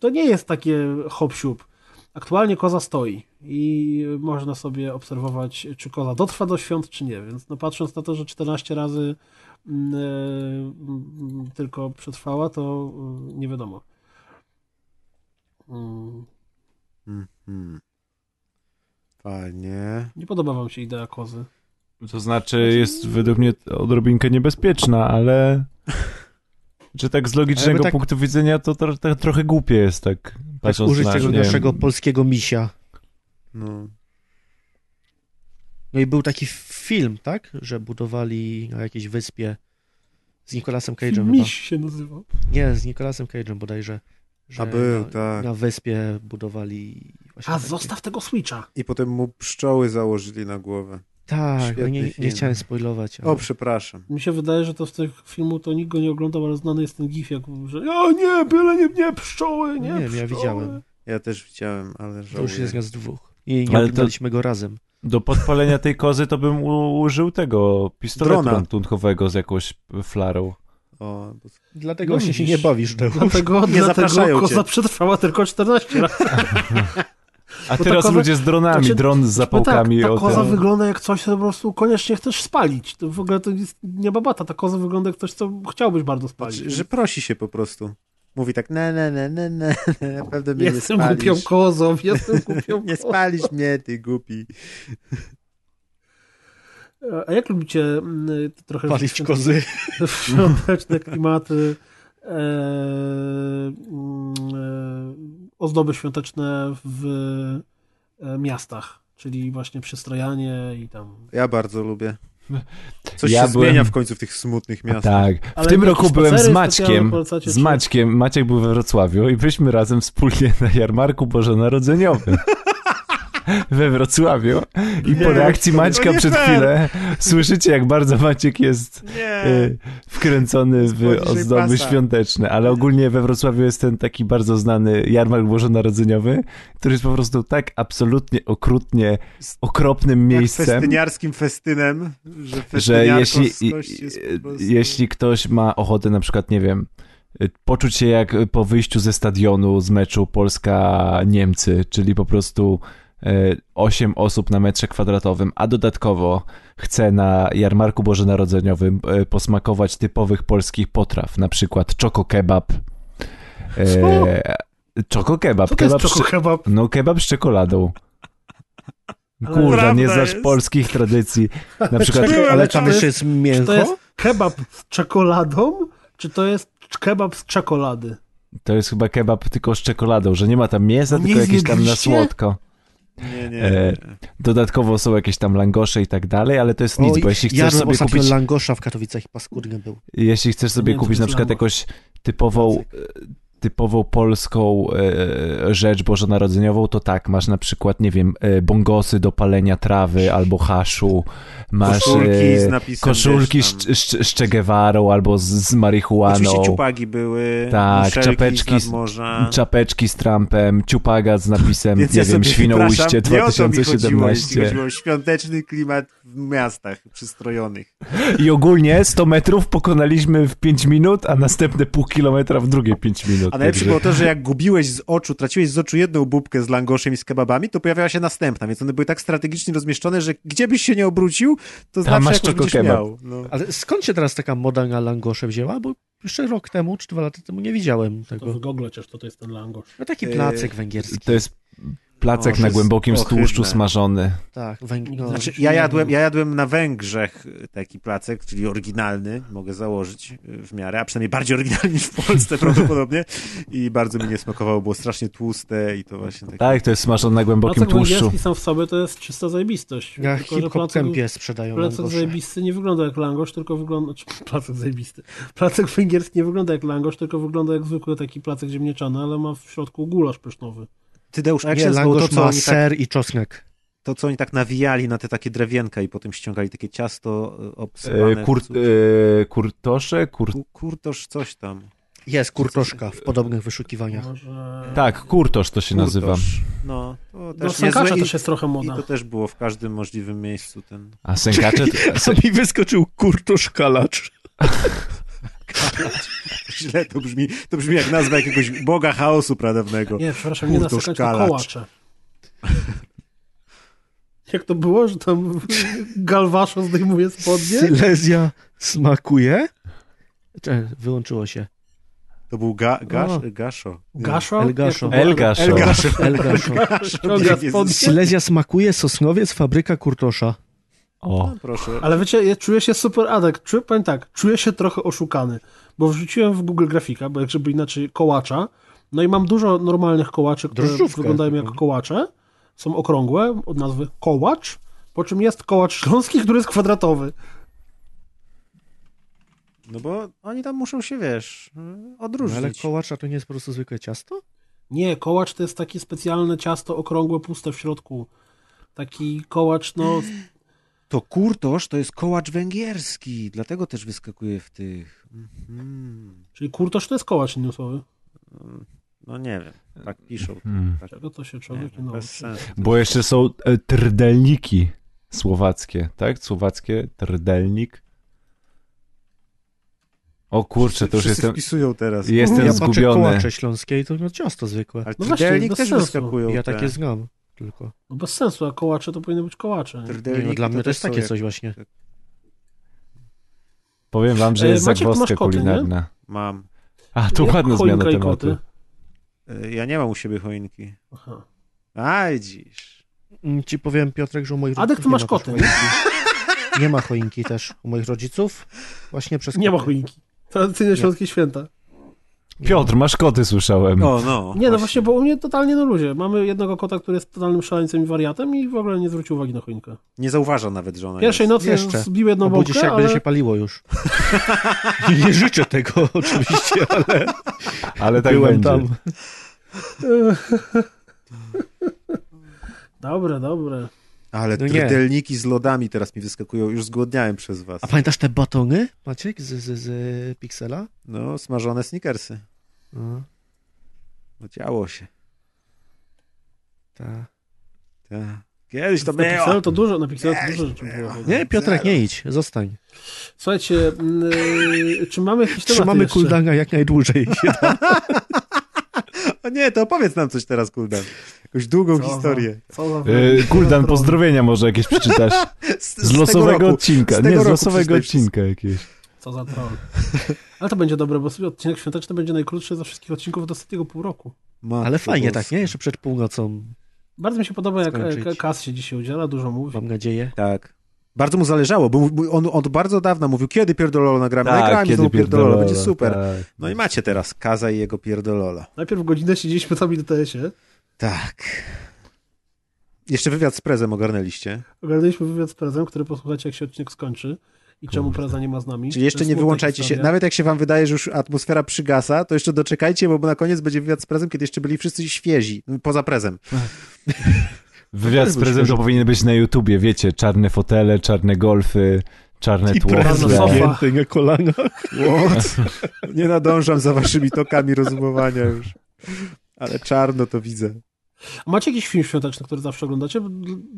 [SPEAKER 3] to nie jest takie hop-siup. Aktualnie koza stoi i można sobie obserwować, czy koza dotrwa do świąt, czy nie. Więc no, patrząc na to, że 14 razy mm, e, mm, tylko przetrwała, to mm, nie wiadomo. Mm,
[SPEAKER 4] Mhm. Fajnie.
[SPEAKER 3] Nie podoba wam się idea kozy.
[SPEAKER 2] To znaczy jest według mnie odrobinkę niebezpieczna, ale... Czy tak z logicznego
[SPEAKER 10] tak-
[SPEAKER 2] punktu widzenia to, to, to trochę głupie jest tak Patrząc
[SPEAKER 10] użyć
[SPEAKER 2] na,
[SPEAKER 10] tego
[SPEAKER 2] nie wiem,
[SPEAKER 10] naszego polskiego misia.
[SPEAKER 4] No.
[SPEAKER 10] No i był taki film, tak? Że budowali na jakiejś wyspie z Nicolasem Cage'em.
[SPEAKER 3] Miś się nazywał.
[SPEAKER 10] Chyba. Nie, z Nicolasem Cage'em bodajże. Że no,
[SPEAKER 4] A był,
[SPEAKER 10] na,
[SPEAKER 4] tak.
[SPEAKER 10] na wyspie budowali. właśnie
[SPEAKER 3] A
[SPEAKER 10] takie-
[SPEAKER 3] zostaw tego Switcha.
[SPEAKER 4] I potem mu pszczoły założyli na głowę.
[SPEAKER 10] Tak, no
[SPEAKER 4] Świetny
[SPEAKER 10] nie, nie
[SPEAKER 4] film.
[SPEAKER 10] chciałem spoilować. ale-
[SPEAKER 4] O, przepraszam.
[SPEAKER 3] Mi się wydaje, że to z tych filmów to nikt go nie oglądał, ale znany jest ten gif, jak mówił, że o nie, byle nie, nie pszczoły, nie,
[SPEAKER 10] Nie wiem,
[SPEAKER 3] pszczoły.
[SPEAKER 10] ja widziałem.
[SPEAKER 4] Ja też widziałem, ale żałuję.
[SPEAKER 10] To już jest nas dwóch. I nie
[SPEAKER 2] Ale to-
[SPEAKER 10] oglądaliśmy go razem.
[SPEAKER 2] Do podpalenia tej kozy to bym u- użył tego pistoletu
[SPEAKER 4] Drona.
[SPEAKER 2] ratunkowego z jakąś flarą.
[SPEAKER 4] O, bo...
[SPEAKER 10] Dlatego
[SPEAKER 3] No
[SPEAKER 10] się
[SPEAKER 3] widzisz.
[SPEAKER 10] nie bawisz, Deusz.
[SPEAKER 3] Dlatego,
[SPEAKER 4] Nie
[SPEAKER 3] dlatego
[SPEAKER 4] zapraszają
[SPEAKER 3] koza
[SPEAKER 4] cię.
[SPEAKER 3] przetrwała tylko 14 razy.
[SPEAKER 2] A
[SPEAKER 3] Bo
[SPEAKER 2] teraz
[SPEAKER 3] ta koza-
[SPEAKER 2] ludzie z dronami,
[SPEAKER 3] Znaczy,
[SPEAKER 2] dron z zapałkami.
[SPEAKER 3] Tak, ta
[SPEAKER 2] o
[SPEAKER 3] koza
[SPEAKER 2] tym.
[SPEAKER 3] wygląda jak coś, co po prostu koniecznie chcesz spalić. To w ogóle to jest nie babata. Ta koza wygląda jak coś, co chciałbyś bardzo spalić.
[SPEAKER 4] Znaczy, Że prosi się po prostu. Mówi tak, ne, ne, ne, ne, ne, ne, na pewno mnie nie
[SPEAKER 3] jestem
[SPEAKER 4] spalisz.
[SPEAKER 3] głupią kozą, jestem głupią
[SPEAKER 4] Nie
[SPEAKER 3] kozą.
[SPEAKER 4] spalisz mnie, ty głupi.
[SPEAKER 3] A jak lubicie mm, to trochę...
[SPEAKER 10] Palić kozy.
[SPEAKER 3] Świąteczne klimaty. E, mm, e, ozdoby świąteczne w e, miastach. Czyli właśnie przystrojanie i tam
[SPEAKER 4] Ja bardzo lubię. Coś
[SPEAKER 2] Ja
[SPEAKER 4] się
[SPEAKER 2] byłem-
[SPEAKER 4] zmienia w końcu w tych smutnych miastach.
[SPEAKER 2] Tak. W
[SPEAKER 3] Ale
[SPEAKER 2] tym
[SPEAKER 3] jakieś
[SPEAKER 2] roku byłem z
[SPEAKER 3] spacery specjalne
[SPEAKER 2] Maćkiem.
[SPEAKER 3] polecacie,
[SPEAKER 2] Z
[SPEAKER 3] czy-
[SPEAKER 2] Maćkiem. Maciek był we Wrocławiu i byliśmy razem wspólnie na jarmarku bożonarodzeniowym. We Wrocławiu i po
[SPEAKER 4] Nie,
[SPEAKER 2] reakcji
[SPEAKER 4] to nie- to
[SPEAKER 2] Maćka
[SPEAKER 4] nie
[SPEAKER 2] przed
[SPEAKER 4] fair.
[SPEAKER 2] chwilę słyszycie, jak bardzo Maciek jest e, wkręcony w
[SPEAKER 4] Poniżej
[SPEAKER 2] ozdoby
[SPEAKER 4] pasa.
[SPEAKER 2] świąteczne, ale ogólnie we Wrocławiu jest ten taki bardzo znany jarmark bożonarodzeniowy, który jest po prostu tak absolutnie okrutnie, okropnym
[SPEAKER 4] Tak
[SPEAKER 2] miejscem,
[SPEAKER 4] festyniarskim festynem, że
[SPEAKER 2] że
[SPEAKER 4] festyniarką
[SPEAKER 2] jeśli,
[SPEAKER 4] z kości jest po prostu...
[SPEAKER 2] jeśli ktoś ma ochotę na przykład, nie wiem, y, poczuć się jak po wyjściu ze stadionu z meczu Polska-Niemcy, czyli po prostu 8 osób na metrze kwadratowym, a dodatkowo chce na jarmarku bożonarodzeniowym y, posmakować typowych polskich potraw, na przykład czoko kebab. E,
[SPEAKER 3] Co?
[SPEAKER 2] Czoko kebab.
[SPEAKER 3] Co to jest
[SPEAKER 2] kebab z-
[SPEAKER 3] czoko kebab?
[SPEAKER 2] No kebab z czekoladą.
[SPEAKER 3] Ale
[SPEAKER 2] Kurwa, nie
[SPEAKER 4] prawda
[SPEAKER 2] znasz
[SPEAKER 4] jest.
[SPEAKER 2] polskich tradycji. Na przykład
[SPEAKER 3] czekaj,
[SPEAKER 10] Ale
[SPEAKER 3] czy to
[SPEAKER 10] tam jeszcze jest
[SPEAKER 3] Czy
[SPEAKER 10] mięcho?
[SPEAKER 3] to jest kebab z czekoladą, czy to jest kebab z czekolady?
[SPEAKER 2] To jest chyba kebab tylko z czekoladą, że nie ma tam mięsa,
[SPEAKER 3] Nie
[SPEAKER 2] tylko jakieś tam na
[SPEAKER 3] zjedliście?
[SPEAKER 2] słodko.
[SPEAKER 4] Nie, nie,
[SPEAKER 2] E, dodatkowo są jakieś tam langosze i tak dalej, ale to jest nic,
[SPEAKER 10] Oj,
[SPEAKER 2] bo jeśli chcesz
[SPEAKER 10] jadłem
[SPEAKER 2] sobie
[SPEAKER 10] ostatnio
[SPEAKER 2] kupić,
[SPEAKER 10] langosza w Katowicach i paskudny był.
[SPEAKER 2] jeśli chcesz sobie
[SPEAKER 3] wiem, co
[SPEAKER 2] kupić
[SPEAKER 3] to
[SPEAKER 2] na
[SPEAKER 3] jest
[SPEAKER 2] przykład
[SPEAKER 3] langosz.
[SPEAKER 2] jakąś typową, e, typową polską e, rzecz bożonarodzeniową, to tak, masz na przykład, nie wiem, e, bongosy do palenia trawy albo haszu, masz
[SPEAKER 4] Koszulki
[SPEAKER 2] e,
[SPEAKER 4] z napisem,
[SPEAKER 2] koszulki
[SPEAKER 4] wiesz,
[SPEAKER 2] z,
[SPEAKER 4] tam.
[SPEAKER 2] z, z Che Guevarą albo z, z marihuaną.
[SPEAKER 4] Oczywiście ciupagi były,
[SPEAKER 2] Tak,
[SPEAKER 4] muszelki
[SPEAKER 2] czapeczki,
[SPEAKER 4] z
[SPEAKER 2] z-
[SPEAKER 4] morza.
[SPEAKER 2] czapeczki z Trumpem, ciupaga z napisem,
[SPEAKER 4] Więc
[SPEAKER 2] nie
[SPEAKER 4] ja
[SPEAKER 2] wiem,
[SPEAKER 4] sobie
[SPEAKER 2] Świnoujście
[SPEAKER 4] przepraszam, nie o to mi chodziło, jeśli
[SPEAKER 2] 2017.
[SPEAKER 4] chodziło o świąteczny klimat w miastach przystrojonych.
[SPEAKER 2] I ogólnie 100 metrów pokonaliśmy w 5 minut, a następne pół kilometra w drugie 5 minut.
[SPEAKER 4] A najlepsze
[SPEAKER 2] Także-
[SPEAKER 4] było to, że jak gubiłeś z oczu, traciłeś z oczu jedną bubkę z langoszem i z kebabami, to pojawiała się następna, więc one były tak strategicznie rozmieszczone, że gdzie byś się nie obrócił, to zawsze
[SPEAKER 2] masz
[SPEAKER 4] jakoś
[SPEAKER 2] tylko
[SPEAKER 4] będziesz
[SPEAKER 2] kebab.
[SPEAKER 4] miał. No.
[SPEAKER 10] Ale skąd się teraz taka moda na langosze wzięła? Bo jeszcze rok temu, czy dwa lata temu nie widziałem
[SPEAKER 3] To w
[SPEAKER 10] tego.
[SPEAKER 3] Google chociaż to, to jest ten langosz.
[SPEAKER 10] No taki
[SPEAKER 4] Yy,
[SPEAKER 10] placek węgierski,
[SPEAKER 2] To jest placek
[SPEAKER 4] O,
[SPEAKER 2] na
[SPEAKER 4] to jest
[SPEAKER 2] głębokim
[SPEAKER 4] ohydne.
[SPEAKER 2] tłuszczu smażony.
[SPEAKER 10] tak. Węg... No,
[SPEAKER 4] Znaczy, ja jadłem, ja jadłem na Węgrzech taki placek, czyli oryginalny, mogę założyć y, w miarę, a przynajmniej bardziej oryginalny niż w Polsce prawdopodobnie i bardzo mi nie smakowało, było strasznie tłuste i to właśnie takie...
[SPEAKER 2] Tak, to jest smażony na głębokim
[SPEAKER 3] Placek
[SPEAKER 2] tłuszczu.
[SPEAKER 3] węgierski sam w sobie to jest czysta zajebistość.
[SPEAKER 10] Na
[SPEAKER 3] Tylko, że
[SPEAKER 10] hip-hop
[SPEAKER 3] placek-
[SPEAKER 10] tempie sprzedają
[SPEAKER 3] Placek
[SPEAKER 10] langosze.
[SPEAKER 3] zajebisty nie wygląda jak langosz, tylko wygląda... Czy, placek zajebisty. Placek węgierski nie wygląda jak langosz, tylko wygląda jak zwykły taki placek ziemniaczany, ale ma w środku gulasz pysznowy.
[SPEAKER 4] Ty, Deusz, a No jak się
[SPEAKER 10] Nie,
[SPEAKER 4] nazywało to,
[SPEAKER 10] langosz
[SPEAKER 4] co
[SPEAKER 10] ma
[SPEAKER 4] oni tak
[SPEAKER 10] ser i czosnek.
[SPEAKER 4] to, co oni tak nawijali na te takie drewienka i potem ściągali takie ciasto y,
[SPEAKER 2] E,
[SPEAKER 4] obsypane.
[SPEAKER 2] Kur,
[SPEAKER 4] cu-
[SPEAKER 2] e, kurtosze? Kur,
[SPEAKER 4] ku- kurtosz coś tam.
[SPEAKER 10] Jest kurtoszka w podobnych wyszukiwaniach.
[SPEAKER 3] No. Może...
[SPEAKER 2] tak, kurtosz to się
[SPEAKER 4] Kurtosz.
[SPEAKER 2] nazywa.
[SPEAKER 4] No, to
[SPEAKER 3] Do
[SPEAKER 4] też niezłe
[SPEAKER 3] sankasza
[SPEAKER 4] i,
[SPEAKER 3] też jest trochę
[SPEAKER 4] i
[SPEAKER 3] moda.
[SPEAKER 4] to też było no. w każdym możliwym miejscu ten...
[SPEAKER 2] A sękacze...
[SPEAKER 12] Mi wyskoczył kurtusz kalacz.
[SPEAKER 4] Źle to brzmi, to brzmi jak nazwa jakiegoś boga chaosu pradawnego.
[SPEAKER 3] Nie, przepraszam, nie na
[SPEAKER 4] Kurtusz
[SPEAKER 3] sekacz, tylko
[SPEAKER 4] kalacz.
[SPEAKER 3] kołacze. Jak to było, że tam galwaszo zdejmuje spodnie?
[SPEAKER 10] Silezja smakuje? Cze- Wyłączyło się.
[SPEAKER 4] To był ga, gasz,
[SPEAKER 10] O.
[SPEAKER 4] gaszo.
[SPEAKER 3] Gaszo?
[SPEAKER 10] El Gaszo.
[SPEAKER 3] Jak to było?
[SPEAKER 2] Elgaszo.
[SPEAKER 10] El Gaszo.
[SPEAKER 3] Ściąga spodnie.
[SPEAKER 10] Silezja smakuje, Sosnowiec, fabryka kurtosza.
[SPEAKER 2] O,
[SPEAKER 4] No, proszę.
[SPEAKER 3] Ale wiecie, ja czuję się super adek. Czuję, powiem tak, czuję się trochę oszukany, bo wrzuciłem w Google grafika, bo jak żeby inaczej kołacza, No i mam dużo normalnych kołaczy, które
[SPEAKER 10] Drożdżówkę.
[SPEAKER 3] wyglądają jak kołacze. Są okrągłe, od nazwy kołacz, po czym jest kołacz śląski, który jest kwadratowy.
[SPEAKER 4] No bo oni tam muszą się, wiesz, odróżnić.
[SPEAKER 10] No, ale kołacza to nie jest po prostu zwykłe ciasto?
[SPEAKER 3] Nie, kołacz to jest takie specjalne ciasto okrągłe, puste w środku. Taki kołacz, no...
[SPEAKER 4] To kurtosz to jest kołacz węgierski, dlatego też wyskakuje w tych. Mhm.
[SPEAKER 3] Czyli kurtosz to jest kołacz, innymi słowy.
[SPEAKER 4] No nie wiem, tak piszą.
[SPEAKER 2] Hmm.
[SPEAKER 4] Tak,
[SPEAKER 3] Czego to się człowiek nie,
[SPEAKER 4] bez sensu.
[SPEAKER 2] Bo jeszcze są e, trdelniki słowackie, tak? Słowackie, trdelnik. O kurczę, to już
[SPEAKER 4] Wszyscy
[SPEAKER 2] jestem...
[SPEAKER 4] wpisują teraz.
[SPEAKER 2] Jestem
[SPEAKER 10] ja
[SPEAKER 2] zgubiony.
[SPEAKER 10] kołacze śląskie i to no, ciasto zwykłe.
[SPEAKER 4] Ale
[SPEAKER 3] No właśnie,
[SPEAKER 4] Trdelnik
[SPEAKER 3] bez
[SPEAKER 4] też
[SPEAKER 3] sensu.
[SPEAKER 4] wyskakują.
[SPEAKER 10] ja
[SPEAKER 4] te.
[SPEAKER 10] takie znam tylko.
[SPEAKER 3] No bez sensu, a kołacze to powinny być kołacze. nie?
[SPEAKER 10] Nie,
[SPEAKER 4] Trdelnik
[SPEAKER 10] no, dla mnie to
[SPEAKER 4] też
[SPEAKER 10] jest
[SPEAKER 4] są
[SPEAKER 10] takie
[SPEAKER 4] jak-
[SPEAKER 10] coś właśnie.
[SPEAKER 2] Powiem wam, że
[SPEAKER 3] E,
[SPEAKER 2] jest
[SPEAKER 3] Maciek, ty masz
[SPEAKER 2] zagwozdka
[SPEAKER 3] koty, nie?
[SPEAKER 2] kulinarna.
[SPEAKER 4] Mam.
[SPEAKER 2] A, to
[SPEAKER 3] Jak
[SPEAKER 2] ładna
[SPEAKER 3] choinka
[SPEAKER 2] zmiana
[SPEAKER 3] i
[SPEAKER 2] tematu.
[SPEAKER 3] koty?
[SPEAKER 4] Y, Ja nie mam u siebie choinki.
[SPEAKER 3] Aha.
[SPEAKER 4] Aj, dziś.
[SPEAKER 10] Mm, Ci powiem, Piotrek, że u moich
[SPEAKER 3] Adek,
[SPEAKER 10] rodziców
[SPEAKER 3] ty
[SPEAKER 10] nie
[SPEAKER 3] masz
[SPEAKER 10] ma
[SPEAKER 3] koty,
[SPEAKER 10] też choinki. Nie ma choinki też u moich rodziców. Właśnie przez
[SPEAKER 3] Nie ma
[SPEAKER 10] koty.
[SPEAKER 3] choinki. Tradycyjne śląskie święta.
[SPEAKER 2] Piotr, masz koty, słyszałem.
[SPEAKER 4] O, no.
[SPEAKER 3] Nie, no właśnie, bo u mnie totalnie na luzie. Mamy jednego kota, który jest totalnym szaleńcem i wariatem i w ogóle nie zwrócił uwagi na choinkę.
[SPEAKER 4] Nie zauważa nawet, że ona
[SPEAKER 3] Pierwszej
[SPEAKER 4] jest.
[SPEAKER 3] nocy
[SPEAKER 10] No Jeszcze.
[SPEAKER 3] zbił jedną
[SPEAKER 10] A budzi się,
[SPEAKER 3] bombkę,
[SPEAKER 10] jak
[SPEAKER 3] No ale...
[SPEAKER 10] będzie się paliło już. Nie życzę tego oczywiście, ale
[SPEAKER 2] Ale tak
[SPEAKER 10] byłem
[SPEAKER 2] będzie.
[SPEAKER 10] tam.
[SPEAKER 3] Dobre, dobre.
[SPEAKER 4] Ale
[SPEAKER 10] No nie.
[SPEAKER 4] trdelniki z lodami teraz mi wyskakują. Już zgłodniałem przez was.
[SPEAKER 10] A pamiętasz te batony, Maciek, z, z, z Pixela?
[SPEAKER 4] No, smażone snickersy. No, działo się.
[SPEAKER 10] Tak.
[SPEAKER 4] Ta. Kiedyś to
[SPEAKER 3] Na Pixelu
[SPEAKER 4] było.
[SPEAKER 3] to dużo, na Pixelu to dużo rzeczy było.
[SPEAKER 10] Nie, Piotrek, nie idź, zostań.
[SPEAKER 3] Słuchajcie, mm, yy, czy mamy jakiś temat
[SPEAKER 10] Trzymamy
[SPEAKER 3] jeszcze?
[SPEAKER 10] kuldanga jak najdłużej.
[SPEAKER 4] O No nie, to opowiedz nam coś teraz, Kuldan. Jakąś długą
[SPEAKER 3] Co za-
[SPEAKER 4] historię.
[SPEAKER 3] co za-
[SPEAKER 10] Y,
[SPEAKER 2] E, Kuldan,
[SPEAKER 3] Dobra.
[SPEAKER 2] pozdrowienia może jakieś przeczytasz. Z
[SPEAKER 4] tego
[SPEAKER 2] losowego
[SPEAKER 4] roku.
[SPEAKER 2] odcinka.
[SPEAKER 4] Z tego
[SPEAKER 2] Nie, z
[SPEAKER 4] roku
[SPEAKER 2] losowego
[SPEAKER 4] przeczytaj
[SPEAKER 2] odcinka jakiegoś.
[SPEAKER 3] Co za troll. Ale to będzie dobre, bo sobie odcinek świąteczny będzie najkrótszy ze wszystkich odcinków do ostatniego pół roku.
[SPEAKER 4] Matko
[SPEAKER 10] Ale fajnie, tak,
[SPEAKER 4] boska.
[SPEAKER 10] nie? Jeszcze przed północą,
[SPEAKER 3] Bardzo mi się podoba, jak
[SPEAKER 10] Skończyć.
[SPEAKER 3] e, Kas się dzisiaj udziela, dużo mówi.
[SPEAKER 10] mam nadzieję.
[SPEAKER 4] Tak. Bardzo mu zależało, bo mu- on od bardzo dawna mówił, kiedy pierdololo nagramy,
[SPEAKER 2] Tak,
[SPEAKER 4] nagramy
[SPEAKER 2] kiedy
[SPEAKER 4] znowu pierdololo, będzie
[SPEAKER 2] pierdololo,
[SPEAKER 4] super.
[SPEAKER 2] tak.
[SPEAKER 4] No i macie teraz Kaza i jego pierdololo.
[SPEAKER 3] Najpierw godzinę siedzieliśmy tam i DTS-ie.
[SPEAKER 4] Tak. Jeszcze wywiad z prezem ogarnęliście.
[SPEAKER 3] Oglądaliśmy wywiad z Prezem, który posłuchacie, jak się odcinek skończy i czemu Preza nie ma z nami.
[SPEAKER 4] Czyli jeszcze
[SPEAKER 3] To jest
[SPEAKER 4] nie
[SPEAKER 3] smutna
[SPEAKER 4] wyłączajcie się.
[SPEAKER 3] historia.
[SPEAKER 4] Nawet jak się wam wydaje, że już atmosfera przygasa, to jeszcze doczekajcie, bo na koniec będzie wywiad z prezem, kiedy jeszcze byli wszyscy świezi, poza prezem.
[SPEAKER 2] Wywiad z prezem to powinien być na YouTubie, wiecie, czarne fotele, czarne golfy, czarne
[SPEAKER 12] I
[SPEAKER 2] tło.
[SPEAKER 3] prezes
[SPEAKER 2] w tle.
[SPEAKER 3] sofa.
[SPEAKER 12] Pięty, nie kolana.
[SPEAKER 4] What? Nie nadążam za waszymi tokami rozumowania już. Ale czarno to widzę.
[SPEAKER 3] A Macie jakiś film świąteczny, który zawsze oglądacie?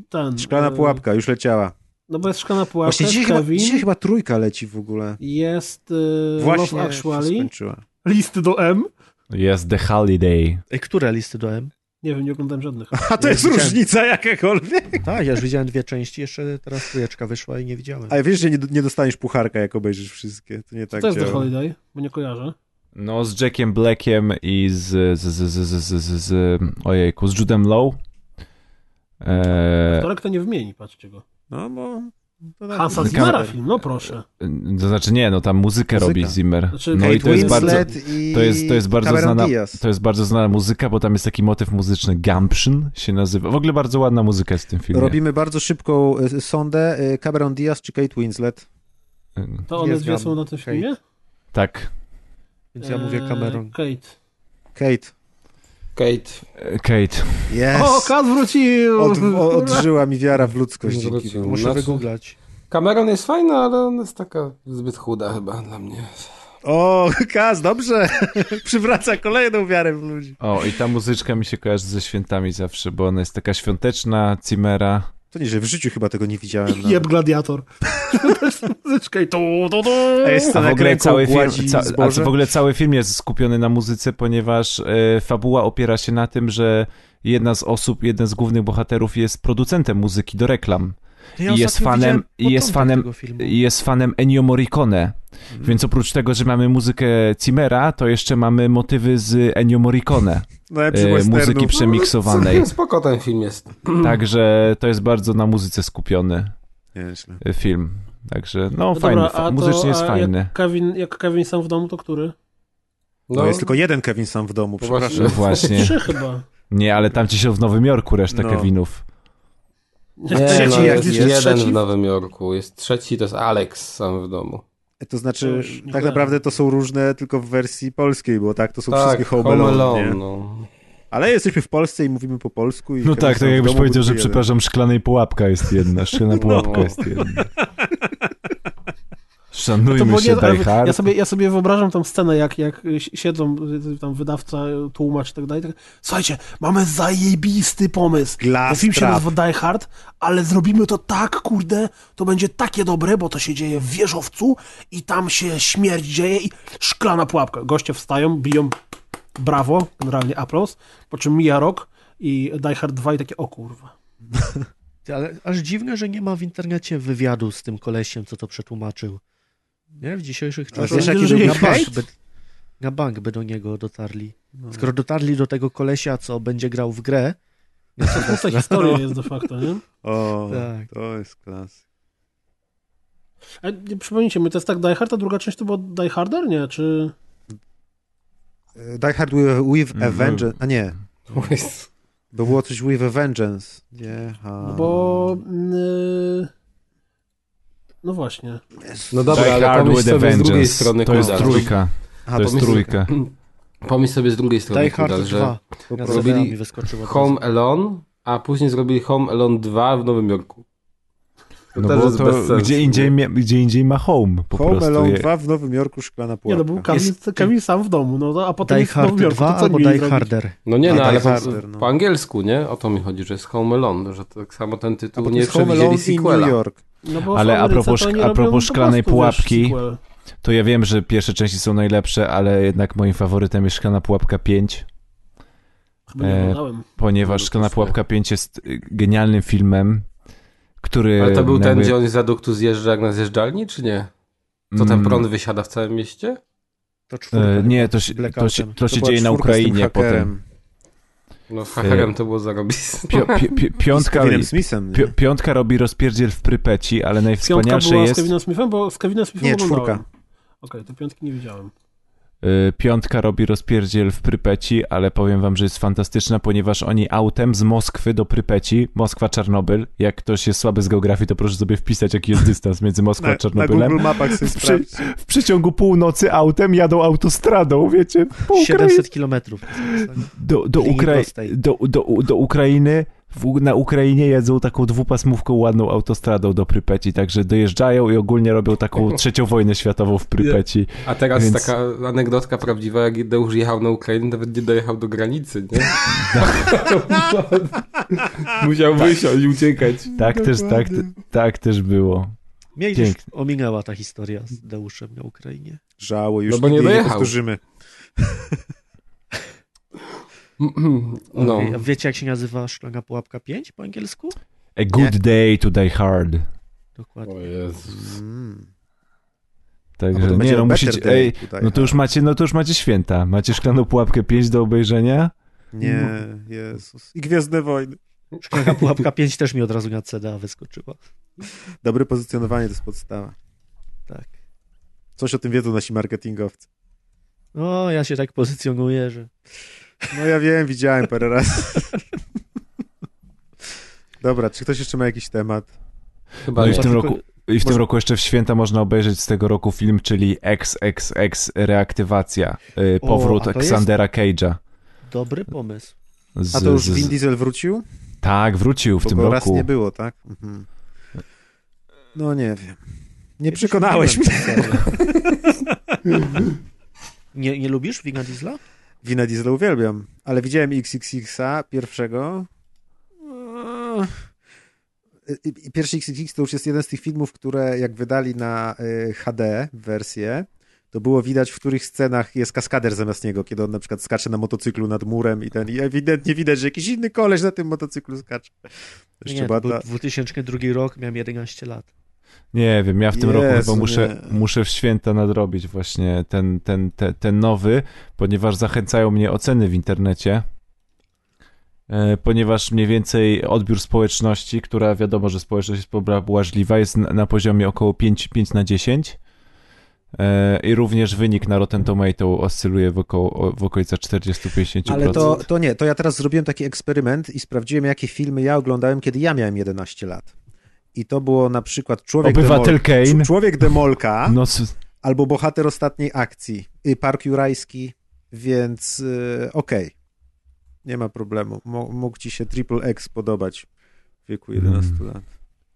[SPEAKER 3] Ten.
[SPEAKER 4] Szklana
[SPEAKER 3] e,
[SPEAKER 4] pułapka już leciała.
[SPEAKER 3] No bo jest szklana pułapka,
[SPEAKER 4] Właśnie
[SPEAKER 3] jest
[SPEAKER 4] dzisiaj chyba,
[SPEAKER 3] Kevin,
[SPEAKER 4] dzisiaj chyba trójka leci w ogóle.
[SPEAKER 3] jest e,
[SPEAKER 4] Właśnie
[SPEAKER 3] Love
[SPEAKER 4] się
[SPEAKER 3] Actually,
[SPEAKER 4] skończyła.
[SPEAKER 3] listy do M.
[SPEAKER 2] Jest The Holiday.
[SPEAKER 10] Ej, E, które listy dałem?
[SPEAKER 3] Nie wiem, nie oglądam żadnych.
[SPEAKER 4] A to jest
[SPEAKER 10] widziałem.
[SPEAKER 4] różnica jakakolwiek.
[SPEAKER 10] Tak, ja już widziałem dwie części, jeszcze teraz trójeczka wyszła i nie widziałem.
[SPEAKER 4] Ale wiesz, że nie, nie dostaniesz pucharka, jak obejrzysz wszystkie. To nie tak
[SPEAKER 3] to jest The
[SPEAKER 4] działa.
[SPEAKER 3] Holiday, bo nie kojarzę.
[SPEAKER 2] No, z Jackiem Blackiem i z. z, z, z, z, z, z, z ojejku, z Judem Low. E,
[SPEAKER 3] Torek to nie wymieni, patrzcie go.
[SPEAKER 4] No bo... To tak-
[SPEAKER 3] Hansa Zimmera film, no proszę.
[SPEAKER 2] to znaczy, nie, no tam muzykę
[SPEAKER 4] Muzyka.
[SPEAKER 2] robi Zimmer.
[SPEAKER 3] Znaczy,
[SPEAKER 2] no
[SPEAKER 3] Kate
[SPEAKER 2] i to jest bardzo.
[SPEAKER 4] Winslet i
[SPEAKER 2] To jest, to jest bardzo
[SPEAKER 4] Cameron
[SPEAKER 2] znana.
[SPEAKER 4] Diaz.
[SPEAKER 2] To jest bardzo znana muzyka, bo tam jest taki motyw muzyczny Gumption się nazywa. W ogóle bardzo ładna muzyka jest w tym filmie.
[SPEAKER 4] Robimy bardzo szybką y, sondę. Y, Cameron Diaz czy Kate Winslet?
[SPEAKER 3] To one
[SPEAKER 10] Nie
[SPEAKER 3] dwie
[SPEAKER 10] znam.
[SPEAKER 3] są na tym
[SPEAKER 10] Kate.
[SPEAKER 3] filmie?
[SPEAKER 2] Tak.
[SPEAKER 10] Więc ja mówię
[SPEAKER 3] E,
[SPEAKER 10] Cameron.
[SPEAKER 3] Kate.
[SPEAKER 4] Kate.
[SPEAKER 8] Kate.
[SPEAKER 2] E, Kate.
[SPEAKER 4] Yes.
[SPEAKER 3] O, Kas wrócił!
[SPEAKER 4] Od, o- odżyła mi wiara w ludzkość dzięki
[SPEAKER 8] Zwrócił.
[SPEAKER 4] wam.
[SPEAKER 10] Muszę
[SPEAKER 8] Znaczy-
[SPEAKER 10] wygooglać.
[SPEAKER 8] Cameron jest fajna, ale ona jest taka zbyt chuda chyba dla mnie.
[SPEAKER 4] O, Kaz, dobrze. Przywraca kolejną wiarę w ludzi.
[SPEAKER 2] O, i ta muzyczka mi się kojarzy ze świętami zawsze, bo ona jest taka świąteczna, Cimera.
[SPEAKER 4] To nie, że w życiu chyba tego nie widziałem. no.
[SPEAKER 3] Jeb gladiator. Świąteczna No. muzyczka i tu, tu, tu.
[SPEAKER 4] A jest
[SPEAKER 2] A
[SPEAKER 4] scena,
[SPEAKER 2] w,
[SPEAKER 4] jak
[SPEAKER 2] ogóle
[SPEAKER 4] ręką
[SPEAKER 2] cały film,
[SPEAKER 4] gładzi
[SPEAKER 2] ca, a
[SPEAKER 4] zboże.
[SPEAKER 2] w ogóle cały film jest skupiony na muzyce, ponieważ e, fabuła opiera się na tym, że jedna z osób, jeden z głównych bohaterów jest producentem muzyki do reklam.
[SPEAKER 10] Ja
[SPEAKER 2] I jest
[SPEAKER 10] ostatnio
[SPEAKER 2] fanem,
[SPEAKER 10] widziałem
[SPEAKER 2] i jest
[SPEAKER 10] początek
[SPEAKER 2] fanem,
[SPEAKER 10] tego filmu.
[SPEAKER 2] i jest fanem Ennio Morricone.
[SPEAKER 3] Mhm.
[SPEAKER 2] Więc oprócz tego, że mamy muzykę Cimera, to jeszcze mamy motywy z Ennio Morricone,
[SPEAKER 4] Najlepszy
[SPEAKER 2] e,
[SPEAKER 4] westernu.
[SPEAKER 2] muzyki przemiksowanej.
[SPEAKER 8] No, Spoko ten film jest.
[SPEAKER 3] Mhm.
[SPEAKER 2] Także to jest bardzo na muzyce skupiony
[SPEAKER 4] Nieźle.
[SPEAKER 2] e, film. Także no,
[SPEAKER 3] No
[SPEAKER 2] fajny,
[SPEAKER 3] dobra, a
[SPEAKER 2] fa- muzycznie
[SPEAKER 3] to,
[SPEAKER 2] jest
[SPEAKER 3] a
[SPEAKER 2] fajny.
[SPEAKER 3] Jak Kevin, jak Kevin sam w domu, to który?
[SPEAKER 4] No, jest tylko jeden Kevin sam w domu, przepraszam.
[SPEAKER 2] No właśnie.
[SPEAKER 3] Trzy chyba.
[SPEAKER 2] Nie, ale tam ci się w Nowym Jorku reszta
[SPEAKER 4] No.
[SPEAKER 2] Kevinów.
[SPEAKER 8] Nie,
[SPEAKER 4] Trzeci,
[SPEAKER 8] no,
[SPEAKER 4] jak
[SPEAKER 8] jest
[SPEAKER 4] jest
[SPEAKER 8] jeden
[SPEAKER 4] trzeci?
[SPEAKER 8] w Nowym Jorku, jest trzeci, to jest Alex sam w domu.
[SPEAKER 4] To znaczy,
[SPEAKER 8] To już nie
[SPEAKER 4] tak
[SPEAKER 8] wiem.
[SPEAKER 4] naprawdę to są różne tylko w wersji polskiej, bo tak, to są
[SPEAKER 8] Tak,
[SPEAKER 4] wszystkie Home
[SPEAKER 8] Home
[SPEAKER 4] Alone,
[SPEAKER 8] Alone,
[SPEAKER 4] nie?
[SPEAKER 8] no.
[SPEAKER 4] Ale jesteśmy w Polsce i mówimy po polsku. I
[SPEAKER 2] No
[SPEAKER 4] Kevin
[SPEAKER 2] tak, tak
[SPEAKER 4] sam w
[SPEAKER 2] jakbyś
[SPEAKER 4] domu no.
[SPEAKER 2] powiedział,
[SPEAKER 4] był
[SPEAKER 2] że
[SPEAKER 4] jeden.
[SPEAKER 2] przepraszam, szklanej pułapka jest jedna, szklana pułapka jest jedna.
[SPEAKER 8] No
[SPEAKER 3] To
[SPEAKER 2] Szanujmy
[SPEAKER 3] było
[SPEAKER 2] się,
[SPEAKER 3] nie, ale
[SPEAKER 2] Die Hard.
[SPEAKER 3] ja, sobie, ja sobie wyobrażam tą scenę, jak, jak y, siedzą y, tam wydawca, y, tłumacz i tak dalej. Tak, Słuchajcie, mamy zajebisty pomysł.
[SPEAKER 4] Glass
[SPEAKER 3] film się
[SPEAKER 4] Trap.
[SPEAKER 3] nazywa Die Hard, ale zrobimy to tak, kurde, to będzie takie dobre, bo to się dzieje w wieżowcu i tam się śmierć dzieje i szklana pułapka. Goście wstają, biją, brawo, generalnie aplauz, po czym mija rok i Die Hard 2 i takie, o kurwa.
[SPEAKER 10] Ty, Ale aż dziwne, że nie ma w internecie wywiadu z tym kolesiem, co to przetłumaczył. Nie? W dzisiejszych
[SPEAKER 4] A wiesz, jaki
[SPEAKER 10] na
[SPEAKER 4] był
[SPEAKER 10] bank
[SPEAKER 4] hejt?
[SPEAKER 10] by, na bank by do niego dotarli. Skoro dotarli do tego kolesia, co będzie grał w grę... No to
[SPEAKER 3] Pusta historia jest de facto, nie?
[SPEAKER 4] O,
[SPEAKER 10] Tak.
[SPEAKER 4] to jest klas.
[SPEAKER 3] A, nie, przypomnijcie mi, to jest tak Die Hard, a druga część to było Die Harder, nie? Czy...
[SPEAKER 4] Y, Die Hard with, with a
[SPEAKER 3] Mhm.
[SPEAKER 4] Vengeance. A nie. To było coś with a Vengeance. Nie. A...
[SPEAKER 3] No bo... Yy... No właśnie.
[SPEAKER 8] No dobra,
[SPEAKER 2] Die
[SPEAKER 8] ale
[SPEAKER 2] Hard
[SPEAKER 8] pomyśl
[SPEAKER 2] with a
[SPEAKER 8] sobie z drugiej
[SPEAKER 2] Vengeance.
[SPEAKER 8] strony.
[SPEAKER 2] To jest
[SPEAKER 8] Kudal.
[SPEAKER 2] trójka.
[SPEAKER 8] Aha,
[SPEAKER 2] To jest
[SPEAKER 8] pomyśl-
[SPEAKER 2] trójka.
[SPEAKER 8] Pomyśl sobie z drugiej strony,
[SPEAKER 2] no
[SPEAKER 10] Die Hard
[SPEAKER 8] Kudal, że
[SPEAKER 10] 2. Ja zadałem i
[SPEAKER 8] robili
[SPEAKER 10] wyskoczyło od
[SPEAKER 8] Home Alone, a później zrobili Home Alone 2 w Nowym Jorku. To
[SPEAKER 2] No
[SPEAKER 8] też
[SPEAKER 2] bo
[SPEAKER 8] jest bez
[SPEAKER 2] to
[SPEAKER 8] sensu.
[SPEAKER 2] gdzie indziej, mia- gdzie indziej ma home po
[SPEAKER 4] Home
[SPEAKER 2] prostu.
[SPEAKER 4] Alone
[SPEAKER 2] je-
[SPEAKER 4] 2 w Nowym Jorku szklana
[SPEAKER 3] Nie,
[SPEAKER 4] pułapka.
[SPEAKER 3] no był Kamil, Kamil sam w domu, no a potem
[SPEAKER 10] Die
[SPEAKER 3] jest w
[SPEAKER 10] Hard
[SPEAKER 3] Nowym Jorku,
[SPEAKER 10] 2
[SPEAKER 3] to co
[SPEAKER 10] albo
[SPEAKER 3] mieli
[SPEAKER 10] Die
[SPEAKER 3] zrobić?
[SPEAKER 10] Harder.
[SPEAKER 8] No nie,
[SPEAKER 4] A,
[SPEAKER 8] no,
[SPEAKER 4] Die
[SPEAKER 8] ale po,
[SPEAKER 4] Harder, no.
[SPEAKER 8] po angielsku, nie? O to mi chodzi, że jest Home Alone, że tak samo ten
[SPEAKER 4] A
[SPEAKER 8] tytuł
[SPEAKER 4] potem
[SPEAKER 8] nie
[SPEAKER 4] jest Home Alone
[SPEAKER 8] przewidzieli
[SPEAKER 4] i
[SPEAKER 8] sequela.
[SPEAKER 4] New York.
[SPEAKER 3] No bo w
[SPEAKER 2] Ale a
[SPEAKER 3] Ameryce
[SPEAKER 2] propos,
[SPEAKER 3] to oni
[SPEAKER 2] a
[SPEAKER 3] robią No
[SPEAKER 2] propos
[SPEAKER 3] po
[SPEAKER 2] szklanej
[SPEAKER 3] prostu, wiesz,
[SPEAKER 2] pułapki,
[SPEAKER 3] sequel.
[SPEAKER 2] to ja wiem, że pierwsze części są najlepsze, ale jednak moim faworytem jest szklana pułapka 5.
[SPEAKER 3] Chyba nie oglądałem.
[SPEAKER 8] No,
[SPEAKER 2] ponieważ szklana pułapka 5 jest y, genialnym filmem, który.
[SPEAKER 8] Ale to był ten,
[SPEAKER 2] jakby-
[SPEAKER 8] gdzie on z aduktu zjeżdża jak na zjeżdżalni, czy nie? To ten
[SPEAKER 2] Mm.
[SPEAKER 8] prąd wysiada w całym mieście?
[SPEAKER 10] To
[SPEAKER 2] E, nie, to się, to się, to się
[SPEAKER 4] była
[SPEAKER 2] dzieje na
[SPEAKER 4] czwórka z tym
[SPEAKER 2] Ukrainie
[SPEAKER 4] hakerem.
[SPEAKER 2] potem.
[SPEAKER 8] No z
[SPEAKER 2] E,
[SPEAKER 8] hakerem to było zarobiste.
[SPEAKER 2] Pio, pi, pi, piątka,
[SPEAKER 4] Z Kevinem Smithem, nie?
[SPEAKER 2] pi, piątka robi rozpierdziel w Prypeci, ale
[SPEAKER 3] Piątka
[SPEAKER 2] najwspanialsze
[SPEAKER 3] była z
[SPEAKER 2] jest.
[SPEAKER 3] Kevinem Smithem, bo z Kevinem Smithem
[SPEAKER 4] Nie,
[SPEAKER 3] oglądałem.
[SPEAKER 4] czwórka.
[SPEAKER 3] Okej, to piątki nie widziałem.
[SPEAKER 2] Y, Piątka robi rozpierdziel w Prypeci, ale powiem wam, że jest fantastyczna, ponieważ oni autem z Moskwy do Prypeci, Moskwa, Czarnobyl. Jak ktoś jest słaby z geografii, to proszę sobie wpisać, jaki jest dystans między Moskwą
[SPEAKER 4] Na-
[SPEAKER 2] a
[SPEAKER 4] na
[SPEAKER 2] Czarnobylem.
[SPEAKER 4] Google Mapach sobie
[SPEAKER 2] w, przy,
[SPEAKER 4] sprawdźcie.
[SPEAKER 2] w przeciągu północy autem jadą autostradą, wiecie, po Ukrai-
[SPEAKER 10] 700 kilometrów. to są w stanie.
[SPEAKER 2] do, do,
[SPEAKER 10] linii
[SPEAKER 2] Ukrai-
[SPEAKER 10] prostej.
[SPEAKER 2] do, do, do Ukrainy. W, na Ukrainie jedzą taką dwupasmówką ładną autostradą do Prypeci, także dojeżdżają i ogólnie robią taką trzecią wojnę światową w Prypeci.
[SPEAKER 8] A teraz
[SPEAKER 2] Więc-
[SPEAKER 8] taka anegdotka prawdziwa, jak Deusz jechał na Ukrainę, nawet nie dojechał do granicy, nie? Musiał wysiąść i uciekać.
[SPEAKER 2] Tak też, tak, tak też było.
[SPEAKER 10] Mnie gdzieś
[SPEAKER 2] Pięknie.
[SPEAKER 10] ominęła ta historia z Deuszem na Ukrainie.
[SPEAKER 4] Żało, już
[SPEAKER 8] No bo nie
[SPEAKER 4] nigdy jej
[SPEAKER 8] dojechał.
[SPEAKER 4] powtórzymy.
[SPEAKER 8] No.
[SPEAKER 10] Wie- Wiecie, jak się nazywa szklana pułapka 5 po angielsku?
[SPEAKER 2] A good day to die hard.
[SPEAKER 10] Dokładnie.
[SPEAKER 8] O Jezus.
[SPEAKER 4] Mm. A
[SPEAKER 2] Także
[SPEAKER 4] potem
[SPEAKER 2] nie,
[SPEAKER 4] będzie
[SPEAKER 2] no
[SPEAKER 4] better
[SPEAKER 2] musicie,
[SPEAKER 4] day
[SPEAKER 2] ej,
[SPEAKER 4] to die
[SPEAKER 2] no to już macie, no to już macie święta. Macie szklaną pułapkę 5 do obejrzenia?
[SPEAKER 4] Nie, Jezus. I Gwiezdne Wojny.
[SPEAKER 10] Szklana pułapka 5 też mi od razu na CDA wyskoczyła.
[SPEAKER 4] Dobre pozycjonowanie to jest podstawa.
[SPEAKER 10] Tak.
[SPEAKER 4] Coś o tym wiedzą nasi marketingowcy.
[SPEAKER 10] O, ja się tak pozycjonuję, że
[SPEAKER 4] No ja wiem, widziałem parę razy. Dobra, czy ktoś jeszcze ma jakiś temat?
[SPEAKER 8] Chyba
[SPEAKER 2] No i w
[SPEAKER 8] nie.
[SPEAKER 2] tym
[SPEAKER 10] tylko-
[SPEAKER 2] roku, i w tym
[SPEAKER 4] może-
[SPEAKER 2] roku jeszcze w święta można obejrzeć z tego roku film, czyli XXX Reaktywacja. y,
[SPEAKER 10] O,
[SPEAKER 2] Powrót
[SPEAKER 10] a to jest-
[SPEAKER 2] Xandera Cage'a.
[SPEAKER 10] dobry pomysł.
[SPEAKER 2] Z-
[SPEAKER 4] A to już
[SPEAKER 2] z-
[SPEAKER 4] Vin Diesel wrócił?
[SPEAKER 2] Tak, wrócił w
[SPEAKER 4] Bo
[SPEAKER 2] tym
[SPEAKER 4] go
[SPEAKER 2] roku.
[SPEAKER 4] raz nie było, tak? Mhm. No nie wiem. Nie przekonałeś mnie.
[SPEAKER 10] Nie, nie lubisz Wina Diesla?
[SPEAKER 4] Wina Diesla uwielbiam, ale widziałem XXX-a pierwszego. E, I- i Pierwszy XXX to już jest jeden z tych filmów, które jak wydali na y, HD wersję, to było widać, w których scenach jest kaskader zamiast niego, kiedy on na przykład skacze na motocyklu nad murem i ten, i ewidentnie widać, że jakiś inny koleś na tym motocyklu skacze. Jeszcze
[SPEAKER 10] nie,
[SPEAKER 4] była
[SPEAKER 10] to był
[SPEAKER 4] ta-
[SPEAKER 10] 2002 rok, miałem 11 lat.
[SPEAKER 2] Nie wiem, ja w tym roku
[SPEAKER 4] Jezu,
[SPEAKER 2] chyba muszę,
[SPEAKER 4] nie.
[SPEAKER 2] muszę w święta nadrobić właśnie ten, ten, ten, ten nowy, ponieważ zachęcają mnie oceny w internecie. E, Ponieważ mniej więcej odbiór społeczności, która wiadomo, że społeczność jest pobra- bułażliwa, jest na, na poziomie około 5, 5 na 10. E, I również wynik na Rotten Tomato oscyluje w, około, o- w okolicach 40-50%.
[SPEAKER 4] Ale to, to nie, to ja teraz zrobiłem taki eksperyment i sprawdziłem, jakie filmy ja oglądałem, kiedy ja miałem 11 lat. I to było na przykład Człowiek
[SPEAKER 2] Obywatel
[SPEAKER 4] Demol-
[SPEAKER 2] Kane.
[SPEAKER 4] Człowiek Demolka
[SPEAKER 2] No, s-
[SPEAKER 4] albo Bohater Ostatniej Akcji, y, Park Jurajski, więc y, okej. Nie ma problemu. Mo- mógł ci się Triple X podobać w wieku
[SPEAKER 2] Mm.
[SPEAKER 4] 11 lat.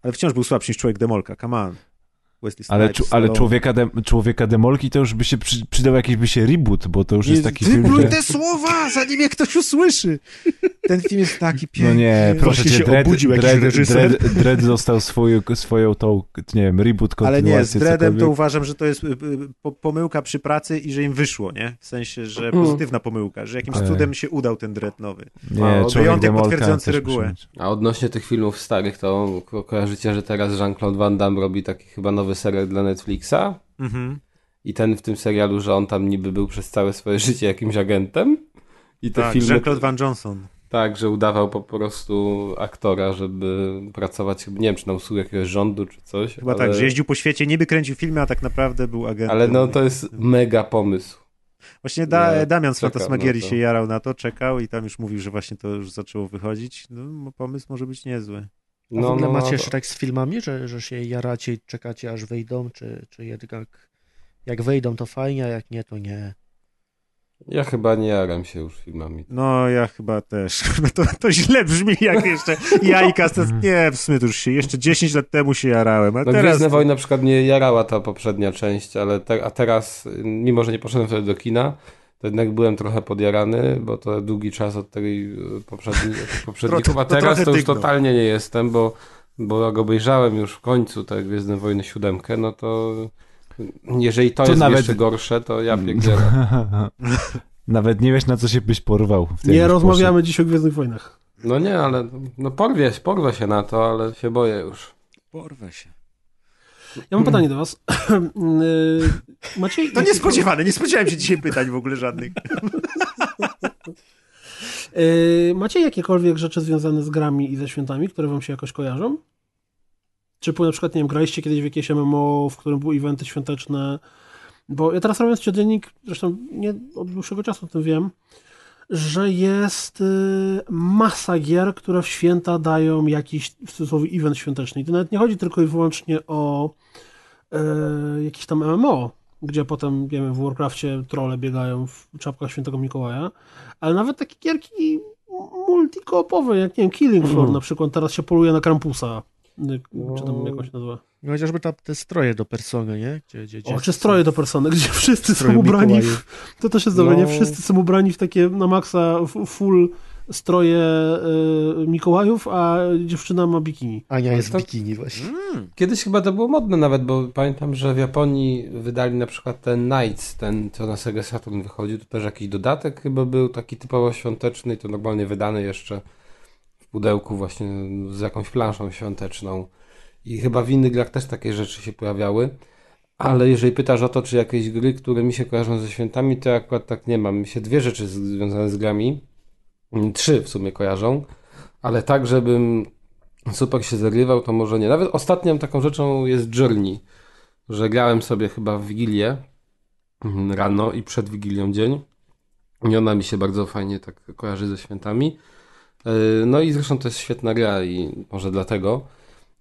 [SPEAKER 4] Ale wciąż był słabszy niż Człowiek Demolka, come on. Wesley
[SPEAKER 2] ale,
[SPEAKER 4] Snipes,
[SPEAKER 2] czu- ale
[SPEAKER 4] Stallone.
[SPEAKER 2] człowieka, de, człowieka demolki to już by się przy, przydał jakiś by się reboot, bo to już jest taki film,
[SPEAKER 4] Wypluj
[SPEAKER 2] że...
[SPEAKER 4] te słowa, zanim je ktoś usłyszy. Ten film jest taki
[SPEAKER 2] No
[SPEAKER 4] piękny.
[SPEAKER 2] nie, proszę
[SPEAKER 4] Właśnie
[SPEAKER 2] cię,
[SPEAKER 4] się
[SPEAKER 2] Dread,
[SPEAKER 4] obudził jakiś
[SPEAKER 2] Dread,
[SPEAKER 4] reżyser.
[SPEAKER 2] Dread, Dread dostał swoją, swoją tą, nie wiem, reboot,
[SPEAKER 4] Ale
[SPEAKER 2] kontynuację,
[SPEAKER 4] nie, z Dreadem to
[SPEAKER 2] cokolwiek.
[SPEAKER 4] uważam, że to jest y, y, po- pomyłka przy pracy i że im wyszło, nie? W sensie, że
[SPEAKER 2] Mm.
[SPEAKER 4] pozytywna pomyłka, że jakimś
[SPEAKER 2] Tak.
[SPEAKER 4] cudem się udał ten Dread nowy.
[SPEAKER 2] Nie, A, człowiek
[SPEAKER 4] Wyjątek
[SPEAKER 2] Demolka
[SPEAKER 4] potwierdzający
[SPEAKER 2] też
[SPEAKER 4] regułę.
[SPEAKER 9] A odnośnie tych filmów starych, to ko- kojarzycie, że teraz Jean-Claude Van Damme robi taki chyba nowy serial dla Netflixa?
[SPEAKER 4] Mhm.
[SPEAKER 9] I ten w tym serialu, że on tam niby był przez całe swoje życie jakimś agentem? I te
[SPEAKER 4] Tak,
[SPEAKER 9] filmy...
[SPEAKER 4] Jean-Claude Van Johnson.
[SPEAKER 9] Tak, że udawał po prostu aktora, żeby pracować, nie wiem, czy na usługach jakiegoś rządu, czy coś.
[SPEAKER 4] Chyba tak, że jeździł po świecie, niby kręcił filmy, a tak naprawdę był agentem.
[SPEAKER 9] Ale no to jest mega pomysł.
[SPEAKER 4] Właśnie da,
[SPEAKER 9] Ja
[SPEAKER 4] Damian z
[SPEAKER 9] czekam
[SPEAKER 4] Fantasmagierii
[SPEAKER 9] na to.
[SPEAKER 4] się jarał na to, czekał i tam już mówił, że właśnie to już zaczęło wychodzić. No, mo- pomysł może być niezły.
[SPEAKER 10] A
[SPEAKER 3] No,
[SPEAKER 9] No,
[SPEAKER 10] w ogóle macie Shrek z filmami, że, że się jaracie i czekacie aż wyjdą, czy, czy jednak jak wyjdą to fajnie, a jak nie to nie.
[SPEAKER 9] Ja chyba nie jaram się już filmami.
[SPEAKER 4] No, ja chyba też. No to, to źle brzmi, jak jeszcze jajka. z- Nie, w sumie to już się, jeszcze 10 lat temu się jarałem, a
[SPEAKER 9] No
[SPEAKER 4] teraz...
[SPEAKER 9] Gwiezdne Wojny na przykład mnie jarała ta poprzednia część, ale te, a teraz, y, mimo że nie poszedłem wtedy do kina, to jednak byłem trochę podjarany, bo to długi czas od tej y, poprzedni, od tych poprzedników, a
[SPEAKER 4] Tro- to
[SPEAKER 9] teraz
[SPEAKER 4] trochę
[SPEAKER 9] to już
[SPEAKER 4] dygnął.
[SPEAKER 9] totalnie nie jestem, bo, bo jak obejrzałem już w końcu te Gwiezdne Wojny siódemkę, no to y, jeżeli to,
[SPEAKER 2] To
[SPEAKER 9] jest
[SPEAKER 2] nawet-
[SPEAKER 9] jeszcze gorsze, to ja
[SPEAKER 4] Mm.
[SPEAKER 9] piekle.
[SPEAKER 2] Nawet nie wiesz, na co się byś porwał. W tym
[SPEAKER 3] Nie
[SPEAKER 2] już
[SPEAKER 3] rozmawiamy dziś o Gwiezdnych Wojnach.
[SPEAKER 9] No nie, ale no porwie, porwę się na to, ale się boję już.
[SPEAKER 4] Porwę się.
[SPEAKER 3] Ja mam pytanie do was. Yy, Macie...
[SPEAKER 4] To niespodziewane, nie spodziewałem się dzisiaj pytań w ogóle żadnych.
[SPEAKER 3] Yy, Macie jakiekolwiek rzeczy związane z grami i ze świętami, które wam się jakoś kojarzą? Czy po- na przykład, nie wiem, graliście kiedyś w jakieś MMO, w którym były eventy świąteczne? Bo ja teraz robiąc codziennik, zresztą nie od dłuższego czasu o tym wiem, że jest y, masa gier, które w święta dają jakiś w cudzysłowie event świąteczny. I to nawet nie chodzi tylko i wyłącznie o e, jakieś tam MMO, gdzie potem, nie wiem, w Warcrafcie trolle biegają w czapkach świętego Mikołaja, ale nawet takie gierki multikoopowe, jak nie wiem, Killing Floor
[SPEAKER 10] Mhm.
[SPEAKER 3] na przykład, teraz się poluje na Krampusa, y, czy tam jakoś nazywa.
[SPEAKER 10] No chociażby tam te stroje do persony, nie? Gdzie, gdzie, gdzie
[SPEAKER 3] O, czy stroje do persony, gdzie wszyscy
[SPEAKER 10] Stroje
[SPEAKER 3] są ubrani w,
[SPEAKER 10] Mikołaju.
[SPEAKER 3] To też jest dobre, nie?
[SPEAKER 10] No.
[SPEAKER 3] Wszyscy są ubrani w takie na maksa f- full stroje y, Mikołajów, a dziewczyna ma bikini.
[SPEAKER 10] Ania jest
[SPEAKER 3] w
[SPEAKER 10] bikini właśnie.
[SPEAKER 9] Kiedyś chyba to było modne nawet, bo pamiętam, że w Japonii wydali na przykład ten Nights, ten co na Sega Saturn wychodził, to też jakiś dodatek chyba był taki typowo świąteczny i to normalnie wydany jeszcze w pudełku właśnie z jakąś planszą świąteczną. I chyba w innych grach też takie rzeczy się pojawiały. Ale jeżeli pytasz o to, czy jakieś gry, które mi się kojarzą ze świętami, to ja akurat tak nie mam. Mi się dwie rzeczy z- związane z grami, mm, trzy w sumie kojarzą, ale tak, żebym super się zagrywał, to może nie. Nawet ostatnią taką rzeczą jest Journey, że grałem sobie chyba w Wigilię mm, rano i przed Wigilią dzień. I ona mi się bardzo fajnie tak kojarzy ze świętami. Yy, No i zresztą to jest świetna gra i może dlatego.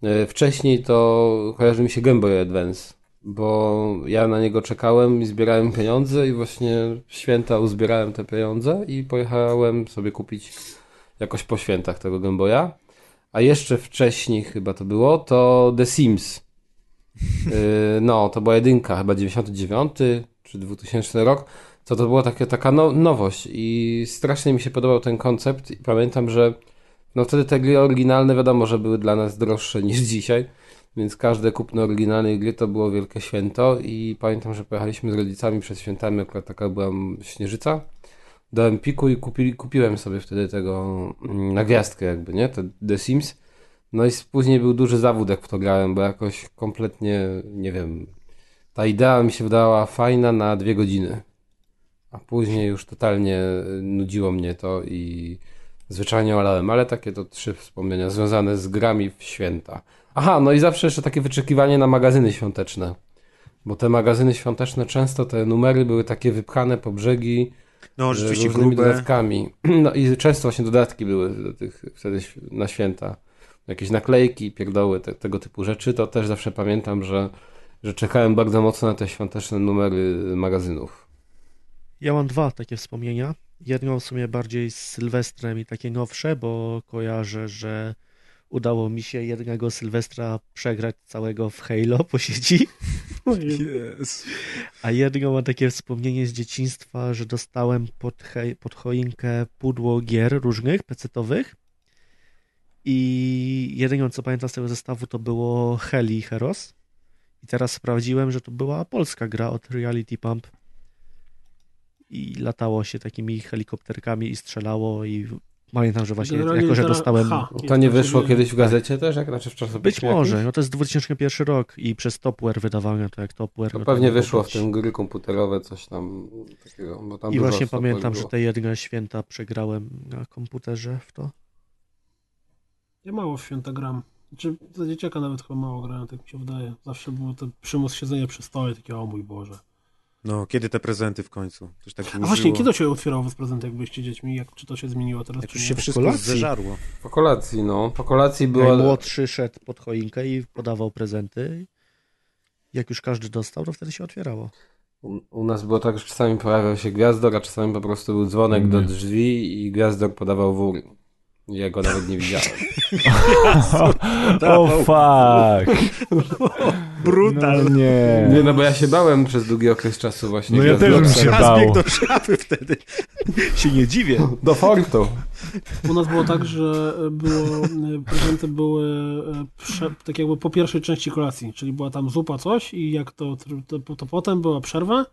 [SPEAKER 9] Yy, Wcześniej to kojarzy mi się Game Boy Advance, bo ja na niego czekałem i zbierałem pieniądze i właśnie w święta uzbierałem te pieniądze i pojechałem sobie kupić jakoś po świętach tego Game Boya. A jeszcze wcześniej chyba to było, to The Sims. Yy, No, to była jedynka, chyba 99 czy 2000 rok. To to była taka, taka no, nowość i strasznie mi się podobał ten koncept. I pamiętam, że no wtedy te gry oryginalne wiadomo, że były dla nas droższe niż dzisiaj, więc każde kupno oryginalnej gry to było wielkie święto i pamiętam, że pojechaliśmy z rodzicami przed świętami, akurat taka była śnieżyca do Empiku i kupi, kupiłem sobie wtedy tego mm, na gwiazdkę jakby, nie? Te, The Sims. No i s- później był duży zawód, jak w to grałem, bo jakoś kompletnie, nie wiem, ta idea mi się wydała fajna na dwie godziny. A później już totalnie y, nudziło mnie to i zwyczajnie olałem, ale takie to trzy wspomnienia związane z grami w święta. Aha, no i zawsze jeszcze takie wyczekiwanie na magazyny świąteczne. Bo te magazyny świąteczne często te numery były takie wypchane po brzegi.
[SPEAKER 4] No,
[SPEAKER 9] z
[SPEAKER 4] rzeczywiście
[SPEAKER 9] różnymi
[SPEAKER 4] grube.
[SPEAKER 9] dodatkami. No i często właśnie dodatki były do tych wtedy św- na święta. Jakieś naklejki, pierdoły, te, tego typu rzeczy. To też zawsze pamiętam, że, że czekałem bardzo mocno na te świąteczne numery magazynów.
[SPEAKER 10] Ja mam dwa takie wspomnienia. Jedno w sumie bardziej z Sylwestrem i takie nowsze, bo kojarzę, że udało mi się jednego Sylwestra przegrać całego w Halo po sieci.
[SPEAKER 3] No
[SPEAKER 6] Yes.
[SPEAKER 10] A jedno mam takie wspomnienie z dzieciństwa, że dostałem pod, hej, pod choinkę pudło gier różnych, pecetowych. I jedyną co pamiętam z tego zestawu to było Heli Heros. I teraz sprawdziłem, że to była polska gra od Reality Pump. I latało się takimi helikopterkami i strzelało i pamiętam, że właśnie
[SPEAKER 3] Generalnie Znaczy,
[SPEAKER 10] jako, że
[SPEAKER 3] litera
[SPEAKER 10] dostałem...
[SPEAKER 3] H.
[SPEAKER 9] To nie wyszło kiedyś w gazecie też, jak znaczy w czasopiśmie?
[SPEAKER 10] tak. Być
[SPEAKER 9] jakimś?
[SPEAKER 10] może, no to jest 2001 rok i przez Topware wydawane to jak Topware.
[SPEAKER 9] To
[SPEAKER 10] no
[SPEAKER 9] pewnie
[SPEAKER 10] mogło
[SPEAKER 9] wyszło w
[SPEAKER 10] być.
[SPEAKER 9] tym gry komputerowe coś tam takiego. Bo tam
[SPEAKER 10] I
[SPEAKER 9] dużo
[SPEAKER 10] właśnie
[SPEAKER 9] stopni
[SPEAKER 10] pamiętam, że
[SPEAKER 9] było.
[SPEAKER 10] te jedne święta przegrałem na komputerze w to.
[SPEAKER 3] Ja mało w święta gram. Znaczy, za dzieciaka nawet chyba mało grałem, tak mi się wydaje. Zawsze było to przymus siedzenia przy stole, takie o mój Boże.
[SPEAKER 4] No, kiedy te prezenty w końcu? Coś tak
[SPEAKER 3] A właśnie, kiedy to się otwierało z prezent, jak byliście dziećmi? Jak, czy to się zmieniło teraz? czy nie?
[SPEAKER 9] Po kolacji, no. Po kolacji była...
[SPEAKER 10] Najmłodszy szedł pod choinkę i podawał prezenty. Jak już każdy dostał, to wtedy się otwierało.
[SPEAKER 9] U- U nas było tak, że czasami pojawiał się gwiazdor, a czasami po prostu był dzwonek do drzwi i gwiazdor podawał wór. Ja go nawet nie widziałem.
[SPEAKER 2] O fuck!
[SPEAKER 9] Brutal.
[SPEAKER 2] No nie.
[SPEAKER 9] Nie, no bo ja się bałem przez długi okres czu właśnie.
[SPEAKER 2] No ja też bym
[SPEAKER 9] gwiazdorca.
[SPEAKER 2] się bał.
[SPEAKER 12] Bieg do
[SPEAKER 11] szafy wtedy.
[SPEAKER 12] Się nie dziwię.
[SPEAKER 9] Do fortu.
[SPEAKER 3] U nas było tak, że było, e, prezenty były e, prze, tak jakby po pierwszej części kolacji, czyli była tam zupa coś i jak to, to, to potem była przerwa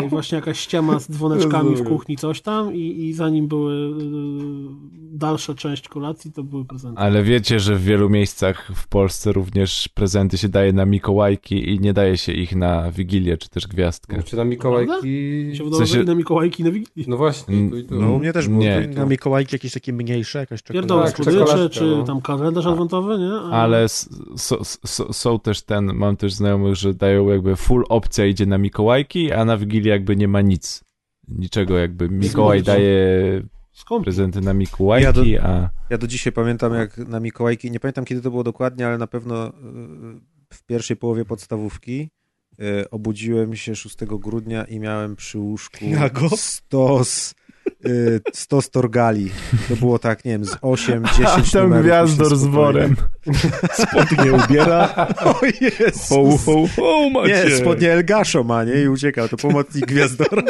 [SPEAKER 3] e, i właśnie jakaś ściema z dzwoneczkami w
[SPEAKER 9] Rozumiem.
[SPEAKER 3] kuchni coś tam i, i zanim były e, dalsza część kolacji, to były prezenty.
[SPEAKER 2] Ale wiecie, że w wielu miejscach w Polsce również prezenty się daje na Mikołajki i nie daje się ich na Wigilię czy też Gwiazdkę.
[SPEAKER 9] Czy na Mikołajki...
[SPEAKER 3] Mi
[SPEAKER 2] w
[SPEAKER 3] się wydawało, że
[SPEAKER 2] sensie-
[SPEAKER 3] i na Mikołajki i na Wigilię.
[SPEAKER 9] No właśnie. tu i tu.
[SPEAKER 2] Nie.
[SPEAKER 10] Na Mikołajki jakieś takie mniejsze, jakaś
[SPEAKER 3] Pierdolę,
[SPEAKER 10] czekolada.
[SPEAKER 3] słodycze, czy tam kalendarz adwentowy, nie? A-
[SPEAKER 2] Ale s- so, so, są też ten, mam też znajomych, że dają jakby full opcja idzie na Mikołajki, a na Wigilię jakby nie ma nic. Niczego jakby Mikołaj
[SPEAKER 4] Skąd?
[SPEAKER 2] daje prezenty na
[SPEAKER 4] Ja do,
[SPEAKER 2] Mikołajki, a...
[SPEAKER 4] ja do dzisiaj pamiętam, jak na Mikołajki, nie pamiętam kiedy to było dokładnie, ale na pewno y, w pierwszej połowie podstawówki y, obudziłem się 6 grudnia i miałem przy łóżku
[SPEAKER 10] Jago?
[SPEAKER 4] stos, y, stos torgali. To było tak, nie wiem, z 8, 10
[SPEAKER 2] A tam
[SPEAKER 4] numerów mi się
[SPEAKER 2] gwiazdor z
[SPEAKER 4] spokojnie-
[SPEAKER 2] worem.
[SPEAKER 12] Spodnie ubiera.
[SPEAKER 4] O Jezus.
[SPEAKER 12] Ho, ho, ho, macie.
[SPEAKER 4] Nie, spodnie El Gasho ma, nie? I uciekał, to pomocnik Gwiazdora.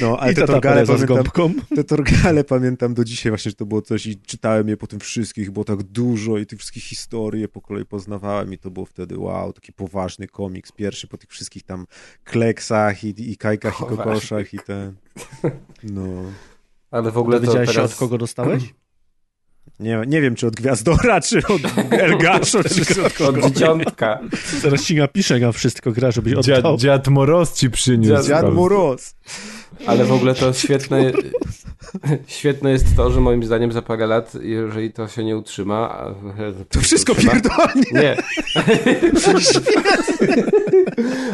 [SPEAKER 4] No, ale
[SPEAKER 12] I
[SPEAKER 4] te
[SPEAKER 12] tata
[SPEAKER 4] torgale,
[SPEAKER 12] Pereza z
[SPEAKER 4] pamiętam,
[SPEAKER 12] gąbką.
[SPEAKER 4] te torgale pamiętam do dzisiaj właśnie, że to było coś i czytałem je po tym wszystkich, było tak dużo i tych wszystkich historii je po kolei poznawałem i to było wtedy wow, taki poważny komiks, pierwszy po tych wszystkich tam kleksach i, i kajkach i
[SPEAKER 9] Poważny
[SPEAKER 4] kokoszach i ten, no...
[SPEAKER 9] Ale w ogóle to
[SPEAKER 10] Dowiedziałeś się,
[SPEAKER 9] teraz...
[SPEAKER 10] od kogo dostałeś?
[SPEAKER 4] Nie, nie wiem, czy od Gwiazdora, czy od El Gasho, czy od kogo.
[SPEAKER 9] dzieciątka.
[SPEAKER 10] Zaraz ci napiszę na wszystko gra, żebyś
[SPEAKER 2] Dziad,
[SPEAKER 10] oddał.
[SPEAKER 2] dziad Moroz ci przyniósł.
[SPEAKER 9] Dziad- Dziad
[SPEAKER 4] Moroz.
[SPEAKER 9] Ale w ogóle to świetne, świetne jest to, że moim zdaniem za parę lat, jeżeli to się nie utrzyma... a- To
[SPEAKER 4] wszystko
[SPEAKER 9] utrzyma-
[SPEAKER 4] pierdolnie.
[SPEAKER 9] Nie.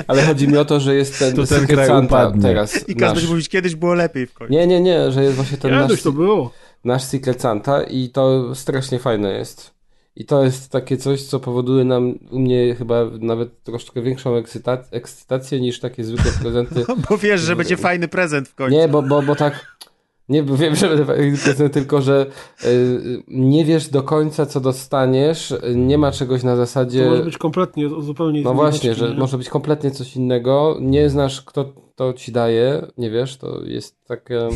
[SPEAKER 9] Ale chodzi mi o to, że jest ten,
[SPEAKER 2] To ten
[SPEAKER 9] Secret
[SPEAKER 2] kraj
[SPEAKER 9] Santa
[SPEAKER 2] upadnie.
[SPEAKER 9] teraz
[SPEAKER 4] I każdy
[SPEAKER 9] nasz.
[SPEAKER 4] będzie mówić, kiedyś było lepiej w końcu.
[SPEAKER 9] Nie, nie, nie, że jest właśnie ten
[SPEAKER 3] Jaduś,
[SPEAKER 9] nasz,
[SPEAKER 3] to było.
[SPEAKER 9] nasz Secret Santa i to strasznie fajne jest. I to jest takie coś, co powoduje nam u mnie chyba nawet troszkę większą ekscyta- ekscytację niż takie zwykłe prezenty.
[SPEAKER 4] Bo wiesz, że będzie fajny prezent w końcu.
[SPEAKER 9] Nie, bo, bo, bo tak. Nie, bo wiem, że będę fajny prezent, tylko że y, nie wiesz do końca, co dostaniesz. y, Nie ma czegoś na zasadzie.
[SPEAKER 3] To może być kompletnie, zupełnie
[SPEAKER 9] No
[SPEAKER 3] z
[SPEAKER 9] właśnie,
[SPEAKER 3] innej
[SPEAKER 9] że
[SPEAKER 3] nie?
[SPEAKER 9] może być kompletnie coś innego. Nie znasz, kto to ci daje, nie wiesz, to jest takie.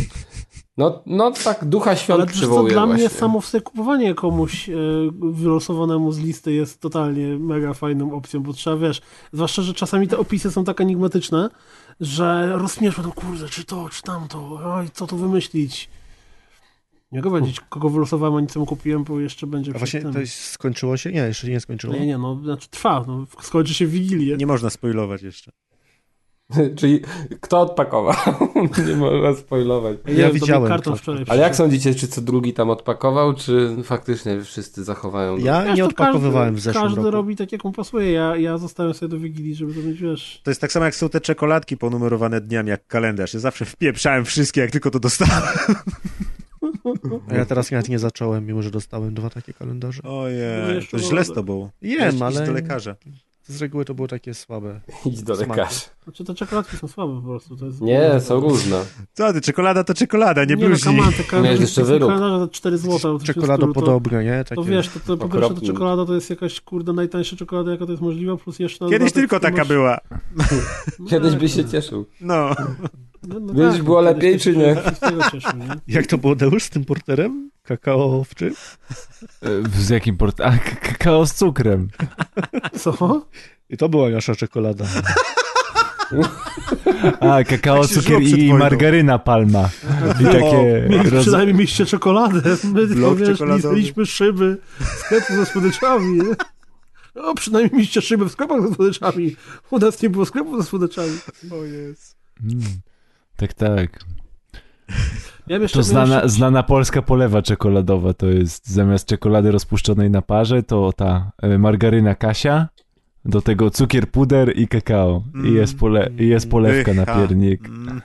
[SPEAKER 9] No, no tak ducha świąt
[SPEAKER 3] Ale to
[SPEAKER 9] przywołuje
[SPEAKER 3] dla
[SPEAKER 9] właśnie.
[SPEAKER 3] mnie samo w sobie kupowanie komuś e, wylosowanemu z listy jest totalnie mega fajną opcją, bo trzeba, wiesz, zwłaszcza, że czasami te opisy są tak enigmatyczne, że rozśmiesz no kurde, czy to, czy tamto, oj, co tu wymyślić. Nie mogę powiedzieć, kogo wylosowałem, ani co mu kupiłem, bo jeszcze będzie
[SPEAKER 10] A
[SPEAKER 3] przed
[SPEAKER 10] właśnie
[SPEAKER 3] tym.
[SPEAKER 10] to jest- skończyło się? Nie, jeszcze nie skończyło.
[SPEAKER 3] no, Nie, nie, no, znaczy trwa, no, skończy się w Wigilię.
[SPEAKER 4] Nie można spoilować jeszcze.
[SPEAKER 9] Czyli kto odpakował? Nie można spoilować.
[SPEAKER 3] Ja Ja widziałem tą kartą wczoraj
[SPEAKER 9] Ale jak
[SPEAKER 3] przyszedł.
[SPEAKER 9] sądzicie, czy co drugi tam odpakował, czy faktycznie wszyscy zachowają?
[SPEAKER 3] Wiesz, to każdy, Każdy robi tak, jak mu pasuje. Ja, ja zostałem sobie do Wigilii, żeby to mieć, wiesz...
[SPEAKER 4] To jest tak samo jak są te czekoladki ponumerowane dniami, jak kalendarz. Ja zawsze wpieprzałem wszystkie, jak tylko to dostałem.
[SPEAKER 10] A ja teraz nawet nie zacząłem, mimo że dostałem dwa takie kalendarze.
[SPEAKER 4] Ojej, to źle z tobą.
[SPEAKER 10] Jem,
[SPEAKER 4] Idź
[SPEAKER 10] ale...
[SPEAKER 4] do lekarza.
[SPEAKER 10] Z reguły to było takie słabe.
[SPEAKER 9] Idź do
[SPEAKER 10] smaki.
[SPEAKER 9] lekarza.
[SPEAKER 3] Znaczy te czekoladki są słabe po prostu. To jest
[SPEAKER 4] Co ty, czekolada to czekolada, nie,
[SPEAKER 3] Nie, no,
[SPEAKER 4] bluźnij.
[SPEAKER 3] come on, te kalendarze, kalendarze za 4 zł.
[SPEAKER 10] Czekoladopodobne, nie?
[SPEAKER 3] no to
[SPEAKER 10] Takie
[SPEAKER 3] wiesz, to, to po pierwsze to
[SPEAKER 10] okropne.
[SPEAKER 3] czekolada to jest jakaś, kurde, najtańsza czekolada, jaka to jest możliwa, plus jeszcze... na
[SPEAKER 4] Kiedyś
[SPEAKER 3] dodatek
[SPEAKER 4] tylko
[SPEAKER 3] no, ty
[SPEAKER 4] taka
[SPEAKER 3] masz-
[SPEAKER 4] była.
[SPEAKER 3] No
[SPEAKER 9] Kiedyś
[SPEAKER 3] tak,
[SPEAKER 9] by się
[SPEAKER 3] no.
[SPEAKER 9] cieszył.
[SPEAKER 4] No.
[SPEAKER 3] No, no
[SPEAKER 9] Kiedyś
[SPEAKER 3] tak,
[SPEAKER 9] było
[SPEAKER 3] no,
[SPEAKER 9] lepiej,
[SPEAKER 3] kiedyś
[SPEAKER 9] czy
[SPEAKER 3] się
[SPEAKER 9] nie?
[SPEAKER 3] z tego cieszył, nie?
[SPEAKER 10] Jak to było, Deusz, z tym porterem? Kakao w czym?
[SPEAKER 2] E, Z jakim port... A, k- kakao z cukrem.
[SPEAKER 3] Co?
[SPEAKER 10] I to była nasza czekolada.
[SPEAKER 2] A, kakao,
[SPEAKER 10] Tak się
[SPEAKER 2] cukier
[SPEAKER 10] żyło przed
[SPEAKER 2] i
[SPEAKER 10] wojną.
[SPEAKER 2] margaryna palma. I takie...
[SPEAKER 3] O,
[SPEAKER 2] roz-
[SPEAKER 3] Przynajmniej mieliście czekoladę. My tylko,
[SPEAKER 2] Blok
[SPEAKER 3] wiesz,
[SPEAKER 2] czekoladowy.
[SPEAKER 3] mieliśmy szyby sklepu ze słodyczami, nie? O, przynajmniej mieliście szyby w sklepach ze słodyczami. U nas nie było sklepu ze słodyczami. O jest.
[SPEAKER 2] Mm, Tak, tak.
[SPEAKER 3] Ja jeszcze,
[SPEAKER 2] To
[SPEAKER 3] ja
[SPEAKER 2] znana,
[SPEAKER 3] jeszcze,
[SPEAKER 2] znana polska polewa czekoladowa to jest zamiast czekolady rozpuszczonej na parze to ta e, margaryna Kasia, do tego cukier puder i kakao. I jest, pole, i jest polewka na
[SPEAKER 9] Pycha.
[SPEAKER 2] piernik.
[SPEAKER 4] Mm.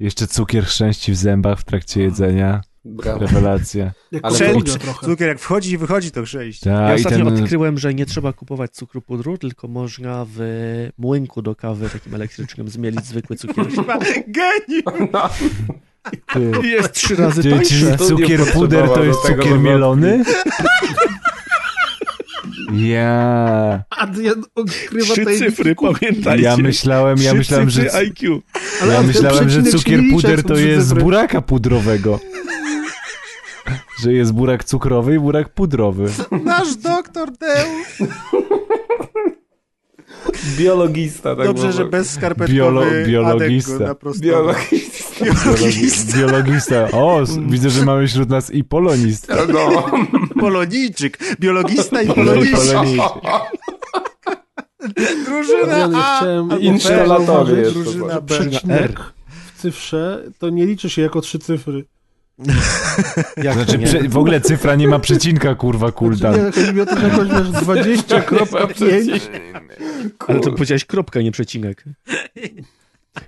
[SPEAKER 2] Jeszcze cukier chrzęści w zębach w trakcie jedzenia.
[SPEAKER 9] Brawo.
[SPEAKER 2] Rewelacja.
[SPEAKER 4] Wszędzie, cukier jak wchodzi i wychodzi, to grzejść.
[SPEAKER 10] ja
[SPEAKER 2] Ta, i
[SPEAKER 10] ostatnio
[SPEAKER 2] ten,
[SPEAKER 10] odkryłem, że nie trzeba kupować cukru pudru, tylko można w młynku do kawy takim elektrycznym zmielić zwykły cukier.
[SPEAKER 4] Geniusz!
[SPEAKER 3] No.
[SPEAKER 2] Ty.
[SPEAKER 10] Jest trzy razy
[SPEAKER 2] Czy-
[SPEAKER 10] tańsze.
[SPEAKER 2] Czy cukier puder to jest cukier mielony? Ja.
[SPEAKER 3] a Adrian odkrywa
[SPEAKER 13] Trzy cyfry,
[SPEAKER 3] tajemnicy.
[SPEAKER 13] pamiętajcie.
[SPEAKER 2] Ja myślałem, ja
[SPEAKER 13] Trzy
[SPEAKER 2] myślałem, że-
[SPEAKER 13] cyfry IQ.
[SPEAKER 2] ja
[SPEAKER 3] ale
[SPEAKER 2] myślałem, że
[SPEAKER 3] przecinek
[SPEAKER 2] cukier
[SPEAKER 3] się liczy,
[SPEAKER 2] puder
[SPEAKER 3] jak
[SPEAKER 2] to
[SPEAKER 3] są
[SPEAKER 2] jest z
[SPEAKER 3] cyfry.
[SPEAKER 2] buraka pudrowego. Że jest burak cukrowy i burak pudrowy.
[SPEAKER 4] Nasz doktor Deusz!
[SPEAKER 9] Biologista, tak
[SPEAKER 4] Dobrze,
[SPEAKER 9] było.
[SPEAKER 4] że bez skarpetkowy
[SPEAKER 2] Biolo-
[SPEAKER 4] Adek go
[SPEAKER 2] biologista.
[SPEAKER 4] naprostował.
[SPEAKER 9] Biologista.
[SPEAKER 4] Biologista.
[SPEAKER 2] Biologista. O, s- widzę, że mamy wśród nas i polonista.
[SPEAKER 9] No.
[SPEAKER 4] Polonijczyk. Biologista i
[SPEAKER 2] Polonijczyk.
[SPEAKER 4] polonijczyk. Drużyna
[SPEAKER 3] Adrian, ja
[SPEAKER 4] A
[SPEAKER 3] chciałem
[SPEAKER 4] albo B.
[SPEAKER 9] Instalatory jest to
[SPEAKER 4] Drużyna
[SPEAKER 3] że
[SPEAKER 4] B.
[SPEAKER 3] przecinek w cyfrze to nie liczy się jako trzy cyfry.
[SPEAKER 2] Znaczy, prze, w ogóle cyfra nie ma przecinka, kurwa, kulda.
[SPEAKER 3] Nie, chodzi mi o to, że jakoś masz 20.5
[SPEAKER 10] Ale to powiedziałeś kropka, nie przecinek.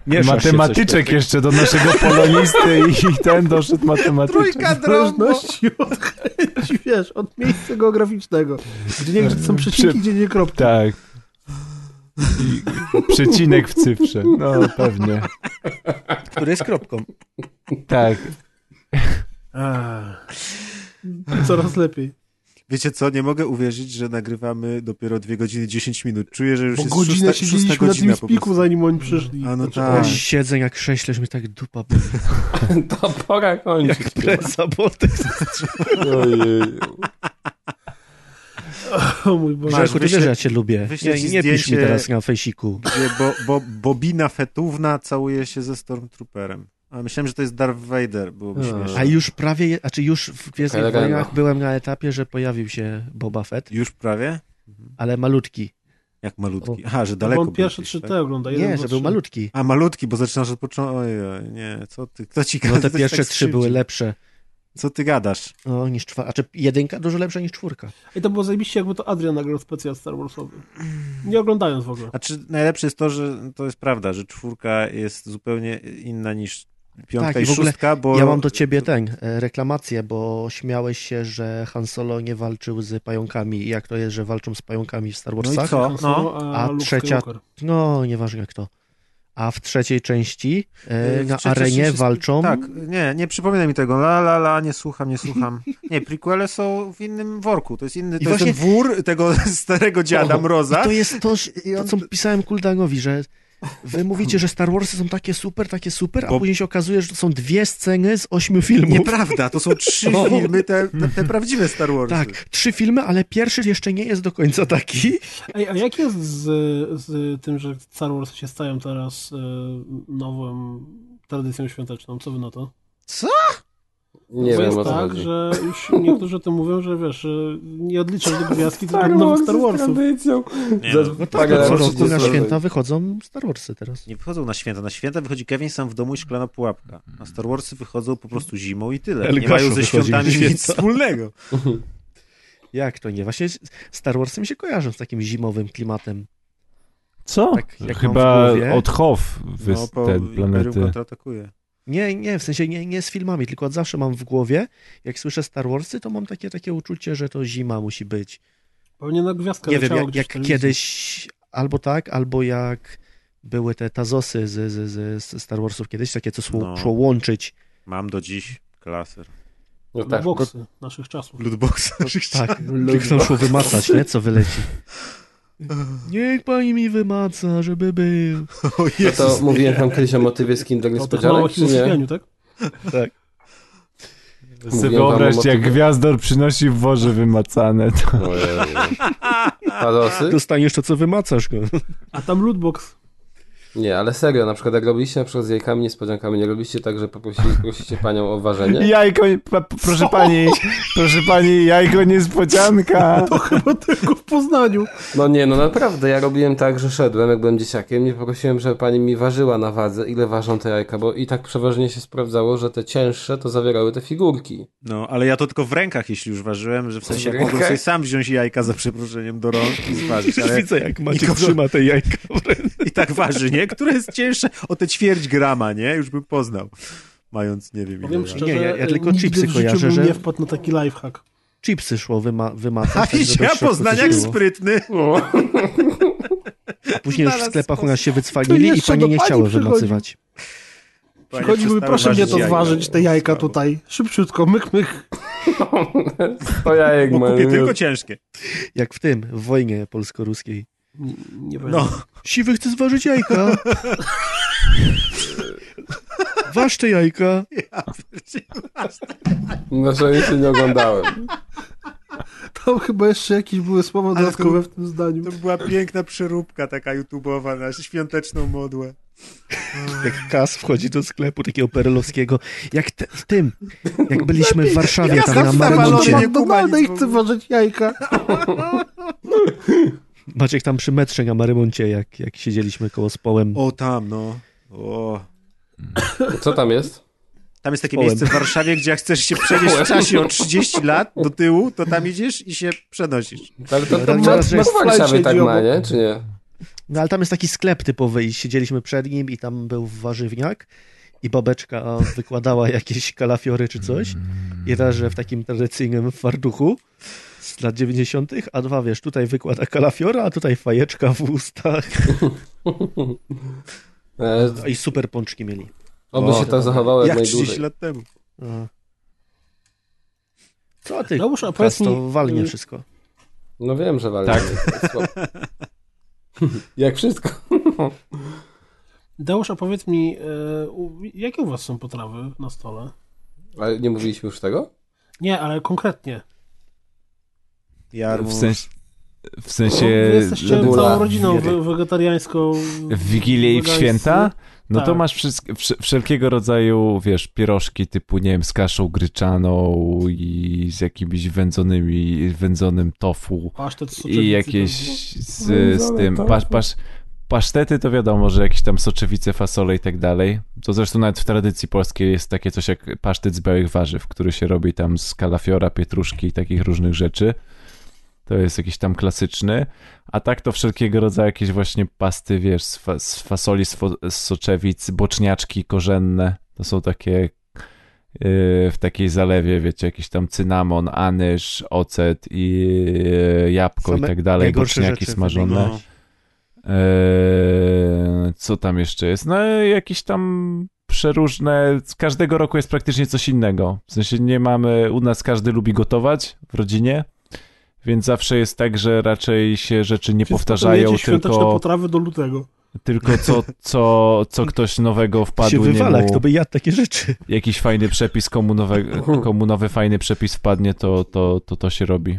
[SPEAKER 10] Miesza się coś
[SPEAKER 2] Matematyczek
[SPEAKER 10] takiego.
[SPEAKER 2] jeszcze do naszego polonisty i ten doszedł matematyczek.
[SPEAKER 3] zależności od chęci, wiesz, od miejsca geograficznego. Gdzie nie wiem, czy to są przecinki,
[SPEAKER 2] Przy-
[SPEAKER 3] gdzie nie kropki.
[SPEAKER 2] Tak. I przecinek w cyfrze. No, pewnie.
[SPEAKER 10] Który jest kropką.
[SPEAKER 2] Tak.
[SPEAKER 3] Ah. Coraz lepiej.
[SPEAKER 4] Wiecie co, nie mogę uwierzyć, że nagrywamy dopiero 2 godziny 10 minut. Czuję, że już
[SPEAKER 3] Bo
[SPEAKER 4] jest
[SPEAKER 3] godzinę
[SPEAKER 4] szósta, szósta
[SPEAKER 3] siedzieliśmy na
[SPEAKER 4] godzina
[SPEAKER 3] tym
[SPEAKER 4] po
[SPEAKER 3] spiku,
[SPEAKER 4] prostu.
[SPEAKER 3] zanim oni przyszli.
[SPEAKER 4] A no tak.
[SPEAKER 10] Tak. Siedzę jak krześle, że mi tak dupa boli.
[SPEAKER 9] To pora kończyć.
[SPEAKER 10] Jak presa, bo to jest...
[SPEAKER 9] Ojej.
[SPEAKER 3] O mój Boże.
[SPEAKER 10] Marku, ty
[SPEAKER 4] wyślę-
[SPEAKER 10] wiesz, że ja cię lubię.
[SPEAKER 4] wyślę
[SPEAKER 10] Nie,
[SPEAKER 4] ci
[SPEAKER 10] nie pisz mi
[SPEAKER 4] zdjęcie-
[SPEAKER 10] teraz na fejsiku.
[SPEAKER 4] Gdzie bo, bo, Bobina Fetówna całuje się ze Stormtrooperem. A myślałem, że to jest Darth Vader, byłoby śmieszne.
[SPEAKER 10] A już prawie, je- znaczy już w Gwiezdnych
[SPEAKER 4] Taka legenda.
[SPEAKER 10] Wojnach byłem na etapie, że pojawił się Boba Fett,
[SPEAKER 4] Już prawie?
[SPEAKER 10] ale malutki.
[SPEAKER 4] Jak malutki. Aha, że daleko.
[SPEAKER 3] Bo on pierwsze
[SPEAKER 4] byłeś,
[SPEAKER 3] 3
[SPEAKER 4] tak?
[SPEAKER 3] T ogląda. jeden,
[SPEAKER 10] Nie,
[SPEAKER 3] dwa,
[SPEAKER 10] że był
[SPEAKER 3] trzy.
[SPEAKER 10] malutki.
[SPEAKER 4] A malutki, bo zaczynasz od początku. Ojej, nie, co ty, kto ci
[SPEAKER 10] No
[SPEAKER 4] kto
[SPEAKER 10] te
[SPEAKER 4] ci
[SPEAKER 10] pierwsze
[SPEAKER 4] tak
[SPEAKER 10] trzy były
[SPEAKER 4] skrzywdzi?
[SPEAKER 10] lepsze.
[SPEAKER 4] Co ty gadasz?
[SPEAKER 10] No, niż czwórka. Znaczy jedynka dużo lepsza niż czwórka.
[SPEAKER 3] I to było zajebiście, jakby to Adrian nagrał specjal Star Warsowy. Nie oglądając w ogóle.
[SPEAKER 4] Znaczy, najlepsze jest to, że to jest prawda, że czwórka jest zupełnie inna niż piątka
[SPEAKER 10] tak, i
[SPEAKER 4] i
[SPEAKER 10] w ogóle
[SPEAKER 4] szóstka, bo...
[SPEAKER 10] ja mam do ciebie ten, e, reklamację, bo śmiałeś się, że Han Solo nie walczył z pająkami i jak to jest, że walczą z pająkami w Star
[SPEAKER 4] No i
[SPEAKER 10] Warsach.
[SPEAKER 8] No.
[SPEAKER 4] co?
[SPEAKER 3] Han Solo,
[SPEAKER 10] A
[SPEAKER 3] Luke
[SPEAKER 10] trzecia,
[SPEAKER 3] Skywalker.
[SPEAKER 10] no nieważne kto. A w trzeciej części e,
[SPEAKER 4] Yy,
[SPEAKER 10] na
[SPEAKER 4] przecież
[SPEAKER 10] arenie
[SPEAKER 4] wszystko-
[SPEAKER 10] walczą
[SPEAKER 4] Tak, nie, nie przypominaj mi tego. La, la, la, nie słucham, nie słucham. Nie, prequele są w innym worku. To jest inny,
[SPEAKER 10] I
[SPEAKER 4] to jest ten
[SPEAKER 10] właśnie-
[SPEAKER 4] wór tego starego dziada
[SPEAKER 10] O,
[SPEAKER 4] Mroza.
[SPEAKER 10] I to jest to, że- to co pisałem Kuldanowi, że wy mówicie, że Star Warsy są takie super, takie super, a
[SPEAKER 4] Bo-
[SPEAKER 10] później się okazuje, że to są dwie sceny z ośmiu filmów.
[SPEAKER 4] Nieprawda, to są trzy
[SPEAKER 10] No.
[SPEAKER 4] filmy, te, te, te prawdziwe Star Warsy.
[SPEAKER 10] Tak, trzy filmy, ale pierwszy jeszcze nie jest do końca taki.
[SPEAKER 3] Ej, a jak jest z, z tym, że Star Wars się stają teraz e, nową tradycją świąteczną? Co wy na to?
[SPEAKER 4] Co?
[SPEAKER 8] Nie
[SPEAKER 3] bo
[SPEAKER 8] wiem,
[SPEAKER 3] jest
[SPEAKER 8] o co
[SPEAKER 3] tak,
[SPEAKER 8] chodzi.
[SPEAKER 3] że już niektórzy o tym mówią, że wiesz, że nie odliczasz do gwiazdki, tylko
[SPEAKER 9] Star
[SPEAKER 3] do nowych
[SPEAKER 9] Warsy
[SPEAKER 3] Tak, no, Star
[SPEAKER 9] z
[SPEAKER 3] Warsów.
[SPEAKER 9] tradycją.
[SPEAKER 4] Nie, no.
[SPEAKER 10] No tak,
[SPEAKER 4] Ale
[SPEAKER 10] no, co
[SPEAKER 4] przecież
[SPEAKER 10] roku
[SPEAKER 4] to
[SPEAKER 10] na
[SPEAKER 4] jest-
[SPEAKER 10] święta wychodzą Star Warsy teraz.
[SPEAKER 4] Nie wychodzą na święta. Na święta wychodzi Kevin sam w domu i szklana pułapka. A Star Warsy wychodzą po prostu zimą i tyle.
[SPEAKER 10] El
[SPEAKER 4] nie
[SPEAKER 10] Gaszo
[SPEAKER 4] mają ze
[SPEAKER 10] wychodzi na
[SPEAKER 4] świątami nic
[SPEAKER 10] święta.
[SPEAKER 4] wspólnego.
[SPEAKER 10] Jak to nie? Właśnie Star Warsy mi się kojarzą z takim zimowym klimatem.
[SPEAKER 2] Co?
[SPEAKER 10] Tak, jak mam w
[SPEAKER 2] Chyba
[SPEAKER 10] głowie.
[SPEAKER 2] od Hof wy...
[SPEAKER 10] No,
[SPEAKER 4] po
[SPEAKER 2] ten
[SPEAKER 4] Imperium
[SPEAKER 2] planety.
[SPEAKER 4] kontratakuje.
[SPEAKER 10] Nie, nie, w sensie nie, nie z filmami, tylko od zawsze mam w głowie, jak słyszę Star Warsy, to mam takie, takie uczucie, że to zima musi być.
[SPEAKER 3] Pewnie na gwiazdkę
[SPEAKER 10] nie wiem,
[SPEAKER 3] leciało
[SPEAKER 10] jak,
[SPEAKER 3] gdzieś w
[SPEAKER 10] jak
[SPEAKER 3] telewizji.
[SPEAKER 10] kiedyś, albo tak, albo jak były te Tazosy z, z, z, z Star Warsów kiedyś, takie, co szło,
[SPEAKER 4] No.
[SPEAKER 10] szło łączyć.
[SPEAKER 4] Mam do dziś klaser.
[SPEAKER 8] No
[SPEAKER 3] tak. Lootboxy naszych czasów.
[SPEAKER 4] Lootboxy naszych
[SPEAKER 10] Tak,
[SPEAKER 4] czasów.
[SPEAKER 10] chcą szło wymacać, nie? Co wyleci. Niech pani mi wymaca, żeby był.
[SPEAKER 4] O
[SPEAKER 8] No to mówiłem wam kiedyś o motywie z Kinder
[SPEAKER 3] No
[SPEAKER 8] Niespodzianek, czy nie?
[SPEAKER 3] tak?
[SPEAKER 10] Tak.
[SPEAKER 2] Sobie
[SPEAKER 8] Mówiłem wam o
[SPEAKER 2] wyobraźcie, jak
[SPEAKER 8] motywie-
[SPEAKER 2] gwiazdor przynosi w worze wymacane. To...
[SPEAKER 8] Padosy?
[SPEAKER 10] Dostaniesz to, co wymacasz go.
[SPEAKER 3] A tam lootbox.
[SPEAKER 8] Nie, ale serio, na przykład jak robiliście na przykład z jajkami niespodziankami, nie robiliście tak, że poprosili, prosicie panią o ważenie?
[SPEAKER 2] Jajko, pa, pa- proszę pani, proszę pani, jajko niespodzianka.
[SPEAKER 3] Tylko w Poznaniu.
[SPEAKER 8] No nie, no naprawdę, ja robiłem tak, że szedłem, jak byłem dzieciakiem, nie poprosiłem, żeby pani mi ważyła na wadze, ile ważą te jajka, bo i tak przeważnie się sprawdzało, że te cięższe to zawierały te figurki.
[SPEAKER 4] No, ale ja to tylko w rękach, jeśli już ważyłem, że w sensie
[SPEAKER 8] W
[SPEAKER 4] jak mogłem
[SPEAKER 8] rękach?
[SPEAKER 4] sobie sam wziąć jajka za przeproszeniem do rąk i zważyć. Ale
[SPEAKER 10] Widzę, jak Maciek
[SPEAKER 4] nikogo-
[SPEAKER 10] trzyma te jajka w ręce.
[SPEAKER 4] I tak waży, nie? Które jest cięższe o te ćwierć grama, nie? Już bym poznał. Mając, nie wiem,
[SPEAKER 3] Powiem
[SPEAKER 4] ile lat.
[SPEAKER 3] szczerze,
[SPEAKER 10] Nie, ja- ja tylko
[SPEAKER 3] nigdy
[SPEAKER 10] chipsy
[SPEAKER 3] w życiu
[SPEAKER 10] kojarzę,
[SPEAKER 3] bym
[SPEAKER 10] że-
[SPEAKER 3] nie wpadł na taki lifehack.
[SPEAKER 10] Chipsy szło wyma wymacać.
[SPEAKER 4] A
[SPEAKER 10] tak, żeby
[SPEAKER 4] widzisz,
[SPEAKER 10] w
[SPEAKER 4] ja
[SPEAKER 10] środku coś
[SPEAKER 4] Poznaniak
[SPEAKER 10] było.
[SPEAKER 4] sprytny.
[SPEAKER 10] A później już w sklepach u nas się
[SPEAKER 3] To
[SPEAKER 10] wycwalili i
[SPEAKER 3] jeszcze do
[SPEAKER 10] pani nie
[SPEAKER 3] pani
[SPEAKER 10] chciały
[SPEAKER 3] przychodzi.
[SPEAKER 10] wymacywać.
[SPEAKER 3] Przychodzi, mówi,
[SPEAKER 4] przestały
[SPEAKER 3] proszę mnie
[SPEAKER 4] ważyć
[SPEAKER 3] to
[SPEAKER 4] jajka.
[SPEAKER 3] zważyć, te jajka tutaj. Szybciutko, myk, myk.
[SPEAKER 8] To jajek
[SPEAKER 4] Bo
[SPEAKER 8] mamy.
[SPEAKER 4] kupię tylko ciężkie.
[SPEAKER 10] Jak w tym, w wojnie polsko-ruskiej.
[SPEAKER 3] Nie
[SPEAKER 4] No.
[SPEAKER 10] Siwy chce zważyć jajka. Waż te jajka.
[SPEAKER 8] No, że się nie oglądałem.
[SPEAKER 3] Tam chyba jeszcze jakieś były słowa
[SPEAKER 4] Ale to-
[SPEAKER 3] dodatkowe w tym zdaniu.
[SPEAKER 4] To była piękna przeróbka taka YouTube'owa na świąteczną modłę.
[SPEAKER 10] Jak Kas wchodzi do sklepu takiego perelowskiego. Jak te, w tym, jak byliśmy w Warszawie, tam na Marmoncie.
[SPEAKER 3] nie Donalda i chce ważyć jajka.
[SPEAKER 10] Maciek tam przy metrze na Marymoncie, jak, jak siedzieliśmy koło społem.
[SPEAKER 4] O, tam, no. O.
[SPEAKER 8] Co tam jest?
[SPEAKER 4] Tam jest takie
[SPEAKER 10] Połem.
[SPEAKER 4] miejsce w Warszawie, gdzie jak chcesz się przenieść w czasie o 30 lat do tyłu, to tam idziesz i się przenosisz.
[SPEAKER 8] Ale to, to,
[SPEAKER 10] Raz-
[SPEAKER 8] to,
[SPEAKER 10] raz-
[SPEAKER 8] to,
[SPEAKER 10] raz-
[SPEAKER 8] w Warszawie tak
[SPEAKER 3] siedzi
[SPEAKER 8] ma,
[SPEAKER 3] obok.
[SPEAKER 8] nie? Czy nie?
[SPEAKER 10] No ale tam jest taki sklep typowy i siedzieliśmy przed nim i tam był warzywniak i babeczka wykładała jakieś kalafiory czy coś. I raz, że w takim tradycyjnym farduchu z lat 90., a dwa, wiesz, tutaj wykłada kalafiora, a tutaj fajeczka w ustach.
[SPEAKER 8] E,
[SPEAKER 10] No I super pączki mieli.
[SPEAKER 8] Oby się tam zachowały jak
[SPEAKER 4] Jak 30
[SPEAKER 8] najdłużej.
[SPEAKER 4] lat temu.
[SPEAKER 10] A. Co ty?
[SPEAKER 3] Dobrze, a
[SPEAKER 10] Kas,
[SPEAKER 3] powiedz mi,
[SPEAKER 10] to walnie
[SPEAKER 3] y-
[SPEAKER 10] wszystko.
[SPEAKER 8] No wiem, że walczy. jak wszystko.
[SPEAKER 3] Dałusz, a powiedz mi, e, u- jakie u was są potrawy na stole?
[SPEAKER 8] Ale nie mówiliśmy już tego?
[SPEAKER 3] Nie, ale konkretnie.
[SPEAKER 4] Jarmuż.
[SPEAKER 2] W sensie, w
[SPEAKER 3] No,
[SPEAKER 2] sensie
[SPEAKER 3] wy jesteście
[SPEAKER 8] Dula.
[SPEAKER 3] całą rodziną we- wegetariańską.
[SPEAKER 2] w Wigilię i w
[SPEAKER 3] wegańscy.
[SPEAKER 2] święta, no to
[SPEAKER 3] Tak.
[SPEAKER 2] masz wszystk- wsz- wszelkiego rodzaju, wiesz, pierożki typu, nie wiem, z kaszą gryczaną i z jakimiś wędzonymi, wędzonym tofu.
[SPEAKER 3] Pasztet z soczewicy
[SPEAKER 2] I jakieś
[SPEAKER 3] tam
[SPEAKER 2] z, z tym, pasz, pasz, pasztety to wiadomo, że jakieś tam soczewice, fasole i tak dalej. To zresztą nawet w tradycji polskiej jest takie coś jak pasztet z białych warzyw, który się robi tam z kalafiora, pietruszki i takich różnych rzeczy. To jest jakiś tam klasyczny. A tak to wszelkiego rodzaju jakieś właśnie pasty, wiesz, z, fa z fasoli, z, fo- z soczewic, boczniaczki korzenne. To są takie yy, w takiej zalewie, wiecie, jakiś tam cynamon, anyż, ocet i yy, jabłko
[SPEAKER 10] Same
[SPEAKER 2] i tak dalej,
[SPEAKER 10] najgorsze
[SPEAKER 2] boczniaki
[SPEAKER 10] rzeczy
[SPEAKER 2] smażone.
[SPEAKER 4] No.
[SPEAKER 10] wymieniłeś.
[SPEAKER 2] Eee, co tam jeszcze jest? No jakieś tam przeróżne, z każdego roku jest praktycznie coś innego. W sensie nie mamy, u nas każdy lubi gotować w rodzinie, więc zawsze jest tak, że raczej się rzeczy nie
[SPEAKER 3] Więc
[SPEAKER 2] powtarzają,
[SPEAKER 3] potem jecie świąteczne
[SPEAKER 2] tylko,
[SPEAKER 3] potrawy do lutego.
[SPEAKER 2] tylko co, co, co ktoś nowego
[SPEAKER 10] Ty się
[SPEAKER 2] wpadł, nie
[SPEAKER 10] wywala,
[SPEAKER 2] mu
[SPEAKER 10] kto by jadł takie rzeczy.
[SPEAKER 2] jakiś fajny przepis, komu, nowe, komu nowy fajny przepis wpadnie, to to, to, to się robi.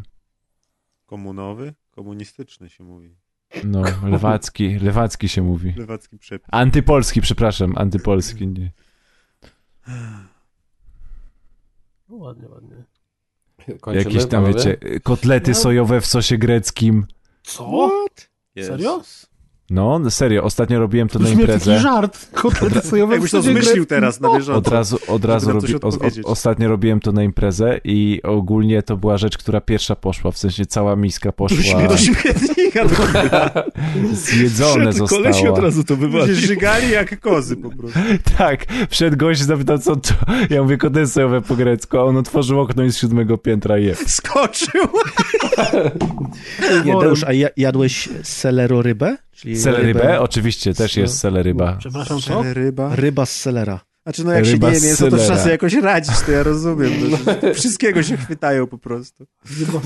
[SPEAKER 4] Komunowy? Komunistyczny się mówi.
[SPEAKER 2] No, lewacki, lewacki się mówi.
[SPEAKER 4] Lewacki przepis.
[SPEAKER 2] Antypolski, przepraszam, antypolski, nie.
[SPEAKER 3] No, ładnie, ładnie.
[SPEAKER 9] Kończymy,
[SPEAKER 2] Jakieś tam,
[SPEAKER 9] panowie?
[SPEAKER 2] wiecie, kotlety
[SPEAKER 3] No.
[SPEAKER 2] sojowe w sosie greckim.
[SPEAKER 3] Co? Serio?
[SPEAKER 2] No, no serio, ostatnio robiłem to na
[SPEAKER 3] Brzmi jak taki
[SPEAKER 2] imprezę.
[SPEAKER 3] żart. Kotlety
[SPEAKER 2] Od-
[SPEAKER 3] sojowe
[SPEAKER 4] Jakbyś to
[SPEAKER 3] w No. sosie
[SPEAKER 4] zmyślił
[SPEAKER 3] greckim.
[SPEAKER 4] teraz no na bieżąco.
[SPEAKER 2] Od razu, od
[SPEAKER 4] Żeby
[SPEAKER 2] razu
[SPEAKER 4] nam coś
[SPEAKER 2] robi, o,
[SPEAKER 4] odpowiedzieć.
[SPEAKER 2] o, ostatnio robiłem to na imprezę i ogólnie to była rzecz, która pierwsza poszła, w sensie cała miska poszła.
[SPEAKER 14] Do śmietnika do kibla.
[SPEAKER 2] Zjedzone
[SPEAKER 14] Wszedł koleś i
[SPEAKER 2] została.
[SPEAKER 14] od razu to
[SPEAKER 4] Ludzie
[SPEAKER 14] wywalił.
[SPEAKER 4] żygali jak kozy po prostu.
[SPEAKER 2] Tak, wszedł gość i zapytał, co to. Ja mówię, kotlety sojowe po grecku, a on otworzył okno i z siódmego piętra je.
[SPEAKER 4] Skoczył!
[SPEAKER 10] Nie, Deusz, a ja, jadłeś selero rybę? Czyli
[SPEAKER 2] Selerybę? Oczywiście, też jest seleryba.
[SPEAKER 3] Przepraszam, co?
[SPEAKER 4] Ryba.
[SPEAKER 10] Ryba z selera.
[SPEAKER 4] Znaczy, no jak się
[SPEAKER 2] Ryba No.
[SPEAKER 4] nie je
[SPEAKER 2] z
[SPEAKER 4] mięso, to
[SPEAKER 2] selera.
[SPEAKER 4] trzeba sobie jakoś radzić, to ja rozumiem. To, że wszystkiego się chwytają po prostu. No,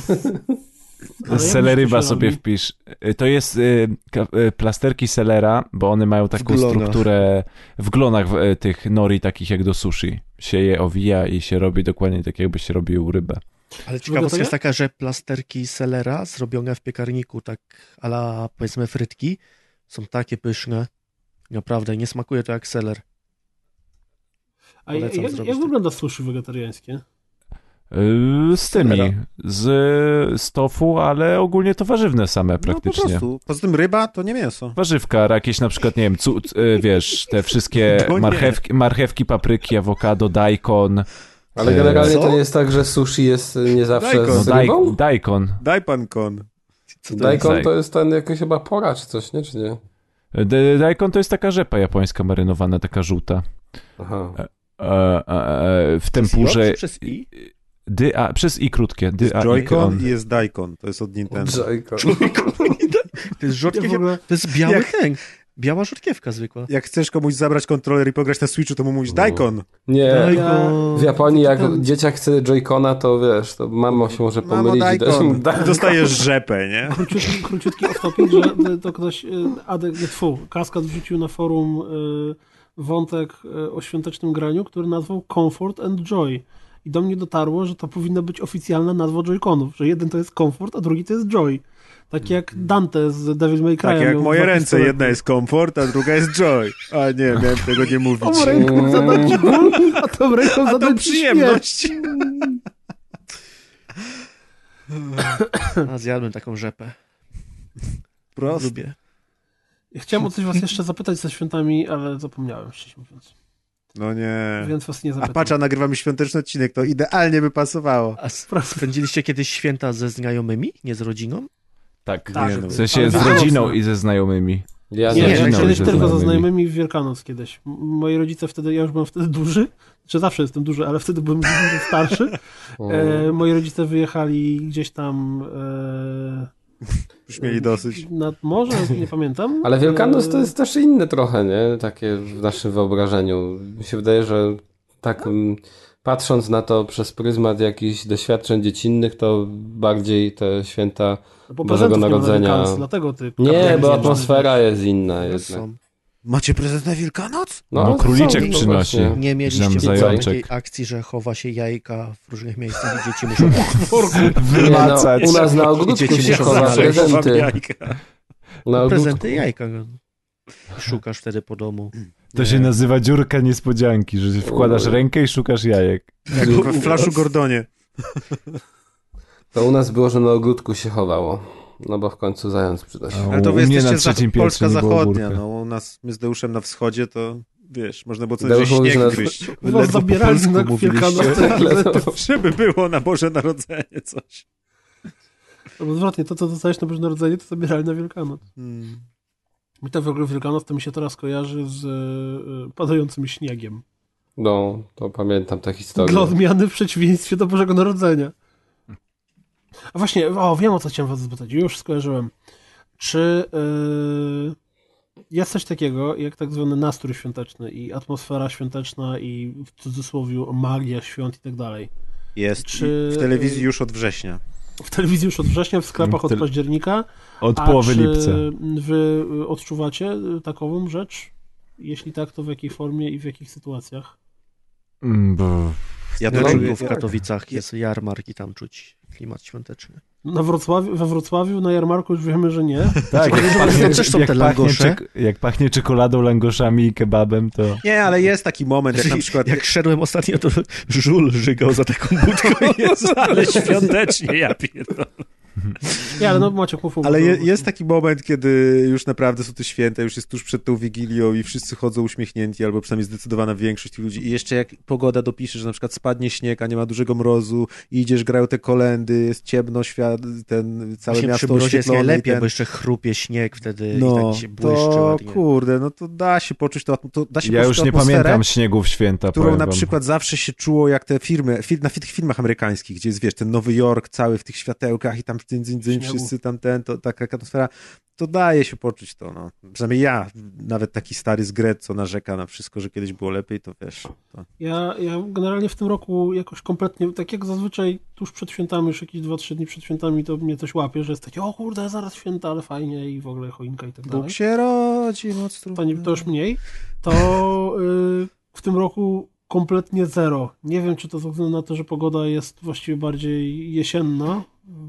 [SPEAKER 3] No,
[SPEAKER 2] Seleryba sobie wpisz. Y, To jest y, ka- y, plasterki selera, bo one mają taką
[SPEAKER 10] glonach.
[SPEAKER 2] strukturę w glonach w, y, tych nori, takich jak do sushi. Się je owija i się robi dokładnie tak, jakby się robił rybę.
[SPEAKER 10] Ale
[SPEAKER 3] Wygląda to
[SPEAKER 10] ciekawostka jest
[SPEAKER 3] nie?
[SPEAKER 10] taka, że plasterki selera zrobione w piekarniku, tak ala powiedzmy frytki, są takie pyszne. Naprawdę, nie smakuje to jak seler.
[SPEAKER 3] A jak,
[SPEAKER 10] Polecam
[SPEAKER 3] jak,
[SPEAKER 10] zrobić
[SPEAKER 3] jak
[SPEAKER 10] tak.
[SPEAKER 3] wygląda sushi wegetariańskie?
[SPEAKER 2] Y, Z tymi,
[SPEAKER 10] Selera.
[SPEAKER 2] z, z tofu, ale ogólnie to warzywne same
[SPEAKER 4] No po
[SPEAKER 2] praktycznie.
[SPEAKER 4] prostu. Poza tym ryba to nie mięso.
[SPEAKER 2] Warzywka, jakieś na przykład, nie wiem, cu, c- y, wiesz, te wszystkie
[SPEAKER 4] No nie.
[SPEAKER 2] marchewki, marchewki, papryki, awokado, daikon.
[SPEAKER 9] Ale
[SPEAKER 2] y,
[SPEAKER 9] generalnie
[SPEAKER 2] no
[SPEAKER 9] to nie jest tak, że sushi jest y, nie zawsze
[SPEAKER 4] Daikon.
[SPEAKER 9] z
[SPEAKER 2] dai-
[SPEAKER 9] rybą?
[SPEAKER 2] daikon.
[SPEAKER 4] Daj pan kon.
[SPEAKER 10] Co to jest?
[SPEAKER 9] Daikon
[SPEAKER 2] jest?
[SPEAKER 9] to jest ten jakiś chyba pora czy coś, nie? Czy nie?
[SPEAKER 2] D- Daikon to jest taka rzepa japońska marynowana, taka żółta.
[SPEAKER 9] Aha.
[SPEAKER 2] E, e, e, w
[SPEAKER 10] Przez J
[SPEAKER 2] tempurze.
[SPEAKER 10] czy przez I?
[SPEAKER 2] Dy, a, przez i krótkie. Dy,
[SPEAKER 4] Jest
[SPEAKER 2] a, i
[SPEAKER 4] Joy-Con
[SPEAKER 2] on.
[SPEAKER 4] i jest Daikon. To jest od Nintendo.
[SPEAKER 9] Daikon.
[SPEAKER 10] To jest
[SPEAKER 3] Ja
[SPEAKER 10] rzodkiew...
[SPEAKER 3] w ogóle-
[SPEAKER 10] To jest biały
[SPEAKER 4] Jak-
[SPEAKER 10] ten. Biała rzodkiewka zwykła.
[SPEAKER 4] Jak chcesz komuś zabrać kontroler i pograć na Switchu, to mu mówisz Daikon.
[SPEAKER 10] E, No
[SPEAKER 9] Nie,
[SPEAKER 3] Ja-
[SPEAKER 9] w Japonii jak dzieciak chce Joy-Cona, to wiesz, to mamo się może
[SPEAKER 4] Mamo,
[SPEAKER 9] pomylić. i też mu
[SPEAKER 4] Daikon.
[SPEAKER 9] Daikon.
[SPEAKER 4] Dostajesz rzepę, nie?
[SPEAKER 3] Króciutki, króciutki off-topic, że to ktoś, y, Adek, nie tfu, Kaskad wrzucił na forum y, wątek y, o świątecznym graniu, który nazwał Comfort and Joy. I do mnie dotarło, że to powinna być oficjalna nazwa Joy-Conów, że jeden to jest Comfort, a drugi to jest Joy. Tak jak Dante z Devil May Cry.
[SPEAKER 4] Mhm. Tak jak
[SPEAKER 3] miał
[SPEAKER 4] moje
[SPEAKER 3] dwa
[SPEAKER 4] ręce.
[SPEAKER 3] pistolety.
[SPEAKER 4] Jedna jest komfort, a druga jest joy. A nie, miałem tego nie mówić.
[SPEAKER 3] Tą ręką zadać ból, a tą ręką
[SPEAKER 4] A to
[SPEAKER 3] zadać
[SPEAKER 4] przyjemność.
[SPEAKER 10] A zjadłem taką rzepę.
[SPEAKER 4] Prost.
[SPEAKER 10] Lubię.
[SPEAKER 3] śmierć. Chciałem o coś was jeszcze zapytać ze świętami, ale zapomniałem, szczerze mówiąc.
[SPEAKER 4] No nie.
[SPEAKER 3] Więc was nie
[SPEAKER 4] A
[SPEAKER 3] zapytam.
[SPEAKER 4] pacza, nagrywamy świąteczny odcinek, to idealnie by pasowało.
[SPEAKER 10] A s- spędziliście kiedyś święta ze znajomymi, nie z rodziną?
[SPEAKER 2] Tak,
[SPEAKER 3] Tak.
[SPEAKER 2] nie no. w sensie
[SPEAKER 3] Ale
[SPEAKER 2] z
[SPEAKER 3] mocno.
[SPEAKER 2] rodziną i ze znajomymi.
[SPEAKER 9] Ja
[SPEAKER 3] Nie,
[SPEAKER 9] nie,
[SPEAKER 2] Z rodziną
[SPEAKER 3] nie
[SPEAKER 2] i
[SPEAKER 3] kiedyś
[SPEAKER 2] ze
[SPEAKER 3] tylko ze
[SPEAKER 2] znajomymi.
[SPEAKER 3] znajomymi w Wielkanoc kiedyś. M- Moi rodzice wtedy, ja już byłem wtedy duży, czy zawsze jestem duży, ale wtedy byłem dużo starszy. E, moi rodzice wyjechali gdzieś tam e,
[SPEAKER 4] Już mieli dosyć.
[SPEAKER 3] nad morze, nie pamiętam.
[SPEAKER 9] Ale Wielkanoc to
[SPEAKER 3] E,
[SPEAKER 9] jest też inne trochę, nie? Takie w naszym wyobrażeniu. Mi się wydaje, że tak mm, patrząc na to przez pryzmat jakichś doświadczeń dziecinnych, to bardziej te święta
[SPEAKER 3] bo
[SPEAKER 9] Bożego
[SPEAKER 3] prezentów nie ma na
[SPEAKER 9] Narodzenia.
[SPEAKER 3] Wielkanoc, dlatego ty
[SPEAKER 9] Nie,
[SPEAKER 3] kapitalizm
[SPEAKER 9] bo
[SPEAKER 3] jest-
[SPEAKER 9] atmosfera jest inna jednak.
[SPEAKER 10] Są.
[SPEAKER 4] Macie prezent na Wielkanoc?
[SPEAKER 2] No,
[SPEAKER 9] to
[SPEAKER 2] króliczek
[SPEAKER 9] są, to
[SPEAKER 2] przynosi.
[SPEAKER 9] właśnie.
[SPEAKER 10] Nie
[SPEAKER 2] Znam
[SPEAKER 10] mieliście
[SPEAKER 2] zajączek.
[SPEAKER 10] takiej akcji, że chowa się jajka w różnych miejscach i dzieci muszą...
[SPEAKER 9] Nie, no,
[SPEAKER 2] Wymacać.
[SPEAKER 9] u nas na ogródku
[SPEAKER 10] Dzieci
[SPEAKER 9] się
[SPEAKER 10] muszą
[SPEAKER 9] chowa
[SPEAKER 10] znaleźć.
[SPEAKER 9] prezenty. Na ogródku.
[SPEAKER 10] Prezenty jajka. Szukasz wtedy po domu.
[SPEAKER 2] To się nazywa dziurka niespodzianki, że wkładasz
[SPEAKER 9] Ojej.
[SPEAKER 2] rękę i szukasz jajek.
[SPEAKER 4] Jak w Flashu Gordonie.
[SPEAKER 9] To u nas było, że na ogródku się chowało. No bo w końcu zając przyda się.
[SPEAKER 2] A
[SPEAKER 4] Ale to
[SPEAKER 2] u
[SPEAKER 4] wy
[SPEAKER 2] mnie na
[SPEAKER 4] jesteście za,
[SPEAKER 2] trzecim piętrze
[SPEAKER 4] Polska
[SPEAKER 2] nie było
[SPEAKER 4] Zachodnia.
[SPEAKER 2] burka.
[SPEAKER 4] No, u nas, my z Deuszem na wschodzie, to wiesz, można było co najwyżej
[SPEAKER 9] Deusz mówi,
[SPEAKER 4] śnieg
[SPEAKER 9] że na-
[SPEAKER 4] gryźć.
[SPEAKER 3] Was zabierali na Wielkanoc.
[SPEAKER 4] Żeby było na Boże Narodzenie coś.
[SPEAKER 3] Albo odwrotnie, to co dostajesz na Boże Narodzenie, to zabierali na Wielkanoc.
[SPEAKER 4] Hmm.
[SPEAKER 3] Mi to w ogóle Wielkanoc to mi się teraz kojarzy z e, padającym śniegiem.
[SPEAKER 9] No, to pamiętam tę historię.
[SPEAKER 3] Dla odmiany w przeciwieństwie do Bożego Narodzenia. A właśnie, o, wiem o co chciałem was zapytać, już skojarzyłem. Czy yy, jest coś takiego, jak tak zwany nastrój świąteczny i atmosfera świąteczna i w cudzysłowie magia świąt i tak dalej?
[SPEAKER 4] Jest.
[SPEAKER 3] Czy-
[SPEAKER 4] W telewizji już od września.
[SPEAKER 3] W telewizji już od września, w sklepach od
[SPEAKER 2] Tyle-
[SPEAKER 3] października.
[SPEAKER 2] Od
[SPEAKER 3] A
[SPEAKER 2] połowy
[SPEAKER 3] czy
[SPEAKER 2] lipca.
[SPEAKER 3] wy y, odczuwacie y, takową rzecz? Jeśli tak, to w jakiej formie i w jakich sytuacjach?
[SPEAKER 2] Mm, bo
[SPEAKER 10] Ja
[SPEAKER 4] No,
[SPEAKER 10] to czuję w Katowicach, jest jarmark i tam czuć klimat świąteczny.
[SPEAKER 3] Na Wrocławiu, we Wrocławiu na jarmarku już wiemy, że nie.
[SPEAKER 2] Tak,
[SPEAKER 3] Tylko
[SPEAKER 2] jak
[SPEAKER 3] że
[SPEAKER 2] pachnie,
[SPEAKER 3] to też są
[SPEAKER 2] jak,
[SPEAKER 3] te
[SPEAKER 2] pachnie
[SPEAKER 3] langosze.
[SPEAKER 2] czek- jak pachnie czekoladą, langoszami i kebabem, to...
[SPEAKER 4] Nie, ale jest taki moment, jak na przykład...
[SPEAKER 10] Jak szedłem ostatnio, to żul żygał za taką budką. Jezu, ale świątecznie, ja pierdolę.
[SPEAKER 3] Nie, ale no Maciek mów, mów,
[SPEAKER 4] Ale
[SPEAKER 3] mów.
[SPEAKER 4] je, jest taki moment, kiedy już naprawdę są te święta, już jest tuż przed tą Wigilią i wszyscy chodzą uśmiechnięci, albo przynajmniej zdecydowana większość tych ludzi. I jeszcze jak pogoda dopisze, że na przykład spadnie śnieg, a nie ma dużego mrozu, i idziesz, grają te kolendy, jest ciemno, świat, ten całe
[SPEAKER 10] Właśnie przy
[SPEAKER 4] miasto
[SPEAKER 10] mrozie jest
[SPEAKER 4] oświetlone i
[SPEAKER 10] najlepiej,
[SPEAKER 4] ten...
[SPEAKER 10] bo jeszcze chrupie śnieg wtedy i
[SPEAKER 4] No,
[SPEAKER 10] tak się błyszczy
[SPEAKER 4] to
[SPEAKER 10] ładnie.
[SPEAKER 4] kurde, no to da się poczuć to, atmo- to da się
[SPEAKER 2] Ja
[SPEAKER 4] poczuć
[SPEAKER 2] już
[SPEAKER 4] tą
[SPEAKER 2] nie
[SPEAKER 4] atmosferę,
[SPEAKER 2] pamiętam śniegów święta,
[SPEAKER 4] którą
[SPEAKER 2] powiem
[SPEAKER 4] na
[SPEAKER 2] wam.
[SPEAKER 4] przykład zawsze się czuło jak te firmy, fil, na fi- tych filmach amerykańskich, gdzie jest, wiesz, ten Nowy Jork cały w tych światełkach i tam dzyń, dzyń, dzyń,
[SPEAKER 3] Śniegu.
[SPEAKER 4] wszyscy tam ten, to taka atmosfera, to daje się poczuć to, no. Przynajmniej ja, nawet taki stary z Gret, co narzeka na wszystko, że kiedyś było lepiej, to wiesz, to...
[SPEAKER 3] Ja, ja generalnie w tym roku jakoś kompletnie, tak jak zazwyczaj tuż przed świętami, już jakieś 2-3 dni przed świętami, to mnie coś łapie, że jest takie, o kurde, zaraz święta, ale fajnie i w ogóle choinka i tak dalej.
[SPEAKER 4] Bóg się rodzi, moc
[SPEAKER 3] To, nie, to już mniej. To y, w tym roku kompletnie zero. Nie wiem, czy to ze względu na to, że pogoda jest właściwie bardziej jesienna,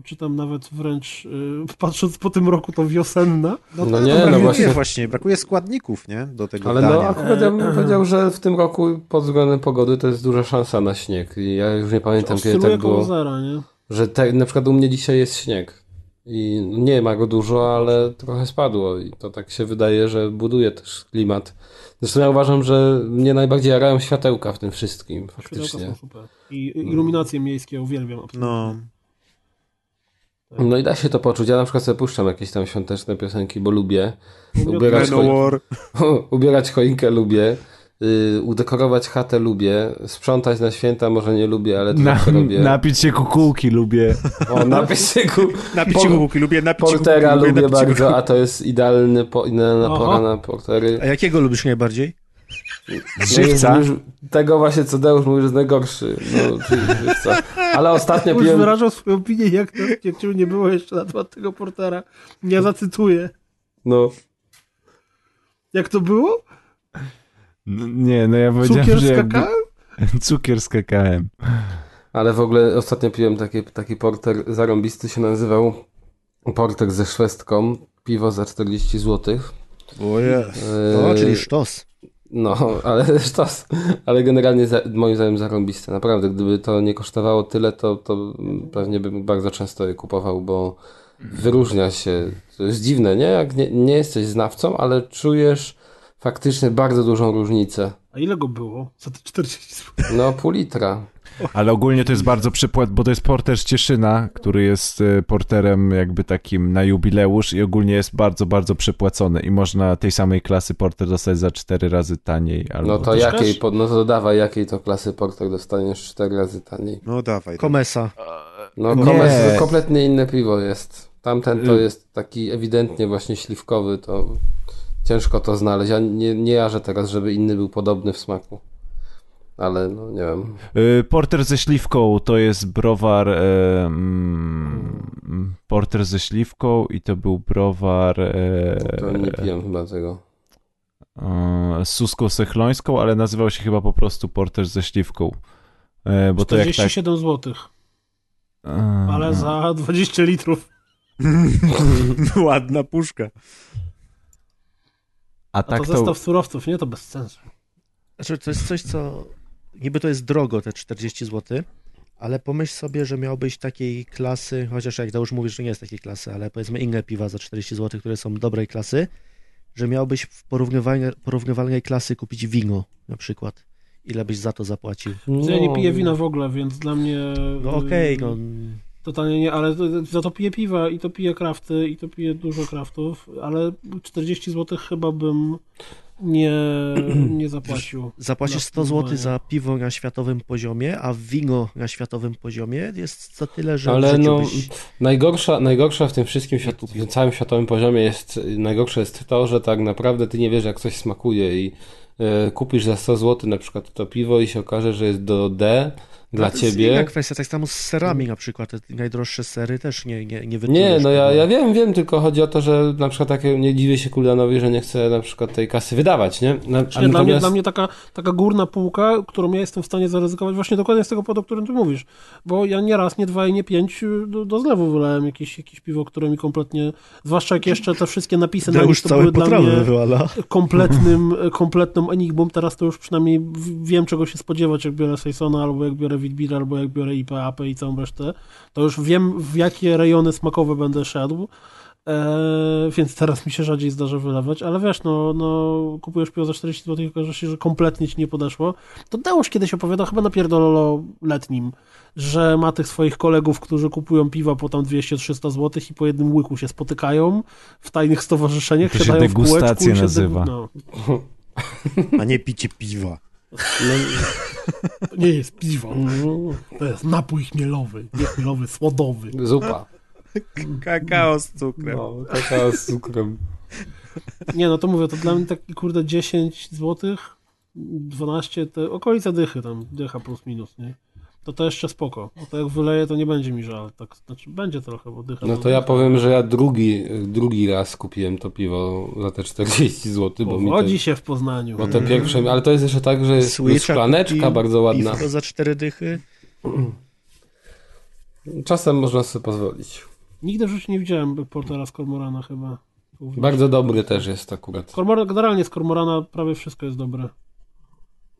[SPEAKER 3] czy tam nawet wręcz, y, patrząc po tym roku, to wiosenna.
[SPEAKER 4] No, to- to brakuje właśnie, brakuje składników, nie, do tego
[SPEAKER 9] Ale no,
[SPEAKER 4] dania.
[SPEAKER 9] akurat ja bym powiedział, że w tym roku pod względem pogody to jest duża szansa na śnieg. I ja już nie pamiętam, kiedy
[SPEAKER 3] Oscyluje
[SPEAKER 9] tak było.
[SPEAKER 3] koło zera, nie?
[SPEAKER 9] Że te, na przykład u mnie dzisiaj jest śnieg. I nie ma go dużo, ale trochę spadło. I to tak się wydaje, że buduje też klimat. Zresztą ja uważam, że mnie najbardziej jarają światełka w tym wszystkim,
[SPEAKER 3] Światełka
[SPEAKER 9] faktycznie. Mm.
[SPEAKER 3] są super. tak. I i iluminacje miejskie uwielbiam. absolutnie.
[SPEAKER 4] No.
[SPEAKER 9] No i da się to poczuć. Ja na przykład sobie puszczam jakieś tam świąteczne piosenki, bo lubię.
[SPEAKER 3] U mnie
[SPEAKER 9] Ubierać,
[SPEAKER 3] to- Manowar.
[SPEAKER 9] choi- ubierać choinkę lubię. Yy, udekorować chatę lubię. Sprzątać na święta może nie lubię, ale to
[SPEAKER 2] Na,
[SPEAKER 9] zawsze robię.
[SPEAKER 2] napić się kukułki lubię.
[SPEAKER 9] O, napić się ku...
[SPEAKER 2] Napić
[SPEAKER 9] por-
[SPEAKER 2] się kukułki, lubię napić się
[SPEAKER 9] Portera
[SPEAKER 2] kukułki, lubię
[SPEAKER 9] lubię
[SPEAKER 2] napić się
[SPEAKER 9] bardzo,
[SPEAKER 2] kukułki.
[SPEAKER 9] a to jest idealny po, idealna
[SPEAKER 10] Aha.
[SPEAKER 9] pora na portery.
[SPEAKER 10] A jakiego lubisz najbardziej?
[SPEAKER 9] No już- już tego właśnie, co Deusz mówił, że jest najgorszy. No, czyli żywca. Ale ostatnio
[SPEAKER 3] Już
[SPEAKER 9] piłem...
[SPEAKER 3] wyrażał swoją opinię, jak, to, jak cię nie było jeszcze na temat tego portera. Ja zacytuję.
[SPEAKER 9] No.
[SPEAKER 3] Jak to było?
[SPEAKER 2] N- Nie, no ja powiedziałem,
[SPEAKER 3] Cukier
[SPEAKER 2] że...
[SPEAKER 3] z
[SPEAKER 2] jakby-
[SPEAKER 3] kakao?
[SPEAKER 2] Cukier z kakałem.
[SPEAKER 9] Ale w ogóle ostatnio piłem taki, taki porter zarąbisty, się nazywał porter ze szwestką, piwo za 40 zł.
[SPEAKER 4] O jest.
[SPEAKER 10] No, czyli sztos.
[SPEAKER 9] No, ale sztos. Ale generalnie za, moim zdaniem zarąbiste. Naprawdę, gdyby to nie kosztowało tyle, to, to pewnie bym bardzo często je kupował, bo wyróżnia się. To jest dziwne, nie? Jak nie, nie jesteś znawcą, ale czujesz faktycznie bardzo dużą różnicę.
[SPEAKER 3] A ile go było? Za te 40 zł.
[SPEAKER 9] No, pół litra.
[SPEAKER 2] Ale ogólnie to jest bardzo przypłat, bo to jest porter z Cieszyna, który jest e, porterem jakby takim na jubileusz i ogólnie jest bardzo, bardzo przepłacony i można tej samej klasy porter dostać za cztery razy taniej. Albo
[SPEAKER 9] No to
[SPEAKER 2] też-
[SPEAKER 9] jakiej, po- no to dawaj, jakiej to klasy porter dostaniesz cztery razy taniej.
[SPEAKER 4] No dawaj.
[SPEAKER 10] Komesa.
[SPEAKER 9] No
[SPEAKER 10] Nie.
[SPEAKER 9] Komes to kompletnie inne piwo jest. Tamten
[SPEAKER 3] Y.
[SPEAKER 9] to jest taki ewidentnie właśnie śliwkowy, to ciężko to znaleźć. Ja nie, nie jarzę teraz, żeby inny był podobny w smaku. Ale no nie wiem.
[SPEAKER 2] Y, Porter ze śliwką to jest browar. e, mm, Porter ze śliwką i to był browar. e,
[SPEAKER 9] To
[SPEAKER 3] Eee.
[SPEAKER 9] nie piłem chyba tego.
[SPEAKER 2] e, z Suską Sechlońską, ale nazywał się chyba po prostu Porter ze śliwką. E, Bo to jak tak.
[SPEAKER 3] 47 zł.
[SPEAKER 2] e,
[SPEAKER 3] Ale za 20 litrów.
[SPEAKER 4] Ładna puszka.
[SPEAKER 2] A
[SPEAKER 3] A
[SPEAKER 2] tak
[SPEAKER 3] to
[SPEAKER 2] to.
[SPEAKER 3] zestaw surowców, nie? To bez sensu.
[SPEAKER 10] Znaczy, to jest coś, co niby to jest drogo, te 40 zł, ale pomyśl sobie, że miałbyś takiej klasy, chociaż jak już mówisz, że nie jest takiej klasy, ale powiedzmy inne piwa za 40 zł, które są dobrej klasy, że miałbyś w porównywalnej, porównywalnej klasy kupić wino na przykład. Ile byś za to zapłacił?
[SPEAKER 3] Ja nie piję wina w ogóle, więc dla mnie...
[SPEAKER 10] No okej,
[SPEAKER 3] y,
[SPEAKER 10] no.
[SPEAKER 3] Totalnie nie, ale to- za to piję piwa i to piję krafty i to piję dużo kraftów, ale 40 zł chyba bym nie, nie zapłacił.
[SPEAKER 10] Zapłacisz
[SPEAKER 3] Na
[SPEAKER 10] 100 zł
[SPEAKER 3] spróbowanie.
[SPEAKER 10] za piwo na światowym poziomie, a wino na światowym poziomie jest za tyle, że w
[SPEAKER 9] Ale
[SPEAKER 10] życiu
[SPEAKER 9] no,
[SPEAKER 10] byś...
[SPEAKER 9] najgorsza, najgorsza w tym wszystkim, świat- całym światowym poziomie jest, najgorsze jest to, że tak naprawdę ty nie wiesz, jak coś smakuje i e, kupisz za 100 zł na przykład to piwo i się okaże, że jest do D dla
[SPEAKER 10] to
[SPEAKER 9] ciebie.
[SPEAKER 10] jest inna kwestia, tak samo z serami na przykład. Te najdroższe sery też nie, nie, nie
[SPEAKER 9] Nie,
[SPEAKER 10] wytniesz.
[SPEAKER 9] no ja, ja wiem, wiem, tylko chodzi o to, że na przykład takie, nie dziwię się Kuldanowi, że nie chce na przykład tej kasy wydawać, nie? Na,
[SPEAKER 3] Czyli Znaczy, dla mnie, dla mnie taka, taka górna półka, którą ja jestem w stanie zaryzykować, właśnie dokładnie z tego powodu, o którym ty mówisz. Bo ja nie raz, nie dwa i nie pięć y, do, do zlewu wylałem jakieś, jakieś piwo, które mi kompletnie, zwłaszcza jak jeszcze te wszystkie napisy na
[SPEAKER 10] Deusz
[SPEAKER 3] nich, to
[SPEAKER 10] całe
[SPEAKER 3] były dla
[SPEAKER 10] potrawy
[SPEAKER 3] mnie
[SPEAKER 10] wywala.
[SPEAKER 3] kompletnym, kompletną enigmą. Teraz to już przynajmniej w- wiem, czego się spodziewać, jak biorę Sejsona, albo jak biorę Witbir, albo jak biorę IPA, AP i całą resztę. To już wiem, w jakie rejony smakowe będę szedł. Eee, więc teraz mi się rzadziej zdarza wylewać, ale wiesz, no, no kupujesz piwo za 40 zł i okaże się, że kompletnie ci nie podeszło. To Deusz kiedyś opowiadał, chyba na pierdololo letnim, że ma tych swoich kolegów, którzy kupują piwa po tam 200-300 zł i po jednym łyku się spotykają w tajnych stowarzyszeniach,
[SPEAKER 2] To się
[SPEAKER 3] siadają w kółeczku i
[SPEAKER 2] degustację
[SPEAKER 3] się
[SPEAKER 2] nazywa.
[SPEAKER 3] degu- no.
[SPEAKER 11] A nie picie piwa.
[SPEAKER 3] To nie jest piwo, to jest napój chmielowy, nie chmielowy, słodowy.
[SPEAKER 9] Zupa.
[SPEAKER 15] Kakao z cukrem.
[SPEAKER 9] No, kakao z cukrem.
[SPEAKER 3] Nie, no to mówię, to dla mnie taki kurde 10 zł, 12, te okolice dychy tam, dycha plus minus, nie? To to jeszcze spoko, bo to jak wyleję, to nie będzie mi żal, tak, znaczy będzie trochę, bo dycha...
[SPEAKER 9] No to ja powiem, że ja drugi, drugi raz kupiłem to piwo za te 40 zł, bo mi
[SPEAKER 3] Powodzi
[SPEAKER 9] te,
[SPEAKER 3] się w Poznaniu.
[SPEAKER 9] bo te pierwsze, ale to jest jeszcze tak, że jest szklaneczka bardzo ładna.
[SPEAKER 10] Piwko za cztery dychy.
[SPEAKER 9] Czasem można sobie pozwolić.
[SPEAKER 3] Nigdy w życiu nie widziałem portera z Kormorana chyba.
[SPEAKER 9] Bardzo dobry też jest akurat.
[SPEAKER 3] Kormor... Generalnie z Kormorana prawie wszystko jest dobre.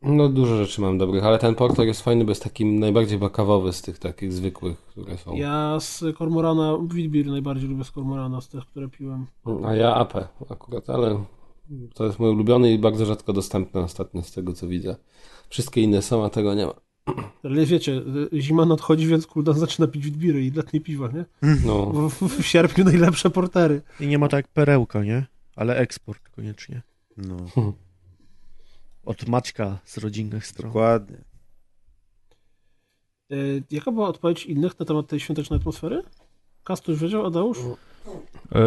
[SPEAKER 9] No dużo rzeczy mam dobrych, ale ten porter jest fajny, bo jest taki najbardziej bakawowy z tych takich zwykłych, które są.
[SPEAKER 3] Ja z Kormorana, Witbier najbardziej lubię z Kormorana, z tych, które piłem.
[SPEAKER 9] A ja AP akurat, ale to jest mój ulubiony i bardzo rzadko dostępny ostatnio z tego co widzę. Wszystkie inne są, a tego nie ma.
[SPEAKER 3] Ale wiecie, y, zima nadchodzi, więc Kuldan zaczyna pić witbiry i letnie piwa, nie?
[SPEAKER 9] No.
[SPEAKER 3] W, w, w sierpniu najlepsze portery.
[SPEAKER 10] I nie ma tak perełka, nie? Ale eksport koniecznie.
[SPEAKER 15] No.
[SPEAKER 10] Od Maćka z rodzinnych stron.
[SPEAKER 15] Dokładnie.
[SPEAKER 3] Y, Jaka była odpowiedź innych na temat tej świątecznej atmosfery? Kastuś wiedział, Adeusz?
[SPEAKER 2] E,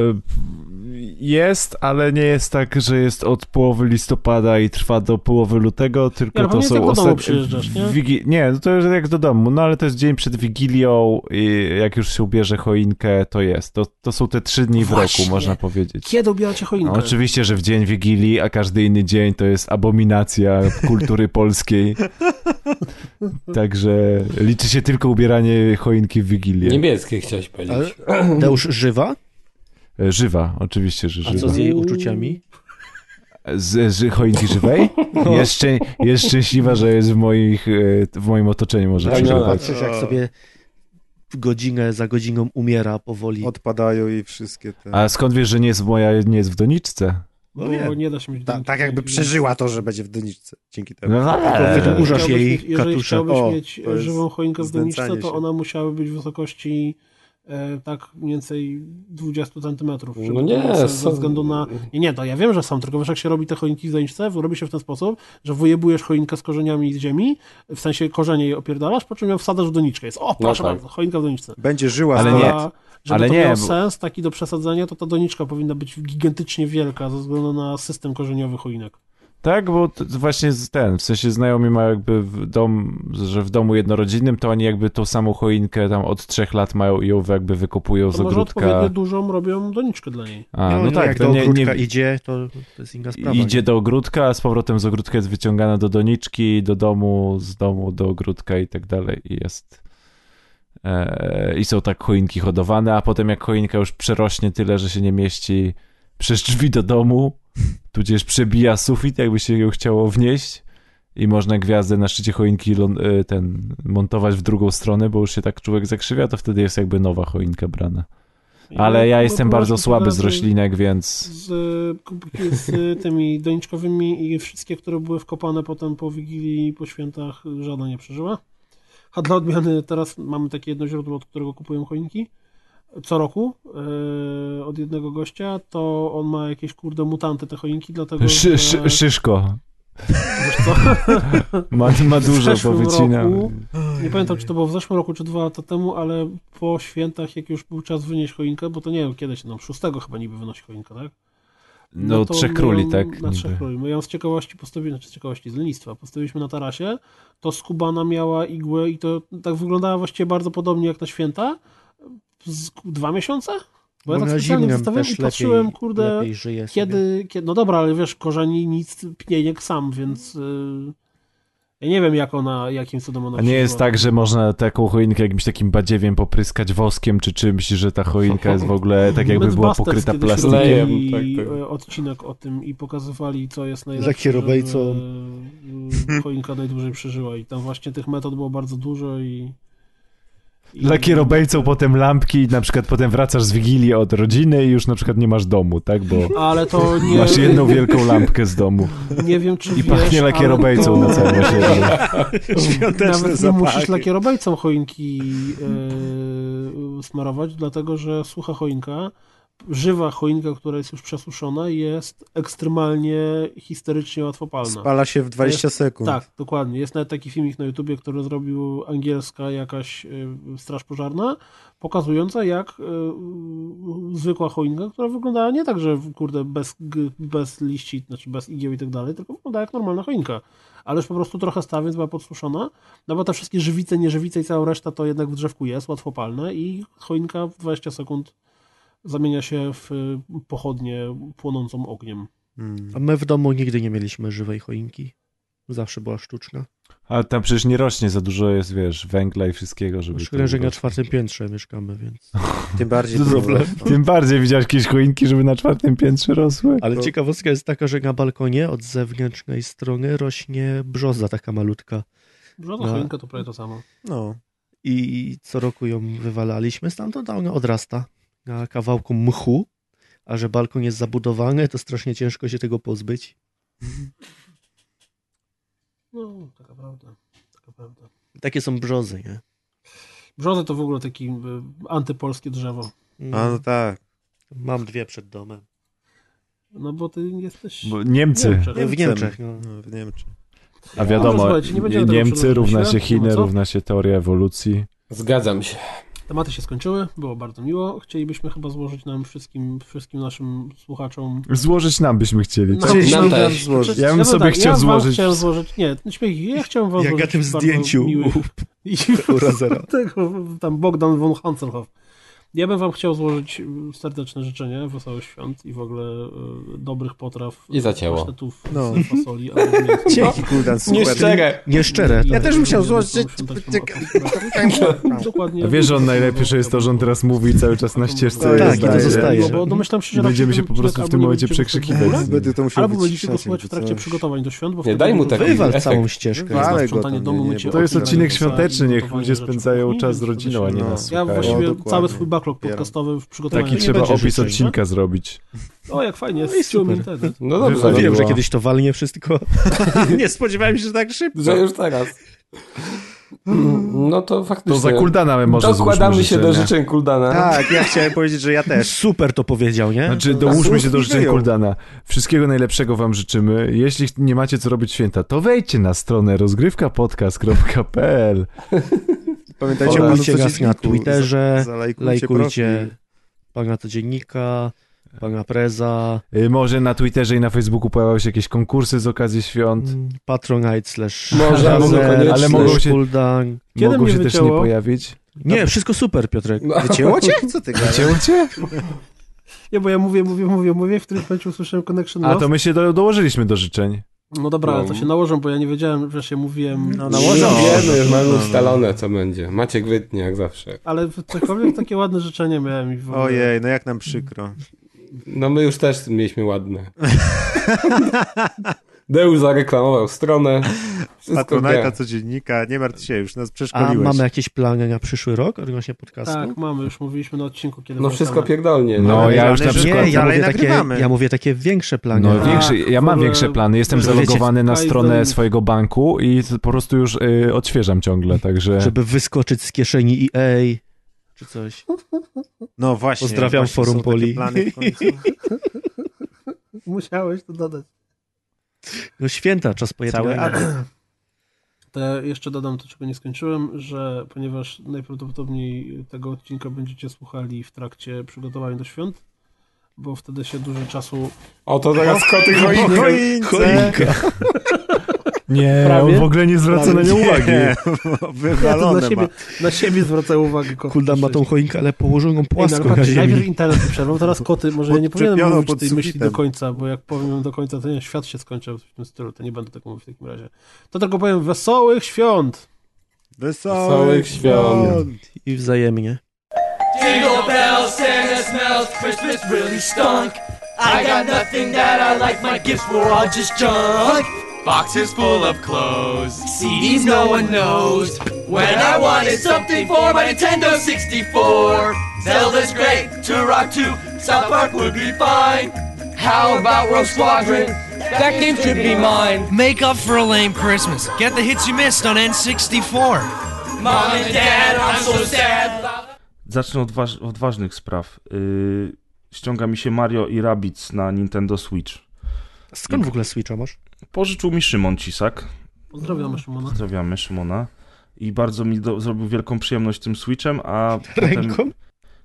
[SPEAKER 2] Jest, ale nie jest tak, że jest od połowy listopada i trwa do połowy lutego, tylko
[SPEAKER 3] Ja, bo
[SPEAKER 2] to
[SPEAKER 3] nie
[SPEAKER 2] są
[SPEAKER 3] tak do domu
[SPEAKER 2] ostatnie...
[SPEAKER 3] przyjeżdżasz, nie?
[SPEAKER 2] Wigi... Nie, no to już jak do domu, no ale to jest dzień przed Wigilią i jak już się ubierze choinkę, to jest. To, to są te trzy dni w
[SPEAKER 3] No Właśnie.
[SPEAKER 2] roku, można powiedzieć.
[SPEAKER 3] Kiedy ubieracie choinkę?
[SPEAKER 2] No, oczywiście, że w dzień Wigilii, a każdy inny dzień to jest abominacja kultury polskiej. Także liczy się tylko ubieranie choinki w Wigilię.
[SPEAKER 9] Niebieskiej chciałeś powiedzieć. Ale
[SPEAKER 10] Deusz żywa?
[SPEAKER 2] E, Żywa, oczywiście, że
[SPEAKER 10] A
[SPEAKER 2] żywa.
[SPEAKER 10] co z jej uczuciami?
[SPEAKER 2] Z, z choinki żywej?
[SPEAKER 10] No.
[SPEAKER 2] Jest, szczę, jest szczęśliwa, że jest w, moich, e, w moim otoczeniu, może
[SPEAKER 10] Znaczy, Tak,
[SPEAKER 2] przeżywać.
[SPEAKER 10] Patrzysz, jak sobie godzinę za godziną umiera powoli.
[SPEAKER 15] Odpadają jej wszystkie te...
[SPEAKER 2] A skąd wiesz, że nie jest moja, nie jest w doniczce?
[SPEAKER 15] No
[SPEAKER 3] bo
[SPEAKER 15] wiem.
[SPEAKER 3] nie da się mieć
[SPEAKER 15] Ta, tak jakby przeżyła to, że będzie w doniczce. Dzięki temu.
[SPEAKER 2] No, ale-
[SPEAKER 15] Tylko
[SPEAKER 2] Jeżeli
[SPEAKER 15] wydłużasz
[SPEAKER 3] Chciałbyś mieć- Jeżeli
[SPEAKER 15] katusze.
[SPEAKER 3] chciałbyś
[SPEAKER 15] O,
[SPEAKER 3] mieć
[SPEAKER 15] to jest
[SPEAKER 3] żywą choinkę w doniczce,
[SPEAKER 15] znęcanie
[SPEAKER 3] to
[SPEAKER 15] się.
[SPEAKER 3] ona musiałaby być w wysokości e, tak mniej więcej 20 centymetrów. żeby
[SPEAKER 9] No nie,
[SPEAKER 3] to było sens Ze
[SPEAKER 9] są-
[SPEAKER 3] względu na... Nie, nie, to ja wiem, że są, tylko wiesz jak się robi te choinki w doniczce? Robi się w ten sposób, że wyjebujesz choinkę z korzeniami z ziemi, w sensie korzenie jej opierdalasz, po czym ją wsadzasz w doniczkę. Jest, o, proszę
[SPEAKER 15] tak.
[SPEAKER 3] bardzo, choinka w doniczce.
[SPEAKER 15] Będzie żyła
[SPEAKER 2] Ale
[SPEAKER 15] sto
[SPEAKER 2] nie.
[SPEAKER 15] lat.
[SPEAKER 3] Żeby
[SPEAKER 2] Ale
[SPEAKER 3] to
[SPEAKER 2] nie,
[SPEAKER 3] miało
[SPEAKER 2] bo-
[SPEAKER 3] sens taki do przesadzenia, to ta doniczka powinna być gigantycznie wielka ze względu na system korzeniowy choinek.
[SPEAKER 2] Tak, bo t- właśnie z- ten, w sensie znajomi mają jakby w dom, że w domu jednorodzinnym to oni jakby tą samą choinkę tam od trzech lat mają i ją jakby wykopują z
[SPEAKER 3] To może odpowiednio
[SPEAKER 2] ogródka.
[SPEAKER 3] dużą robią doniczkę dla niej.
[SPEAKER 2] A, no, tak,
[SPEAKER 10] jak
[SPEAKER 2] to
[SPEAKER 10] do
[SPEAKER 2] nie- nie-
[SPEAKER 10] ogródka idzie, to, to jest inna sprawa.
[SPEAKER 2] Idzie do ogródka, a z powrotem z ogródka jest wyciągana do doniczki, do domu, z domu do ogródka i tak dalej i jest... e, I są tak choinki hodowane, a potem jak choinka już przerośnie tyle, że się nie mieści przez drzwi do domu, tudzież przebija sufit, jakby się ją chciało wnieść i można gwiazdę na szczycie choinki lą- e, ten montować w drugą stronę, bo już się tak człowiek zakrzywia, to wtedy jest jakby nowa choinka brana. Ale ja
[SPEAKER 3] No,
[SPEAKER 2] jestem
[SPEAKER 3] no,
[SPEAKER 2] bardzo
[SPEAKER 3] właśnie
[SPEAKER 2] słaby
[SPEAKER 3] teraz,
[SPEAKER 2] z
[SPEAKER 3] y,
[SPEAKER 2] roślinek, więc...
[SPEAKER 3] Z, kubki- z tymi doniczkowymi i wszystkie, które były wkopane potem po Wigilii i po świętach, żadna nie przeżyła. A dla odmiany teraz mamy takie jedno źródło, od którego kupuję choinki. Co roku yy, od jednego gościa, to on ma jakieś kurde mutanty te choinki, dlatego
[SPEAKER 2] Szy,
[SPEAKER 3] że-
[SPEAKER 2] szy, szyszko.
[SPEAKER 3] Wiesz co?
[SPEAKER 2] Ma- ma
[SPEAKER 3] W
[SPEAKER 2] dużo, no.
[SPEAKER 3] zeszłym
[SPEAKER 2] bo wycina.
[SPEAKER 3] roku- Nie pamiętam, czy to było w zeszłym roku, czy dwa lata temu, ale po świętach, jak już był czas wynieść choinkę, bo to nie wiem, kiedyś, no 6 chyba niby wynosi choinkę, tak?
[SPEAKER 2] No,
[SPEAKER 3] to
[SPEAKER 2] Trzech
[SPEAKER 3] my
[SPEAKER 2] Króli,
[SPEAKER 3] ją-
[SPEAKER 2] tak,
[SPEAKER 3] Na
[SPEAKER 2] niby.
[SPEAKER 3] Trzech Króli. My ją z ciekawości postawiliśmy, znaczy z ciekawości, z lenistwa. Postawiliśmy na tarasie, to skubana miała igłę i to tak wyglądała właściwie bardzo podobnie jak na święta. Z dwa miesiące? Bo ja
[SPEAKER 10] Bo
[SPEAKER 3] tak
[SPEAKER 10] na
[SPEAKER 3] specjalnie
[SPEAKER 10] zimnym
[SPEAKER 3] zostawiłem
[SPEAKER 10] też
[SPEAKER 3] i patrzyłem,
[SPEAKER 10] lepiej-
[SPEAKER 3] kurde,
[SPEAKER 10] lepiej żyje sobie.
[SPEAKER 3] kiedy, kiedy... No dobra, ale wiesz, korzeni nic, pniejek sam, więc... Yy, ja nie wiem, jak ona, jakim cudem ona
[SPEAKER 2] A nie jest
[SPEAKER 3] przyszła.
[SPEAKER 2] tak, że można taką choinkę jakimś takim badziewiem popryskać woskiem czy czymś, że ta choinka jest w ogóle tak jakby była
[SPEAKER 3] Mythbusters
[SPEAKER 2] pokryta tak,
[SPEAKER 3] kiedyś
[SPEAKER 2] plastikiem.
[SPEAKER 3] robili, e, odcinek o tym i pokazywali, co jest najlepsze.
[SPEAKER 11] robejcą.
[SPEAKER 3] żeby, e, Choinka najdłużej przeżyła i tam właśnie tych metod było bardzo dużo i...
[SPEAKER 2] Dla kierobejcą potem lampki i na przykład potem wracasz z Wigilii od rodziny i już na przykład nie masz domu, tak? Bo
[SPEAKER 3] Ale to nie-
[SPEAKER 2] masz jedną wielką lampkę z domu.
[SPEAKER 3] Nie wiem, czy
[SPEAKER 2] I
[SPEAKER 3] wiesz,
[SPEAKER 2] pachnie
[SPEAKER 3] ale
[SPEAKER 2] lakierobejcą
[SPEAKER 3] to-
[SPEAKER 2] na całym osiedlu.
[SPEAKER 11] Świąteczne
[SPEAKER 3] Nawet nie
[SPEAKER 11] zapachy.
[SPEAKER 3] musisz lakierobejcą choinki e, smarować, dlatego że sucha choinka, żywa choinka, która jest już przesuszona, jest ekstremalnie histerycznie łatwopalna.
[SPEAKER 15] Spala się w 20
[SPEAKER 3] jest,
[SPEAKER 15] sekund.
[SPEAKER 3] Tak, dokładnie. Jest nawet taki filmik na YouTubie, który zrobił angielska jakaś e, straż pożarna, pokazująca jak e, zwykła choinka, która wyglądała nie tak, że kurde bez, g- bez liści, znaczy bez igieł i tak dalej, tylko wygląda jak normalna choinka. Ale już po prostu trochę stała, więc była podsuszona. No bo te wszystkie żywice, nieżywice i cała reszta to jednak w drzewku jest, łatwopalne i choinka w 20 sekund zamienia się w y, pochodnie płonącą ogniem.
[SPEAKER 15] Hmm.
[SPEAKER 10] A my w domu nigdy nie mieliśmy żywej choinki. Zawsze była sztuczna.
[SPEAKER 2] Ale tam przecież nie rośnie za dużo jest, wiesz, węgla i wszystkiego, żeby... to No
[SPEAKER 10] Szkoda, że
[SPEAKER 2] było.
[SPEAKER 10] na czwartym piętrze mieszkamy, więc...
[SPEAKER 15] Tym bardziej...
[SPEAKER 10] To
[SPEAKER 15] tym-
[SPEAKER 10] problem.
[SPEAKER 2] Tym bardziej widziałeś jakieś choinki, żeby na czwartym piętrze rosły.
[SPEAKER 10] Ale ciekawostka jest taka, że na balkonie od zewnętrznej strony rośnie brzoza taka malutka.
[SPEAKER 3] Brzoza
[SPEAKER 10] Na-
[SPEAKER 3] choinka to prawie to samo.
[SPEAKER 15] No.
[SPEAKER 10] I co roku ją wywalaliśmy stamtąd, a ona odrasta na kawałku mchu. A że balkon jest zabudowany, to strasznie ciężko się tego pozbyć.
[SPEAKER 3] No, taka prawda. Taka prawda.
[SPEAKER 10] Takie są brzozy, nie?
[SPEAKER 3] Brzoza to w ogóle taki y, antypolskie drzewo.
[SPEAKER 15] A no tak.
[SPEAKER 10] Mm. Mam dwie przed domem.
[SPEAKER 3] No bo ty jesteś...
[SPEAKER 2] Bo Niemcy.
[SPEAKER 10] W Niemczech, no.
[SPEAKER 15] No, w Niemczech.
[SPEAKER 2] A wiadomo,
[SPEAKER 3] Dobrze, no, słuchajcie, nie będziemy tego
[SPEAKER 2] Niemcy
[SPEAKER 3] przedłużać
[SPEAKER 2] równa
[SPEAKER 3] myślę.
[SPEAKER 2] się
[SPEAKER 3] Nie ma
[SPEAKER 2] Chiny,
[SPEAKER 3] co?
[SPEAKER 2] równa się teoria ewolucji.
[SPEAKER 9] Zgadzam się.
[SPEAKER 3] Tematy się skończyły, było bardzo miło. Chcielibyśmy chyba złożyć nam wszystkim, wszystkim naszym słuchaczom.
[SPEAKER 2] Złożyć nam byśmy chcieli.
[SPEAKER 3] No,
[SPEAKER 2] tak?
[SPEAKER 3] chcieliśmy
[SPEAKER 2] Nam
[SPEAKER 3] nam
[SPEAKER 2] też.
[SPEAKER 3] złożyć.
[SPEAKER 2] Ja bym
[SPEAKER 3] no
[SPEAKER 2] sobie
[SPEAKER 3] tak,
[SPEAKER 2] chciał
[SPEAKER 3] ja wam
[SPEAKER 2] złożyć.
[SPEAKER 3] Chciałem złożyć. Nie, śmiech, ja chciałem wam
[SPEAKER 2] Jak na
[SPEAKER 3] złożyć.
[SPEAKER 2] tym
[SPEAKER 3] bardzo
[SPEAKER 2] zdjęciu
[SPEAKER 3] miłych- I
[SPEAKER 2] u Razera.
[SPEAKER 3] tego, tam Bogdan von Hansenhoff. Ja bym wam chciał złożyć serdeczne życzenia, wesołych świąt i w ogóle e, dobrych potraw.
[SPEAKER 9] I zacięło.
[SPEAKER 3] pasztetów
[SPEAKER 15] No.
[SPEAKER 3] z fasoli. albo mięsa.
[SPEAKER 15] Dzięki, Kuldan, super. Nieszczere.
[SPEAKER 10] Nieszczere,
[SPEAKER 15] Ja
[SPEAKER 10] tak.
[SPEAKER 15] też bym chciał
[SPEAKER 3] Wesołych
[SPEAKER 15] złożyć-
[SPEAKER 3] świąteczną
[SPEAKER 15] Czekaj. No.
[SPEAKER 3] atmosferę. Dokładnie.
[SPEAKER 2] A wiesz, że on najlepszy jest to, że on teraz mówi i cały czas na ścieżce.
[SPEAKER 15] Tak,
[SPEAKER 2] jest,
[SPEAKER 15] i to zostaje.
[SPEAKER 3] No bo domyślam się, że
[SPEAKER 2] Będziemy
[SPEAKER 3] raczej
[SPEAKER 2] się
[SPEAKER 3] ten
[SPEAKER 2] po prostu
[SPEAKER 3] odcinek
[SPEAKER 2] w tym
[SPEAKER 3] albo nie
[SPEAKER 2] momencie
[SPEAKER 3] będziecie
[SPEAKER 2] przekrzykiwać.
[SPEAKER 3] słuchać w ogóle,
[SPEAKER 15] Będę to musiał
[SPEAKER 3] Albo
[SPEAKER 15] być
[SPEAKER 3] będziecie go
[SPEAKER 15] wcześniej,
[SPEAKER 3] słuchać w
[SPEAKER 15] czy
[SPEAKER 3] trakcie
[SPEAKER 15] coś.
[SPEAKER 3] przygotowań do świąt, bo
[SPEAKER 9] Nie,
[SPEAKER 3] wtedy
[SPEAKER 9] daj mu
[SPEAKER 3] będą-
[SPEAKER 9] taki Wywal efekt. całą
[SPEAKER 10] ścieżkę.
[SPEAKER 15] Wywalę go
[SPEAKER 3] Sprzątanie
[SPEAKER 15] tam,
[SPEAKER 3] domu,
[SPEAKER 15] nie, nie,
[SPEAKER 3] mycie
[SPEAKER 15] bo
[SPEAKER 2] To jest
[SPEAKER 3] okna,
[SPEAKER 2] odcinek
[SPEAKER 3] wyprzątanie
[SPEAKER 2] świąteczny, niech
[SPEAKER 3] gotowanie
[SPEAKER 2] ludzie
[SPEAKER 3] rzeczy
[SPEAKER 2] spędzają
[SPEAKER 3] kuchni,
[SPEAKER 2] czas z
[SPEAKER 3] to
[SPEAKER 2] rodziną, a nie
[SPEAKER 15] No.
[SPEAKER 2] nas
[SPEAKER 3] Ja
[SPEAKER 2] słuchają.
[SPEAKER 3] właściwie
[SPEAKER 15] O, dokładnie.
[SPEAKER 3] cały swój backlog
[SPEAKER 15] Popieram.
[SPEAKER 3] podcastowy w przygotowaniu.
[SPEAKER 2] Taki
[SPEAKER 3] Nie
[SPEAKER 2] trzeba
[SPEAKER 3] będzie
[SPEAKER 2] opis
[SPEAKER 3] życzeń,
[SPEAKER 2] odcinka zrobić.
[SPEAKER 3] no? O, jak fajnie,
[SPEAKER 10] No i
[SPEAKER 3] jest no
[SPEAKER 10] super.
[SPEAKER 3] internet.
[SPEAKER 9] No
[SPEAKER 2] Wywaliła.
[SPEAKER 9] dobrze.
[SPEAKER 10] Wiem, że kiedyś to walnie wszystko.
[SPEAKER 15] Nie spodziewałem się, że tak szybko.
[SPEAKER 9] Że już teraz. No to faktycznie.
[SPEAKER 2] To za Kuldana może złóżmy
[SPEAKER 9] Dokładamy się do
[SPEAKER 2] życzenia.
[SPEAKER 9] życzeń Kuldana.
[SPEAKER 10] no-
[SPEAKER 15] Tak, ja chciałem powiedzieć, że ja też.
[SPEAKER 10] Super to powiedział, nie?
[SPEAKER 3] No,
[SPEAKER 2] Znaczy, dołóżmy się do życzeń Kuldana. Wszystkiego najlepszego wam życzymy. Jeśli nie macie co robić święta, to wejdźcie na stronę rozgrywkapodcast.pl
[SPEAKER 15] Pamiętajcie o
[SPEAKER 4] no
[SPEAKER 10] Follow nas na
[SPEAKER 15] codzienniku.
[SPEAKER 10] Twitterze,
[SPEAKER 15] Za- zalajkujcie
[SPEAKER 10] lajkujcie pana codziennika, pana preza,
[SPEAKER 2] Y, Może na Twitterze i na Facebooku pojawiały się jakieś konkursy z okazji świąnt.
[SPEAKER 10] patronite slash
[SPEAKER 9] Może,
[SPEAKER 10] Razer,
[SPEAKER 9] mogą koniecznie.
[SPEAKER 2] ale mogą się,
[SPEAKER 10] Kuldan.
[SPEAKER 3] Kiedy
[SPEAKER 2] mogą
[SPEAKER 3] mnie
[SPEAKER 2] się też nie
[SPEAKER 3] wycięło?
[SPEAKER 2] pojawić.
[SPEAKER 10] Nie, wszystko super, Piotrek.
[SPEAKER 15] Wycięło cię? Co ty gadasz?
[SPEAKER 2] Cię, cię?
[SPEAKER 3] Nie, bo ja mówię, mówię, mówię, mówię, w którymś momencie usłyszałem Connection
[SPEAKER 2] A
[SPEAKER 3] Lost.
[SPEAKER 2] to my się do, dołożyliśmy do życzeń.
[SPEAKER 3] No dobra, ale to się nałożą, bo ja nie wiedziałem, wiesz, ja mówiłem...
[SPEAKER 15] No,
[SPEAKER 9] Już
[SPEAKER 15] nałożą.
[SPEAKER 9] wiemy, już mamy ustalone, co będzie. Maciek wytnie, jak zawsze.
[SPEAKER 3] Ale w- cokolwiek takie ładne życzenie miałem i w ogóle...
[SPEAKER 15] Ojej, no jak nam przykro.
[SPEAKER 9] No my już też mieliśmy ładne. Deu zareklamował stronę. Wszystko
[SPEAKER 15] Patronajta
[SPEAKER 9] gra.
[SPEAKER 15] codziennika, nie martw się, już nas
[SPEAKER 10] A
[SPEAKER 15] przeszkoliłeś.
[SPEAKER 10] mamy jakieś plany na przyszły rok odnośnie podcastu?
[SPEAKER 3] Tak, mamy, już mówiliśmy na odcinku, kiedy
[SPEAKER 9] No wszystko
[SPEAKER 3] wracamy.
[SPEAKER 9] pierdolnie.
[SPEAKER 2] No,
[SPEAKER 9] Ale-
[SPEAKER 2] ja już na
[SPEAKER 15] ale że-
[SPEAKER 2] przykład...
[SPEAKER 10] Nie, ja
[SPEAKER 15] dalej
[SPEAKER 10] mówię, takie,
[SPEAKER 15] nagrywamy.
[SPEAKER 10] ja mówię takie większe plany.
[SPEAKER 2] No,
[SPEAKER 10] No,
[SPEAKER 2] większy, ja
[SPEAKER 3] w
[SPEAKER 2] mam
[SPEAKER 3] ogóle-
[SPEAKER 2] większe plany. Jestem
[SPEAKER 10] Wiecie,
[SPEAKER 2] zalogowany na
[SPEAKER 3] Kaizen-
[SPEAKER 2] stronę swojego banku i po prostu już y, odświeżam ciągle, także...
[SPEAKER 10] Żeby wyskoczyć z kieszeni EA czy coś.
[SPEAKER 15] No właśnie.
[SPEAKER 10] Pozdrawiam
[SPEAKER 15] właśnie
[SPEAKER 10] Forum
[SPEAKER 15] są takie
[SPEAKER 10] Poli.
[SPEAKER 15] plany w końcu.
[SPEAKER 3] Musiałeś to dodać.
[SPEAKER 10] No święta, czas pojedynka.
[SPEAKER 3] To ja jeszcze dodam to, czego nie skończyłem, że ponieważ najprawdopodobniej tego odcinka będziecie słuchali w trakcie przygotowań do świąt, bo wtedy się dużo czasu...
[SPEAKER 9] O, to teraz
[SPEAKER 3] No.
[SPEAKER 9] koty
[SPEAKER 15] No
[SPEAKER 9] choinkę. Choinka. E,
[SPEAKER 2] Nie,
[SPEAKER 3] Prawie?
[SPEAKER 2] on w ogóle nie zwraca na nią
[SPEAKER 3] Prawie.
[SPEAKER 2] uwagi.
[SPEAKER 3] Nie, Ja to
[SPEAKER 15] Wywalone
[SPEAKER 3] na siebie,
[SPEAKER 15] ma.
[SPEAKER 3] na siebie zwracają uwagę koty.
[SPEAKER 10] Kulda ma tą choinkę, ale położoną
[SPEAKER 3] Ej, no,
[SPEAKER 10] płasko
[SPEAKER 3] ale
[SPEAKER 10] na
[SPEAKER 3] patrzcie, najpierw
[SPEAKER 10] ziemi.
[SPEAKER 3] internet przerwał, teraz koty, może ja nie powinienem
[SPEAKER 15] Podczepiono
[SPEAKER 3] mówić
[SPEAKER 15] pod
[SPEAKER 3] tej myśli
[SPEAKER 15] sufitem.
[SPEAKER 3] do końca, bo jak powiem ją do końca, to nie, świat się skończy w tym stylu, to nie będę tak mówił w takim razie. To tylko powiem wesołych świąt!
[SPEAKER 9] Wesołych świąt.
[SPEAKER 10] I wzajemnie.
[SPEAKER 16] Jingle bells, Santa smells, Christmas really stunk. I got nothing that I like, my gifts were all just junk. Boxes full of clothes, CDs no one knows. When I wanted something for my Nintendo 64, Zelda's great, Turok 2, South Park would be fine. How about Rogue Squadron? That game should be mine.
[SPEAKER 17] Make up for a lame Christmas. Get the hits you missed on N64.
[SPEAKER 16] Mom and Dad, I'm so sad.
[SPEAKER 1] Zacznę od, waż- od ważnych spraw. Yy, ściąga mi się Mario i Rabbids na Nintendo Switch.
[SPEAKER 10] Skąd w ogóle Switcha masz?
[SPEAKER 1] Pożyczył mi Szymon Cisak.
[SPEAKER 3] Pozdrawiamy Szymona.
[SPEAKER 1] Pozdrawiamy Szymona. I bardzo mi do, zrobił wielką przyjemność tym Switchem, a Ręką? potem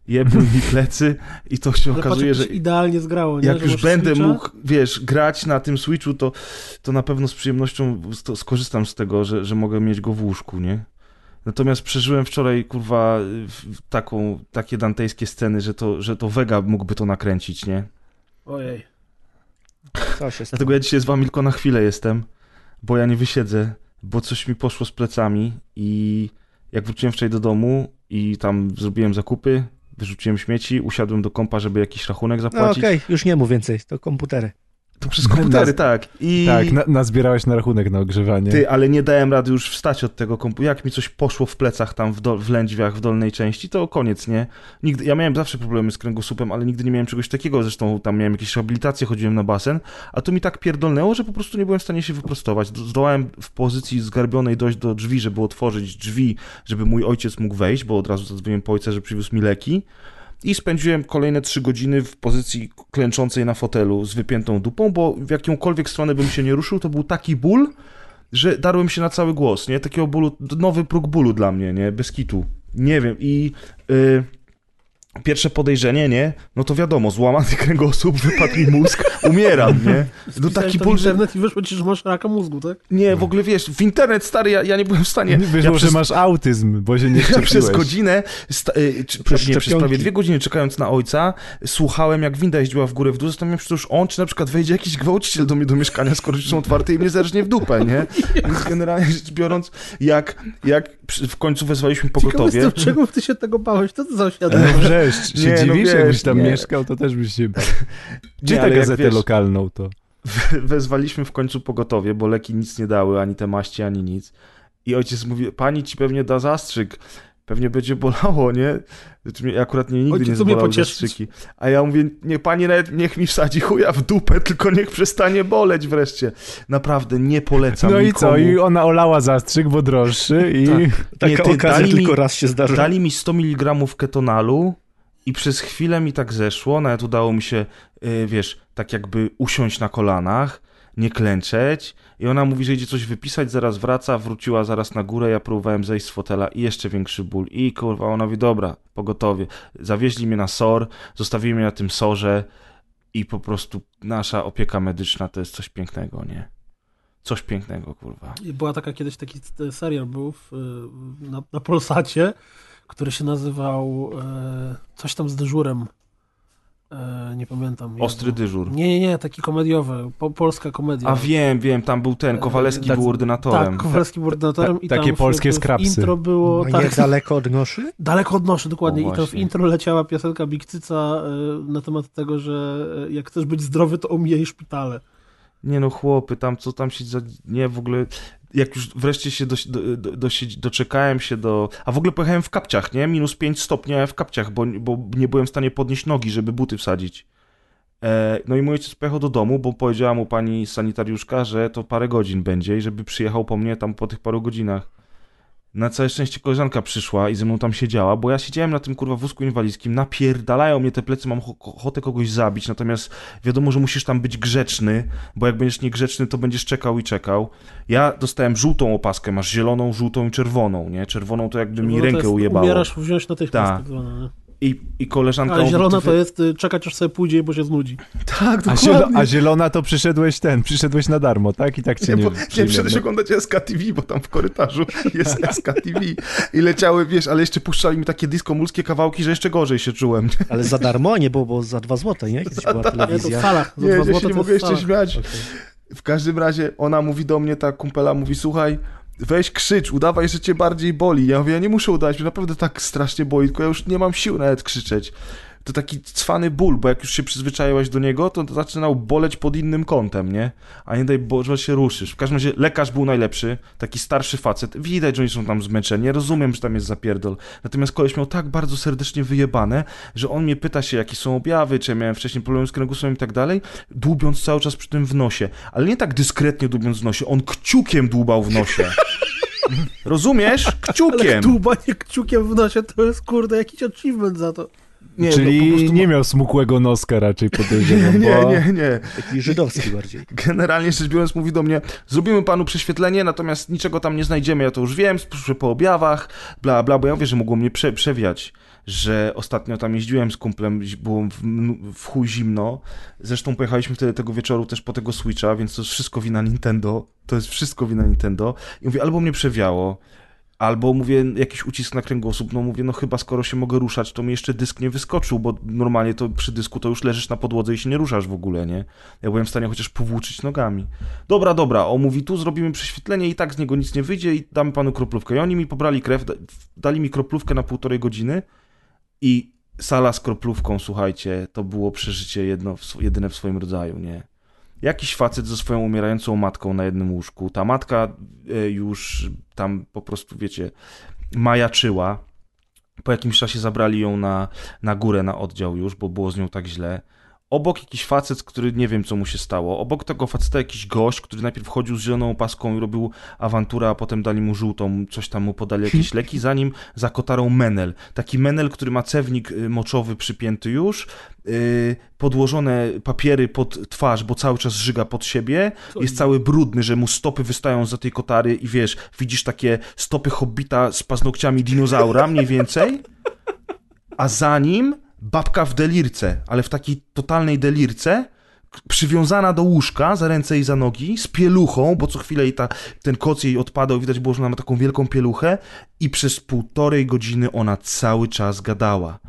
[SPEAKER 1] jebnął mi plecy i to się
[SPEAKER 3] Ale
[SPEAKER 1] okazuje,
[SPEAKER 3] patrz,
[SPEAKER 1] że
[SPEAKER 3] jak się idealnie zgrało, nie?
[SPEAKER 1] jak
[SPEAKER 3] Że
[SPEAKER 1] już
[SPEAKER 3] masz
[SPEAKER 1] będę
[SPEAKER 3] Switcha?
[SPEAKER 1] mógł, wiesz, grać na tym Switchu, to, to na pewno z przyjemnością sto- skorzystam z tego, że, że mogę mieć go w łóżku, nie? Natomiast przeżyłem wczoraj, kurwa, w- w taką, takie dantejskie sceny, że to, że to Vega mógłby to nakręcić, nie?
[SPEAKER 3] Ojej.
[SPEAKER 10] Co się stało?
[SPEAKER 1] Dlatego ja dzisiaj z wami tylko na chwilę jestem, bo ja nie wysiedzę, bo coś mi poszło z plecami i jak wróciłem wczoraj do domu i tam zrobiłem zakupy, wyrzuciłem śmieci, usiadłem do kompa, żeby jakiś rachunek
[SPEAKER 10] No
[SPEAKER 1] zapłacić.
[SPEAKER 10] okej, już nie mów więcej, to komputery.
[SPEAKER 1] To przez komputery, tak. I...
[SPEAKER 2] Tak, na, nazbierałeś na rachunek na ogrzewanie.
[SPEAKER 1] Ty, ale nie dałem rady już wstać od tego kompu. Jak mi coś poszło w plecach tam, w, dol- w lędźwiach, w dolnej części, to koniec, nie? Nigdy, ja miałem zawsze problemy z kręgosłupem, ale nigdy nie miałem czegoś takiego. Zresztą tam miałem jakieś rehabilitacje, chodziłem na basen, a to mi tak pierdolnęło, że po prostu nie byłem w stanie się wyprostować. Do- Zdołałem w pozycji zgarbionej dojść do drzwi, żeby otworzyć drzwi, żeby mój ojciec mógł wejść, bo od razu zadzwoniłem po ojca, że przywiózł mi leki. I spędziłem kolejne trzy godziny w pozycji klęczącej na fotelu z wypiętą dupą, bo w jakąkolwiek stronę bym się nie ruszył, to był taki ból, że darłem się na cały głos, nie? Takiego bólu, nowy próg bólu dla mnie, nie? Bez kitu. Nie wiem i... y, Pierwsze podejrzenie, nie? No to wiadomo, złamany kręgosłup, wypadł mi mózg, umieram, nie? No
[SPEAKER 3] Pisałeś
[SPEAKER 1] taki
[SPEAKER 3] to
[SPEAKER 1] ból,
[SPEAKER 3] w
[SPEAKER 1] że...
[SPEAKER 3] internet i wyszło ci, że masz raka mózgu, tak?
[SPEAKER 1] Nie, w ogóle wiesz, w internet, stary, ja, ja nie byłem w stanie...
[SPEAKER 2] Wiesz,
[SPEAKER 1] ja
[SPEAKER 2] że masz autyzm, bo się nie
[SPEAKER 1] ja
[SPEAKER 2] szczepiłeś.
[SPEAKER 1] przez godzinę, sta, y, czy, przez, nie, przez
[SPEAKER 2] szczepionki.
[SPEAKER 1] prawie dwie godziny czekając na ojca, słuchałem jak winda jeździła w górę w dół, zastanawiałem się, czy to już on, czy na przykład wejdzie jakiś gwałciciel do mnie do mieszkania, skoro drzwi są otwarte i mnie zerżnie w dupę, nie? Więc generalnie rzecz biorąc, jak, jak przy- w końcu wezwaliśmy
[SPEAKER 3] Ciekawe
[SPEAKER 1] pogotowie...
[SPEAKER 3] jestem, czego ty się tego bałeś, to co za świadom?
[SPEAKER 2] Wrzeszcz, się
[SPEAKER 1] Nie, no
[SPEAKER 2] dziwisz,
[SPEAKER 1] wiesz,
[SPEAKER 2] jakbyś tam
[SPEAKER 1] nie.
[SPEAKER 2] mieszkał, to też byś się bał. Gdzie
[SPEAKER 1] Nie,
[SPEAKER 2] tę
[SPEAKER 1] ale jak
[SPEAKER 2] gazetę
[SPEAKER 1] wiesz-
[SPEAKER 2] lokalną to?
[SPEAKER 1] wezwaliśmy w końcu pogotowie, bo leki nic nie dały, ani te maści, ani nic. I ojciec mówi, pani ci pewnie da zastrzyk, pewnie będzie bolało, nie? Znaczy, mnie- akurat nie, nigdy
[SPEAKER 3] Ojciec
[SPEAKER 1] nie
[SPEAKER 3] umie
[SPEAKER 1] zbolały
[SPEAKER 3] pocieszyć.
[SPEAKER 1] zastrzyki. A ja mówię, nie, pani nawet niech mi wsadzi chuja w dupę, tylko niech przestanie boleć wreszcie. Naprawdę, nie polecam
[SPEAKER 2] No i
[SPEAKER 1] nikomu.
[SPEAKER 2] co? I ona olała zastrzyk, bo droższy i...
[SPEAKER 1] Nie, ty, dali mi-
[SPEAKER 2] zdarza.
[SPEAKER 15] tak
[SPEAKER 1] Dali mi 100 mg ketonalu i przez chwilę mi tak zeszło, nawet udało mi się, y, wiesz, tak jakby usiąść na kolanach, nie klęczeć i ona mówi, że idzie coś wypisać, zaraz wraca, wróciła zaraz na górę, ja próbowałem zejść z fotela i jeszcze większy ból i kurwa, ona mówi, dobra, pogotowie. Zawieźli mnie na SOR, zostawili mnie na tym SORze i po prostu nasza opieka medyczna to jest coś pięknego, nie? Coś pięknego, kurwa.
[SPEAKER 3] I Była taka kiedyś taki e, serial był w, e, na, na Polsacie, który się nazywał e, coś tam z dyżurem. E, nie pamiętam. Jezu.
[SPEAKER 1] Ostry dyżur.
[SPEAKER 3] Nie, nie, nie, taki komediowy, po, polska komedia.
[SPEAKER 1] A wiem, wiem, tam był ten, Kowaleski
[SPEAKER 3] Tacy-
[SPEAKER 1] był ordynatorem.
[SPEAKER 3] Tak, Kowalski był ordynatorem i tam
[SPEAKER 1] takie
[SPEAKER 3] w-
[SPEAKER 1] polskie
[SPEAKER 3] w
[SPEAKER 1] skrapsy.
[SPEAKER 3] intro było...
[SPEAKER 1] A
[SPEAKER 3] tak,
[SPEAKER 1] nie daleko
[SPEAKER 10] od noszy?
[SPEAKER 3] Daleko od noszy, dokładnie.
[SPEAKER 1] O,
[SPEAKER 3] I to w
[SPEAKER 1] właśnie.
[SPEAKER 3] intro leciała piosenka Bikcyca e, na temat tego, że e, jak chcesz być zdrowy, to omijaj szpitale.
[SPEAKER 1] Nie no, chłopy, tam co tam się. Za... Nie, w ogóle. Jak już wreszcie się do, do, do, dosi- doczekałem się do. A w ogóle pojechałem w kapciach, nie? Minus 5 stopni, a ja w kapciach, bo, bo nie byłem w stanie podnieść nogi, żeby buty wsadzić. E, no i mój ojciec pojechał do domu, bo powiedziała mu pani sanitariuszka, że to parę godzin będzie i żeby przyjechał po mnie tam po tych paru godzinach. Na całe szczęście koleżanka przyszła i ze mną tam siedziała, bo ja siedziałem na tym kurwa wózku inwalidzkim, napierdalają mnie te plecy, mam cho- ochotę kogoś zabić, natomiast wiadomo, że musisz tam być grzeczny, bo jak będziesz niegrzeczny, to będziesz czekał i czekał. Ja dostałem żółtą opaskę, masz zieloną, żółtą i czerwoną, nie? Czerwoną to jakby mi
[SPEAKER 3] No to
[SPEAKER 1] rękę
[SPEAKER 3] jest,
[SPEAKER 1] ujebało.
[SPEAKER 3] Umierasz, wziąć natychmiast
[SPEAKER 1] Tak.
[SPEAKER 3] tak zwane. nie?
[SPEAKER 1] i, i koleżanka...
[SPEAKER 3] Ale
[SPEAKER 1] obok
[SPEAKER 3] zielona
[SPEAKER 1] tych-
[SPEAKER 3] to jest y, czekać aż sobie pójdzie, bo się znudzi.
[SPEAKER 1] Tak,
[SPEAKER 2] A, zielo, a zielona to przyszedłeś ten, przyszedłeś na darmo, tak? I tak cię
[SPEAKER 1] Nie,
[SPEAKER 2] nie,
[SPEAKER 1] bo,
[SPEAKER 2] nie,
[SPEAKER 1] nie przecież oglądać SKTV, bo tam w korytarzu jest SKTV i leciały, wiesz, ale jeszcze puszczali mi takie diskomulskie kawałki, że jeszcze gorzej się czułem.
[SPEAKER 10] Ale za darmo, a nie było, bo za 2 złote, nie? Kiedyś była telewizja.
[SPEAKER 1] Nie, ja się nie mogę jeszcze śmiać. W każdym razie ona mówi do mnie, ta kumpela mówi, słuchaj, weź krzycz, udawaj, że cię bardziej boli. Ja mówię, ja nie muszę udawać, mnie naprawdę tak strasznie boli, tylko ja już nie mam sił nawet krzyczeć. To taki cwany ból, bo jak już się przyzwyczaiłaś do niego, to zaczynał boleć pod innym kątem, nie? A nie daj Boże, się ruszysz. W każdym razie lekarz był najlepszy, taki starszy facet. Widać, że oni są tam zmęczeni, ja rozumiem, że tam jest zapierdol. Natomiast koleś miał tak bardzo serdecznie wyjebane, że on mnie pyta się, jakie są objawy, czy ja miałem wcześniej problemy z kręgosłupem i tak dalej, dłubiąc cały czas przy tym w nosie. Ale nie tak dyskretnie dłubiąc w nosie, on kciukiem dłubał w nosie. Rozumiesz?
[SPEAKER 3] Ale
[SPEAKER 1] Kciukiem.
[SPEAKER 3] dłubanie kciukiem w nosie to jest, kurde, jakiś achievement za to.
[SPEAKER 1] Nie, no, po
[SPEAKER 2] Czyli
[SPEAKER 1] prostu
[SPEAKER 2] nie miał smukłego noska raczej podejrzewam,
[SPEAKER 1] Nie,
[SPEAKER 2] bo...
[SPEAKER 1] nie, nie.
[SPEAKER 10] Taki żydowski bardziej.
[SPEAKER 1] Generalnie rzecz biorąc mówi do mnie, zrobimy panu prześwietlenie, natomiast niczego tam nie znajdziemy, ja to już wiem, spróbuję po objawach, bla, bla, bo ja wiem, że mogło mnie prze, przewiać, że ostatnio tam jeździłem z kumplem, było w, w chuj zimno, zresztą pojechaliśmy wtedy tego wieczoru też po tego Switcha, więc to jest wszystko wina Nintendo, to jest wszystko wina Nintendo i mówię, albo mnie przewiało, Albo mówię, jakiś ucisk na kręgosłup, no mówię, no chyba skoro się mogę ruszać, to mi jeszcze dysk nie wyskoczył, bo normalnie to przy dysku to już leżysz na podłodze i się nie ruszasz w ogóle, nie? Ja byłem w stanie chociaż powłóczyć nogami. Dobra, dobra, o mówi, tu zrobimy prześwietlenie i tak z niego nic nie wyjdzie i damy panu kroplówkę. I oni mi pobrali krew, da- dali mi kroplówkę na półtorej godziny i sala z kroplówką, słuchajcie, to było przeżycie jedno, w sw- jedyne w swoim rodzaju, nie? Jakiś facet ze swoją umierającą matką na jednym łóżku. Ta matka e, już tam po prostu, wiecie, majaczyła. Po jakimś czasie zabrali ją na, na górę, na oddział już, bo było z nią tak źle. Obok jakiś facet, który nie wiem, co mu się stało. Obok tego faceta jakiś gość, który najpierw chodził z zieloną opaską i robił awanturę, a potem dali mu żółtą, coś tam mu podali, jakieś leki. Za nim za kotarą menel. Taki menel, który ma cewnik y, moczowy przypięty już, y, podłożone papiery pod twarz, bo cały czas żyga pod siebie. Jest cały brudny, że mu stopy wystają za tej kotary i wiesz, widzisz takie stopy hobbita z paznokciami dinozaura mniej więcej a za nim babka w delirce, ale w takiej totalnej delirce, k- przywiązana do łóżka za ręce i za nogi, z pieluchą, bo co chwilę jej ta, ten koc jej odpadał, widać było, że ona ma taką wielką pieluchę i przez półtorej godziny ona cały czas gadała.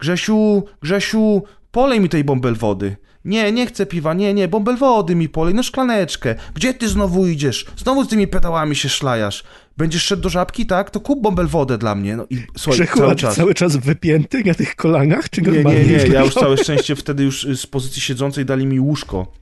[SPEAKER 1] Grzesiu, Grzesiu, polej mi tej bąbel wody. Nie, nie chcę piwa, nie, nie, bąbel wody mi polej, no szklaneczkę. Gdzie ty znowu idziesz? Znowu z tymi pedałami się szlajasz. Będziesz szedł do żabki, tak? To kup bąbel wodę dla mnie. No i słuchaj,
[SPEAKER 10] Grzechu,
[SPEAKER 1] cały
[SPEAKER 10] a ty
[SPEAKER 1] czas.
[SPEAKER 10] cały czas wypięty na tych kolanach, czy
[SPEAKER 1] Nie,
[SPEAKER 10] normalnie
[SPEAKER 1] nie, nie, ja już
[SPEAKER 10] wyglądałeś?
[SPEAKER 1] całe szczęście wtedy już y, z pozycji siedzącej dali mi łóżko.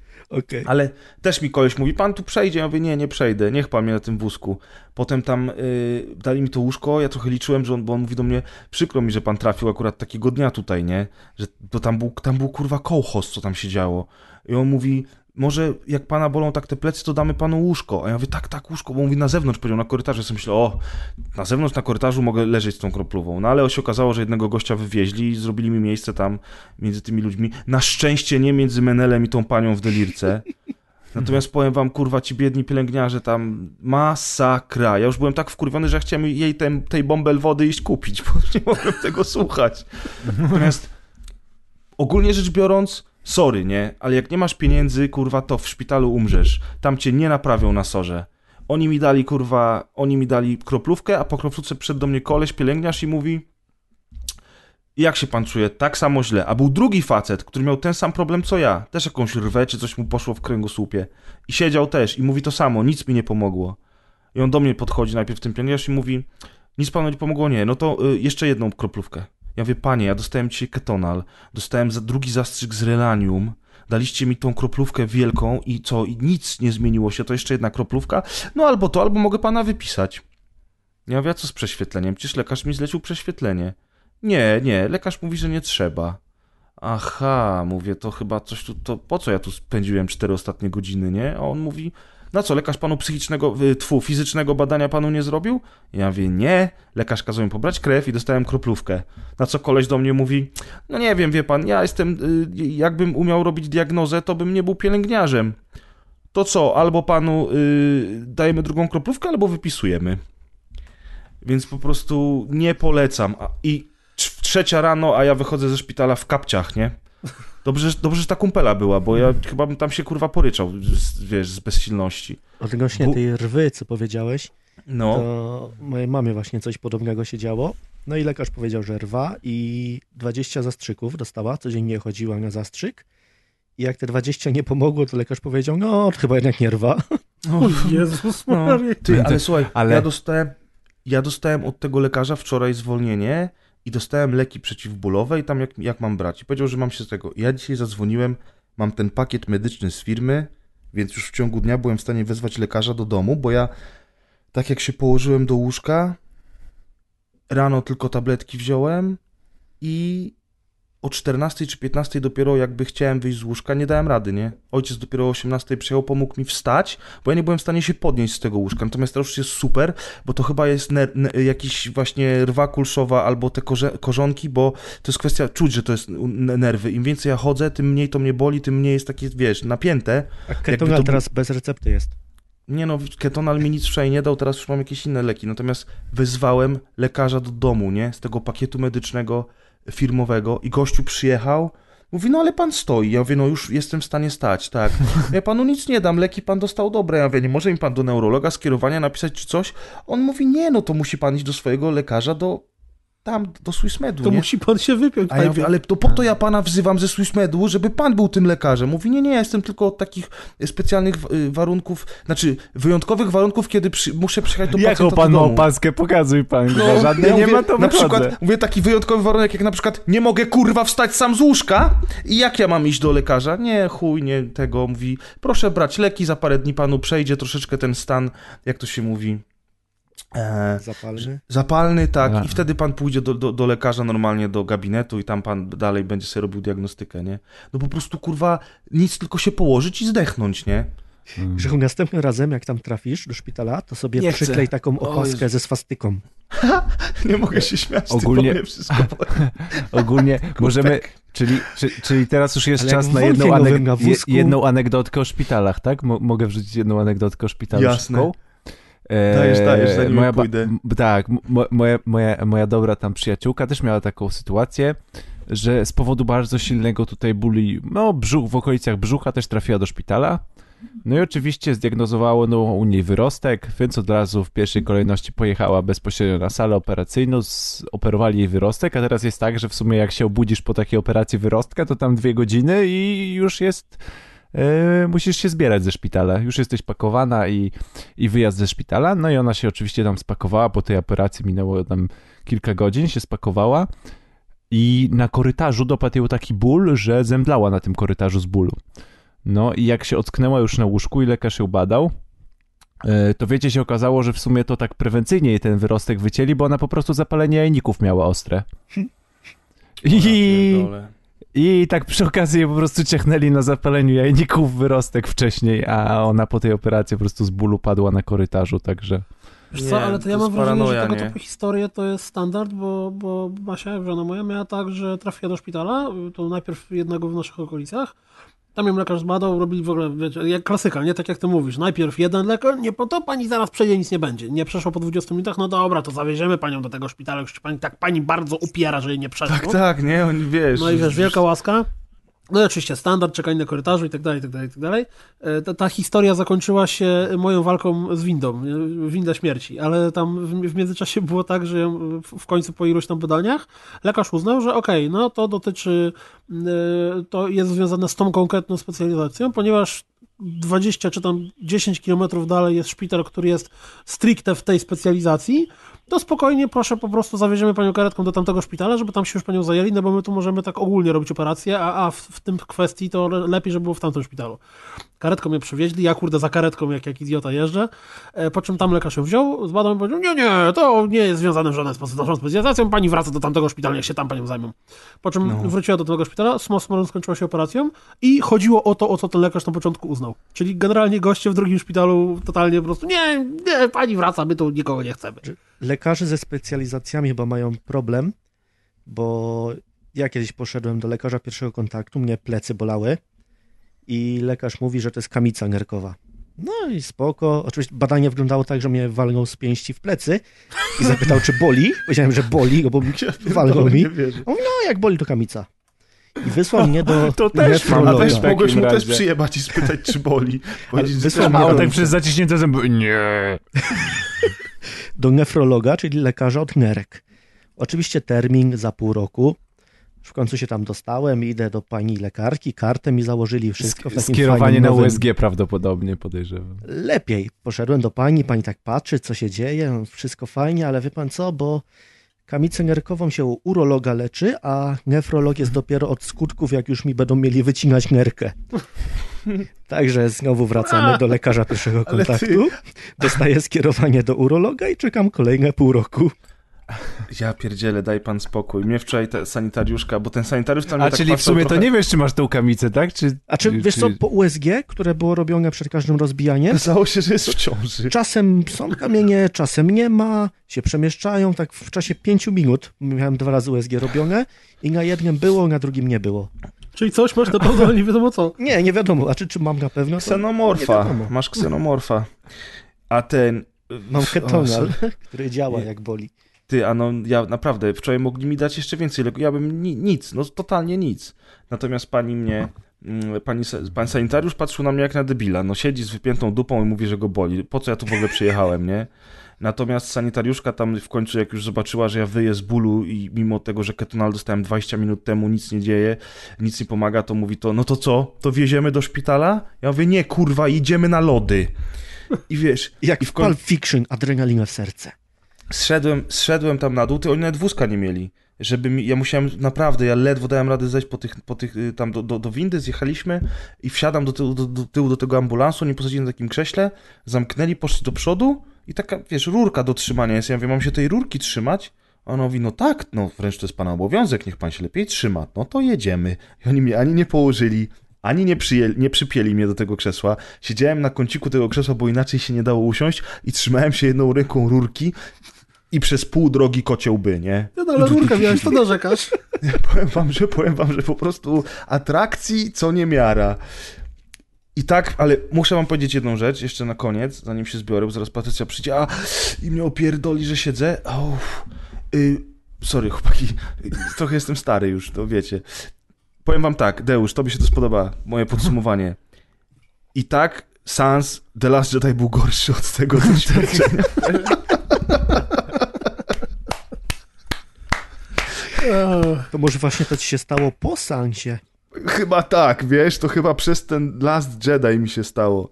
[SPEAKER 1] Ale też mi koleś mówi, pan tu przejdzie. Ja mówię, nie, nie przejdę, niech pan mnie na tym wózku. Potem tam y, dali mi to łóżko, ja trochę liczyłem, że on, bo on mówi do mnie, przykro mi, że pan trafił akurat takiego dnia tutaj, nie? Że, bo tam był, tam był kurwa kołchos, co tam się działo. I on mówi, może jak pana bolą tak te plecy, to damy panu łóżko. A ja mówię, tak, tak, łóżko, bo on mówi na zewnątrz, powiedział, na korytarzu. Ja sobie myślę, o, na zewnątrz, na korytarzu mogę leżeć z tą kroplową. No ale się okazało, że jednego gościa wywieźli i zrobili mi miejsce tam między tymi ludźmi. Na szczęście nie między Menelem i tą panią w delirce. Natomiast powiem wam, kurwa, ci biedni pielęgniarze tam, masakra. Ja już byłem tak wkurwiony, że ja chciałem jej ten, tej bąbel wody iść kupić, bo nie mogłem tego słuchać. Natomiast ogólnie rzecz biorąc, sorry, nie? Ale jak nie masz pieniędzy, kurwa, to w szpitalu umrzesz. Tam cię nie naprawią na sorze. Oni mi dali, kurwa, oni mi dali kroplówkę, a po kroplówce przyszedł do mnie koleś, pielęgniarz i mówi jak się pan czuje? Tak samo źle. A był drugi facet, który miał ten sam problem co ja. Też jakąś rwę, czy coś mu poszło w kręgosłupie. I siedział też i mówi to samo, nic mi nie pomogło. I on do mnie podchodzi najpierw ten pielęgniarz i mówi, nic panu nie pomogło? Nie, no to y, jeszcze jedną kroplówkę. Ja mówię, panie, ja dostałem dzisiaj ketonal, dostałem za drugi zastrzyk z relanium, daliście mi tą kroplówkę wielką i co, i nic nie zmieniło się, to jeszcze jedna kroplówka? No albo to, albo mogę pana wypisać. Ja mówię, a co z prześwietleniem? Przecież lekarz mi zlecił prześwietlenie. Nie, nie, lekarz mówi, że nie trzeba. Aha, mówię, to chyba coś tu, to po co ja tu spędziłem cztery ostatnie godziny, nie? A on mówi, na co, lekarz panu psychicznego, y, tfu, fizycznego badania panu nie zrobił? Ja mówię, nie, lekarz kazał mi pobrać krew i dostałem kroplówkę. Na co koleś do mnie mówi, no nie wiem, wie pan, ja jestem, y, jakbym umiał robić diagnozę, to bym nie był pielęgniarzem. To co, albo panu y, dajemy drugą kroplówkę, albo wypisujemy. Więc po prostu nie polecam. A- I cz- trzecia rano, a ja wychodzę ze szpitala w kapciach, nie? Dobrze, że- dobrze, że ta kumpela była, bo ja chyba bym tam się kurwa poryczał, z, wiesz, z bezsilności.
[SPEAKER 10] Odnośnie
[SPEAKER 1] Bu-
[SPEAKER 10] tej rwy, co powiedziałeś,
[SPEAKER 1] No.
[SPEAKER 10] to mojej mamie właśnie coś podobnego się działo. No i lekarz powiedział, że rwa i 20 zastrzyków dostała, codziennie chodziła na zastrzyk. I jak te 20 nie pomogło, to lekarz powiedział, no chyba jednak nie rwa.
[SPEAKER 3] O Jezus Maria.
[SPEAKER 1] Ty, ale słuchaj,
[SPEAKER 10] ale-
[SPEAKER 1] Ja, dostałem, ja dostałem od tego lekarza wczoraj zwolnienie i dostałem leki przeciwbólowe i tam jak, jak mam brać. I powiedział, że mam się z tego. Ja dzisiaj zadzwoniłem, mam ten pakiet medyczny z firmy, więc już w ciągu dnia byłem w stanie wezwać lekarza do domu, bo ja tak jak się położyłem do łóżka, rano tylko tabletki wziąłem i o 14 czy 15 dopiero jakby chciałem wyjść z łóżka, nie dałem rady, nie? Ojciec dopiero o 18 przyjechał, pomógł mi wstać, bo ja nie byłem w stanie się podnieść z tego łóżka. Natomiast teraz już jest super, bo to chyba jest ner- n- jakiś właśnie rwa kulszowa albo te korze- korzonki, bo to jest kwestia, czuć, że to jest n- nerwy. Im więcej ja chodzę, tym mniej to mnie boli, tym mniej jest takie, wiesz, napięte. Tak,
[SPEAKER 10] A
[SPEAKER 1] Jakby
[SPEAKER 10] ketonal
[SPEAKER 1] to był-
[SPEAKER 10] teraz bez recepty jest.
[SPEAKER 1] nie no, ketonal mi nic wczoraj nie dał, teraz już mam jakieś inne leki. Natomiast wezwałem lekarza do domu, nie? Z tego pakietu medycznego e, firmowego i gościu przyjechał. Mówi, no ale pan stoi. Ja mówię, no już jestem w stanie stać, tak. Ja panu nic nie dam, leki pan dostał dobre. Ja mówię, nie może mi pan do neurologa skierowania napisać czy coś? On mówi, nie, no to musi pan iść do swojego lekarza do tam, do Swissmedu,
[SPEAKER 3] To
[SPEAKER 1] nie?
[SPEAKER 3] musi pan się wypiąć.
[SPEAKER 1] A ja mówię, ale to po to ja pana wzywam ze Swissmedu, żeby pan był tym lekarzem. Mówi, nie, nie, ja jestem tylko od takich specjalnych y, warunków, znaczy wyjątkowych warunków, kiedy przy, muszę przyjechać do pacjenta
[SPEAKER 2] Jaką pan
[SPEAKER 1] do
[SPEAKER 2] ma
[SPEAKER 1] domu.
[SPEAKER 2] opaskę? Pokazuj pan,
[SPEAKER 1] No,
[SPEAKER 2] no, żadnej
[SPEAKER 1] ja
[SPEAKER 2] nie
[SPEAKER 1] mówię,
[SPEAKER 2] ma, to
[SPEAKER 1] Na
[SPEAKER 2] wychodzę.
[SPEAKER 1] przykład, mówię, taki wyjątkowy warunek, jak na przykład nie mogę kurwa wstać sam z łóżka i jak ja mam iść do lekarza? Nie, chuj, nie tego. Mówi, proszę brać leki, za parę dni panu przejdzie troszeczkę ten stan, jak to się mówi... E,
[SPEAKER 10] Zapalny?
[SPEAKER 1] Zapalny, tak. I wtedy pan pójdzie do, do, do lekarza normalnie, do gabinetu i tam pan dalej będzie sobie robił diagnostykę, nie? No po prostu, kurwa, nic, tylko się położyć i zdechnąć, nie?
[SPEAKER 10] Grzechu, następnym razem, jak tam trafisz do szpitala, to sobie
[SPEAKER 1] Nie chcę.
[SPEAKER 10] przyklej taką
[SPEAKER 1] O
[SPEAKER 10] opaskę
[SPEAKER 1] Jezu.
[SPEAKER 10] ze swastyką.
[SPEAKER 1] Nie mogę się śmiać,
[SPEAKER 2] Ogólnie-
[SPEAKER 1] Ogólnie... ty wszystko.
[SPEAKER 2] Ogólnie możemy, czyli, czy, czyli teraz już jest
[SPEAKER 10] Ale
[SPEAKER 2] czas
[SPEAKER 10] jak
[SPEAKER 2] na
[SPEAKER 10] w
[SPEAKER 2] jedną,
[SPEAKER 10] Wolfie
[SPEAKER 2] anek
[SPEAKER 10] nowym na
[SPEAKER 2] je-
[SPEAKER 10] wózku.
[SPEAKER 2] jedną anegdotkę o szpitalach, tak? Mo- mogę wrzucić jedną anegdotkę o szpitalu
[SPEAKER 1] Jasne.
[SPEAKER 2] szybką? E,
[SPEAKER 1] Dajesz, dajesz, zanim
[SPEAKER 2] ba-
[SPEAKER 1] ja pójdę.
[SPEAKER 2] m- tak, mo, moja, moja, moja dobra tam przyjaciółka też miała taką sytuację, że z powodu bardzo silnego tutaj bólu, no brzuch, w okolicach brzucha też trafiła do szpitala. No i oczywiście zdiagnozowało no, u niej wyrostek, więc od razu w pierwszej kolejności pojechała bezpośrednio na salę operacyjną, operowali jej wyrostek, a teraz jest tak, że w sumie jak się obudzisz po takiej operacji wyrostka, to tam dwie godziny i już jest, e, musisz się zbierać ze szpitala, już jesteś pakowana i, i wyjazd ze szpitala, no i ona się oczywiście tam spakowała, po tej operacji minęło tam kilka godzin, się spakowała i na korytarzu dopadł ją taki ból, że zemdlała na tym korytarzu z bólu. No i jak się ocknęła już na łóżku i lekarz ją badał, e, to wiecie, się okazało, że w sumie to tak prewencyjnie jej ten wyrostek wycięli, bo ona po prostu zapalenie jajników miała ostre. I, I tak przy okazji po prostu ciechnęli na zapaleniu jajników wyrostek wcześniej, a ona po tej operacji po prostu z bólu padła na korytarzu, także...
[SPEAKER 3] Wiesz co, ale to ja
[SPEAKER 1] to
[SPEAKER 3] mam
[SPEAKER 1] jest
[SPEAKER 3] wrażenie,
[SPEAKER 1] paranoja,
[SPEAKER 3] że tego
[SPEAKER 1] nie?
[SPEAKER 3] typu historie to jest standard, bo, bo Basia, żona moja, miała tak, że trafiła do szpitala, to najpierw jednego w naszych okolicach, tam ją lekarz zbadał, robili w ogóle, wiecie, jak klasyka, nie? Tak jak ty mówisz, najpierw jeden lekarz, nie, po to pani zaraz przejdzie, nic nie będzie. Nie przeszło po 20 minutach, no dobra, to zawieziemy panią do tego szpitala, już pani, tak pani bardzo upiera, że jej nie przeszło.
[SPEAKER 1] Tak, tak, nie? Oni, wiesz...
[SPEAKER 3] No i wiesz, wielka łaska. No i oczywiście standard, czekanie na korytarzu i tak dalej, i tak dalej, i tak dalej. E, Ta, ta historia zakończyła się moją walką z windą, nie? winda śmierci, ale tam w, w międzyczasie było tak, że ją w- w końcu po iluś tam badaniach lekarz uznał, że okej, no to dotyczy, e, to jest związane z tą konkretną specjalizacją, ponieważ 20 czy tam 10 kilometrów dalej jest szpital, który jest stricte w tej specjalizacji, to spokojnie proszę, po prostu zawieziemy panią karetką do tamtego szpitala, żeby tam się już panią zajęli, no bo my tu możemy tak ogólnie robić operację, a, a w, w tym kwestii to le- lepiej, żeby było w tamtym szpitalu. Karetką mnie przywieźli, ja kurde za karetką jak, jak idiota jeżdżę, e, po czym tam lekarz ją wziął, zbadał i powiedział, nie, nie, to nie jest związane w żaden sposób z naszą specjalizacją, pani wraca do tamtego szpitala, niech się tam panią zajmą. Po czym
[SPEAKER 1] No.
[SPEAKER 3] wróciła do tego szpitala, smosmorą skończyła się operacją i chodziło o to, o co ten lekarz na początku uznał. Czyli generalnie goście w drugim szpitalu totalnie po prostu, nie, nie pani wraca, my tu nikogo nie chcemy.
[SPEAKER 10] Lekarze ze specjalizacjami chyba mają problem, bo ja kiedyś poszedłem do lekarza pierwszego kontaktu, mnie plecy bolały i lekarz mówi, że to jest kamica nerkowa. No i spoko. Oczywiście badanie wyglądało tak, że mnie walnął z pięści w plecy i zapytał, czy boli. Powiedziałem, że boli, no bo mi- walnął mi. A on mówi, no jak boli, to kamica. I wysłał mnie do
[SPEAKER 1] To też mam, a
[SPEAKER 10] nefrologa.
[SPEAKER 1] też mogłeś mu też przyjebać i spytać, czy boli. Powiedzieć, że
[SPEAKER 10] wysłał
[SPEAKER 2] no
[SPEAKER 1] też
[SPEAKER 10] mnie
[SPEAKER 1] ma
[SPEAKER 10] do-
[SPEAKER 2] tak
[SPEAKER 1] boli.
[SPEAKER 2] zaciśnięte zęby. Nie.
[SPEAKER 10] do nefrologa, czyli lekarza od nerek. Oczywiście termin za pół roku. W końcu się tam dostałem, idę do pani lekarki, kartę mi założyli, wszystko w takim
[SPEAKER 2] Skierowanie
[SPEAKER 10] fajnym,
[SPEAKER 2] na
[SPEAKER 10] nowym- No
[SPEAKER 2] USG prawdopodobnie podejrzewam.
[SPEAKER 10] Lepiej. Poszedłem do pani, pani tak patrzy, co się dzieje, wszystko fajnie, ale wie pan co, bo kamicę nerkową się u urologa leczy, a nefrolog jest dopiero od skutków, jak już mi będą mieli wycinać nerkę. Także znowu wracamy do lekarza pierwszego
[SPEAKER 1] Ale ty-
[SPEAKER 10] kontaktu. Dostaję skierowanie do urologa i czekam kolejne pół roku.
[SPEAKER 1] Ja pierdzielę, daj pan spokój. Mnie wczoraj ta sanitariuszka, bo ten sanitariusz tam
[SPEAKER 2] A
[SPEAKER 1] mnie tak
[SPEAKER 2] czyli w
[SPEAKER 1] patrzał
[SPEAKER 2] sumie
[SPEAKER 1] trochę...
[SPEAKER 2] to nie wiesz, czy masz tą kamicę, tak? Czy,
[SPEAKER 10] A czy wiesz co, po USG, które było robione przed każdym rozbijaniem?
[SPEAKER 1] Okazało się, że jest w ciąży.
[SPEAKER 10] Czasem są kamienie, czasem nie ma, się przemieszczają, tak w czasie pięciu minut. Miałem dwa razy USG robione i na jednym było, na drugim nie było.
[SPEAKER 3] Czyli coś masz na pewno, ale nie wiadomo co.
[SPEAKER 10] Nie, nie wiadomo. A czy, czy mam na pewno? To nie
[SPEAKER 1] Ksenomorfa.
[SPEAKER 10] wiadomo.
[SPEAKER 1] Masz ksenomorfa. A ten...
[SPEAKER 10] Mam
[SPEAKER 1] O,
[SPEAKER 10] ketonal,
[SPEAKER 1] sorry.
[SPEAKER 10] który działa jak boli.
[SPEAKER 1] Ty, a no ja naprawdę, wczoraj mogli mi dać jeszcze więcej, leku. ja bym ni nic, no totalnie nic. Natomiast pani mnie, mm, pani, sa- pan sanitariusz patrzył na mnie jak na debila, no siedzi z wypiętą dupą i mówi, że go boli. Po co ja tu w ogóle przyjechałem, nie? Natomiast sanitariuszka tam w końcu, jak już zobaczyła, że ja wyję z bólu i mimo tego, że ketonal dostałem 20 minut temu, nic nie dzieje, nic nie pomaga, to mówi to, no to co, to wieziemy do szpitala? Ja mówię, nie kurwa, idziemy na lody. I wiesz...
[SPEAKER 10] Jak
[SPEAKER 1] i
[SPEAKER 10] w Pulp Fiction, adrenalina w serce.
[SPEAKER 1] Zszedłem, zszedłem tam na dół, ty oni nawet wózka nie mieli. Żeby mi, ja musiałem, naprawdę, ja ledwo dałem radę zejść po tych, po tych y, tam do, do, do windy, zjechaliśmy i wsiadam do tyłu do, do, tyłu do tego ambulansu, oni posadzili na takim krześle, zamknęli, poszli do przodu i taka, wiesz, rurka do trzymania jest. Ja mówię, mam się tej rurki trzymać? A on mówi, no tak, no wręcz to jest pana obowiązek, niech pan się lepiej trzyma, no to jedziemy. I oni mnie ani nie położyli, ani nie, przyjęli, nie przypięli mnie do tego krzesła. Siedziałem na kąciku tego krzesła, bo inaczej się nie dało usiąść i trzymałem się jedną ręką rurki i przez pół drogi kocioł by, nie?
[SPEAKER 3] No, no ale rurkę miałeś, to narzekasz.
[SPEAKER 1] powiem wam, że powiem wam, że po prostu atrakcji co nie miara. I tak, ale muszę wam powiedzieć jedną rzecz jeszcze na koniec, zanim się zbiorę, bo zaraz Patrycja przyjdzie a, i mnie opierdoli, że siedzę. Uff. Y, sorry, chłopaki, y, trochę jestem stary już, to wiecie. Powiem wam tak, Deusz, tobie się to spodoba, moje podsumowanie. I tak Sans The Last Jedi był gorszy od tego doświadczenia.
[SPEAKER 10] To może właśnie to ci się stało po sansie.
[SPEAKER 1] Chyba tak, wiesz, to chyba przez ten Last Jedi mi się stało.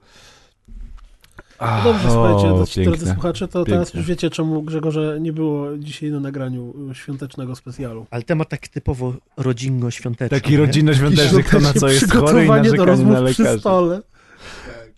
[SPEAKER 3] No
[SPEAKER 1] Ach,
[SPEAKER 3] dobrze,
[SPEAKER 1] o,
[SPEAKER 3] słuchajcie, drodzy- drodzy
[SPEAKER 1] piękne,
[SPEAKER 3] słuchacze, to teraz
[SPEAKER 1] piękne.
[SPEAKER 3] już wiecie, czemu Grzegorza nie było dzisiaj na nagraniu y, świątecznego specjalu.
[SPEAKER 10] Ale temat tak typowo rodzinno-świąteczny.
[SPEAKER 2] Taki
[SPEAKER 10] nie?
[SPEAKER 2] rodzinno-świąteczny, kto na co jest chory i
[SPEAKER 3] Przygotowanie do
[SPEAKER 2] narzekanie
[SPEAKER 3] rozmów
[SPEAKER 2] na
[SPEAKER 3] przy
[SPEAKER 2] lekarzy.
[SPEAKER 3] stole.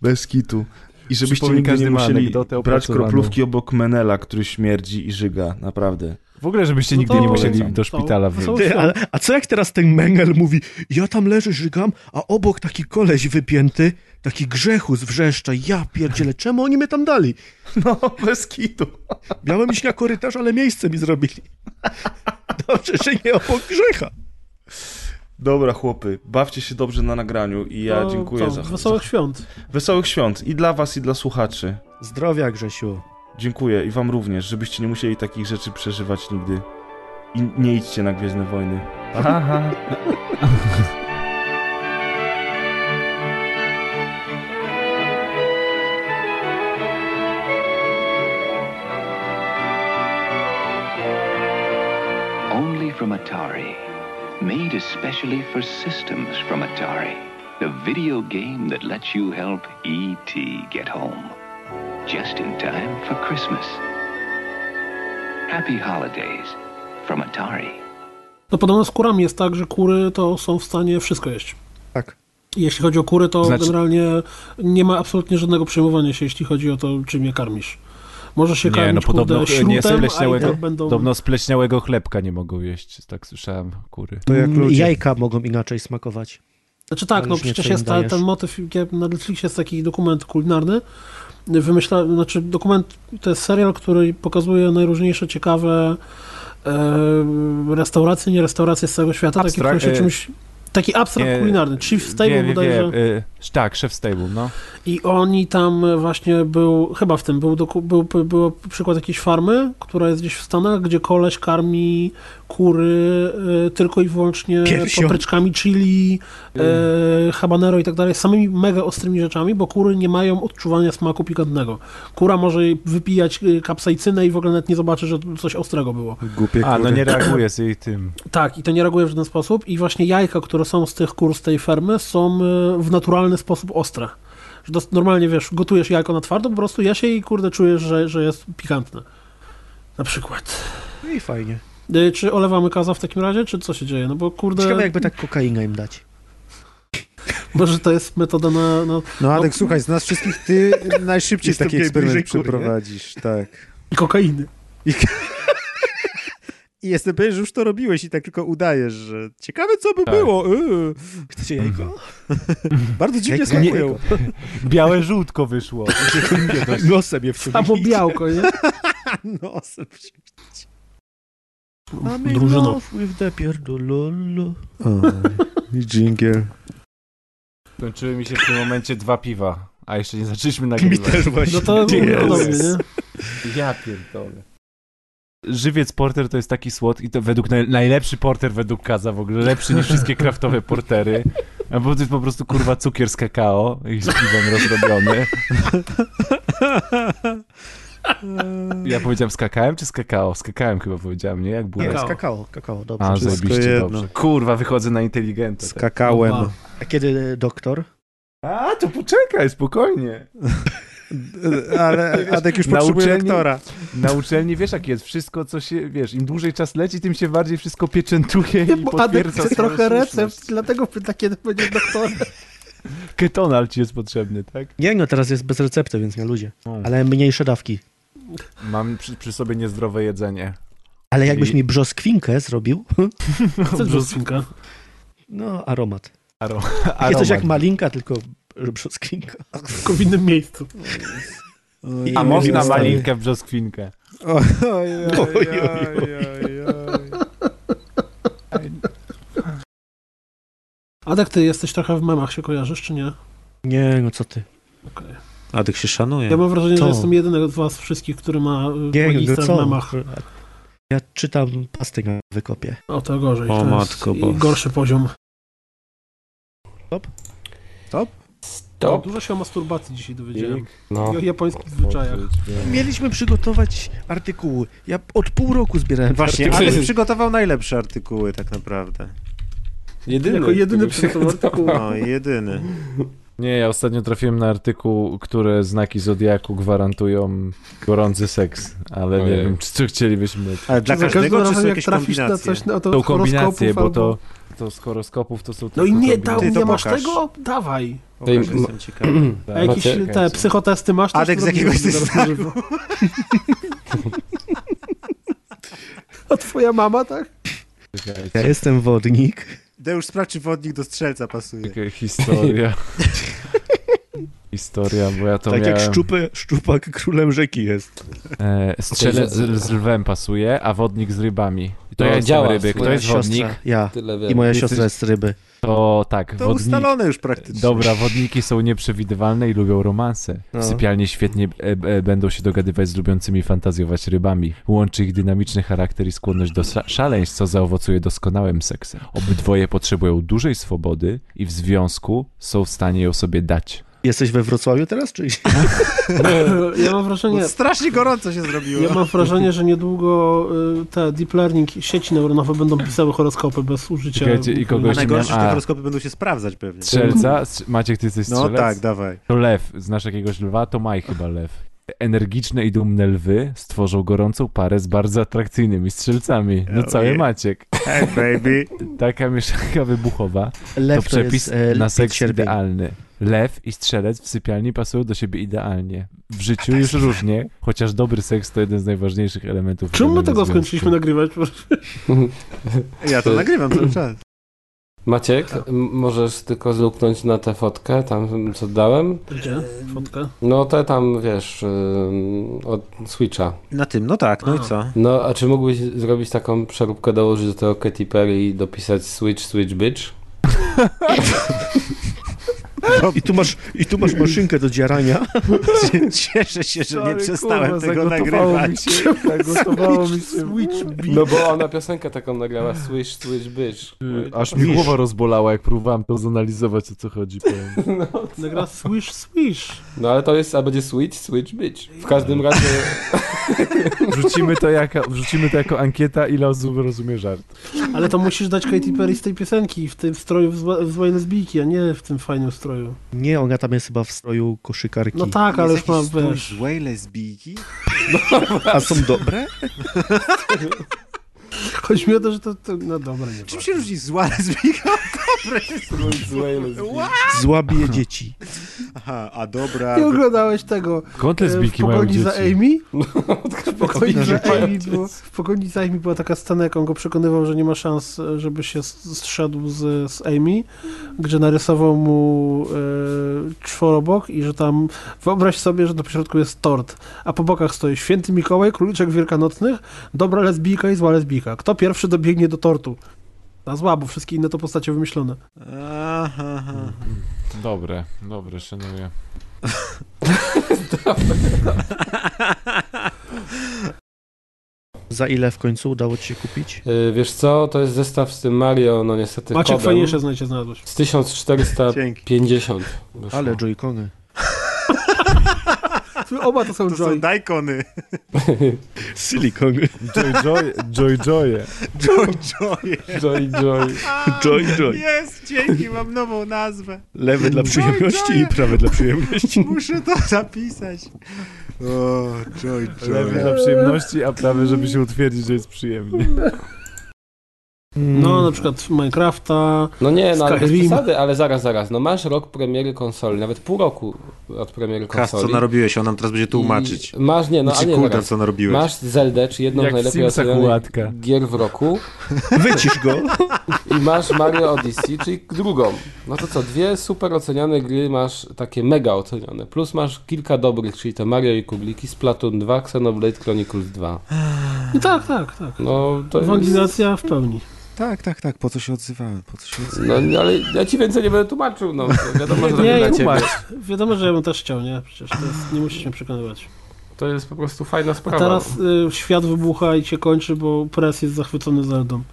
[SPEAKER 1] Bez kitu. I żebyście
[SPEAKER 2] Przypomnij,
[SPEAKER 1] nigdy
[SPEAKER 2] każdy
[SPEAKER 1] nie
[SPEAKER 2] ma
[SPEAKER 1] musieli
[SPEAKER 2] anegdotę
[SPEAKER 1] brać
[SPEAKER 2] opracowaną.
[SPEAKER 1] kroplówki obok Menela, który śmierdzi i żyga, naprawdę.
[SPEAKER 2] W ogóle,
[SPEAKER 3] No
[SPEAKER 2] żebyście nigdy nie musieli do szpitala wyjść.
[SPEAKER 10] Ty, ale, a co jak teraz ten Mengel mówi, ja tam leżę, żygam, a obok taki koleś wypięty, taki grzechu zwrzeszcza, ja pierdzielę, czemu oni mnie tam dali?
[SPEAKER 1] No, bez kitu.
[SPEAKER 10] Miałem iść na korytarz, ale miejsce mi zrobili. Dobrze, że nie obok grzecha.
[SPEAKER 1] Dobra, chłopy, bawcie się dobrze na nagraniu i ja
[SPEAKER 3] No, To
[SPEAKER 1] dziękuję
[SPEAKER 3] co,
[SPEAKER 1] za...
[SPEAKER 3] Wesołych świąt.
[SPEAKER 1] Wesołych świąt i dla was, i dla słuchaczy.
[SPEAKER 10] Zdrowia, Grzesiu.
[SPEAKER 1] Dziękuję i wam również, żebyście nie musieli takich rzeczy przeżywać nigdy. I nie idźcie na Gwiezdne Wojny. Aha.
[SPEAKER 18] Only from Atari. Made especially for systems from Atari. The video game that lets you help E.T. get home. Just in time for Christmas. Happy holidays from Atari.
[SPEAKER 3] No podobno z kurami jest tak, że kury to są w stanie wszystko jeść.
[SPEAKER 10] Tak.
[SPEAKER 3] Jeśli chodzi o kury, to
[SPEAKER 2] Znaczy-
[SPEAKER 3] generalnie nie ma absolutnie żadnego przejmowania się, jeśli chodzi o to, czym je karmisz. Możesz się
[SPEAKER 2] Nie,
[SPEAKER 3] karmić,
[SPEAKER 2] no podobno
[SPEAKER 3] kurde,
[SPEAKER 2] nie
[SPEAKER 3] śrutem, a i
[SPEAKER 2] spleśniałego,
[SPEAKER 3] tak będą...
[SPEAKER 2] podobno spleśniałego chlebka nie mogą jeść, tak słyszałem, kury.
[SPEAKER 10] Mm, Jajka mogą inaczej smakować.
[SPEAKER 3] Znaczy tak,
[SPEAKER 10] Ale
[SPEAKER 3] no
[SPEAKER 10] już nie
[SPEAKER 3] przecież
[SPEAKER 10] co im
[SPEAKER 3] jest ta,
[SPEAKER 10] dajesz.
[SPEAKER 3] ten motyw, jak na Netflixie jest taki dokument kulinarny, wymyśla, znaczy dokument, to jest serial, który pokazuje najróżniejsze ciekawe e, restauracje, nie restauracje z całego świata, takie, które
[SPEAKER 2] Abstrak-
[SPEAKER 3] się
[SPEAKER 2] e,
[SPEAKER 3] czymś Taki abstrakt
[SPEAKER 2] Nie,
[SPEAKER 3] kulinarny, Chief Stable
[SPEAKER 2] Wiem, wiem,
[SPEAKER 3] bodajże.
[SPEAKER 2] wiem. Y, tak, szef stable, no.
[SPEAKER 3] I oni tam właśnie był, chyba w tym był, doku- był, był, był przykład jakiejś farmy, która jest gdzieś w Stanach, gdzie koleś karmi kury y, tylko i wyłącznie
[SPEAKER 10] Piersią.
[SPEAKER 3] papryczkami chili, y, habanero i tak dalej, samymi mega ostrymi rzeczami, bo kury nie mają odczuwania smaku pikantnego. Kura może wypijać y, kapsaicynę i w ogóle nawet nie zobaczy, że coś ostrego było.
[SPEAKER 2] Głupie A, no nie reaguje z jej tym.
[SPEAKER 3] Tak, i to nie reaguje w żaden sposób. I właśnie jajka, które są z tych kur z tej fermy, są y, w naturalny sposób ostre. Że dos- normalnie wiesz, gotujesz jajko na twardo, po prostu jesz je i kurde czujesz, że, że jest pikantne. Na przykład.
[SPEAKER 10] No i fajnie.
[SPEAKER 3] Y, Czy olewamy kaza w takim razie, czy co się dzieje? No bo kurde.
[SPEAKER 10] Ciekawe jakby tak kokaina im dać.
[SPEAKER 3] Może to jest metoda na. na
[SPEAKER 15] No Adek, słuchaj, z nas wszystkich ty najszybciej
[SPEAKER 3] Jestem
[SPEAKER 15] taki
[SPEAKER 3] tutaj
[SPEAKER 15] eksperyment
[SPEAKER 3] bliżej kur, nie?
[SPEAKER 15] przeprowadzisz, tak.
[SPEAKER 3] I kokainy.
[SPEAKER 15] I, I jestem pewien, że już to robiłeś i tak tylko udajesz, że ciekawe co by
[SPEAKER 2] Tak.
[SPEAKER 15] było. Yy.
[SPEAKER 10] Chcecie jajko?
[SPEAKER 15] Bardzo dziwnie
[SPEAKER 2] Jajko. Nie-
[SPEAKER 15] smakują.
[SPEAKER 2] Białe żółtko wyszło.
[SPEAKER 10] Nosem je wciągnij.
[SPEAKER 3] Samo białko, nie?
[SPEAKER 15] Nosem się
[SPEAKER 3] No,
[SPEAKER 10] Mamy
[SPEAKER 15] Drużyno.
[SPEAKER 10] love with the pierdololo.
[SPEAKER 15] I jingle.
[SPEAKER 2] Kończyły mi się w tym momencie dwa piwa, a jeszcze nie zaczęliśmy nagrywać.
[SPEAKER 10] też właśnie.
[SPEAKER 3] No to podobnie,
[SPEAKER 2] Jezus.
[SPEAKER 3] nie?
[SPEAKER 2] Ja pierdolę. Żywiec porter to jest taki słod i to według naj, najlepszy porter według Kaza w ogóle, lepszy niż wszystkie kraftowe portery. A bo to jest po prostu kurwa cukier z kakao i z piwem rozrobiony. Ja powiedziałem z kakałem czy z kakao? Z kakałem chyba powiedziałem, nie? Jak było?
[SPEAKER 10] Nie, z kakao, kakao, dobrze.
[SPEAKER 2] A,
[SPEAKER 10] Wszystko
[SPEAKER 2] zajebiście
[SPEAKER 10] jedno.
[SPEAKER 2] dobrze. Kurwa, wychodzę na inteligenta. Z
[SPEAKER 15] kakałem.
[SPEAKER 10] A kiedy doktor?
[SPEAKER 2] A, to poczekaj, spokojnie.
[SPEAKER 15] Ale Adek już potrzebuje lektora.
[SPEAKER 2] Na uczelni wiesz jak jest, wszystko co się, wiesz, im dłużej czas leci, tym się bardziej wszystko pieczętuje i
[SPEAKER 3] Bo Adek
[SPEAKER 2] potwierdza
[SPEAKER 3] chce
[SPEAKER 2] swoją
[SPEAKER 3] trochę
[SPEAKER 2] słuszność.
[SPEAKER 3] recept, dlatego pyta, kiedy będzie doktorem.
[SPEAKER 2] Ketonal ci jest potrzebny, tak?
[SPEAKER 10] Nie, no teraz jest bez recepty, więc nie ludzie. Ale mniejsze dawki.
[SPEAKER 2] Mam przy, przy sobie niezdrowe jedzenie.
[SPEAKER 10] Ale jakbyś
[SPEAKER 2] Czyli-
[SPEAKER 10] mi brzoskwinkę zrobił,
[SPEAKER 3] Co to jest brzoskwinka?
[SPEAKER 10] no aromat.
[SPEAKER 2] Aro-
[SPEAKER 10] Takie coś jak
[SPEAKER 2] aromat.
[SPEAKER 10] malinka, tylko brzoskwinka.
[SPEAKER 3] Tylko w innym miejscu.
[SPEAKER 10] Ojej,
[SPEAKER 2] A można
[SPEAKER 10] ojej.
[SPEAKER 2] malinkę w brzoskwinkę.
[SPEAKER 3] Adek, tak ty jesteś trochę w memach, się kojarzysz, czy nie?
[SPEAKER 10] Nie, no co ty.
[SPEAKER 4] Adek się szanuje.
[SPEAKER 3] Ja mam wrażenie,
[SPEAKER 10] Co?
[SPEAKER 3] że jestem jedyny z was wszystkich, który ma y,
[SPEAKER 10] Nie, no
[SPEAKER 3] magistra w
[SPEAKER 10] co?
[SPEAKER 3] memach.
[SPEAKER 10] Ja czytam pasty na wykopie.
[SPEAKER 3] O, to gorzej.
[SPEAKER 4] O,
[SPEAKER 3] to
[SPEAKER 4] matko
[SPEAKER 3] jest i
[SPEAKER 4] boska.
[SPEAKER 3] Gorszy poziom.
[SPEAKER 10] Stop.
[SPEAKER 15] Stop.
[SPEAKER 3] No, dużo się o masturbacji dzisiaj dowiedziałem.
[SPEAKER 10] No.
[SPEAKER 3] I o japońskich zwyczajach.
[SPEAKER 10] Mieliśmy przygotować artykuły. Ja od pół roku zbierałem te
[SPEAKER 15] Właśnie,
[SPEAKER 10] artykuły.
[SPEAKER 15] Adek przygotował najlepsze artykuły tak naprawdę.
[SPEAKER 9] Jedyny,
[SPEAKER 3] Jako jedyny
[SPEAKER 9] który się
[SPEAKER 3] przygotował artykuł.
[SPEAKER 15] No, jedyny.
[SPEAKER 2] Nie, ja ostatnio trafiłem na artykuł, które znaki Zodiaku gwarantują gorący seks, ale No nie
[SPEAKER 9] Ojej.
[SPEAKER 2] wiem, czy, czy chcielibyśmy...
[SPEAKER 15] Ale dla
[SPEAKER 3] Za każdym
[SPEAKER 15] każdego, czy
[SPEAKER 3] razem,
[SPEAKER 15] są
[SPEAKER 3] jak
[SPEAKER 15] jakieś
[SPEAKER 3] trafisz na
[SPEAKER 15] kombinacje?
[SPEAKER 3] coś, no to
[SPEAKER 2] Są
[SPEAKER 3] z horoskopów
[SPEAKER 2] kombinacje, bo to,
[SPEAKER 3] albo-
[SPEAKER 2] to z horoskopów to są...
[SPEAKER 3] No i
[SPEAKER 2] tylko
[SPEAKER 3] nie,
[SPEAKER 2] kombinacje.
[SPEAKER 3] dał,
[SPEAKER 15] Ty to
[SPEAKER 3] nie masz
[SPEAKER 15] pokaż.
[SPEAKER 3] tego? Dawaj.
[SPEAKER 15] Pokaż,
[SPEAKER 9] Ej,
[SPEAKER 15] jestem
[SPEAKER 9] ma-
[SPEAKER 15] ciekawy.
[SPEAKER 3] A jakieś
[SPEAKER 9] Macie-
[SPEAKER 3] te psychotesty masz? Też
[SPEAKER 15] Adek z
[SPEAKER 3] to robimy
[SPEAKER 15] jakiegoś
[SPEAKER 3] zaraz na żywo. A twoja mama, tak?
[SPEAKER 10] Ja jestem wodnik.
[SPEAKER 15] Deusz sprawdź, czy wodnik do strzelca pasuje.
[SPEAKER 2] Taka Historia. Historia, bo ja to
[SPEAKER 10] tak
[SPEAKER 2] miałem...
[SPEAKER 10] jak szczupy, szczupak królem rzeki jest.
[SPEAKER 2] E, strzelec z, z lwem pasuje, a wodnik z rybami. To
[SPEAKER 9] To
[SPEAKER 2] ja
[SPEAKER 9] działa.
[SPEAKER 2] jestem ryby. Kto
[SPEAKER 9] Moja
[SPEAKER 2] jest wodnik?
[SPEAKER 10] Siostra, ja.
[SPEAKER 9] Tyle wiem.
[SPEAKER 10] I moja
[SPEAKER 2] Ty
[SPEAKER 10] siostra
[SPEAKER 2] jesteś-
[SPEAKER 10] jest z ryby.
[SPEAKER 2] To tak,
[SPEAKER 15] To
[SPEAKER 2] wodnik...
[SPEAKER 15] ustalone już praktycznie.
[SPEAKER 2] Dobra, wodniki są nieprzewidywalne i lubią romanse.
[SPEAKER 10] No.
[SPEAKER 2] Sypialnie świetnie e, e, będą się dogadywać z lubiącymi fantazjować rybami. Łączy ich dynamiczny charakter i skłonność do sza- szaleństw, co zaowocuje doskonałym seksem. Obydwoje potrzebują dużej swobody i w związku są w stanie ją sobie dać.
[SPEAKER 10] Jesteś we Wrocławiu teraz, czy
[SPEAKER 3] Ja mam wrażenie,
[SPEAKER 15] Bo Strasznie gorąco się zrobiło.
[SPEAKER 3] ja mam wrażenie, że niedługo y, te deep learning, sieci neuronowe będą pisały horoskopy bez użycia...
[SPEAKER 2] Czekajcie, i kogoś-
[SPEAKER 15] A najgorsze, że
[SPEAKER 2] A.
[SPEAKER 15] te horoskopy będą się sprawdzać pewnie.
[SPEAKER 2] Strzelca? Strz- Maciek, ty jesteś
[SPEAKER 15] No
[SPEAKER 2] strzelec?
[SPEAKER 15] tak, dawaj.
[SPEAKER 2] To lew. Znasz jakiegoś lwa? To maj chyba lew. Energiczne i dumne lwy stworzą gorącą parę z bardzo atrakcyjnymi strzelcami. No
[SPEAKER 15] Oh,
[SPEAKER 2] cały
[SPEAKER 15] yeah.
[SPEAKER 2] Maciek.
[SPEAKER 15] Hey baby.
[SPEAKER 2] Taka mieszanka wybuchowa.
[SPEAKER 10] Lew
[SPEAKER 2] to
[SPEAKER 10] to jest,
[SPEAKER 2] przepis
[SPEAKER 10] e,
[SPEAKER 2] na seks
[SPEAKER 10] sierpień.
[SPEAKER 2] idealny. Lew i strzelec w sypialni pasują do siebie idealnie. W życiu już różnie, chociaż dobry seks to jeden z najważniejszych elementów.
[SPEAKER 3] Czemu my
[SPEAKER 2] dobrego
[SPEAKER 3] tego
[SPEAKER 2] związku.
[SPEAKER 3] skończyliśmy nagrywać?
[SPEAKER 15] Ja to
[SPEAKER 9] Y-
[SPEAKER 15] nagrywam cały czas.
[SPEAKER 9] Maciek, m- możesz tylko zluknąć na tę fotkę, tam co dałem?
[SPEAKER 3] Gdzie? Fotkę?
[SPEAKER 9] No te tam, wiesz, ym, od Switcha.
[SPEAKER 15] Na tym, no tak, no i
[SPEAKER 3] A.
[SPEAKER 15] co?
[SPEAKER 9] No, a czy mógłbyś zrobić taką przeróbkę, dołożyć do tego Katy Perry i dopisać Switch, Switch, Bitch?
[SPEAKER 10] I tu masz, i tu masz maszynkę do dzierania.
[SPEAKER 4] Cieszę się, że
[SPEAKER 10] Sorry,
[SPEAKER 4] nie przestałem
[SPEAKER 10] kurwa,
[SPEAKER 4] tego
[SPEAKER 10] zagotowało
[SPEAKER 4] nagrywać.
[SPEAKER 10] mi się, zagotowało mi się.
[SPEAKER 9] Switch No bo ona piosenkę taką nagrała, Swish, Swish, Bitch.
[SPEAKER 2] Aż mi głowa rozbolała, jak próbowałem to zanalizować, o co chodzi. powiem.
[SPEAKER 3] Nagra Swish Swish.
[SPEAKER 9] No ale to jest, a będzie Switch, Switch, Bitch. W każdym razie...
[SPEAKER 2] Wrzucimy to, jako, wrzucimy to jako ankieta, ile osób rozumie żart.
[SPEAKER 3] Ale to musisz dać Katy Perry z tej piosenki, w tym stroju w, zła, w złej lesbijki, a nie w tym fajnym stroju.
[SPEAKER 10] Nie, ona tam jest chyba w stroju koszykarki.
[SPEAKER 3] No tak, ale już mam, wiesz...
[SPEAKER 4] Złej lesbijki?
[SPEAKER 15] No,
[SPEAKER 10] A są dobre?
[SPEAKER 3] Chodzi mi o to, że to... to no dobra, nie
[SPEAKER 4] Czym się różni zła lesbijka od dobrej
[SPEAKER 9] Złej lesbijki.
[SPEAKER 10] Zła bije dzieci.
[SPEAKER 4] Aha, a dobra...
[SPEAKER 3] Nie oglądałeś tego.
[SPEAKER 2] Skąd
[SPEAKER 3] e,
[SPEAKER 2] lesbijki
[SPEAKER 3] w
[SPEAKER 2] mają
[SPEAKER 3] pogoni za
[SPEAKER 2] dzieci?
[SPEAKER 3] Amy? No, W pogoni za
[SPEAKER 2] Narzekają
[SPEAKER 3] Amy było, w pogoni za Amy była taka scena, jak on go przekonywał, że nie ma szans, e, żeby się s- zszedł z, z Amy, gdzie narysował mu e, czworobok i że tam wyobraź sobie, że na pośrodku jest tort, a po bokach stoi święty Mikołaj, króliczek wielkanocnych, dobra lesbijka i zła lesbijka. Kto pierwszy dobiegnie do tortu? Ta zła, bo wszystkie inne to postacie wymyślone.
[SPEAKER 4] Aha, aha.
[SPEAKER 2] Dobre, dobre, szanuję.
[SPEAKER 10] Za ile w końcu udało ci się kupić?
[SPEAKER 9] Y, Wiesz co, to jest zestaw z tym Mario, no niestety
[SPEAKER 3] Maciek
[SPEAKER 9] kodem.
[SPEAKER 3] fajniejsze znajdzie znalazłeś.
[SPEAKER 9] Z 1450. wyszło.
[SPEAKER 10] Ale joycony.
[SPEAKER 3] Oba to są
[SPEAKER 4] To są
[SPEAKER 3] Joy.
[SPEAKER 4] dajkony.
[SPEAKER 10] Silikony.
[SPEAKER 2] Joy, joy, joy, joye.
[SPEAKER 4] Joy, joy.
[SPEAKER 9] Joy, joy.
[SPEAKER 10] Joy, joy.
[SPEAKER 4] Jest, dzięki, mam nową nazwę.
[SPEAKER 10] Lewy dla przyjemności i prawy dla przyjemności.
[SPEAKER 4] Muszę to zapisać. O, joy,
[SPEAKER 2] Lewy dla przyjemności, a prawy, żeby się utwierdzić, że jest przyjemnie.
[SPEAKER 3] No, na przykład Minecrafta,
[SPEAKER 9] No nie, no ale bez
[SPEAKER 3] Skyrim.
[SPEAKER 9] przesady, ale zaraz, zaraz. No masz rok premiery konsoli, nawet pół roku od premiery
[SPEAKER 4] Kas,
[SPEAKER 9] konsoli.
[SPEAKER 4] co narobiłeś, on nam teraz będzie tłumaczyć.
[SPEAKER 9] I Masz, nie, no a
[SPEAKER 4] Znaczy,
[SPEAKER 9] nie,
[SPEAKER 4] kurde,
[SPEAKER 9] zaraz.
[SPEAKER 4] co narobiłeś.
[SPEAKER 9] Masz Zeldę, czy jedną
[SPEAKER 2] Jak
[SPEAKER 9] z najlepiej
[SPEAKER 2] Simsa
[SPEAKER 9] ocenianych
[SPEAKER 2] kulatka.
[SPEAKER 9] gier w roku.
[SPEAKER 10] Wycisz go.
[SPEAKER 9] I masz Mario Odyssey, czyli drugą. No to co, dwie super oceniane gry masz takie mega oceniane. Plus masz kilka dobrych, czyli te Mario i Kubliki, Splatoon 2, Xenoblade Chronicles 2.
[SPEAKER 3] No tak, tak, tak.
[SPEAKER 9] No to jest...
[SPEAKER 3] Waginacja w pełni.
[SPEAKER 15] Tak, tak, tak, po co się odzywałem, po co się odzywałem.
[SPEAKER 9] No nie, ale ja ci więcej nie będę tłumaczył, no to wiadomo, że
[SPEAKER 3] Nie,
[SPEAKER 9] robię dla
[SPEAKER 3] nie,
[SPEAKER 9] ciebie.
[SPEAKER 3] tłumacz. Wiadomo, że ja bym też chciał, nie? Przecież to jest, nie musisz mnie przekonywać.
[SPEAKER 9] To jest po prostu fajna
[SPEAKER 3] A
[SPEAKER 9] sprawa.
[SPEAKER 3] teraz y, świat wybucha i się kończy, bo Press jest zachwycony Zeldą.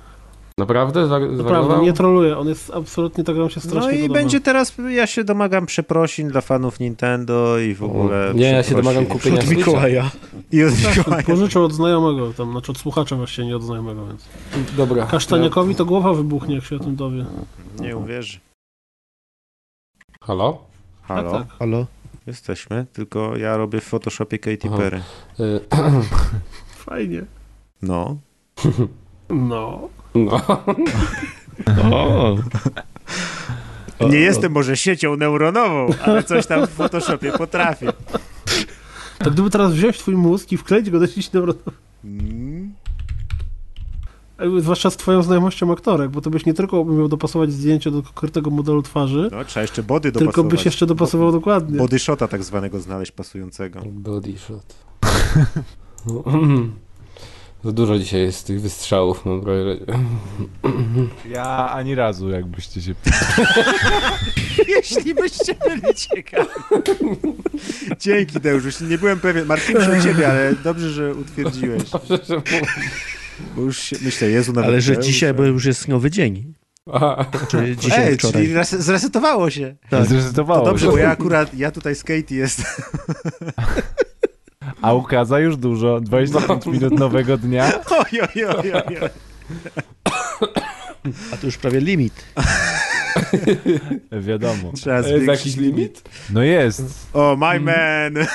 [SPEAKER 9] Naprawdę? Zwar-
[SPEAKER 3] Naprawdę,
[SPEAKER 9] zwariował?
[SPEAKER 3] nie troluje, on jest absolutnie, ta gra mi się
[SPEAKER 4] No
[SPEAKER 3] strasznie
[SPEAKER 4] i
[SPEAKER 3] podoba.
[SPEAKER 4] będzie teraz, ja się domagam przeprosin dla fanów Nintendo i w ogóle...
[SPEAKER 9] Nie, ja się
[SPEAKER 4] przeprosin.
[SPEAKER 9] domagam kupienia
[SPEAKER 10] Od Mikołaja.
[SPEAKER 4] I od
[SPEAKER 3] Tak,
[SPEAKER 4] Mikołaja.
[SPEAKER 3] Pożyczę od znajomego, tam, znaczy od słuchacza właśnie, nie od znajomego, więc.
[SPEAKER 9] Dobra.
[SPEAKER 3] Kasztaniakowi to głowa wybuchnie, jak się o tym dowie.
[SPEAKER 4] Nie uwierzy.
[SPEAKER 9] Halo?
[SPEAKER 4] Halo?
[SPEAKER 3] Tak, tak.
[SPEAKER 10] Halo?
[SPEAKER 4] Jesteśmy, tylko ja robię w Photoshopie Katy
[SPEAKER 9] Aha.
[SPEAKER 4] Perry.
[SPEAKER 9] Y,
[SPEAKER 3] Fajnie.
[SPEAKER 4] No.
[SPEAKER 3] No.
[SPEAKER 9] No.
[SPEAKER 10] O.
[SPEAKER 4] Nie jestem może siecią neuronową, ale coś tam w Photoshopie potrafię.
[SPEAKER 3] To Tak gdyby teraz wziąć twój mózg i wkleić go do sieci neuronowej,
[SPEAKER 4] Mm.
[SPEAKER 3] zwłaszcza z twoją znajomością aktorek, bo to byś nie tylko miał dopasować zdjęcie do konkretnego modelu twarzy,
[SPEAKER 4] No, trzeba jeszcze body dopasować.
[SPEAKER 3] tylko byś jeszcze dopasował dokładnie.
[SPEAKER 4] Body shota tak zwanego znaleźć pasującego.
[SPEAKER 9] Body shot. Za dużo dzisiaj jest tych wystrzałów, mam wrażenie.
[SPEAKER 2] Ja ani razu, jakbyście się...
[SPEAKER 4] Jeśli byście byli ciekawi. Dzięki, Deusz, już nie byłem pewien. Martwiłem się o ciebie, ale dobrze, że utwierdziłeś.
[SPEAKER 9] Dobrze, że mówisz.
[SPEAKER 4] Bo już się, myślę, Jezu, nawet
[SPEAKER 10] Ale że
[SPEAKER 4] Deusz,
[SPEAKER 10] dzisiaj, bo już jest nowy dzień.
[SPEAKER 9] Aha.
[SPEAKER 10] Czy dzisiaj
[SPEAKER 4] Ej,
[SPEAKER 10] wczoraj.
[SPEAKER 4] czyli res- zresetowało się.
[SPEAKER 10] Tak.
[SPEAKER 4] To
[SPEAKER 2] Zrezygnowało.
[SPEAKER 4] dobrze, bo ja akurat, ja tutaj z Katie jestem.
[SPEAKER 2] A ukaza już dużo, 25
[SPEAKER 4] No.
[SPEAKER 2] minut nowego dnia.
[SPEAKER 4] Oj, oj, oj, oj, oj.
[SPEAKER 10] A to już prawie limit.
[SPEAKER 2] Wiadomo.
[SPEAKER 4] Trzeba
[SPEAKER 9] E, Jest
[SPEAKER 4] zwiększyć
[SPEAKER 9] jakiś limit? Mhm.
[SPEAKER 2] No jest.
[SPEAKER 4] O, my man!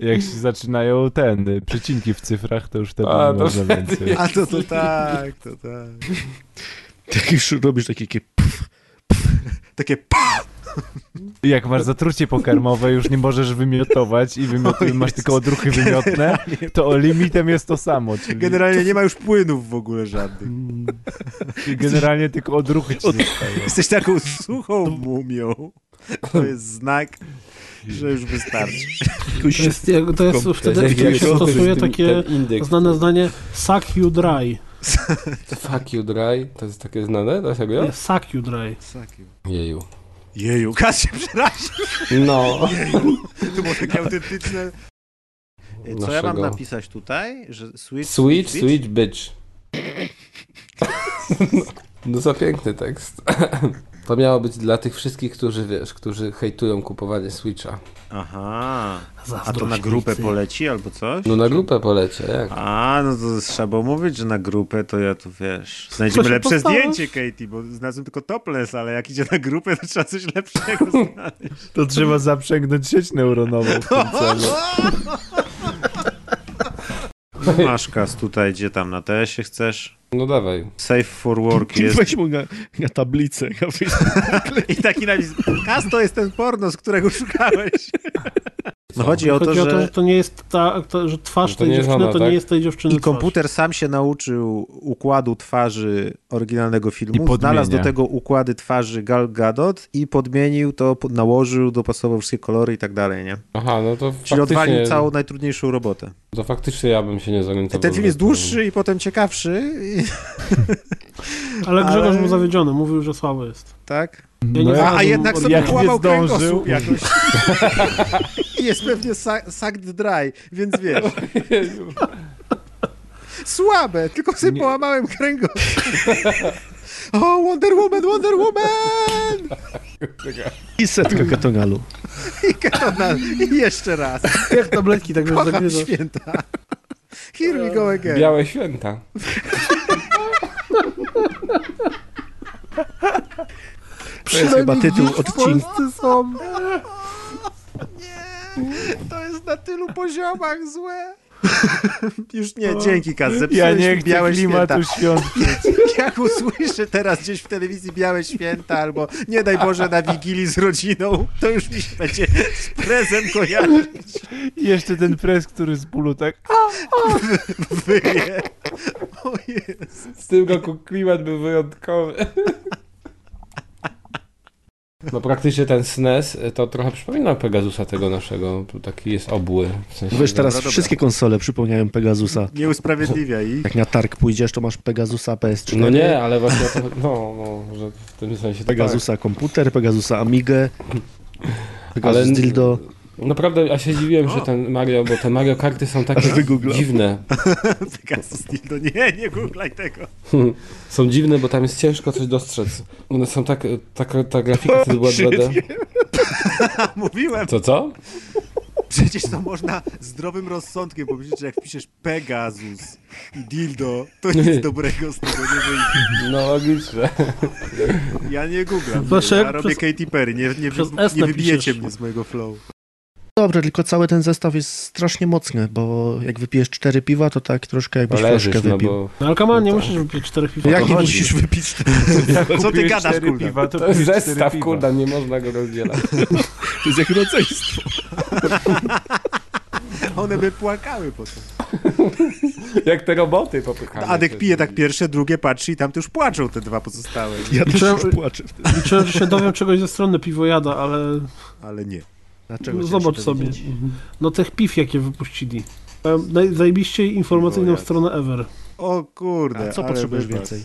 [SPEAKER 2] Jak się zaczynają ten, y, przecinki w cyfrach, to już wtedy
[SPEAKER 9] A,
[SPEAKER 2] nie
[SPEAKER 9] to
[SPEAKER 2] można
[SPEAKER 9] wtedy
[SPEAKER 2] więcej.
[SPEAKER 9] jest.
[SPEAKER 4] A to, to tak, to tak.
[SPEAKER 10] Tak już robisz takie kie-
[SPEAKER 4] Takie pa!
[SPEAKER 2] Jak masz zatrucie pokarmowe, już nie możesz wymiotować i wymioty,
[SPEAKER 4] O
[SPEAKER 2] masz
[SPEAKER 4] Jezus.
[SPEAKER 2] tylko odruchy wymiotne,
[SPEAKER 4] Generalnie-
[SPEAKER 2] to limitem jest to samo, czyli generalnie,
[SPEAKER 4] Generalnie nie ma już płynów w ogóle żadnych.
[SPEAKER 2] tylko odruchy ci zostają.
[SPEAKER 4] Jesteś taką suchą mumią. To jest znak, że już wystarczy.
[SPEAKER 3] To jest, jak- to jest
[SPEAKER 10] To
[SPEAKER 3] wtedy,
[SPEAKER 10] jest
[SPEAKER 3] kiedy
[SPEAKER 10] jak
[SPEAKER 3] się
[SPEAKER 10] to
[SPEAKER 3] stosuje
[SPEAKER 9] ten-
[SPEAKER 3] takie
[SPEAKER 9] ten indeks.
[SPEAKER 3] znane zdanie suck you dry.
[SPEAKER 9] Fuck you dry, to jest takie znane na serio?
[SPEAKER 3] Nie, suck you dry.
[SPEAKER 9] Jeju.
[SPEAKER 4] Jeju, Kasia się przeraził.
[SPEAKER 9] No.
[SPEAKER 4] Jeju. To było takie autentyczne. Co ja mam
[SPEAKER 9] Naszego-
[SPEAKER 4] napisać tutaj? Że switch,
[SPEAKER 9] Sweet,
[SPEAKER 4] switch, bitch?
[SPEAKER 9] sweet bitch. no, no za piękny tekst. To miało być dla tych wszystkich, którzy wiesz, którzy hejtują kupowanie Switcha.
[SPEAKER 4] Aha. A to na
[SPEAKER 9] Zazdrośnicy.
[SPEAKER 4] grupę poleci albo coś?
[SPEAKER 9] No na grupę polecie, jak?
[SPEAKER 4] A, no to trzeba było mówić, że na grupę to ja tu wiesz. Znajdziemy
[SPEAKER 9] się
[SPEAKER 4] lepsze
[SPEAKER 9] postało?
[SPEAKER 4] zdjęcie, Katie, bo znalazłem tylko topless, ale jak idzie na grupę, to trzeba coś lepszego znaleźć.
[SPEAKER 2] To trzeba zaprzęgnąć sieć neuronową w tym celu.
[SPEAKER 4] Masz kas tutaj, gdzie tam na TS-ie chcesz?
[SPEAKER 9] No dawaj.
[SPEAKER 4] Safe for work jest.
[SPEAKER 10] Weź mu na, na tablicę. Ja
[SPEAKER 4] I taki napis. Kas to jest ten porno, z którego szukałeś. No chodzi o to,
[SPEAKER 3] Chodzi o to, że
[SPEAKER 4] że...
[SPEAKER 3] to nie jest ta, to, że twarz
[SPEAKER 4] Że to
[SPEAKER 3] tej
[SPEAKER 4] nie jest
[SPEAKER 3] dziewczyny
[SPEAKER 4] ona,
[SPEAKER 3] to
[SPEAKER 4] tak?
[SPEAKER 3] nie jest tej dziewczyny
[SPEAKER 4] I
[SPEAKER 3] twarz.
[SPEAKER 4] komputer sam się nauczył układu twarzy oryginalnego
[SPEAKER 2] I
[SPEAKER 4] filmu,
[SPEAKER 2] podmienia.
[SPEAKER 4] znalazł do tego układy twarzy Gal Gadot i podmienił to, pod- nałożył, dopasował wszystkie kolory i tak dalej, nie?
[SPEAKER 9] Aha, no to
[SPEAKER 4] Czyli odwalił
[SPEAKER 9] faktycznie-
[SPEAKER 4] całą najtrudniejszą robotę.
[SPEAKER 9] To faktycznie ja bym się nie zorientował.
[SPEAKER 4] Ten film jest dłuższy i potem ciekawszy. I...
[SPEAKER 3] Ale Grzegorz
[SPEAKER 4] Ale-
[SPEAKER 3] był zawiedziony, mówił, że słabo jest.
[SPEAKER 4] Tak?
[SPEAKER 3] Ja nie
[SPEAKER 4] No,
[SPEAKER 3] znalazłem
[SPEAKER 4] a jednak sobie
[SPEAKER 3] oryginału.
[SPEAKER 4] połamał kręgosłup jakoś. I jest pewnie sa- sucked dry, więc wiesz. Słabe, tylko sobie połamałem kręgosłup. O, Wonder Woman, Wonder Woman!
[SPEAKER 10] I setkę katonalu.
[SPEAKER 4] I Ketona, i jeszcze raz.
[SPEAKER 3] Jak tabletki tak
[SPEAKER 4] Kocham
[SPEAKER 3] zagryza.
[SPEAKER 4] święta. Here we go again.
[SPEAKER 9] Białe święta.
[SPEAKER 10] To jest chyba tytuł odcinka.
[SPEAKER 4] są. Nie, to jest na tylu poziomach złe. Już nie, dzięki Kaz,
[SPEAKER 2] No. Ja
[SPEAKER 4] zepsułeś
[SPEAKER 2] nie
[SPEAKER 4] mi
[SPEAKER 2] chcę
[SPEAKER 4] białe
[SPEAKER 2] klimatu
[SPEAKER 4] święta.
[SPEAKER 2] świąt.
[SPEAKER 4] Jak usłyszę teraz gdzieś w telewizji białe święta albo nie daj Boże na Wigilii z rodziną, to już mi się będzie z prezem kojarzyć.
[SPEAKER 2] Jeszcze ten pres, który z bólu tak...
[SPEAKER 4] Wyje. O Jezu.
[SPEAKER 9] Z tym roku klimat był wyjątkowy. No praktycznie ten SNES e, to trochę przypomina Pegasusa tego naszego, bo taki jest obły. W sensie,
[SPEAKER 10] Wiesz, teraz wszystkie konsole przypomniają Pegasusa.
[SPEAKER 4] Nie usprawiedliwia ich.
[SPEAKER 10] Jak na targ pójdziesz, to masz Pegasusa PS4.
[SPEAKER 9] No nie, ale właśnie to, no, no, że w tym sensie to tak.
[SPEAKER 10] Pegasusa komputer, Pegasusa Amigę, Pegasus
[SPEAKER 9] Ale-
[SPEAKER 10] Dildo.
[SPEAKER 9] Naprawdę, ja się dziwiłem, że ten Mario, bo te Mario karty są takie dziwne.
[SPEAKER 4] Pegasus Dildo, nie, nie googlaj tego.
[SPEAKER 9] są dziwne, bo tam jest ciężko coś dostrzec. One są tak, taka, ta grafika wtedy była 2D.
[SPEAKER 4] Mówiłem.
[SPEAKER 9] To co?
[SPEAKER 4] Przecież to można zdrowym rozsądkiem powiedzieć, że jak wpiszesz Pegasus i dildo, to nic dobrego z tego nie wyjdzie.
[SPEAKER 9] No logiczne.
[SPEAKER 4] Ja nie googlam,
[SPEAKER 10] Proszę,
[SPEAKER 4] ja
[SPEAKER 10] jak
[SPEAKER 4] robię
[SPEAKER 10] przez-
[SPEAKER 4] Katy Perry, nie, nie,
[SPEAKER 10] przez
[SPEAKER 4] wy,
[SPEAKER 10] S
[SPEAKER 4] nie wybijecie
[SPEAKER 10] napiszesz.
[SPEAKER 4] mnie z mojego flow.
[SPEAKER 10] Dobrze, tylko cały ten zestaw jest strasznie mocny, bo jak wypijesz cztery piwa, to tak troszkę jakbyś
[SPEAKER 9] Leżysz,
[SPEAKER 10] flaszkę
[SPEAKER 9] no
[SPEAKER 10] wypił.
[SPEAKER 9] bo-
[SPEAKER 3] No ale kaman, nie musisz wypić czterech piw.
[SPEAKER 10] Jak nie musisz wypić?
[SPEAKER 2] tak
[SPEAKER 4] Co ty
[SPEAKER 9] Kupiłeś
[SPEAKER 4] gadasz,
[SPEAKER 9] cztery
[SPEAKER 4] kurwa?
[SPEAKER 9] piwa, To jest zestaw, kurda, nie można go rozdzielać.
[SPEAKER 10] To jest jak rodzeństwo.
[SPEAKER 4] One by płakały potem.
[SPEAKER 9] Jak te roboty popychane.
[SPEAKER 4] Adek pije tak pierwsze, drugie patrzy i tam już płaczą te dwa pozostałe.
[SPEAKER 10] płaczę
[SPEAKER 3] Liczyłem, że się dowiem czegoś ze strony piwojada, ale...
[SPEAKER 4] Ale nie.
[SPEAKER 10] Dlaczego
[SPEAKER 3] No
[SPEAKER 10] chciałeś
[SPEAKER 3] zobacz
[SPEAKER 10] się
[SPEAKER 3] sobie.
[SPEAKER 10] dowiedzieć?
[SPEAKER 3] No tych piw, jakie wypuścili. Em, naj- Zajebiście informacyjną stronę ever.
[SPEAKER 4] O kurde,
[SPEAKER 3] A co
[SPEAKER 4] ale
[SPEAKER 3] potrzebujesz
[SPEAKER 4] wypas.
[SPEAKER 3] więcej?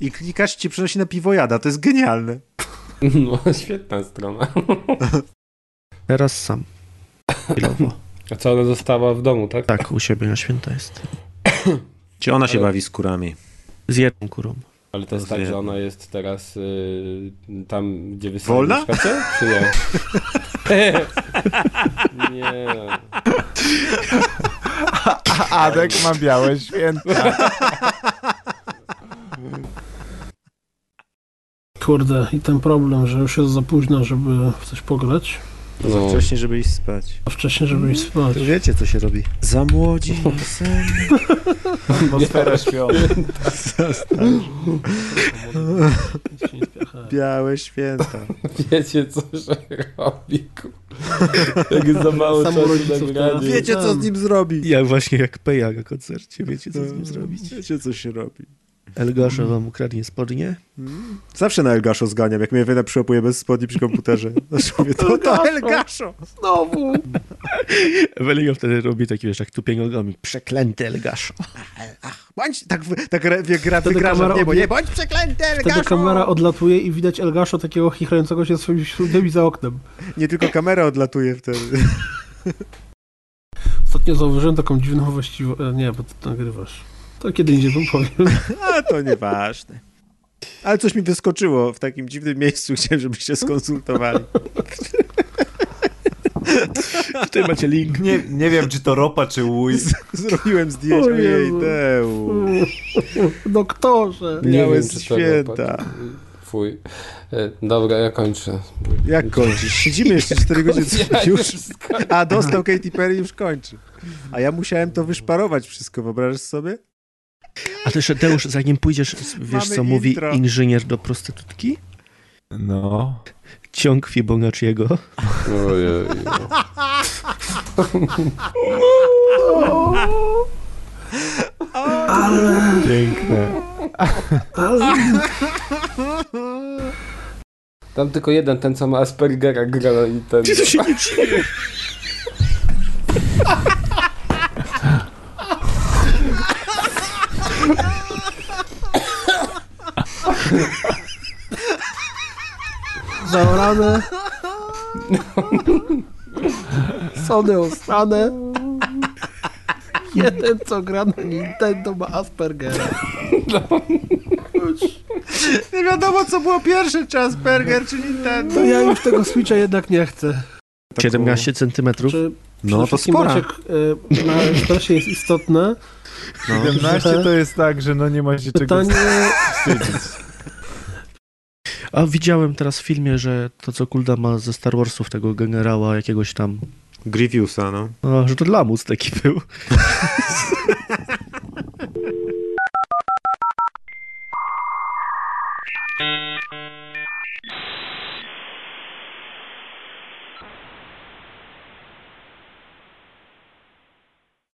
[SPEAKER 4] I klikasz ci przynosi na piwojada, to jest genialne.
[SPEAKER 9] No, świetna strona.
[SPEAKER 10] Teraz sam. Chwilowo.
[SPEAKER 9] A co ona została w domu, tak?
[SPEAKER 10] Tak, u siebie na święta jest.
[SPEAKER 4] Czy ona się
[SPEAKER 9] Ale-
[SPEAKER 4] bawi skórami?
[SPEAKER 10] Z jedną kurą.
[SPEAKER 9] Ale to jest tak, że ona jest teraz y, tam, gdzie wy sobie
[SPEAKER 4] Wolna?
[SPEAKER 9] mieszkacie? Czy nie? nie.
[SPEAKER 2] Adek ma białe święta.
[SPEAKER 3] Kurde, i ten problem, że już jest za późno, żeby w coś pograć.
[SPEAKER 9] No.
[SPEAKER 4] Za wcześnie, żeby iść spać.
[SPEAKER 3] A wcześniej, żeby iść spać.
[SPEAKER 10] To wiecie, co się robi.
[SPEAKER 4] Za młodzi sen.
[SPEAKER 2] Atmosfera świąt.
[SPEAKER 4] Za starzy. Białe święta.
[SPEAKER 9] Wiecie, co się robi, ku- Jak jest za mało
[SPEAKER 10] Samo
[SPEAKER 9] czasu
[SPEAKER 10] rodziców
[SPEAKER 9] na granie.
[SPEAKER 4] Wiecie, co z nim zrobi.
[SPEAKER 10] No. Ja właśnie jak Peja na koncercie, wiecie co z nim zrobić.
[SPEAKER 4] Wiecie, No, co się robi.
[SPEAKER 10] Elgasza wam ukradnie spodnie?
[SPEAKER 4] Zawsze na Elgaszo zganiam, jak mnie wena przyłapuje bez spodni przy komputerze. Znaczy mówię, to, to Elgaszo!
[SPEAKER 10] Znowu! Ewelina wtedy robi taki, wiesz, jak tupień nogami. Przeklęty Elgaszo.
[SPEAKER 19] Bądź, tak, w- tak re- wie- gra,
[SPEAKER 3] Wtedy
[SPEAKER 19] wygra
[SPEAKER 3] kamera
[SPEAKER 19] w niebo,
[SPEAKER 3] obie-
[SPEAKER 19] nie, bądź przeklęty,
[SPEAKER 3] Wtedy
[SPEAKER 19] Elgaszu!
[SPEAKER 3] kamera odlatuje i widać Elgasza takiego chichrającego się swoimi śródami za oknem.
[SPEAKER 4] Nie tylko kamera odlatuje wtedy.
[SPEAKER 3] Ostatnio zauważyłem taką dziwną właściwość. e, Nie, bo ty to nagrywasz. To kiedy indziej wam powiem.
[SPEAKER 4] A to nieważne. Ale coś mi wyskoczyło w takim dziwnym miejscu, chciałem, żebyście skonsultowali.
[SPEAKER 10] Ty macie link.
[SPEAKER 2] Nie, nie wiem, czy to ropa, czy łój.
[SPEAKER 4] Zrobiłem zdjęcie,
[SPEAKER 3] O
[SPEAKER 4] ojej,
[SPEAKER 3] Jezu.
[SPEAKER 4] deu.
[SPEAKER 3] Doktorze!
[SPEAKER 4] Nie wiem,
[SPEAKER 9] czy to
[SPEAKER 4] święta.
[SPEAKER 9] ropa, czy- Fuj. E, Dobra, ja kończę.
[SPEAKER 4] Jak kończysz? Siedzimy jeszcze 4 godziny.
[SPEAKER 9] Ja
[SPEAKER 4] Już.
[SPEAKER 9] skończę.
[SPEAKER 4] A dostał Katy Perry już kończy. A ja musiałem to wyszparować wszystko, wyobrażasz sobie?
[SPEAKER 10] A to jeszcze Deusz, zanim pójdziesz, wiesz
[SPEAKER 4] Mamy
[SPEAKER 10] co mówi
[SPEAKER 4] intro.
[SPEAKER 10] inżynier do prostytutki?
[SPEAKER 2] No.
[SPEAKER 10] Ciąg Fibonacciego.
[SPEAKER 9] Ojej.
[SPEAKER 3] Ale...
[SPEAKER 2] Piękne.
[SPEAKER 3] Ale...
[SPEAKER 9] Tam tylko jeden, ten co ma Aspergera gra na Nintendo.
[SPEAKER 20] Ty się nie
[SPEAKER 9] dzieje.
[SPEAKER 3] Zaorane. Sony osrane. Jeden, co gra na Nintendo, ma Aspergera.
[SPEAKER 4] Nie wiadomo, co było pierwsze, czy Asperger, czy Nintendo.
[SPEAKER 3] To ja już tego Switcha jednak nie chcę.
[SPEAKER 4] Tak
[SPEAKER 10] 17 centymetrów.
[SPEAKER 4] No,
[SPEAKER 3] Przede wszystkim, Maciek, y, na stresie jest istotne.
[SPEAKER 2] No. 17 to jest tak, że no nie ma się czego
[SPEAKER 3] Pytanie...
[SPEAKER 2] wstydzić.
[SPEAKER 10] A widziałem teraz w filmie, że to co Kulda ma ze Star Warsów, tego generała jakiegoś tam...
[SPEAKER 4] Grievousa, no.
[SPEAKER 10] A, że to lamus taki był.